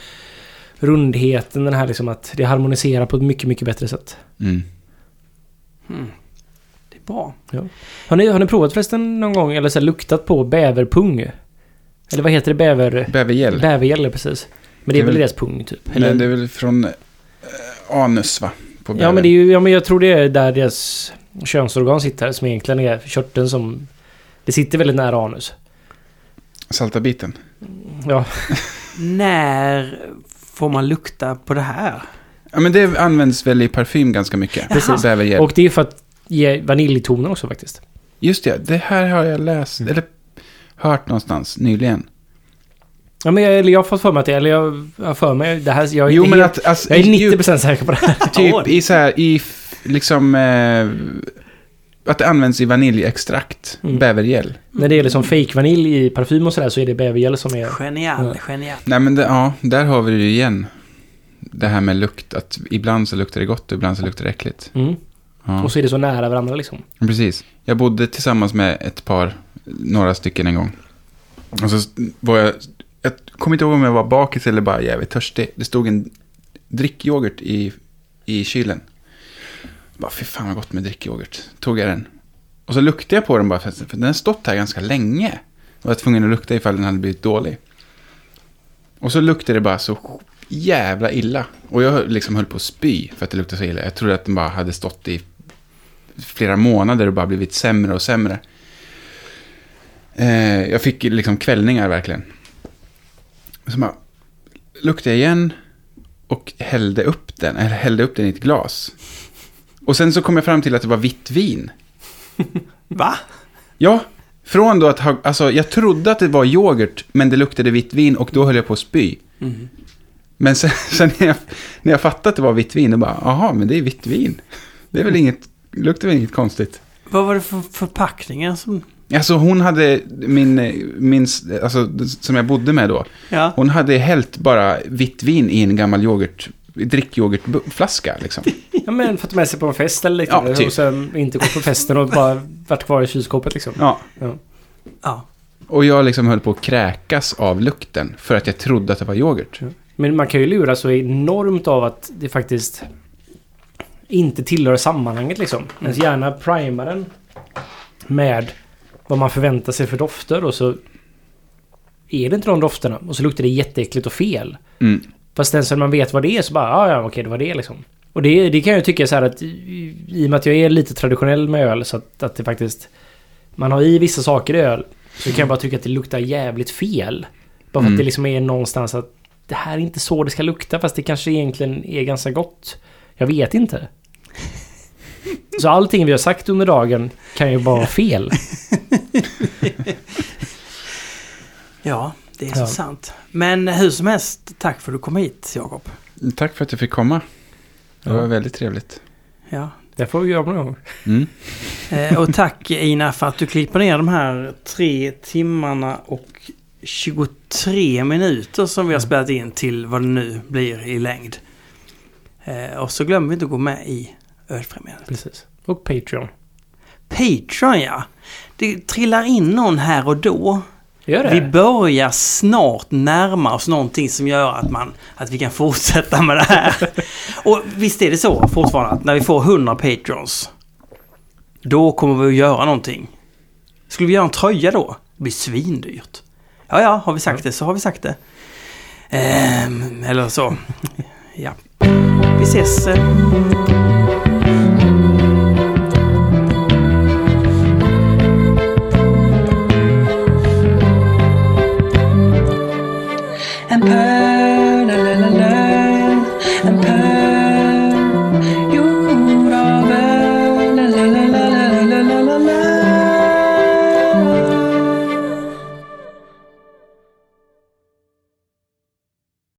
[SPEAKER 2] rundheten, den här liksom att det harmoniserar på ett mycket, mycket bättre sätt.
[SPEAKER 3] Mm.
[SPEAKER 1] Det är bra.
[SPEAKER 2] Har ni, har ni provat förresten någon gång, eller så här, luktat på bäverpung? Eller vad heter det? Bäver...
[SPEAKER 3] Bävergäll.
[SPEAKER 2] Bävergäll, precis. Men det är
[SPEAKER 3] Det är
[SPEAKER 2] väl
[SPEAKER 3] väl-
[SPEAKER 2] deras pung, typ? Eller...
[SPEAKER 3] Nej, det är väl från eh, anus va? På
[SPEAKER 2] Ja,
[SPEAKER 3] bäver.
[SPEAKER 2] men det är ju, ja, men jag tror det är där deras könsorgan sitter, som egentligen är körteln som... Det sitter väldigt nära anus.
[SPEAKER 3] Salta biten.
[SPEAKER 2] Ja,
[SPEAKER 1] När får man lukta på det här?
[SPEAKER 3] Ja, men det används väl i parfym ganska mycket.
[SPEAKER 1] Precis.
[SPEAKER 3] Bävergäll.
[SPEAKER 2] och det är ju för att ge vaniljtoner också faktiskt.
[SPEAKER 3] Just det, det här har jag läst,
[SPEAKER 2] Mm.
[SPEAKER 3] eller hört någonstans nyligen.
[SPEAKER 2] Ja, men jag, eller jag har fått för mig att det, eller jag jag har för mig det här, jag är,
[SPEAKER 3] Jo,
[SPEAKER 2] inte
[SPEAKER 3] men
[SPEAKER 2] helt,
[SPEAKER 3] att, alltså,
[SPEAKER 2] jag är
[SPEAKER 3] i
[SPEAKER 2] 90% säker på det här.
[SPEAKER 3] djup- typ i så här, i f- liksom, eh, att det används i vaniljextrakt,
[SPEAKER 2] Mm.
[SPEAKER 3] bävergäll.
[SPEAKER 2] När det gäller som fake vanilj i parfym och sådär så är det bävergäll som är...
[SPEAKER 1] Genial,
[SPEAKER 2] Ja.
[SPEAKER 1] genial.
[SPEAKER 3] Nej, men det, ja, där har vi det ju igen. Det här med lukt, att ibland så luktar det gott och ibland så luktar det äckligt.
[SPEAKER 2] Mm.
[SPEAKER 3] Ja.
[SPEAKER 2] Och så är det så nära varandra liksom.
[SPEAKER 3] Precis. Jag bodde tillsammans med ett par, några stycken en gång. Och så var jag, jag kommer inte ihåg om jag var bakis eller bara jävligt törstig. Det stod en drickyoghurt i, i kylen. Bara, fy fan vad gott med drickyoghurt. Tog jag den. Och så luktade jag på den bara, för för den har stått här ganska länge. Jag var tvungen att lukta ifall den hade blivit dålig. Och så luktade det bara så jävla illa. Och jag liksom höll på att spy för att det luktade så illa. Jag trodde att den bara hade stått i flera månader och bara blivit sämre och sämre. Eh, jag fick ju liksom kvällningar verkligen. Så bara luktade jag igen och hällde upp den, eller hällde upp den i ett glas. Och sen så kom jag fram till att det var vitt vin.
[SPEAKER 1] Va?
[SPEAKER 3] Ja, från då att ha, alltså jag trodde att det var yoghurt, men det luktade vitt vin och då höll jag på att spy. Men sen, sen när, jag, när jag fattade att det var vitt vin, då bara, aha, men det är vitt vin. Det är väl inget, luktar väl inget konstigt.
[SPEAKER 1] Vad var det för förpackningar som...
[SPEAKER 3] Alltså hon hade, min, eh, min, alltså som jag bodde med då,
[SPEAKER 1] Ja.
[SPEAKER 3] hon hade hällt bara vitt vin i en gammal yoghurt, drickyoghurtflaska liksom.
[SPEAKER 2] Ja men för att ta med sig på en fest eller liknande.
[SPEAKER 3] Ja, typ.
[SPEAKER 2] Och sen inte gå på festen och bara varit kvar i kylskåpet liksom.
[SPEAKER 3] Ja.
[SPEAKER 1] ja.
[SPEAKER 3] Och jag liksom höll på att kräkas av lukten för att jag trodde att det var yoghurt.
[SPEAKER 2] Men man kan ju lura så enormt av att det faktiskt inte tillhör sammanhanget liksom. Ens hjärna primar den med vad man förväntar sig för dofter och så är det inte de dofterna och så luktar det jätteäckligt och fel.
[SPEAKER 3] Mm.
[SPEAKER 2] Fast sen så när man vet vad det är så bara ah, ja okej det var det liksom. Och det, det kan jag ju tycka så här att i i och med att jag är lite traditionell med öl så att, att det faktiskt man har i vissa saker i öl så kan jag bara tycka att det luktar jävligt fel. Bara för att
[SPEAKER 3] Mm.
[SPEAKER 2] det liksom är någonstans att det här är inte så det ska lukta fast det kanske egentligen är ganska gott. Jag vet inte. Så allting vi har sagt under dagen kan ju bara vara fel.
[SPEAKER 1] Ja, det är så
[SPEAKER 2] Ja.
[SPEAKER 1] sant. Men hur som helst, tack för att du kom hit, Jakob.
[SPEAKER 3] Tack för att jag fick komma. Det var
[SPEAKER 2] Ja.
[SPEAKER 3] väldigt trevligt.
[SPEAKER 1] Ja.
[SPEAKER 2] Det får vi göra någon gång.
[SPEAKER 3] Mm.
[SPEAKER 1] Eh, och tack Ina för att du klipper ner de här tre timmarna och 23 minuter som vi har spelat in till vad det nu blir i längd. Eh, och så glömmer vi inte att gå med i Ölfrämjandet.
[SPEAKER 2] Precis. Och Patreon.
[SPEAKER 1] Patreon ja. Det trillar in någon här och då.
[SPEAKER 2] Gör det.
[SPEAKER 1] Vi börjar snart närma oss någonting som gör att, man, att vi kan fortsätta med det här. Och visst är det så fortfarande att när vi får 100 patrons då kommer vi att göra någonting. Skulle vi göra en tröja då? Det blir svindyrt. Ja, ja, har vi sagt det så har vi sagt det. Ehm, eller så. Ja. Vi ses! eh,